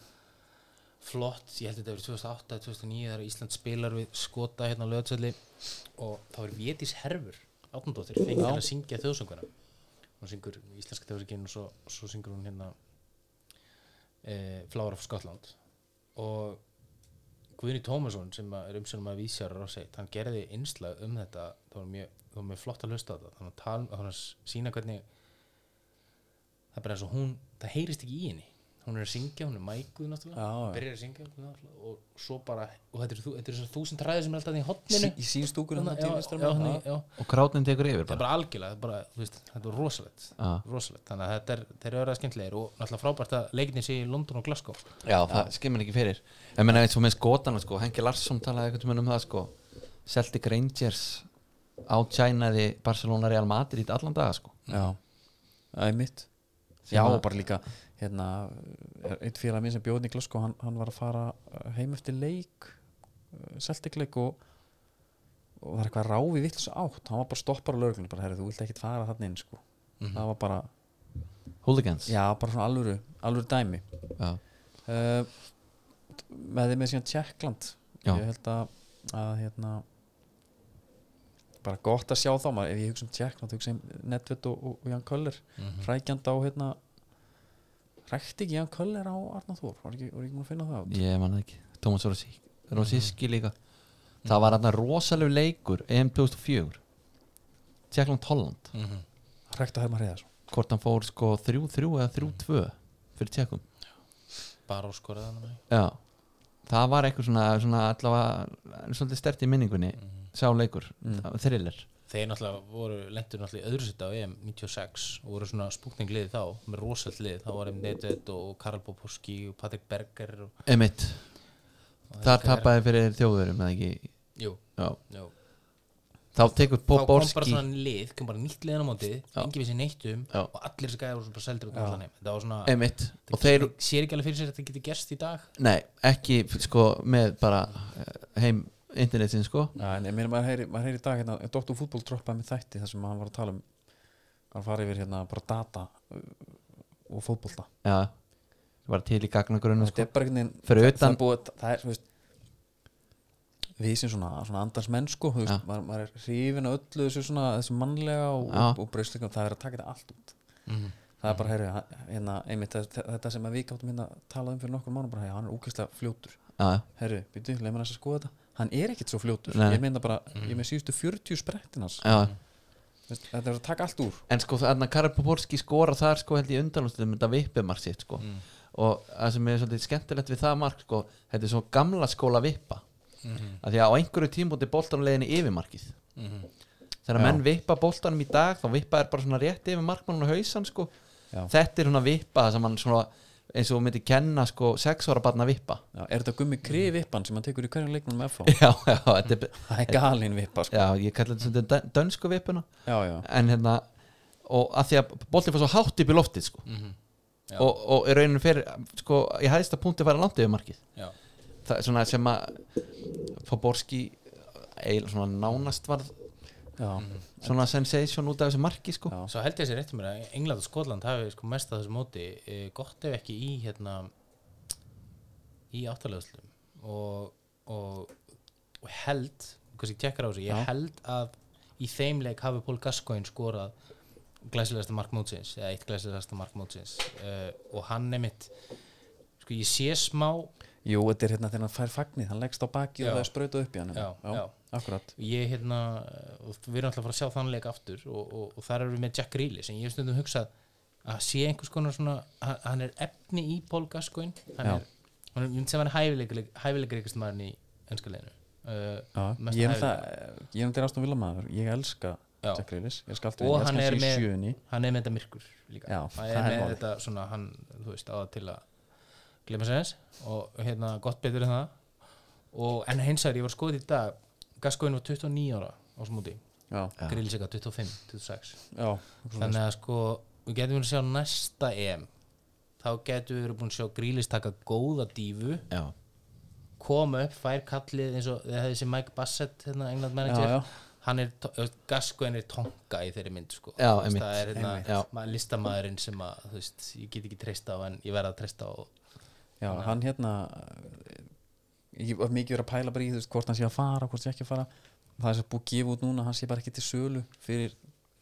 [SPEAKER 3] flott, ég held að þetta verið 2008 eða 2009 þegar Ísland spilar við skota hérna á löðsöldi og þá er Vétís Herfur, 18 dóttir, fengið að syngja þjóðsönguna hún syngur íslenska þjóðsöngin og svo, svo syngur hún hérna e, Flower of Scotland og Guðni Tómasson sem að er umsönum að vísjar Rosseit, hann gerði innslag um þetta það var mjög, það var mjög flott að hlusta á þetta þannig að tala, þannig að sína hvernig það er bara eins og hún það heyrist ekki í henni, hún er að syngja hún er mækuð náttúrulega,
[SPEAKER 1] Já, já.
[SPEAKER 3] byrjar að syngja náttúrulega, og svo bara, og þetta eru þú- þetta eru þessar þúsund ræðir sem er alltaf þarna í
[SPEAKER 1] sí,
[SPEAKER 3] hotninu
[SPEAKER 1] í hérna sínstúkunum
[SPEAKER 3] Hérna, já, já, þannig, já,
[SPEAKER 2] og krátnin tekur yfir
[SPEAKER 3] það er
[SPEAKER 2] bara
[SPEAKER 3] bara algjörlega það er bara, þú veist, þetta er rosalegt
[SPEAKER 2] Já.
[SPEAKER 3] rosalegt, þannig að þetta er, þeir eru að skemmtilegir og náttúrulega frábært að leikinni sé í London og Glasgow
[SPEAKER 2] já, það skemmir ekki fyrir en menna eins og með skotana sko, Hengi Larsson talaði eitthvað tímann um það sko Celtic Rangers átsænaði Barcelona Real Madrid allan daga sko
[SPEAKER 1] Já, það er mitt
[SPEAKER 2] Sem
[SPEAKER 1] Já,
[SPEAKER 2] að-
[SPEAKER 1] og bara líka hérna, er einn félag minn sem bjóðin í Glasgow hann, hann var að fara eh, heim eftir leik seltikleik og og það er eitthvað ráfi vittlis átt hann var bara stoppar á lögreglunni, bara herri, þú vilt ekkit fara þarna inn sko.
[SPEAKER 3] Mhm,
[SPEAKER 1] það var bara,
[SPEAKER 2] Hooligans
[SPEAKER 1] já, bara svona alvöru alvöru dæmi
[SPEAKER 2] Já.
[SPEAKER 1] uh, með því með síðan Tjekkland
[SPEAKER 2] Já.
[SPEAKER 1] ég held að, að hérna, bara gott að sjá þá maður, ef ég hugsa um Tjekkland hugsa um Nedved og, og, og Jan Köller mm
[SPEAKER 3] mhm,
[SPEAKER 1] á hérna rækti ekki Jan Köller á Arna Þór var ekki, var ekki múin að finna það út
[SPEAKER 2] ég man það ekki Tómas Rossi- Rosiski líka það var hann rosaleg leikur EM 2004 Tjekkland Holland
[SPEAKER 3] mhm.
[SPEAKER 1] rækti að Hermar Heiðarsson
[SPEAKER 2] hvort hann fór sko 3-3 eða 3-2 fyrir Tjekkum
[SPEAKER 3] bara á skoraðanum
[SPEAKER 2] já það var eitthvað svona, svona allavega svolítið stert í minningunni sá leikur mm. thriller
[SPEAKER 3] Mhm. þeir náttúrulega voru lendur náttúrulega í öðru sitt á EM 96 og voru svona spúkningliði þá með rosalt lið, þá var um Nedved og Karl Boposki og Patrik Berger og,
[SPEAKER 2] emitt
[SPEAKER 3] og
[SPEAKER 2] þar
[SPEAKER 3] þetta er-
[SPEAKER 2] tapaði fyrir þjóðurum eða ekki
[SPEAKER 3] jú,
[SPEAKER 2] já.
[SPEAKER 3] jú.
[SPEAKER 2] þá tekur
[SPEAKER 3] þá kom bara
[SPEAKER 2] Boborski
[SPEAKER 3] svona lið, kom bara nýtt liðan á mótið engi vissi neitt um
[SPEAKER 2] Já.
[SPEAKER 3] og allir þessi gæði voru svo bara seldur út á allan heim þetta var svona,
[SPEAKER 2] emitt og
[SPEAKER 3] það
[SPEAKER 2] þeir
[SPEAKER 3] getur- sér ekki alveg fyrir sér að þetta getur gerst í dag
[SPEAKER 2] nei ekki sko með bara eh, heim internetin sko
[SPEAKER 1] Já, en ég meina maður heyri, maður heyri í dag hérna, Dr. Fútbol droppaði með þætti þar sem hann var að tala um hann fari yfir hérna bara data uh, og fótbolta
[SPEAKER 2] já bara til í gagnagrunum
[SPEAKER 1] þetta
[SPEAKER 2] sko.
[SPEAKER 1] er bara einhvern veginn
[SPEAKER 2] Fyrir
[SPEAKER 1] það-
[SPEAKER 2] utan-
[SPEAKER 1] það er búið, það er, þú veist, við sem svona, svona andans menn sko, þú veist, maður, maður er hrifin af öllu þessu svona, þessu mannlega og,
[SPEAKER 2] Já. Mhm.
[SPEAKER 1] og, og breyslingum, það er að taka þetta allt út það er bara, heyrðu, hann- hérna, einmitt þe- þe- þetta sem að við gáttum hérna talað um fyrir nokkur mánu, bara, heyrðu, hann er úkvæmstlega fljótur
[SPEAKER 2] já,
[SPEAKER 1] heyrðu, býtu, leið mér aðeins að skoða þetta hann er ekkit svo fljótur,
[SPEAKER 2] Nei. Mhm.
[SPEAKER 1] ég meina bara ég með síðustu 40 sprettinans
[SPEAKER 2] já.
[SPEAKER 3] Mm.
[SPEAKER 1] þetta er að taka allt úr
[SPEAKER 2] en sko þarna Karel Poporski skora þar sko held ég undanlústum þetta vippumark sitt sko
[SPEAKER 3] Mm.
[SPEAKER 2] og það sem er svolítið skemmtilegt við það mark sko þetta er svo gamla skóla vippa mm að því að á einhverju tímúti boltanleginni yfirmarkið mm þegar menn vippa boltanum í dag þá vippa er bara svona rétt yfir markmann og hausan sko
[SPEAKER 1] Já.
[SPEAKER 2] þetta er svona vippa þar sem hann svona eins og hún myndi kenna sko sex ára barna vippa
[SPEAKER 1] Já, er þetta gummi krivippan sem hann tekur í hverjum leiknum með
[SPEAKER 2] <laughs>
[SPEAKER 1] FH?
[SPEAKER 2] já, já, þetta er
[SPEAKER 1] Það er galin vippa sko.
[SPEAKER 2] já, ég kallar þetta stundum dön- dönsku vippuna
[SPEAKER 1] Já, já,
[SPEAKER 2] en hérna og að því að boltið fór svo hátt upp í loftið sko.
[SPEAKER 3] Já.
[SPEAKER 2] og, og í rauninu fyrir sko, ég hæðist að punktið fara langt yfir markið
[SPEAKER 3] já,
[SPEAKER 2] það er svona sem að Faborski eil, svona nánast varð
[SPEAKER 1] já.
[SPEAKER 2] Mhm. svona sensation út af þessu marki sko.
[SPEAKER 1] Já.
[SPEAKER 3] svo held ég sér eftir mér að England og Skotland hafi sko mest að þessu móti e, gott ef ekki í hérna í áttalegslum og, og, og held kannski tekkar á þessu, ég held að í þeim leik hafi Pól Gascoigne skorað glæsilegasta mark mótsins eða eitt glæsilegasta mark mótsins uh, og hann nemitt sko ég sé smá
[SPEAKER 1] Jú, þetta er hérna þegar hann fær fagnið, hann leggst á baki
[SPEAKER 3] Já.
[SPEAKER 1] og það er sprautað upp í hann
[SPEAKER 3] Já, já.
[SPEAKER 1] akkurat
[SPEAKER 3] ég hérna, og við erum alltaf að fara að sjá þann leik aftur og, og, og þar erum við með Jack Grealish en ég hef stundum hugsað að sé einhvers konar svona, hann, hann er efni í Paul Gascoigne hann
[SPEAKER 1] Já.
[SPEAKER 3] er, hann er, ég myndi sem hann er hæfileik, hæfileik reikast maðurinn í ennska leginu uh,
[SPEAKER 1] Já,
[SPEAKER 3] mesta
[SPEAKER 1] ég er um
[SPEAKER 3] hæfileika.
[SPEAKER 1] það, ég er um þér ástum vilamaður Ég elska
[SPEAKER 3] Já.
[SPEAKER 1] Jack Grealish, ég skal alltaf
[SPEAKER 3] og
[SPEAKER 1] ég
[SPEAKER 3] hann
[SPEAKER 1] elska
[SPEAKER 3] er,
[SPEAKER 1] hans í
[SPEAKER 3] með,
[SPEAKER 1] sjöunni
[SPEAKER 3] hann er með þetta myrkur líka
[SPEAKER 1] Já,
[SPEAKER 3] hann
[SPEAKER 1] það
[SPEAKER 3] er
[SPEAKER 1] er
[SPEAKER 3] með
[SPEAKER 1] málið.
[SPEAKER 3] þetta svona hann, þú veist, á það til að glemma sér eins og hérna gott betur en það og, en hins vegar ég var skoðið í dag Gascoigne var 29 ára á smúti
[SPEAKER 1] Já,
[SPEAKER 2] Já.
[SPEAKER 3] Grealish eitthvað 25, 26
[SPEAKER 1] já,
[SPEAKER 3] þannig að sko við getum verið að sjá næsta EM þá getum við verið búin að sjá Grílis taka góða dífu
[SPEAKER 2] Já.
[SPEAKER 3] koma upp, fær kallið eins og það hefði sem Mike Bassett hérna, England manager
[SPEAKER 1] Já, já.
[SPEAKER 3] hann er, Gascoin er tonga í þeirri mynd sko
[SPEAKER 2] Já,
[SPEAKER 3] Þú veist,
[SPEAKER 2] einmitt,
[SPEAKER 3] það er
[SPEAKER 2] einmitt. Já.
[SPEAKER 3] hérna, ma- listamaðurinn sem að þú veist, ég get ekki treyst á en ég verð að treysta á
[SPEAKER 1] já, hann hérna eh, Ég var mikið verið að pæla bara í þú veist hvort hann sé að fara, hvort sé ekki að fara Það er sem búið að gefa út núna, hann sé bara ekki til sölu fyrir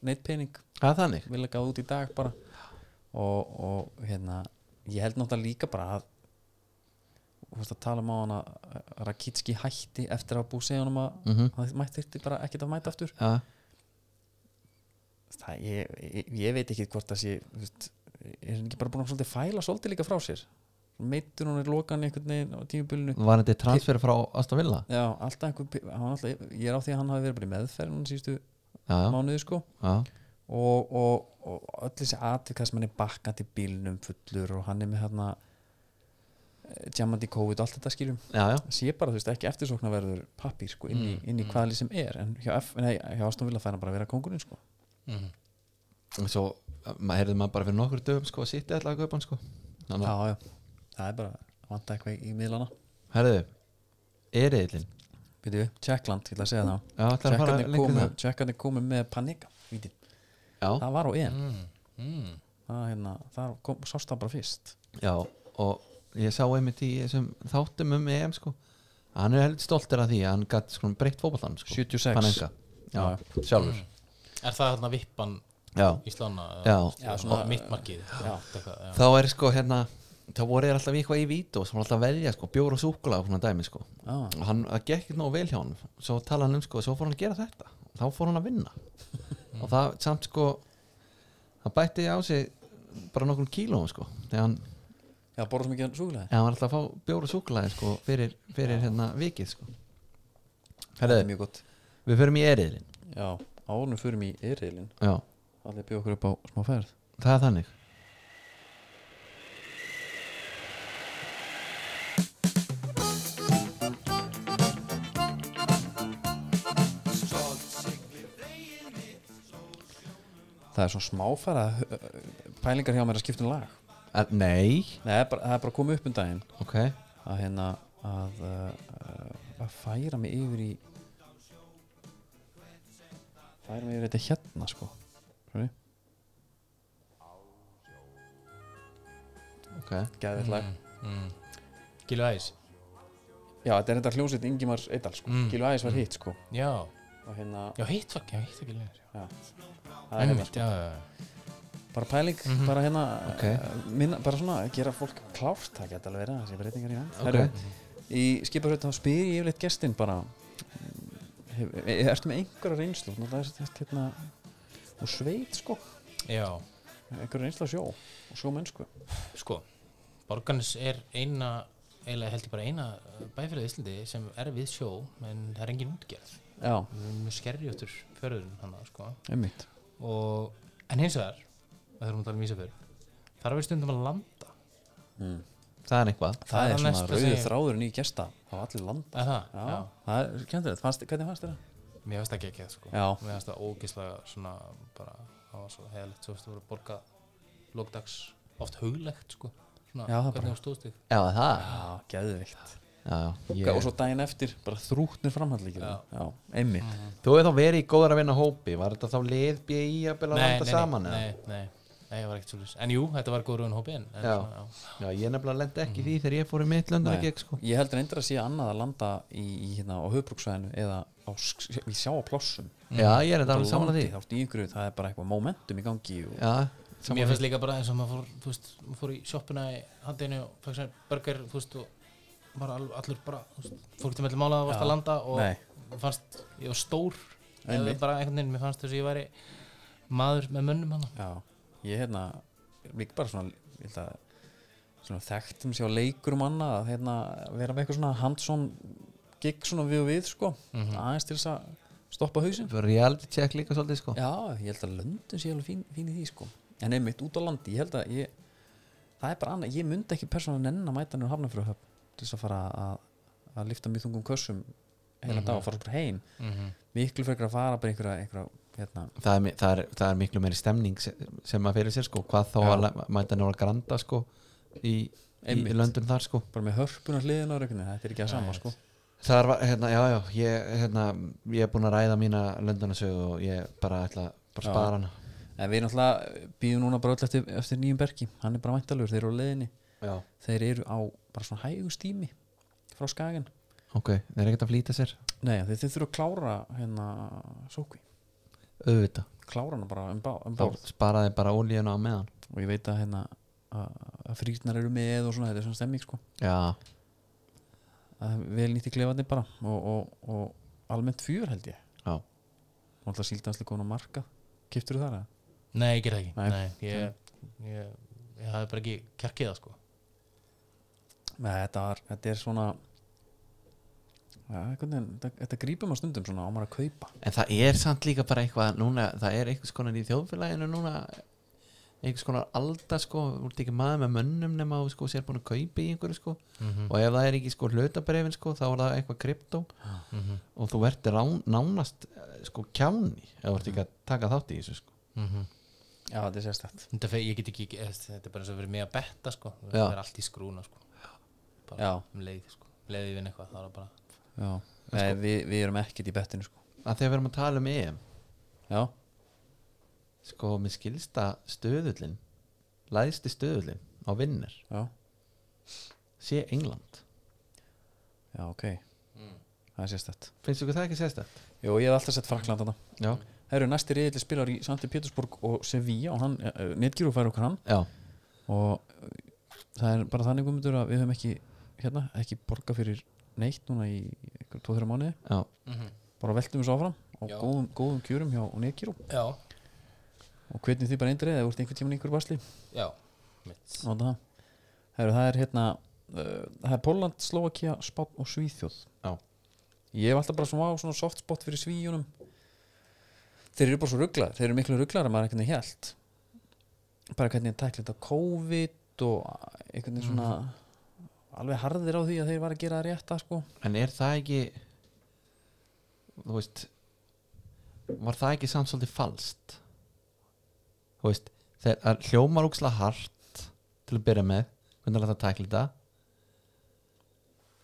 [SPEAKER 1] neitt pening
[SPEAKER 2] það er þannig
[SPEAKER 1] vilja gáða út í dag bara og, og hérna ég held náttúrulega líka bara að þú veist að tala um á hann að Rakitski hætti eftir að búið segja honum að mm
[SPEAKER 2] Mhm.
[SPEAKER 1] hann mætti þyrfti bara ekkert að mæta aftur
[SPEAKER 2] Já.
[SPEAKER 1] það, ég, ég, ég veit ekki hvort það sé þú veist, er hann ekki bara búin að svolítið fæla svolítið líka frá sér meittur hún er lokan einhvern veginn á tímubulinu
[SPEAKER 2] var þetta transfer frá Aston Villa
[SPEAKER 1] já, alltaf einhver pi- hann var alltaf, ég er á því að hann hafi verið bara í meðferð hún sístu
[SPEAKER 2] já, já,
[SPEAKER 1] mánuði sko
[SPEAKER 2] já.
[SPEAKER 1] og, og, og öll þessi atvik þar sem hann er bakkandi bílnum fullur og hann er með hérna jammandi COVID og allt þetta skýrum
[SPEAKER 2] já, já.
[SPEAKER 1] sé bara þú veist ekki eftirsóknarverður pappir sko, inn
[SPEAKER 2] Mm,
[SPEAKER 1] í, inn í hvaða lið sem er en hjá, F, nei, hjá Aston Villa fær hann bara að vera kongurinn sko.
[SPEAKER 2] Mhm. og svo maður heyrði maður bara fyrir nokkur dögum sko, að sitja allavega kaupan sko.
[SPEAKER 1] já,
[SPEAKER 2] þannig að,
[SPEAKER 1] já, það er bara að vanta eitthvað í- í miðlana
[SPEAKER 2] herðu, eriðlin
[SPEAKER 1] Býtu, Tjekkland, ég ætla að segja það
[SPEAKER 2] Já, ætlarðu að fara
[SPEAKER 1] Tjekkarnir
[SPEAKER 2] lengra í
[SPEAKER 1] komu,
[SPEAKER 2] það?
[SPEAKER 1] Tjekkarnir komu með panika víti.
[SPEAKER 2] já,
[SPEAKER 1] það var á EM
[SPEAKER 3] mm, mm.
[SPEAKER 1] það, hérna, það kom, sást það bara fyrst
[SPEAKER 2] já, og ég sá einmitt í þessum þáttum um EM sko. að hann er heldur stoltir af því að hann gætt sko, breytt fótboltan sko.
[SPEAKER 1] 76.
[SPEAKER 2] Panenka. já, sjálfur
[SPEAKER 1] Mm.
[SPEAKER 3] er það hérna vippan
[SPEAKER 2] já,
[SPEAKER 3] í slána
[SPEAKER 2] já.
[SPEAKER 3] já, svona mittmarkið já. Eitthvað, já.
[SPEAKER 2] þá er sko hérna þá voru þér alltaf í eitthvað í vít og sem var alltaf að velja sko, bjór og súkula og svona dæmi sko.
[SPEAKER 1] ah,
[SPEAKER 2] og hann, það gekk ekki nóg vel hjá hann svo tala hann um sko, svo fór hann að gera þetta og þá fór hann að vinna og það samt sko hann bætti á sig bara nokkrum kílóum sko, þegar hann,
[SPEAKER 1] já, borða svo mikið hann súkulega
[SPEAKER 2] eða hann var alltaf að fá bjór og súkulaði sko, fyrir, fyrir hérna vikið sko.
[SPEAKER 1] það er
[SPEAKER 2] Herðu,
[SPEAKER 1] mjög gott
[SPEAKER 2] við förum í eriðin
[SPEAKER 1] já, ánum förum í Ereilin
[SPEAKER 2] já,
[SPEAKER 1] Allir bjóð okkur upp á smá ferð
[SPEAKER 2] það er þannig
[SPEAKER 1] Það er svo smáfæra að, ö, ö, pælingar hjá mér að skipta um lag
[SPEAKER 2] að, nei,
[SPEAKER 1] Nei, það er bara, það er bara komið upp um daginn
[SPEAKER 2] ok
[SPEAKER 1] að hérna að, uh, að færa mig yfir í færa mig yfir þetta hérna sko Sorry.
[SPEAKER 2] ok,
[SPEAKER 1] Gæðið lag
[SPEAKER 3] Mm. Gilu Æs
[SPEAKER 1] Já, þetta er þetta hljómsveit Ingimars Eidal sko mm. Gilu Æs var hitt sko
[SPEAKER 3] já,
[SPEAKER 1] og hérna,
[SPEAKER 3] já hitt var já, hitt var Gilu Æs já.
[SPEAKER 1] það er hérna
[SPEAKER 3] Einmitt, já, já, já.
[SPEAKER 1] bara pæling, bara hérna
[SPEAKER 2] Ok.
[SPEAKER 1] eh, minna, bara svona, gera fólk klárt það geta alveg verið að það sé breytingar í hann
[SPEAKER 2] Ok.
[SPEAKER 1] í skiparhauð þá spyr ég yfirleitt gestin bara mm, hef, e- ertu með einhverja reynslu Nú, það er þetta hérna og sveit sko,
[SPEAKER 3] Já,
[SPEAKER 1] einhverja reynslu að sjó og sjó mennsku
[SPEAKER 3] sko Borgarnes er eina eiginlega held ég bara eina bæfélagi í Íslandi sem er við sjó, en það er engin útgerð
[SPEAKER 1] já,
[SPEAKER 3] við erum mjög skerjóttur fjörðurinn hann sko.
[SPEAKER 1] einmitt
[SPEAKER 3] og, en hins vegar það þurfum að tala um Ísafjörð þar er við stundum að landa
[SPEAKER 2] það er eitthvað
[SPEAKER 1] það
[SPEAKER 3] er
[SPEAKER 1] er svona
[SPEAKER 3] næsta
[SPEAKER 1] rauðu
[SPEAKER 3] sem-
[SPEAKER 1] þráðurinn í gesta á allir landa
[SPEAKER 3] Er það?
[SPEAKER 1] já, það er skemmtilegt, fannst, hvernig fannst þér það?
[SPEAKER 3] Mér finnst það ekki ekki sko.
[SPEAKER 1] Já.
[SPEAKER 3] Mér finnst það ógislega svona bara, það var svo heðalegt svo þú voru borgað lókdags oft huglegt sko. svona,
[SPEAKER 1] Já, það bara-
[SPEAKER 3] hvernig þú stóðst þig
[SPEAKER 2] já það
[SPEAKER 1] já, geðvikt
[SPEAKER 2] já, já,
[SPEAKER 1] og svo daginn eftir, bara þrútnir framhaldlíkir
[SPEAKER 3] Já.
[SPEAKER 1] já, einmitt
[SPEAKER 2] þú hefur þá verið í góðar að vinna hópi var þetta þá lið BI að byrja að landa saman eða?
[SPEAKER 3] nei, nei, nei, nei, ég var ekkert svolítið En jú, þetta var góður en hópi en, en
[SPEAKER 2] Já.
[SPEAKER 3] svona,
[SPEAKER 2] já, ég nefnilega lendi ekki í því þegar ég fór í mitt löndar
[SPEAKER 1] Nei.
[SPEAKER 2] sko.
[SPEAKER 1] ég heldur endur að sé annað að landa í, í hérna á höfbruksvæðinu eða á, sk- í sjáaplossum
[SPEAKER 2] já, ég er þetta alveg saman að því
[SPEAKER 1] Landið, þá ertu í einhverju, það er bara eitthvað momentum í gangi og,
[SPEAKER 2] já,
[SPEAKER 3] já. Mér finnst líka bara eins og maður fór, þú veist, maður fór í sjoppuna í handinu og fæk sér burger, þú veist, og bara al- allur bara, þú veist, fór ekki til mellum ála að varst að landa og
[SPEAKER 1] Nei.
[SPEAKER 3] fannst, ég var stór eða
[SPEAKER 1] Einmitt.
[SPEAKER 3] bara einhvern veginn, mér fannst þess að ég væri maður með mönnum hann
[SPEAKER 1] já, ég hérna líka bara svona, ég held að svona þekktum sér á leikur um annað að hérna, vera með eitthvað svona handsón gig svona við og við sko
[SPEAKER 2] Mhm.
[SPEAKER 1] aðeins til þess að stoppa hausinn
[SPEAKER 2] reality check líka svolítið sko.
[SPEAKER 1] já, ég held að löndun sé alveg fín, fín í því sko en einmitt út á landi, ég held að ég það er bara annað, ég myndi ekki persónan enn að mæta nýr hafnafyrir höfn til þess að fara að, að lifta mjög þungum kössum heila
[SPEAKER 2] Mhm.
[SPEAKER 1] dag og fara okkur heim miklu frekar að fara bara einhverja, einhverja hérna,
[SPEAKER 2] það, er, mi- það, er, það er miklu meiri stemning sem, sem maður fyrir sér sko. hvað þá
[SPEAKER 1] Já.
[SPEAKER 2] að la- mæta nála granda sko, í, í
[SPEAKER 1] Einmitt.
[SPEAKER 2] löndum þar sko.
[SPEAKER 1] bara með hörpunar hliðin á rökunni, þetta er ekki að sama sko
[SPEAKER 2] þar var, hérna, já, já ég, hérna, ég er búin að ræða mína löndunasögu og ég bara ætla bara
[SPEAKER 1] Já.
[SPEAKER 2] spara hana
[SPEAKER 1] en við náttúrulega býðum núna bara öll eftir, eftir nýjum bergi, hann er bara væntalur, þeir eru á leiðinni
[SPEAKER 2] já.
[SPEAKER 1] þeir eru á bara svona hægustími frá skagan
[SPEAKER 2] ok, það er ekkert að flýta sér
[SPEAKER 1] Nei, þeir, þeir þurfa að klára hérna sókvi,
[SPEAKER 2] auðvita,
[SPEAKER 1] klára hana bara um, bá, um
[SPEAKER 2] þá
[SPEAKER 1] báð
[SPEAKER 2] sparaði bara ólíuna á meðan
[SPEAKER 1] og ég veit að hérna að að frýtnar eru með og svona þetta er svona stemming sko
[SPEAKER 2] já,
[SPEAKER 1] að vel nýtt í klefandi bara og, og, og almennt fjör held ég
[SPEAKER 2] já,
[SPEAKER 1] og alltaf síldanslega komin á marka kiptur þú þar að?
[SPEAKER 3] Nei, ég gerði það
[SPEAKER 1] Nei.
[SPEAKER 3] ekki Nei, ég, ég, ég hafði bara ekki kjarkið það sko
[SPEAKER 1] Nei, þetta, var, þetta er svona ja, einhvern veginn, þetta, þetta grípum á stundum svona á maður að kaupa
[SPEAKER 2] en það er samt líka bara eitthvað núna, það er einhvers konar í þjóðfélaginu núna einhvers konar alda sko, þú ert ekki maður með mönnum nema þú sko, sér búin að kaupa í einhverju sko
[SPEAKER 3] Mm. Mhm,
[SPEAKER 2] og ef það er ekki sko hlutabrefin sko þá er það eitthvað kryptó
[SPEAKER 3] mhm,
[SPEAKER 2] og þú ert rán, nánast eh, sko kjáni ef þú ert ekki að taka þátt í þessu sko
[SPEAKER 1] Já, þetta er sérstætt
[SPEAKER 3] Mhm. Þetta fer, ég get ekki, eh, þetta er bara eins og verið mig að betta sko
[SPEAKER 2] Já.
[SPEAKER 3] Það er allt í skrúna sko Bara
[SPEAKER 1] Já.
[SPEAKER 3] um leið sko Um leið ég vinn eitthvað, þá er það bara
[SPEAKER 1] Já, Nei, við, við erum ekkert í bettinu sko
[SPEAKER 2] að þegar við erum að tala um EM
[SPEAKER 1] Já,
[SPEAKER 2] sko með skilsta stöðullin læðsti stöðullin á vinnir
[SPEAKER 1] já,
[SPEAKER 2] sé England
[SPEAKER 1] já, ok Það er sérstætt
[SPEAKER 2] finnst ykkur það ekki sérstætt?
[SPEAKER 1] Mm. Jú, ég hef alltaf sett Frakland þarna
[SPEAKER 2] Já.
[SPEAKER 1] Það eru næsti reyðileg spilar í Santi Pétursborg og Sevilla og hann, uh, Netgyru fær okkur hann
[SPEAKER 2] Já.
[SPEAKER 1] og uh, það er bara þannig umundur að við höfum ekki hérna, ekki borga fyrir neitt núna í 2-3 mánuði,
[SPEAKER 2] Já.
[SPEAKER 1] bara veltum þessu áfram á
[SPEAKER 3] Já.
[SPEAKER 1] góðum, góðum kjörum hjá Netgyru
[SPEAKER 3] Já,
[SPEAKER 1] og hvernig því bara eindrið eða úrst einhvern tímann í einhverju basli
[SPEAKER 3] já Mitt
[SPEAKER 1] Nota það. Heru, það er hérna uh, það er Póland, Slovakia, Spán og Svíþjóð
[SPEAKER 2] Já.
[SPEAKER 1] ég hef alltaf bara svona, svona soft spot fyrir Svíjónum þeir eru bara svo rugglar þeir eru miklu rugglar að maður einhvern veginn hélt bara hvernig að tækla þetta COVID og einhvern veginn svona alveg harðir á því að þeir var að gera það rétta sko.
[SPEAKER 2] en er það ekki þú veist var það ekki samt svolítið falskt þú veist þegar hljómar úksla hart til að byrja með, hvernig er þetta að tækla þetta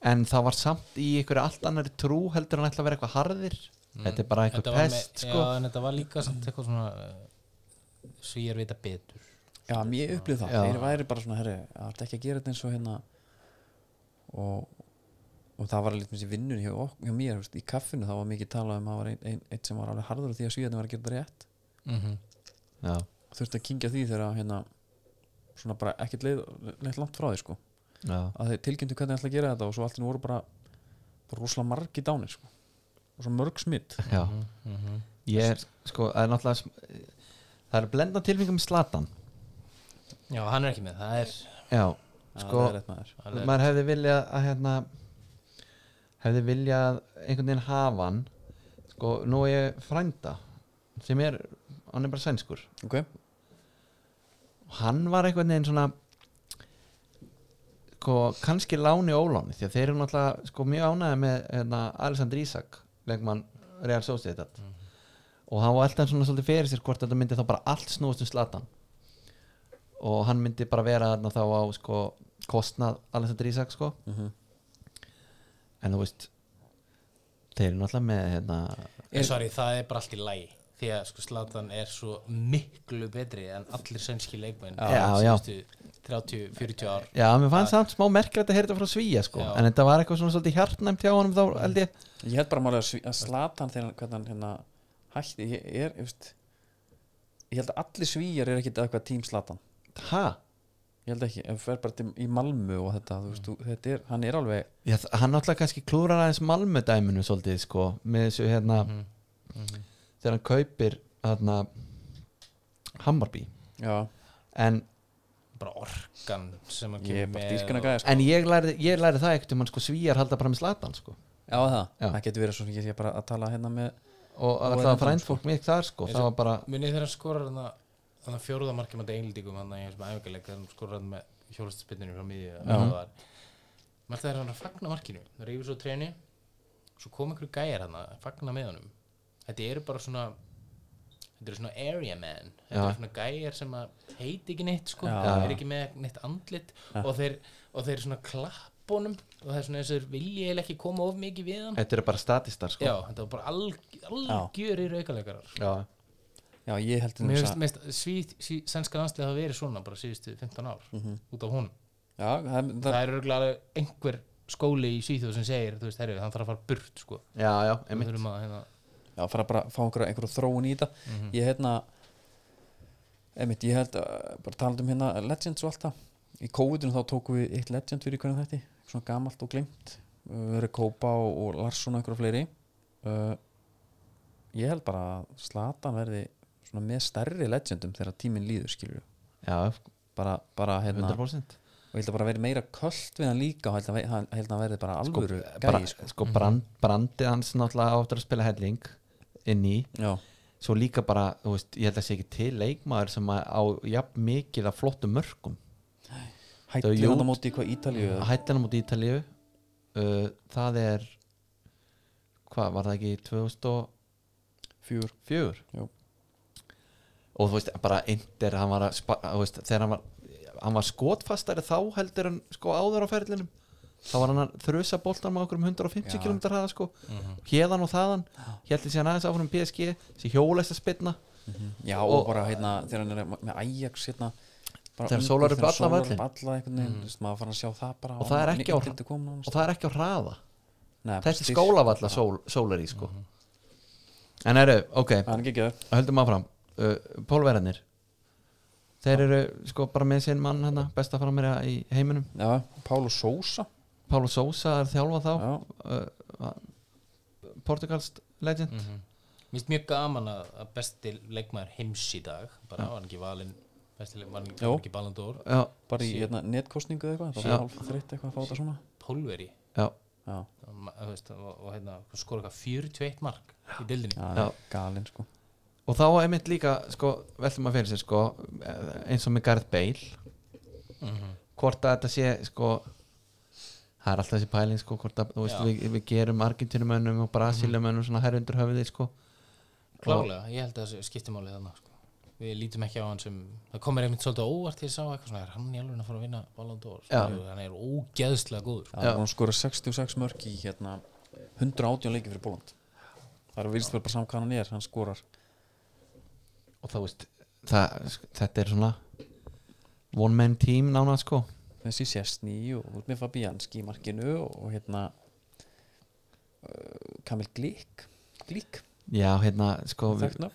[SPEAKER 2] en það var samt í einhverju allt annari trú heldur hann ætla að vera eitthvað harðir þetta er bara
[SPEAKER 3] Mm. Þetta
[SPEAKER 2] einhver
[SPEAKER 3] var
[SPEAKER 2] pest
[SPEAKER 3] með,
[SPEAKER 2] sko.
[SPEAKER 3] Já, en þetta var líka samt eitthvað svona uh, Svíjar vita betur
[SPEAKER 1] já, mér upplýð það
[SPEAKER 2] Já.
[SPEAKER 1] þeir væri bara svona, herri, það er ekki að gera þetta eins og hérna og og það var alveg þessi vinnun hjá, ok- hjá mér, þú veist, í kaffinu þá var mikið talað um að það var einn ein, ein sem var alveg harður á því að svíðan var að gera þetta rétt
[SPEAKER 3] mm -hmm.
[SPEAKER 2] já,
[SPEAKER 1] þurfti að kynkja því þegar að, hérna, svona bara ekkert leið, leið langt frá því sko.
[SPEAKER 2] já,
[SPEAKER 1] að þeir tilkynntu hvernig ætla að gera þetta og svo allt í einu voru bara, bara rosalega margi dánir sko. og svo mörg smitt
[SPEAKER 2] já.
[SPEAKER 3] Mhm.
[SPEAKER 2] ég er sko, það er náttúrulega sm- það er blenda tilfengum slatan
[SPEAKER 3] Já, hann er ekki með, það er
[SPEAKER 2] já, sko
[SPEAKER 1] það er rétt maður
[SPEAKER 3] Alveg.
[SPEAKER 2] maður hefði viljað að hérna hefði viljað einhvern veginn hafa hann sko, nú er ég frænda sem er, hann er bara sænskur
[SPEAKER 1] okay.
[SPEAKER 2] og hann var einhvern veginn svona sko kannski láni og óláni því að þeir eru náttúrulega sko mjög ánæði með hérna, Alessandr Ísak leikmann Real Sociedad og hann var alltaf svona svolítið fyrir sér hvort þetta myndi þá bara allt snúast um slatan og hann myndi bara vera þarna þá á sko kostnað Alessandr Ísak sko en þú veist þeir eru náttúrulega með hérna,
[SPEAKER 3] En Eh, sorry, það er bara allt í lægi því að sko Zlatan er svo miklu betri en allir sænski leikmenn
[SPEAKER 2] Já, já.
[SPEAKER 3] síðustu 30-40 ár
[SPEAKER 2] já, mér fannst samt smá merkilegt að heyra þetta frá Svíja sko
[SPEAKER 3] Já.
[SPEAKER 2] en þetta var eitthvað svona svolítið hjartnæmt hjá honum þá held ég
[SPEAKER 1] ég held bara málega að svi- að Zlatan þegar hann- hvernig hann hérna hætti ég er, ég veist ég held að allir svíjar er ekkit eitthvað tím Zlatan
[SPEAKER 2] ha?
[SPEAKER 1] ég held ekki, ef fer bara til, í Malmö og þetta,
[SPEAKER 3] Mm.
[SPEAKER 1] þú veist, þú, þetta er, hann er alveg
[SPEAKER 2] Já, þ- hann náttúrulega kannski klúrar aðeins malmödæminu svolítið sko með þessu hérna
[SPEAKER 3] Mhm.
[SPEAKER 2] þegar hann kaupir hérna Hammarby
[SPEAKER 1] já,
[SPEAKER 2] en,
[SPEAKER 3] bara orkan sem hann
[SPEAKER 1] ég er
[SPEAKER 3] kemur
[SPEAKER 1] bara
[SPEAKER 3] með
[SPEAKER 1] dýrkana
[SPEAKER 3] og-
[SPEAKER 1] gæja sko.
[SPEAKER 2] en ég, lærði, ég lærði það ekkert um hann sko svíjar halda bara með slatan sko
[SPEAKER 1] já, það,
[SPEAKER 2] Já.
[SPEAKER 1] það getur verið svo sem ég sé bara að tala hérna með
[SPEAKER 2] og
[SPEAKER 1] er endan,
[SPEAKER 2] alltaf frændfólk mitt þar sko það var bara
[SPEAKER 3] Munið þegar hann skorar hann að hann að fjóruða markið með englendingum hann að ég sem æfingarleik þegar hann skorar hann með hjólastaspinninu frá miðju eða hvað það var. Mér þegar hann að fagna markinu það reyfur svo treyni svo kom einhverju gæjar hann að fagna með honum Þetta eru bara svona þetta eru svona area men þetta
[SPEAKER 2] Já.
[SPEAKER 3] eru svona gæjar sem að heiti ekki neitt sko,
[SPEAKER 1] Já.
[SPEAKER 3] er ekki með neitt andlit og þeir, og þeir svona klappunum og það er svona eins og þeir vilja eiginlega ekki koma of mikið við hann
[SPEAKER 2] þetta eru bara statistar sko
[SPEAKER 3] Já, þetta var bara alg, algjörir aukaleikarar
[SPEAKER 2] já,
[SPEAKER 1] já, ég held um til
[SPEAKER 3] Mér
[SPEAKER 1] þess að-
[SPEAKER 3] finnst mest svíð, svíð, sænska landslið hafa verið svona bara síðustu 15 ár út af hún
[SPEAKER 1] já, það,
[SPEAKER 3] það,
[SPEAKER 1] það,
[SPEAKER 3] er örgulega einhver skóli í Svíþjóð sem segir, þú veist, herri, hann þarf að fara burt sko,
[SPEAKER 2] já, já,
[SPEAKER 3] við
[SPEAKER 2] einmitt
[SPEAKER 3] þurfum að hérna,
[SPEAKER 1] já, fara bara að fá einhverja, einhverja þróun í þetta
[SPEAKER 2] Mhm.
[SPEAKER 1] ég hérna einmitt, ég held að bara tala um hérna Legends og allt það í COVID-unum þá tókum við eitt Legend fyrir hvernig þetta svona gamalt og glimt verið Kópa og, og Larsson og einhverja fleiri uh, ég held bara að Slatan verði svona með stærri Legendum þegar tíminn líður skilur
[SPEAKER 2] já,
[SPEAKER 1] bara, bara hérna
[SPEAKER 2] 100%
[SPEAKER 1] og ég held að bara verði meira köld við hann líka og held að, hann- held að hann verði bara alvöru
[SPEAKER 2] bara,
[SPEAKER 1] gæi sko.
[SPEAKER 2] sko brand, brandið hans náttúrulega áttur að spila helling inn í
[SPEAKER 1] já,
[SPEAKER 2] svo líka bara, þú veist, ég held að sé ekki til leikmaður sem að á jafn mikið af flottum mörgum
[SPEAKER 1] hætti
[SPEAKER 2] Jón-
[SPEAKER 1] hann á móti hvað Ítalíu eða-
[SPEAKER 2] hættina múti Ítalíu uh, það er hvað, var það ekki 2004
[SPEAKER 1] fjör Jú.
[SPEAKER 2] og þú veist, bara Inder, hann var að spa, þú veist, þegar hann var hann var skotfastari þá heldur en sko áður á ferlinum þá var hann að þrusa boltan með okkur um 150
[SPEAKER 1] Já.
[SPEAKER 2] km hraða sko,
[SPEAKER 3] mhm.
[SPEAKER 2] hérðan og þaðan heldur síðan aðeins áfram PSG sér hjólæst að spilna
[SPEAKER 1] Já, og,
[SPEAKER 2] Og-
[SPEAKER 1] bara hérna, þegar hann er með Ajax hérna, bara
[SPEAKER 2] Þegar
[SPEAKER 1] ungur,
[SPEAKER 2] sólar upp
[SPEAKER 1] þegar
[SPEAKER 2] allan
[SPEAKER 1] sólar
[SPEAKER 2] völlinn.
[SPEAKER 1] upp alla einhvern veginn, mm. maður fann að sjá það bara
[SPEAKER 2] Og það er ekki á-
[SPEAKER 1] Ítalíu kom nánast.
[SPEAKER 2] og það er ekki á hraða
[SPEAKER 1] Nei, bara
[SPEAKER 2] þessi
[SPEAKER 1] styrk.
[SPEAKER 2] skólavalla sól, sólar í sko
[SPEAKER 1] Mhm.
[SPEAKER 2] en eru, ok
[SPEAKER 1] Það er ekki ekki
[SPEAKER 2] höldum áfram uh, pólverðarnir þeir eru sko bara með sinn mann hana, besta framherja í heiminum
[SPEAKER 1] það Já, Pálu Sousa
[SPEAKER 2] Pálo Sousa er þjálfa þá
[SPEAKER 1] Já,
[SPEAKER 2] uh, Portugalst legend
[SPEAKER 3] Mér finnst mjög gaman að, að besti leikmaður heims í dag bara var hann ekki valinn besti leikmaður var
[SPEAKER 1] Jó.
[SPEAKER 3] hann ekki ballandór
[SPEAKER 2] já,
[SPEAKER 1] bara í
[SPEAKER 3] Sí.
[SPEAKER 1] hérna, netkostningu eða eitthvað Það
[SPEAKER 2] Já.
[SPEAKER 1] var hálf þreytt eitthvað að fá þetta svona
[SPEAKER 3] pólveri
[SPEAKER 2] já,
[SPEAKER 1] Já,
[SPEAKER 3] veist, og, og hérna, skora eitthvað 41 mark í dildinni
[SPEAKER 1] já, já. galinn sko
[SPEAKER 2] og þá einmitt líka sko, veltum að fyrir sér sko eh, eins og með Gareth Bale hvort að þetta sé sko það er alltaf þessi pæling sko hvort að þú veist
[SPEAKER 3] Já.
[SPEAKER 2] við, við gerum Argentínumönnum og Brasilumönnum svona herr undir höfði sko
[SPEAKER 3] Klárlega, ég held að það skipti máli þannig sko. Við lítum ekki á hann sem það komir einmitt svolítið á óvart til ég sá eitthvað svona er hann í alveg að fara að vinna Ballon d'Or
[SPEAKER 2] Já.
[SPEAKER 3] Skilur, hann er ógeðslega góður
[SPEAKER 1] Já, hún skora 66 mörk í hérna 118 leiki fyrir Bóland Það er að virðist vel bara saman hvað hann er, hann skorar
[SPEAKER 2] og þá veist það, þetta er svona one man team nána sko
[SPEAKER 1] þessi Sjesni og út með Fabianski í markinu og, og hérna uh, Kamil Glík Glík,
[SPEAKER 2] já hérna sko við,
[SPEAKER 1] þekkna,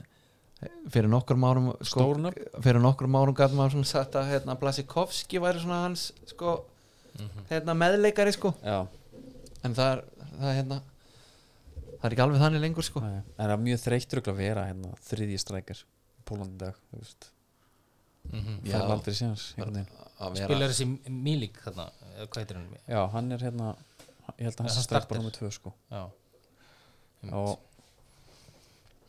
[SPEAKER 2] fyrir nokkrum árum sko,
[SPEAKER 1] stórna
[SPEAKER 2] fyrir nokkrum árum gæti maður svona sagt að hérna Blasikovski væri svona hans sko hérna meðleikari sko
[SPEAKER 1] Já,
[SPEAKER 2] en það er, það er hérna það er ekki alveg þannig lengur sko
[SPEAKER 1] nei, en það er mjög þreyttur örugglega að vera hérna, þriðji strækir Pólandi dag, þú veist Það
[SPEAKER 2] Já.
[SPEAKER 1] er aldrei séns einhvern veginn.
[SPEAKER 2] að vera
[SPEAKER 3] Mhm. spilar þessi Milik þarna eða hvað heitir hann
[SPEAKER 1] Já, hann er hérna ég held að hann
[SPEAKER 3] Hann
[SPEAKER 1] er stræk
[SPEAKER 3] startar.
[SPEAKER 1] bara nummer tvö sko
[SPEAKER 3] já,
[SPEAKER 1] og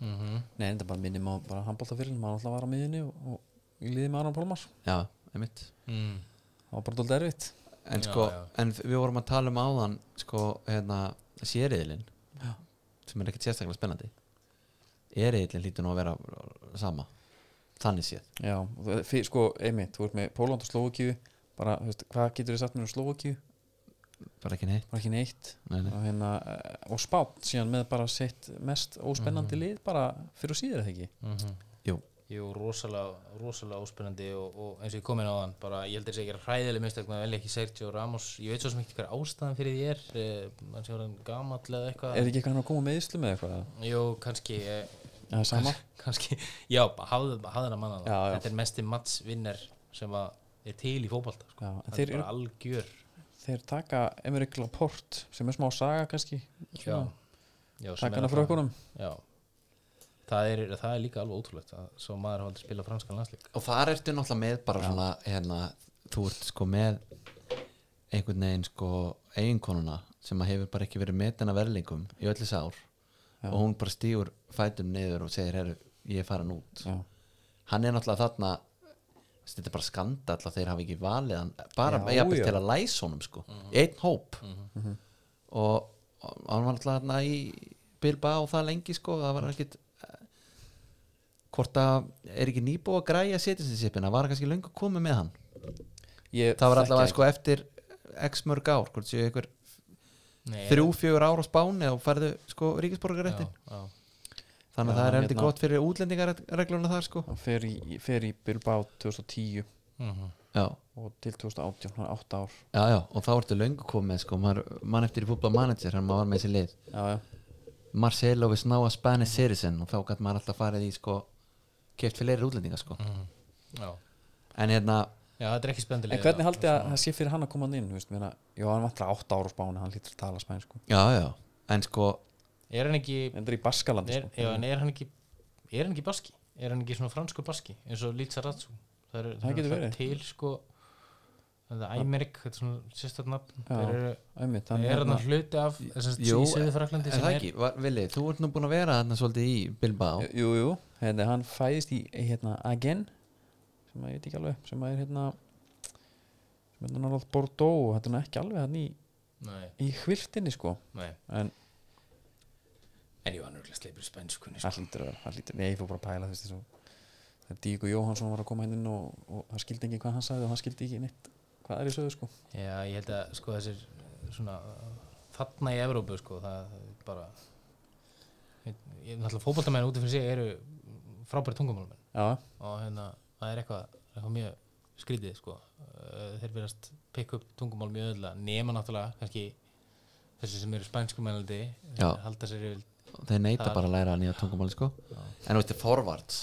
[SPEAKER 3] mm
[SPEAKER 1] nei, þetta bara minnum á bara handbóltafyrlun, maður alltaf var á miðinni og, og í liði með Aron Pálmar
[SPEAKER 2] já, einmitt
[SPEAKER 3] mm.
[SPEAKER 1] það var bara dóldi erfitt
[SPEAKER 2] en,
[SPEAKER 3] Já,
[SPEAKER 2] sko,
[SPEAKER 3] já.
[SPEAKER 2] en við vorum að tala um áðan sko, hérna, sériðilinn sem er ekkert sérstaklega spennandi eriðilinn lítur nú að vera sama, þannig séð
[SPEAKER 1] Já, og það- fyrir, sko, einmitt, þú ert með Póland og Slóakíu bara, þú veist, hvað getur þið sagt mér um Slóakíu?
[SPEAKER 2] bara ekki neitt
[SPEAKER 1] Bara ekki neitt
[SPEAKER 2] nei, nei.
[SPEAKER 1] og, hérna, eh, og spátt síðan með bara sitt mest
[SPEAKER 3] Mhm.
[SPEAKER 1] óspennandi lið bara fyrir og síður eða ekki
[SPEAKER 2] Jú.
[SPEAKER 3] Jú, rosalega, rosalega óspennandi og, og eins og ég kom inn á hann bara, ég held að þessi ekki hræðileg mistök með að velja ekki Sergio Ramos ég veit svo sem ekki hver ástæðan fyrir því er eh, mann sem var hann gamall eða eitthvað
[SPEAKER 1] Er ekki eitthvað hann að koma með íslu með eitthvað? eða?
[SPEAKER 3] Jú, kannski eh,
[SPEAKER 1] Eða sama?
[SPEAKER 3] kannski, já, hafðu hafður að manna það
[SPEAKER 1] Já, já.
[SPEAKER 3] þetta er mesti matsvinner sem að er til í fótbalta sko.
[SPEAKER 1] Já, en
[SPEAKER 3] hann
[SPEAKER 1] þeir
[SPEAKER 3] er
[SPEAKER 1] eru
[SPEAKER 3] bara algjör
[SPEAKER 1] þeir taka Emmerich Laporte sem er smá saga kannski
[SPEAKER 3] já, já, sem
[SPEAKER 1] taka
[SPEAKER 3] er
[SPEAKER 1] hana frá
[SPEAKER 3] náttúrulega-
[SPEAKER 1] okkurum
[SPEAKER 3] já það er, það er líka alveg ótrúlegt að svo maður hafa aldrei spilað franskan landsleik
[SPEAKER 2] og þar ertu náttúrulega með bara svona hérna, þú ert sko með einhvern veginn sko eiginkonuna sem að hefur bara ekki verið metin af verðlingum í öllis ár og hún bara stígur fætum niður og segir herru, ég er farin út
[SPEAKER 1] já,
[SPEAKER 2] hann er náttúrulega þarna þú veist, þetta er bara skandall að þeir hafi ekki valið hann bara
[SPEAKER 1] Já,
[SPEAKER 2] jafnvel
[SPEAKER 1] já.
[SPEAKER 2] til að læsa honum sko
[SPEAKER 1] Mhm.
[SPEAKER 2] í einn hóp og, og hann var náttúrulega þarna í Bilba og það lengi sko það var ekkit hvort að er ekki nýbúið að græja setinsisipina var kannski löngu komið með hann
[SPEAKER 1] ég
[SPEAKER 2] það var
[SPEAKER 1] þekki
[SPEAKER 2] allavega
[SPEAKER 1] ekki.
[SPEAKER 2] sko eftir x mörg ár hvort séu ykkur
[SPEAKER 3] Nei,
[SPEAKER 2] þrjú, fjögur ár á Spáni og færðu sko ríkisborgaréttin
[SPEAKER 3] já, já.
[SPEAKER 2] þannig
[SPEAKER 1] Já,
[SPEAKER 2] að það er
[SPEAKER 1] hann
[SPEAKER 2] heldur
[SPEAKER 1] hérna-
[SPEAKER 2] gott fyrir útlendingarregluna þar sko
[SPEAKER 1] hann fer í, fer í Bilbao 2010
[SPEAKER 3] Mhm.
[SPEAKER 2] já
[SPEAKER 1] og til 2018 hann er 8 ár
[SPEAKER 2] Já, já, og þá ertu löngu komið sko, maður, mann eftir í fútbol manager hann maður var með þessi lið
[SPEAKER 1] já, já.
[SPEAKER 2] Marcelo við snáa Spanish citizen og þá gætt maður alltaf farið í sko keft fyrir útlendinga sko
[SPEAKER 1] Mm.
[SPEAKER 3] já.
[SPEAKER 2] en hérna,
[SPEAKER 3] já, þetta er ekki spendilega
[SPEAKER 1] en hvernig haldið að það sé fyrir hann að koma hann inn þú veist, meina, já, hann vantar 8 ár á spáni hann lítur að tala spæn sko.
[SPEAKER 2] já, já en sko,
[SPEAKER 3] er hann ekki
[SPEAKER 1] en það er í Baskalandi
[SPEAKER 3] er,
[SPEAKER 1] sko.
[SPEAKER 3] já, en er hann ekki er hann ekki baski, er hann ekki svona fransku baski eins og Lítsaratsu það, er,
[SPEAKER 1] Það getur verið.
[SPEAKER 3] til sko það er Æmerik, þetta er svona sérstætt nafn
[SPEAKER 1] Já.
[SPEAKER 3] þeir eru,
[SPEAKER 1] Einmitt, hann
[SPEAKER 3] það er hann
[SPEAKER 1] hérna-
[SPEAKER 3] hluti af þessast
[SPEAKER 2] Jú,
[SPEAKER 3] síðsöðu
[SPEAKER 2] en
[SPEAKER 3] fraklandi
[SPEAKER 2] það ekki, var, Vili, þú ert nú búin að vera þarna svolítið í Bilbao
[SPEAKER 1] jú, jú, hérna, hann fæðist í hérna, Agen sem að ég veit ekki alveg sem að er hérna sem er náttúrulega Bordeaux og þetta er nú ekki alveg hann í,
[SPEAKER 3] nei,
[SPEAKER 1] í hvilftinni sko
[SPEAKER 3] nei,
[SPEAKER 1] en
[SPEAKER 3] en jú, hann er sleipur spænskunni
[SPEAKER 2] sko.
[SPEAKER 1] það hlýtur að vera það hlýtur, nei, ég fór bara að pæla þess að þegar Díko Jóhansson var að koma hérna inn og, og hann skildi ekki hvað hann sagði og hann skildi ekki neitt hvað er í sögðu sko
[SPEAKER 3] já, ég held að sko þessir svona eh, þarna í Evrópu sko, það er bara ég, ég náttúrulega fótboltamenn út af fyrir sig eru frábæri tungumálmenn
[SPEAKER 1] já,
[SPEAKER 3] og hérna, það er eitthvað, eitthvað mjög skrítið sko Eh, þeir verðast pikk upp tungumál mjög öðla nema náttúrulega kannski þessi sem eru spænskumælandi
[SPEAKER 2] Já.
[SPEAKER 3] halda sér yfir
[SPEAKER 2] þeir neita
[SPEAKER 3] Það-
[SPEAKER 2] bara að læra nýja tungumáli sko en þú veist, Forvarts,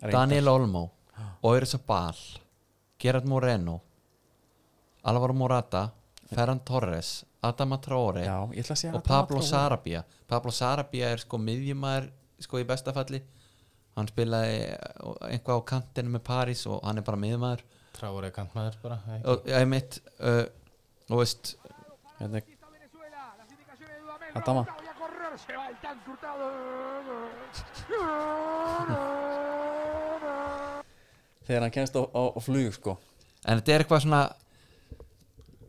[SPEAKER 1] reyndar.
[SPEAKER 2] Daniel Olmo Oyri Sabal, Gerard Moreno Alvaro Morata Ferran Torres, Adama Traore
[SPEAKER 1] já, ég ætla að segja
[SPEAKER 2] og Pablo Sarabia Pablo Sarabia er sko miðjumæður sko í bestafalli hann spilaði eh, eitthvað á kantinu með Paris og hann er bara miðjumæður
[SPEAKER 3] tráur eða kantmaður bara eða ekki?
[SPEAKER 2] og ég mitt uh, og veist,
[SPEAKER 1] hérna,
[SPEAKER 4] Esta Venezuela, las indicaciones de Dudamel.
[SPEAKER 1] Atama.
[SPEAKER 4] Robert Hurtado, Y a correr, se va el tan hurtado. Gol.
[SPEAKER 1] þegar hann kennst á, á, á flug sko
[SPEAKER 2] en þetta er eitthvað svona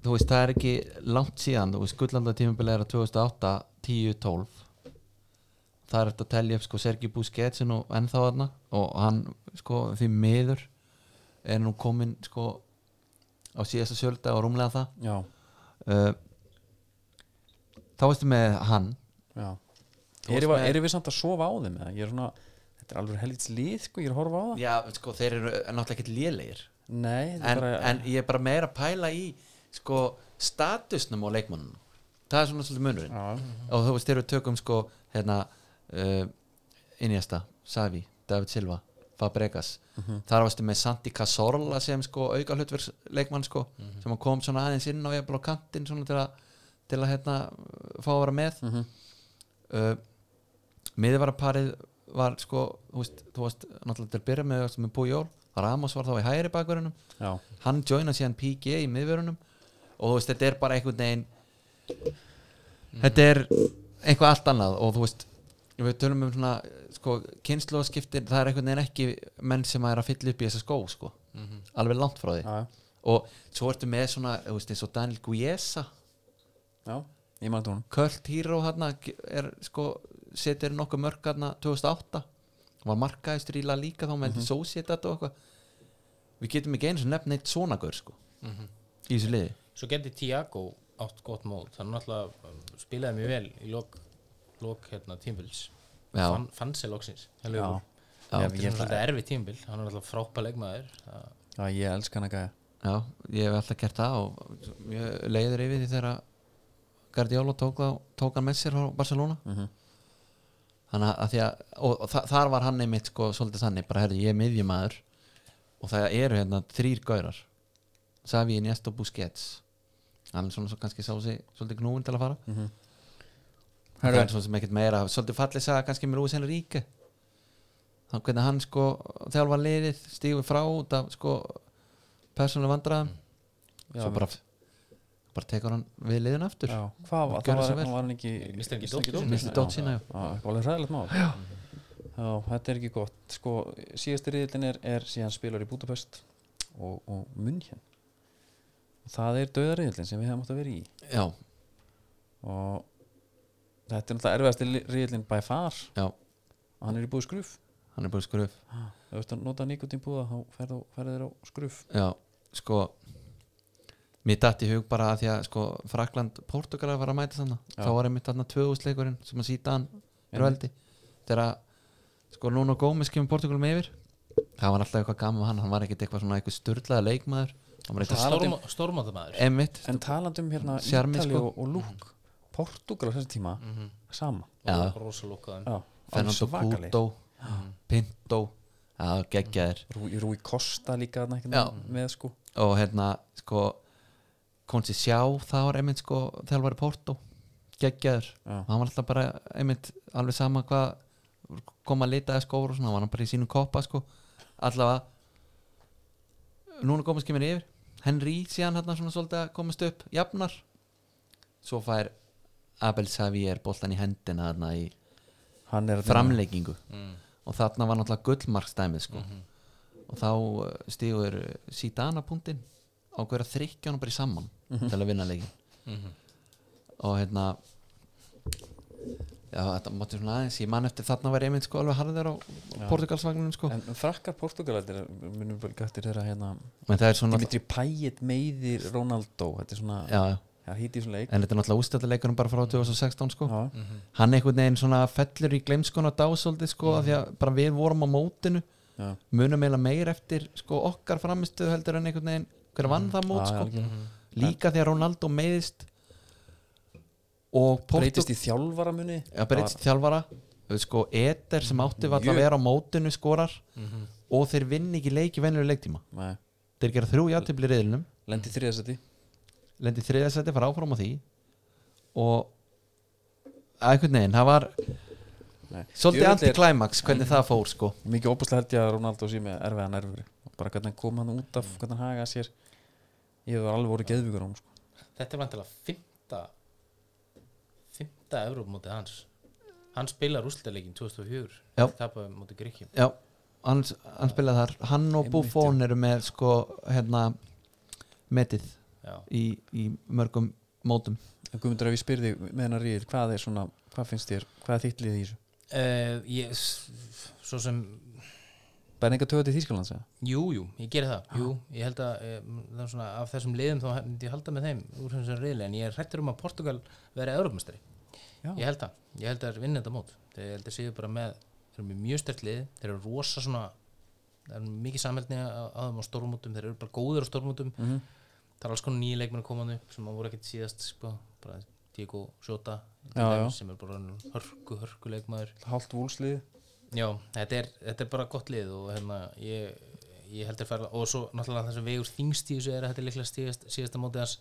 [SPEAKER 2] þú veist, það er ekki langt síðan, þú veist, gullanda tímabilið er að 2008, 10, 12 það er eftir að telja upp sko Sergi Busquetsin og ennþá þarna og hann sko því miður er nú kominn sko á síðasta sjölda og rúmlega það
[SPEAKER 1] já,
[SPEAKER 2] Uh, þá varstu með hann
[SPEAKER 1] já
[SPEAKER 2] Þú
[SPEAKER 1] eru
[SPEAKER 2] varst með-
[SPEAKER 1] er við samt að sofa á þeim eða? ég er svona, þetta er alveg helvits lið sko, ég er að horfa á það
[SPEAKER 2] já, sko, þeir eru náttúrulega ekkert lélegir
[SPEAKER 1] nei, þetta
[SPEAKER 2] en,
[SPEAKER 1] er bara
[SPEAKER 2] en ég er bara meira að pæla í sko, statusnum á leikmannum það er svona svolítið munurinn
[SPEAKER 1] já,
[SPEAKER 2] og þú veist, þeir eru tökum sko hérna, uh, Iniesta, Savi, David Silva Fabregas, þar varstu með Santi Cazorla sem sko auka hlutverks leikmann sko, sem hann kom svona aðeins inn á jafnvel á kantinn svona til að til að hérna fá að vera með
[SPEAKER 1] Mhm.
[SPEAKER 2] uh, miðvaraparið var sko þú veist, þú varst náttúrulega til að byrja með, með Pujol, Ramos var þá í hægri bakverunum
[SPEAKER 1] já,
[SPEAKER 2] hann joina síðan PG í miðverunum og þú veist, þetta er bara einhvern veginn þetta er eitthvað allt annað og þú veist við tölum um svona, sko, kynnslóðskiptin það er einhvern veginn ekki menn sem er að fylla upp í þessa skó, sko alveg langt frá því
[SPEAKER 1] já,
[SPEAKER 2] og svo ertu með svona, þú veist, eins og Daniel Guiesa
[SPEAKER 1] já, ég maður tónum
[SPEAKER 2] Költ Híró hérna er sko setir nokkuð mörg hérna 2008 var markaðistur í La Liga þá með mm -hmm. Sociedad og eitthvað við getum ekki einu sem nefn neitt svona gaur sko í þessu liði
[SPEAKER 3] Svo gerði Tiago átt gott mót hann náttúrulega um, spilaði mjög vel í lok, lok hérna, tímbils
[SPEAKER 2] Já.
[SPEAKER 3] fann, fann sér loksins hann
[SPEAKER 1] já,
[SPEAKER 3] lögur
[SPEAKER 1] já,
[SPEAKER 3] Það
[SPEAKER 1] já,
[SPEAKER 3] er
[SPEAKER 1] ég,
[SPEAKER 3] náttúrulega erfið tímbil, hann er alltaf frápa leikmaður Það-
[SPEAKER 1] já, ég elska hana gæja
[SPEAKER 2] já, ég hef alltaf gert það og ég leiður yfir því þegar að Guardiola tók, þá, tók hann með sér á Barcelona
[SPEAKER 1] Mhm,
[SPEAKER 2] þannig að- að því að og, og þa þar var hann einmitt sko svolítið þannig, bara herði ég er miðjumæður og það eru hérna þrýr gaurar Savi Iniesta og Busquets hann er svona svo kannski sá sig svolítið knúin til að fara
[SPEAKER 1] mhm.
[SPEAKER 2] það er svona sem ekkert meira svolítið fallið sagði kannski mér úr senni ríki þá hvernig hann sko þegar var liðið, stígur frá út af sko persónulega vandræðum svo bara bara tekur hann við liðin aftur
[SPEAKER 1] já, hvað var,
[SPEAKER 2] Hann
[SPEAKER 1] það
[SPEAKER 2] gerði
[SPEAKER 1] var,
[SPEAKER 2] svo vel.
[SPEAKER 1] hann var hann ekki
[SPEAKER 3] Missti hann ekki
[SPEAKER 1] missti
[SPEAKER 3] dóttur sína?
[SPEAKER 2] Missti
[SPEAKER 1] sína?
[SPEAKER 2] dóttur
[SPEAKER 1] Já,
[SPEAKER 2] sína, já.
[SPEAKER 1] já, það var alveg hræðilegt mál já. þetta er ekki gott sko, síðasti riðilin er, er síðan spilar í Budapest og, og München og það er döðariðilin sem við hefum átt að vera í
[SPEAKER 2] já,
[SPEAKER 1] og þetta er náttúrulega erfiðasti riðilin by far
[SPEAKER 2] já,
[SPEAKER 1] og hann er í búið skruf
[SPEAKER 2] hann er bara skröf
[SPEAKER 1] ef þú ert að nota nikotín búða þá ferðu ferðu þér á skruf
[SPEAKER 2] já, sko mér datt í hug bara að því að sko Frakland, Portugal var að mæta þannig
[SPEAKER 1] Já.
[SPEAKER 2] þá var einmitt þarna tvöðusleikurinn sem að síta hann er
[SPEAKER 1] Einmitt.
[SPEAKER 2] veldi þegar að sko Nuno Gómez kemur Portugal með yfir það var alltaf eitthvað gaman hann, hann var ekkert eitthvað svona eitthvað sturlaða leikmaður hann var
[SPEAKER 1] um
[SPEAKER 2] eitthvað
[SPEAKER 3] Storm- Stormátamaður
[SPEAKER 2] emitt
[SPEAKER 1] en talandum hérna
[SPEAKER 2] Sjarmi,
[SPEAKER 1] Ítali
[SPEAKER 2] sko. Mhm.
[SPEAKER 1] og, og Lúk Portugal á þessi tíma sama
[SPEAKER 2] Já.
[SPEAKER 3] Rósalokkaðan
[SPEAKER 1] já,
[SPEAKER 2] Fernando
[SPEAKER 1] svakalegir.
[SPEAKER 2] Couto,
[SPEAKER 1] Mm.
[SPEAKER 2] Pinto já, geggjaðir
[SPEAKER 1] Rúi, Rúi Kosta líka þarna einhvern
[SPEAKER 2] Já.
[SPEAKER 1] veginn með sko
[SPEAKER 2] og hérna sko Konsi Sjá það var einmitt sko þegar var í Porto geggjaður
[SPEAKER 1] Já.
[SPEAKER 2] og hann var alltaf bara einmitt alveg sama hvað kom að litaði skóður og svona var hann bara í sínum koppa sko allavega núna komast kemur yfir Henry síðan hérna svona svolítið að komast upp jafnar svo fær Abel Xavier boltan í hendina þarna í
[SPEAKER 1] hann er þarna-
[SPEAKER 2] framleggingu
[SPEAKER 1] Mm.
[SPEAKER 2] og þarna var náttúrulega gullmarkstæmið sko.
[SPEAKER 1] Mhm.
[SPEAKER 2] og þá eh, stígur sídana punktinn á hverja þrykkja hann bara í saman
[SPEAKER 1] Mhm.
[SPEAKER 2] til að vinna leikin og hérna já, þetta mátti svona aðeins ég man eftir þarna var einmitt sko alveg harðir á portugalsvagnunum sko
[SPEAKER 1] en frakkar Portugalættir munum vel gættir þeirra hérna
[SPEAKER 2] en það er svona
[SPEAKER 1] Dimitri Payet meiðir Ronaldo þetta er svona
[SPEAKER 2] já, já.
[SPEAKER 1] það hýtti svona leik
[SPEAKER 2] en þetta er náttúrulega ústættileikunum bara frá 2016 sko
[SPEAKER 1] já,
[SPEAKER 2] hann einhvern veginn svona fellur í glemskun og dásóldi sko af því að bara við vorum á mótinu
[SPEAKER 1] já,
[SPEAKER 2] munum eiginlega meir eftir sko, okkar framistuð heldur en einhvern veginn hver vann það mót
[SPEAKER 1] Mm. Já,
[SPEAKER 2] sko.
[SPEAKER 1] já,
[SPEAKER 3] Mhm,
[SPEAKER 2] líka því að Ronaldo meiðist og
[SPEAKER 1] breytist
[SPEAKER 2] Portug-
[SPEAKER 1] í þjálfara muni
[SPEAKER 2] Já, breytist í þjálfara sko, Eder sem átti var að
[SPEAKER 1] Mjög.
[SPEAKER 2] vera á mótinu skorar
[SPEAKER 3] mhm.
[SPEAKER 2] og þeir vinni ekki leik í venjuleg leiktíma
[SPEAKER 1] Nei,
[SPEAKER 2] þeir gera þrjú játöfli reyðlunum
[SPEAKER 1] lendi þriðasæti
[SPEAKER 2] lendi þriðasætti fara áfram á því og einhvern veginn, það var svolítið antiklæmaks hvernig það fór sko
[SPEAKER 1] mikið óbúslega held ég að Ronaldo sé með erfiða nervur Og bara hvernig hann kom hann út
[SPEAKER 2] Mm.
[SPEAKER 1] af hvernig hann hagaði sér ég var alveg voru geðvíkur á hann sko.
[SPEAKER 3] Þetta er vantilega fymta fymta Evrópmótið hans Hann spilar úrslitaleikin 2004
[SPEAKER 2] Já.
[SPEAKER 3] Tapaði móti Gríkjum
[SPEAKER 2] Já, hann, hann spilaði þar Hann og
[SPEAKER 1] Einmitt,
[SPEAKER 2] Buffon eru með sko hérna metið
[SPEAKER 3] Já.
[SPEAKER 2] í, í mörgum mótum
[SPEAKER 1] En Guðmundur, ef ég spyrði með hennar ríðil, hvað er svona, hvað finnst þér, hvað er þitt liðið í þessu?
[SPEAKER 3] Uh, ég, s- svo sem
[SPEAKER 1] Bara enga töðu til Þýskalands, eða?
[SPEAKER 3] Jú, jú, ég geri það Jú, ég held að eh, það er svona, af þessum liðum þá myndi ég halda með þeim úr þessum reyðlega en ég er hrættur um að Portugal verði Evrópmestari
[SPEAKER 1] Já.
[SPEAKER 3] Ég held það, ég held að þeir vinna þetta mót þeir held að séu bara með, þeir eru með mjög stert lið þeir eru rosa svona það er mikið samhældni á á þeim á stórmótum þeir eru bara góðir á stórmótum
[SPEAKER 1] Mhm.
[SPEAKER 3] það er alls konar nýja leikmenn að koma hann upp sem að voru ekkert síðast sko, bara Diego Sjóta
[SPEAKER 1] Já, já.
[SPEAKER 3] sem er bara orðinn hörku, hörku leikmaður
[SPEAKER 1] Hálft vúlsliði?
[SPEAKER 3] Já, þetta er, þetta er bara gott lið og hérna ég, ég heldur færa og svo náttúrulega það sem vegur þingst í þessu er að þetta er líklega stíðast, síðasta mótið hans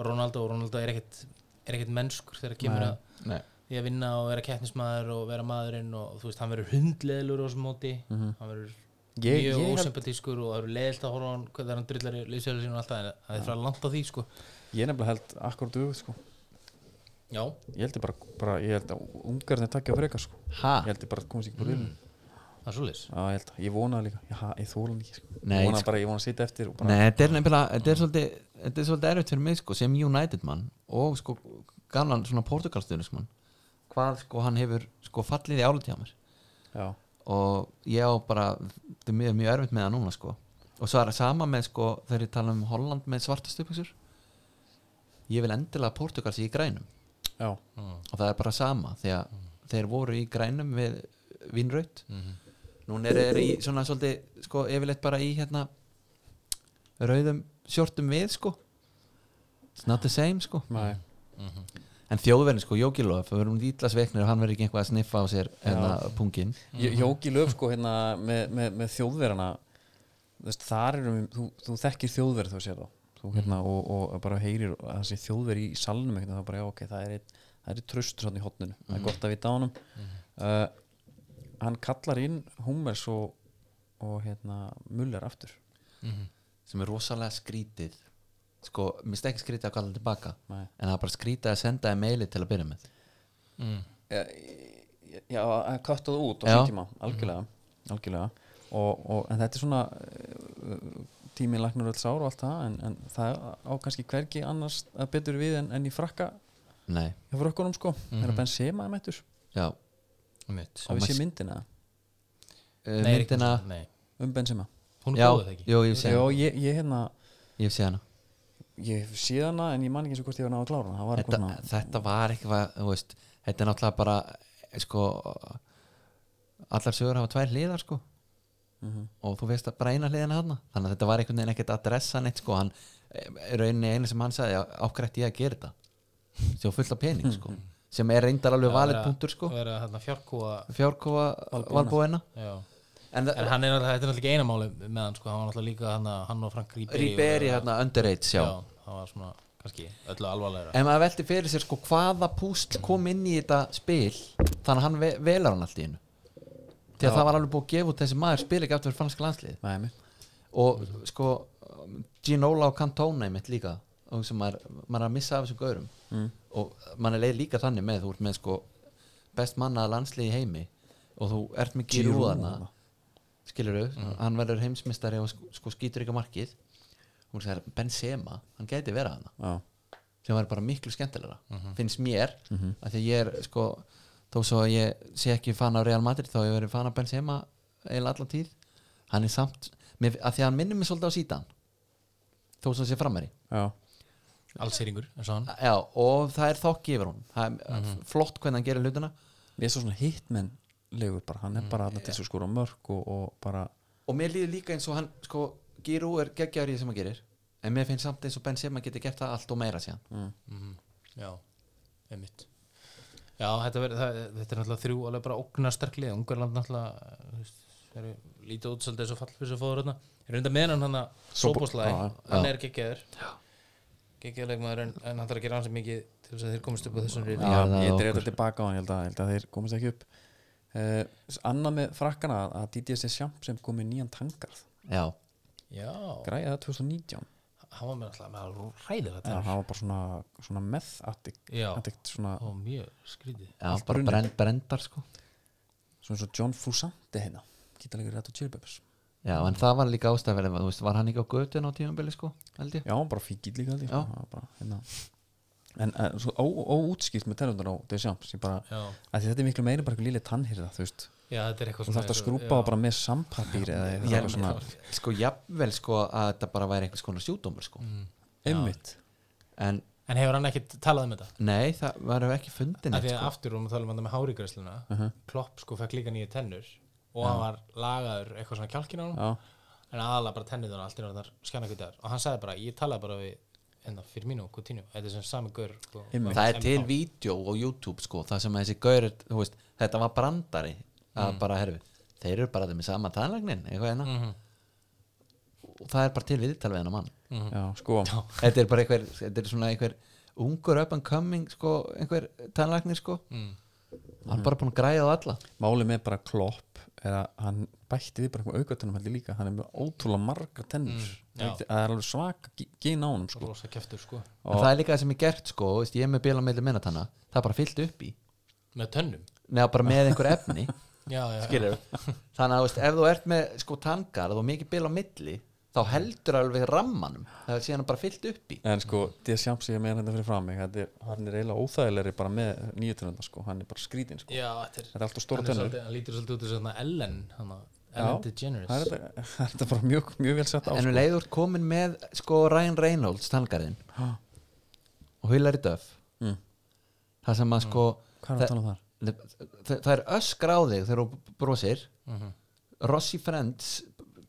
[SPEAKER 3] Ronaldo og Ronaldo er ekkit, er ekkit mennskur þegar kemur að
[SPEAKER 2] Nei.
[SPEAKER 3] því að vinna og vera keppnismæður og vera maðurinn og þú veist, hann verður hundleðilur á þessum móti
[SPEAKER 2] Mhm.
[SPEAKER 3] hann verður
[SPEAKER 1] Ég- ég
[SPEAKER 3] mjög
[SPEAKER 1] held-
[SPEAKER 3] ósempatískur og það verður leðilt að horfa á hann hvað það hann drullar í liðsjölu sín og alltaf en það er frá langt á því sko
[SPEAKER 1] Ég nefnilega held akkurat auðvitað, sko.
[SPEAKER 3] Já,
[SPEAKER 1] Ég held ég bara, bara, ég held að ungarnir takkja á frekar, sko.
[SPEAKER 2] Ha?
[SPEAKER 1] Ég held ég bara komast ekki búið mm.
[SPEAKER 3] það er svolítið
[SPEAKER 1] Já, ég held að, ég vona það líka, já, ég þóla hann ekki sko.
[SPEAKER 2] Nei,
[SPEAKER 1] ég vona
[SPEAKER 2] sko.
[SPEAKER 1] bara, ég vona að sitja eftir og bara,
[SPEAKER 2] Nei, þetta er nefnilega, þetta er svolítið þetta er svolítið erfitt fyrir mig sko, sem United mann og sko galan svona portugalstuðnismann hvað sko hann hefur sko fallið í álið hjá mér
[SPEAKER 1] já,
[SPEAKER 2] og ég á bara þetta er mjög, mjög erfitt með það núna sko og svo er það sama með sko þegar ég tala um Holland með svarta stuðbuxur ég vil endilega Portugals í grænum
[SPEAKER 1] já,
[SPEAKER 2] og það er bara sama því að
[SPEAKER 3] Mm.
[SPEAKER 2] þeir voru í grænum við vinnraut
[SPEAKER 3] Mhm.
[SPEAKER 2] núna er þeir í svona svolítið sko yfirleitt bara í hérna rauðum sjortum við sko it's not the same sko
[SPEAKER 1] nei,
[SPEAKER 2] en þjóðverðin sko Jókilof við erum ítla sveiknir og hann verður ekki eitthvað að sniffa á sér hérna pungin
[SPEAKER 1] ég jóki löf sko hérna með, með, með þjóðverðana þú veist, þar erum við, þú, þú þekkir þjóðverð þú sér þá,
[SPEAKER 2] Mm.
[SPEAKER 1] þú hérna og, og bara heyrir að þessi þjóðverð í salnum eitthvað, það bara, já, ok, það er eitt, það er eitt tröstur svona í hotninu,
[SPEAKER 2] Mm.
[SPEAKER 1] það er gott að vita á honum uh, hann kallar inn Hummers og, og hérna, Muller aftur
[SPEAKER 2] sem er rosalega skrítið sko, mér stekki skrítið að kalla það tilbaka
[SPEAKER 1] Nei.
[SPEAKER 2] en það er bara skrítið að senda það meili til að byrja með
[SPEAKER 3] Mm,
[SPEAKER 1] já, að kötta það út á
[SPEAKER 2] Já. Mhm.
[SPEAKER 1] sín tíma, algjörlega, algjörlega. Og, og, en þetta er svona eh, tíminn læknar öll sár og allt það en, en það á kannski hvergi annars að betur við en, en í frakka
[SPEAKER 2] nei,
[SPEAKER 1] hjá frökkunum sko, mm -hmm.
[SPEAKER 2] Mhm.
[SPEAKER 1] er að Benzema er mættur
[SPEAKER 2] já,
[SPEAKER 3] mitt
[SPEAKER 1] að við
[SPEAKER 2] maður-
[SPEAKER 1] séum myndina
[SPEAKER 2] uh, myndina
[SPEAKER 3] nei,
[SPEAKER 1] um Benzema
[SPEAKER 3] hún
[SPEAKER 2] já,
[SPEAKER 3] er góðið ekki
[SPEAKER 2] jú, ég sé
[SPEAKER 1] já,
[SPEAKER 2] hana
[SPEAKER 1] ég, ég hérna
[SPEAKER 2] ég sé hana
[SPEAKER 1] ég hef séð hana en ég man ekki eins og hvort ég var náða að klára hana það var
[SPEAKER 2] þetta,
[SPEAKER 1] eitthvað svona,
[SPEAKER 2] þetta var eitthvað, þú veist þetta er náttúrulega bara eh, sko, allar sögur hafa tvær hliðar sko og þú veist að bara eina hliðina hana þannig að þetta var einhvern veginn ekkert að dressa neitt sko, hann, eh, rauninni einu sem hann sagði ákvæmt ég að gera þetta sem fullt af pening sko sem er reyndar alveg valið punktur sko
[SPEAKER 3] það er að hérna fjárkúa
[SPEAKER 2] fjárkofa valbúina
[SPEAKER 3] já
[SPEAKER 2] en
[SPEAKER 3] En hann er náttúrulega, þetta er náttúrulega ekki einamáli með hann sko, hann var náttúrulega líka hann, hann og Frank Ribery
[SPEAKER 2] Ríberi hérna underage
[SPEAKER 3] já,
[SPEAKER 2] já.
[SPEAKER 3] hann var svona, kannski, öllu alvarlegra
[SPEAKER 2] en maður velti fyrir sér sko hvaða púsl kom inn í þetta spil þannig að hann ve velar hann allt í hennu því að það var alveg búið að gefa út þessi maður spil ekki aftur fyrir franska landslið
[SPEAKER 1] nei, einmitt.
[SPEAKER 2] og sko um, Ginola og Cantone mitt líka og sem maður, maður er að missa af þessum gaurum mm. og maður er leið líka þannig með þú ert með sko best manna landslið í heimi og þú ert með
[SPEAKER 1] Giroud
[SPEAKER 2] Girúðana
[SPEAKER 1] þarna.
[SPEAKER 2] skilur hann verður heimsmystari og sk- sko skýtur ekki á markið og það er Benzema, hann gæti vera hana
[SPEAKER 1] já,
[SPEAKER 2] sem var bara miklu skemmtilegra finnst mér, mm af því að ég er sko, þó svo að ég sé ekki fan af Real Madrid, þá hef ég verið fan af Benzema eða allan tíð, hann er samt mér, að því að hann minnir mig svolítið á sítan þó svo að sé framari
[SPEAKER 1] já,
[SPEAKER 3] Allsýringur, eins og hann
[SPEAKER 2] Já, og það er þokki yfir hún það er flott hvernig hann gerir hlutina
[SPEAKER 1] ég er svo svona hitmenn legur bara, hann er
[SPEAKER 2] Mhm.
[SPEAKER 1] bara þarna til þess að skora mörg og, og bara,
[SPEAKER 2] og mér líður líka eins og hann sko, Giroud er geggjaður í því sem hann gerir en mér finnst samt eins og Benzema getur gert það allt og meira síðan
[SPEAKER 3] Mhm, Já, einmitt Já, þetta, ver, það, þetta er náttúrulega þrjú alveg bara ógnarsterklið, Ungarland náttúrulega eh, þú veist, eru lítið út svolítið þessu fallfysu fóður hérna, er undan meðan hann
[SPEAKER 1] Sobo-
[SPEAKER 3] sóbúslæði,
[SPEAKER 1] Já,
[SPEAKER 3] hann er geggjaður geggjaður leikmaður en, en hann þarf að gera hans mikið til þess að þeir komist upp á þessum rýðum
[SPEAKER 1] Já,
[SPEAKER 2] Já, það er
[SPEAKER 1] ég dreif
[SPEAKER 2] okkur.
[SPEAKER 1] þetta tilbaka á hann, ég held að, ég held að þeir komast ekki upp uh, Anna með frakkana að DDS Sjamp sem kom með nýjan tangarð
[SPEAKER 2] Já,
[SPEAKER 3] Já,
[SPEAKER 1] græja það 2019
[SPEAKER 3] hann var með alltaf með ræðilega
[SPEAKER 1] það
[SPEAKER 3] tennur
[SPEAKER 1] var bara svona, svona meth addict,
[SPEAKER 3] Já.
[SPEAKER 1] addict svona,
[SPEAKER 3] og mjög skrítið
[SPEAKER 2] já bara brend, brendar sko
[SPEAKER 1] svona svo John Fusante hérna gítalegur rétt og cheerbeppers
[SPEAKER 2] Já, en það var líka ástæðverðin þú veist, var hann ekki á götun á tímabili sko held ég
[SPEAKER 1] já, hann bara fíkild líka held ég,
[SPEAKER 2] Já.
[SPEAKER 1] það var bara, hérna. en uh, svo óútskýrt með tennundar á Deschamps ég bara,
[SPEAKER 3] Já.
[SPEAKER 1] að þetta er miklu meira bara einhver lili tannhyrða þú veist,
[SPEAKER 3] Já, þetta er eitthvað
[SPEAKER 1] þú þarf að
[SPEAKER 3] eins og-
[SPEAKER 1] skrúpa
[SPEAKER 3] já.
[SPEAKER 1] það bara með sampapír eða eitthvað svona
[SPEAKER 2] Sko, jafnvel sko að þetta bara væri einhvers konar sjúdómur sko
[SPEAKER 1] ummitt
[SPEAKER 2] En
[SPEAKER 3] En hefur hann ekkit talað um þetta?
[SPEAKER 2] nei, það varum ekki fundin
[SPEAKER 3] Af
[SPEAKER 2] neitt,
[SPEAKER 3] því að
[SPEAKER 2] sko.
[SPEAKER 3] aftur um að tala um hann með hárigræsluna
[SPEAKER 1] Mhm.
[SPEAKER 3] Klopp sko fekk líka nýju tennur og hann var lagaður eitthvað svona kjálkin á hann
[SPEAKER 1] já,
[SPEAKER 3] en aðalega bara tennið hann allt í náttúrulega skjannakvitaðar og hann sagði bara, ég talaði bara við hérna, fyrir mínu og Coutinho, þetta er sem sami gaur sko,
[SPEAKER 1] Einmitt.
[SPEAKER 2] Það er til vídeo á YouTube sko það sem að þessi gaur, er- þú veist, þetta var brandari að bara, herfi, þeir eru bara þeim í sama tannlegnin, eitthvað hérna og það er bara til viðtal við hennar mann
[SPEAKER 1] já, sko
[SPEAKER 2] Þetta er bara einhver, þetta er svona einhver ungur up and coming sko, einhver tannlegnir sko
[SPEAKER 3] Mm,
[SPEAKER 2] Hann er bara búin að græða á alla
[SPEAKER 1] Málið með bara Klopp er að hann bætti við bara einhver aukatunum heldur líka hann er með ótrúlega margar tennur
[SPEAKER 3] Mm, já.
[SPEAKER 1] það er alveg svaka gí- gín á honum sko.
[SPEAKER 3] rosa keftur sko,
[SPEAKER 2] en það er líka það sem er gert sko veist, ég er með bíla meðli minna þannig það er bara fyllt upp í
[SPEAKER 3] með tönnum
[SPEAKER 1] <laughs>
[SPEAKER 2] neða bara með einhver efni
[SPEAKER 3] já, já, já.
[SPEAKER 2] skilur þannig að þú veist, ef þú ert með sko tangar og mikið bil á milli þá heldur alveg rammanum það er síðan bara fyllt upp í
[SPEAKER 1] En sko, Deschamps ég meina þetta fyrir fram mig þetta er, hann er eiginlega óþægilegri bara með nýjutrönda sko, hann er bara skrítinn sko
[SPEAKER 3] já, þetta er
[SPEAKER 1] Þetta er alltaf
[SPEAKER 3] hann,
[SPEAKER 1] stóra
[SPEAKER 3] er
[SPEAKER 1] tönnur
[SPEAKER 3] svolítið, hann lítur svolítið út úr svona Ellen hana,
[SPEAKER 1] Já,
[SPEAKER 3] Ellen DeGeneres
[SPEAKER 1] það er þetta- <laughs> það er þetta bara mjög, mjög vel sett á
[SPEAKER 2] en um
[SPEAKER 1] sko.
[SPEAKER 2] leið úr komin með sko Ryan Reynolds tangarinn
[SPEAKER 1] Ha.
[SPEAKER 2] og Hilary Duff
[SPEAKER 1] Mm.
[SPEAKER 2] það sem að sko
[SPEAKER 1] Hvað er að tala um þar?
[SPEAKER 2] það, það er öskra á þig þegar þú brosir
[SPEAKER 1] Mhm.
[SPEAKER 2] Rossi Friends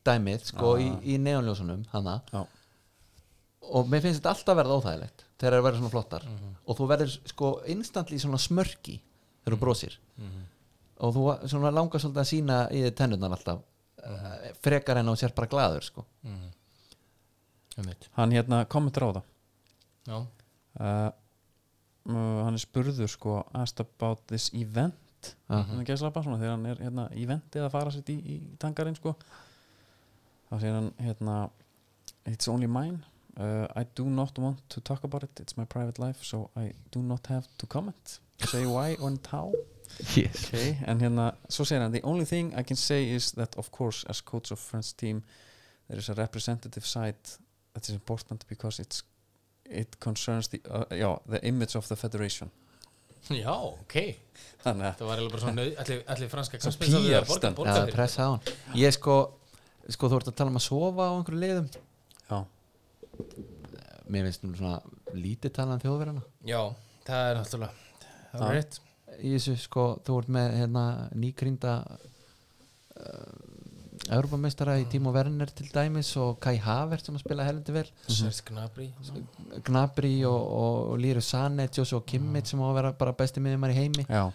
[SPEAKER 2] dæmið sko í,
[SPEAKER 1] Ah.
[SPEAKER 2] í neonljósunum hana
[SPEAKER 1] Já.
[SPEAKER 2] og mér finnst þetta alltaf verða óþægilegt þegar það verður svona flottar
[SPEAKER 1] Mm.
[SPEAKER 3] Mhm,
[SPEAKER 2] og þú verður sko instantly svona smörki þegar
[SPEAKER 1] Mm.
[SPEAKER 2] þú brosir
[SPEAKER 3] mhm,
[SPEAKER 2] og þú svona langar svolítið að sína í þér tennurnar alltaf eh, frekar en á sér bara glaður sko
[SPEAKER 3] mhm. Einmitt.
[SPEAKER 1] Hann hérna kommentar á það
[SPEAKER 3] já,
[SPEAKER 1] uh, uh, Hann er spurður sko asked about this event
[SPEAKER 2] Mhm.
[SPEAKER 1] hann er gæslega bara svona þegar hann er hérna, eventið að fara sitt í, í tangarinn sko þá segir hann hérna It's only mine uh, I do not want to talk about it It's my private life so I do not have to comment Say why on how
[SPEAKER 2] yes.
[SPEAKER 1] okay, en hérna, svo segir hann the only thing I can say is that of course as coach of French team there is a representative side that is important because it's it concerns the, uh, já, the image of the federation
[SPEAKER 3] já, ok
[SPEAKER 1] þannig að
[SPEAKER 3] það var eiginlega bara svona nöð- allir, allir franska
[SPEAKER 1] Svo
[SPEAKER 3] knattspyrnustjórar eru að
[SPEAKER 1] PR
[SPEAKER 3] borga-
[SPEAKER 1] stemmt.
[SPEAKER 3] borga
[SPEAKER 2] Já,
[SPEAKER 3] fyrir
[SPEAKER 2] pressa á hann ég sko, sko þú ert að tala um að sofa á einhverju liðum
[SPEAKER 1] já,
[SPEAKER 2] mér finnst nú svona lítið talaðan þjóðverðana
[SPEAKER 3] já, það er náttúrulega það
[SPEAKER 1] Já.
[SPEAKER 3] er rétt
[SPEAKER 2] í þessu sko, þú ert með hérna, nýgrínda uh, Europameistara í Timo Werner til dæmis og Kai Havert sem að spila helviti vel
[SPEAKER 3] Serge Gnabry
[SPEAKER 2] Gnabry og, og, og Líru Sane Joshua Kimmich sem á að vera bara besti miðjumar í heimi
[SPEAKER 1] já,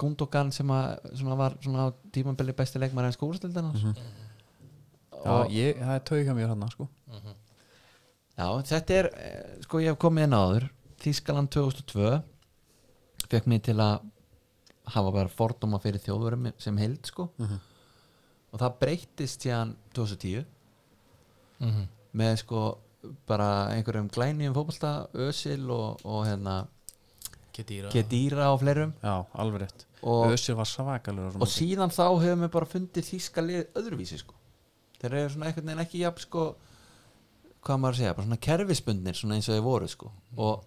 [SPEAKER 2] Gundogan sem að svona var svona á tímambili besti leikmar en skúrstildana mm
[SPEAKER 1] já ég, það er tauga mér hann sko.
[SPEAKER 2] Já, þetta er, eh, sko ég hef komið inn áður Þískaland 2002 fekk mig til að hafa bara fordóma fyrir þjóðurum sem heild sko
[SPEAKER 1] Mhm.
[SPEAKER 2] og það breyttist síðan 2010
[SPEAKER 3] Mhm.
[SPEAKER 2] með sko bara einhverjum glænýjum fótbolta Ösil og, og hérna
[SPEAKER 3] Kedira
[SPEAKER 2] Kedýra og fleirum
[SPEAKER 1] já, alveg rétt
[SPEAKER 2] og,
[SPEAKER 1] Össur var svakalur
[SPEAKER 2] og síðan þá hefur mér bara fundið þíska lið öðruvísi sko þeir eru svona einhvern veginn ekki jafn sko hvað maður að segja, bara svona kerfisbundnir svona eins og þeir voru sko og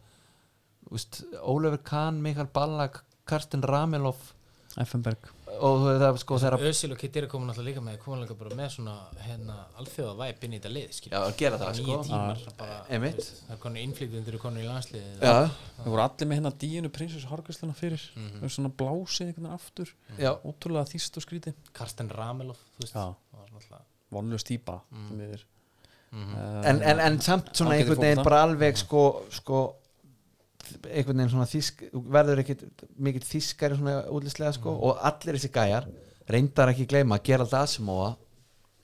[SPEAKER 2] þú veist, Ólafur Kahn, Mikael Ballack Karsten Rameloff
[SPEAKER 1] Effenberg
[SPEAKER 2] og þú veist, það sko þeirra
[SPEAKER 3] Ösil og Kedira komin alltaf líka með komin líka bara með svona hérna alþjóða væp inn í þetta lið skilur.
[SPEAKER 2] já, að gera það
[SPEAKER 3] nýju
[SPEAKER 2] sko
[SPEAKER 3] tímar bara,
[SPEAKER 2] Einmitt.
[SPEAKER 3] þú veist, það er konu innflytjendur og konu í landsliðið
[SPEAKER 2] já, Mhm.
[SPEAKER 1] það voru allir með hérna díinu prinsessu harkvistuna fyrir mm -hmm. svona blásið einhvern veginn aftur
[SPEAKER 2] já,
[SPEAKER 1] ótrúlega þýst og skríti
[SPEAKER 3] Karsten Rameloff þú veist,
[SPEAKER 1] Já.
[SPEAKER 3] það var náttúrulega-
[SPEAKER 1] vonlega stýpa mm.
[SPEAKER 2] Mhm.
[SPEAKER 1] Eh,
[SPEAKER 2] en, en, en samt svona
[SPEAKER 1] Ágætur
[SPEAKER 2] einhvern veginn
[SPEAKER 1] fótbolta.
[SPEAKER 2] bara alveg sko, sko einhvern veginn svona þísk þú verður ekkit mikið þískari svona útlýslega sko
[SPEAKER 3] Mm.
[SPEAKER 2] og allir þessi gæjar reyndar ekki gleyma að Gerald Asimova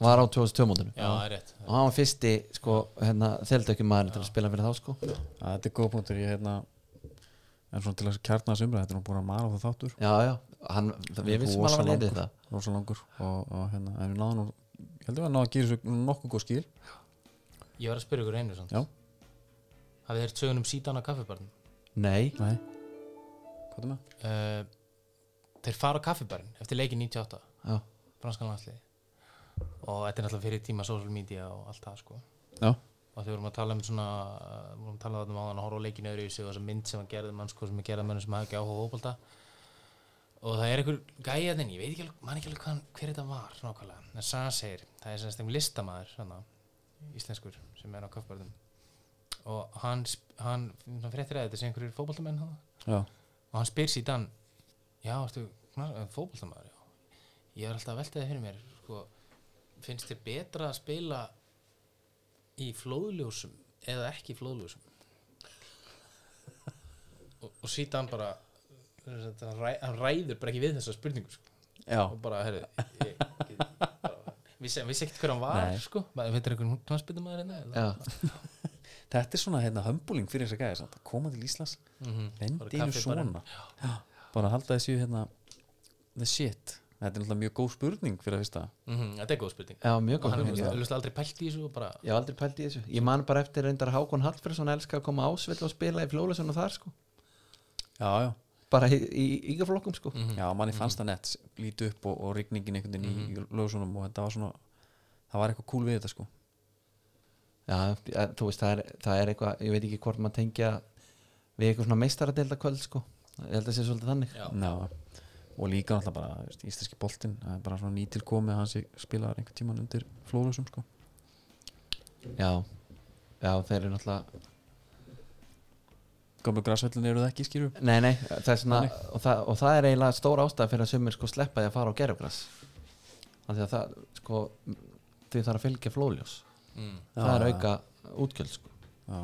[SPEAKER 2] var á 2002 mótinu
[SPEAKER 3] já, það er rétt
[SPEAKER 2] og hann var fyrsti sko hérna þeldökjum maður til að spila fyrir þá sko
[SPEAKER 1] Já, þetta er góð punktur ég hérna en svona til að kjarna þessu umræð þetta er nú búin að mara það þáttur
[SPEAKER 2] já já, hann, við vissum alveg að leita þetta
[SPEAKER 1] rosa langur og, og hérna en við náðum nú ég heldur að náðum að gera þessu nokkuð góð skil
[SPEAKER 3] ég var að spyrja ykkur einu samt
[SPEAKER 1] Já.
[SPEAKER 3] hafið þér sögun um sítan á kaffibarn
[SPEAKER 2] nei,
[SPEAKER 1] nei hvað er með
[SPEAKER 3] uh, þeir fara á kaffibarn eftir leikin 98
[SPEAKER 2] já,
[SPEAKER 3] franskan landsliði og þetta er náttúrulega fyrir tíma social media og allt það sko
[SPEAKER 1] já
[SPEAKER 3] og þau vorum að tala um svona eh, vorum að tala um áðan að horfa á leikinu öðru í sig og þessa mynd sem að gerði mann sko sem að gerði mann sem hafði ekki áhuga á fótbolta og það er einhver gæja þinn ég veit ekki alveg, man ekki alveg hvað, hver þetta var nákvæmlega, en Saga segir, það er semst einhver listamaður svona, íslenskur sem er á kaffbörðum og hann, sp- hann, hann fréttir að þetta sem einhverjir fótboltamenn hann
[SPEAKER 1] já
[SPEAKER 3] og hann spyr síðan já, ertu eh, fótboltamaður já. ég er alltaf að velta það fyrir mér sko, finnst þér betra að spila í flóðljósum eða ekki í flóðljósum og, og síðan bara sem sagt, hann ræ- hann ræður bara ekki við þessa spurningu sko.
[SPEAKER 1] já
[SPEAKER 3] og bara, herru ég- ég- bara- <laughs> vissi vissi ekkert hver hann var
[SPEAKER 1] Nei.
[SPEAKER 3] sko, maður veitir einhvern knarspytumæður hérna eða?
[SPEAKER 2] já,
[SPEAKER 1] þetta er svona hérna hömbuling fyrir þess að gæða samt að koma til Íslands
[SPEAKER 3] Mhm. Bara
[SPEAKER 1] vendi einu
[SPEAKER 3] kaffi bara.
[SPEAKER 1] svona já bara að halda þessu hérna the shit þetta er náttúrulega mjög góð spurning fyrir að fyrsta
[SPEAKER 3] Mhm, þetta er góð spurning
[SPEAKER 2] já, mjög
[SPEAKER 3] og hann
[SPEAKER 2] góð
[SPEAKER 3] er
[SPEAKER 2] spurning, já.
[SPEAKER 3] auðvitað aldrei pælt í þessu og bara
[SPEAKER 2] ég hef aldrei pælt í þessu ég man bara eftir reyndar Hákon Hallfriðsson elska að koma ásvill og spila í flólesun og þar sko
[SPEAKER 1] já já
[SPEAKER 2] bara í, í ykkaflokkum
[SPEAKER 3] Mm.
[SPEAKER 2] sko
[SPEAKER 1] Mhm. já, manni fannst það nett lítið upp og, og rigningin einhvern veginn í- í lögsunum og þetta var svona það var eitthvað cool við þetta sko
[SPEAKER 2] Já, eh, þú veist, það er, það er eitthvað ég veit ekki hvort maður tengja við eitthvað svona meistaradelda kvöld sko ég held að sé svolítið þannig
[SPEAKER 3] Já.
[SPEAKER 1] já. og líka náttúrulega bara þú veist, íslenski boltinn, það er bara svona nýtilkomið hans spilaðar einhvern tíman undir flóðlösum sko
[SPEAKER 2] Já, já, þeir eru náttúrulega
[SPEAKER 1] gamlu græsvellin eru það ekki skýru
[SPEAKER 2] Nei, nei, það er svona og það, og það er eiginlega stór ástæð fyrir að sumir sko sleppa því að fara á gerugras Þannig að það, sko þau þarf að fylgja flóljós
[SPEAKER 3] mm.
[SPEAKER 2] það er
[SPEAKER 1] Já.
[SPEAKER 2] auka útgjöld sko
[SPEAKER 1] já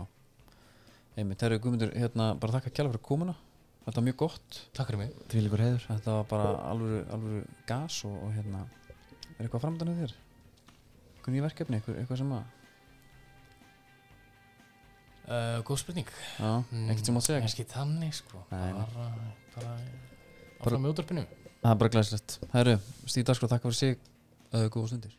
[SPEAKER 1] einmitt, herru Guðmundur, hérna bara þakka kjæla fyrir komuna þetta var mjög gott,
[SPEAKER 3] Takk fyrir mig
[SPEAKER 2] Því líkur heiður
[SPEAKER 1] þetta var bara alvöru, alvöru gas og, og hérna er eitthvað framdannu þér? einhver nýja verkefni, eitthvað, eitthvað sem að
[SPEAKER 3] uh, Góð spurning
[SPEAKER 1] já,
[SPEAKER 3] Mm.
[SPEAKER 1] ekkert sem að segja
[SPEAKER 3] Kanski þannig sko
[SPEAKER 1] Nei, nei.
[SPEAKER 3] Bara, bara Áfram með útvarpinu
[SPEAKER 1] það er bara glæslegt, herru, Stíð Darskóð, þakka fyrir sig uh, góða stundir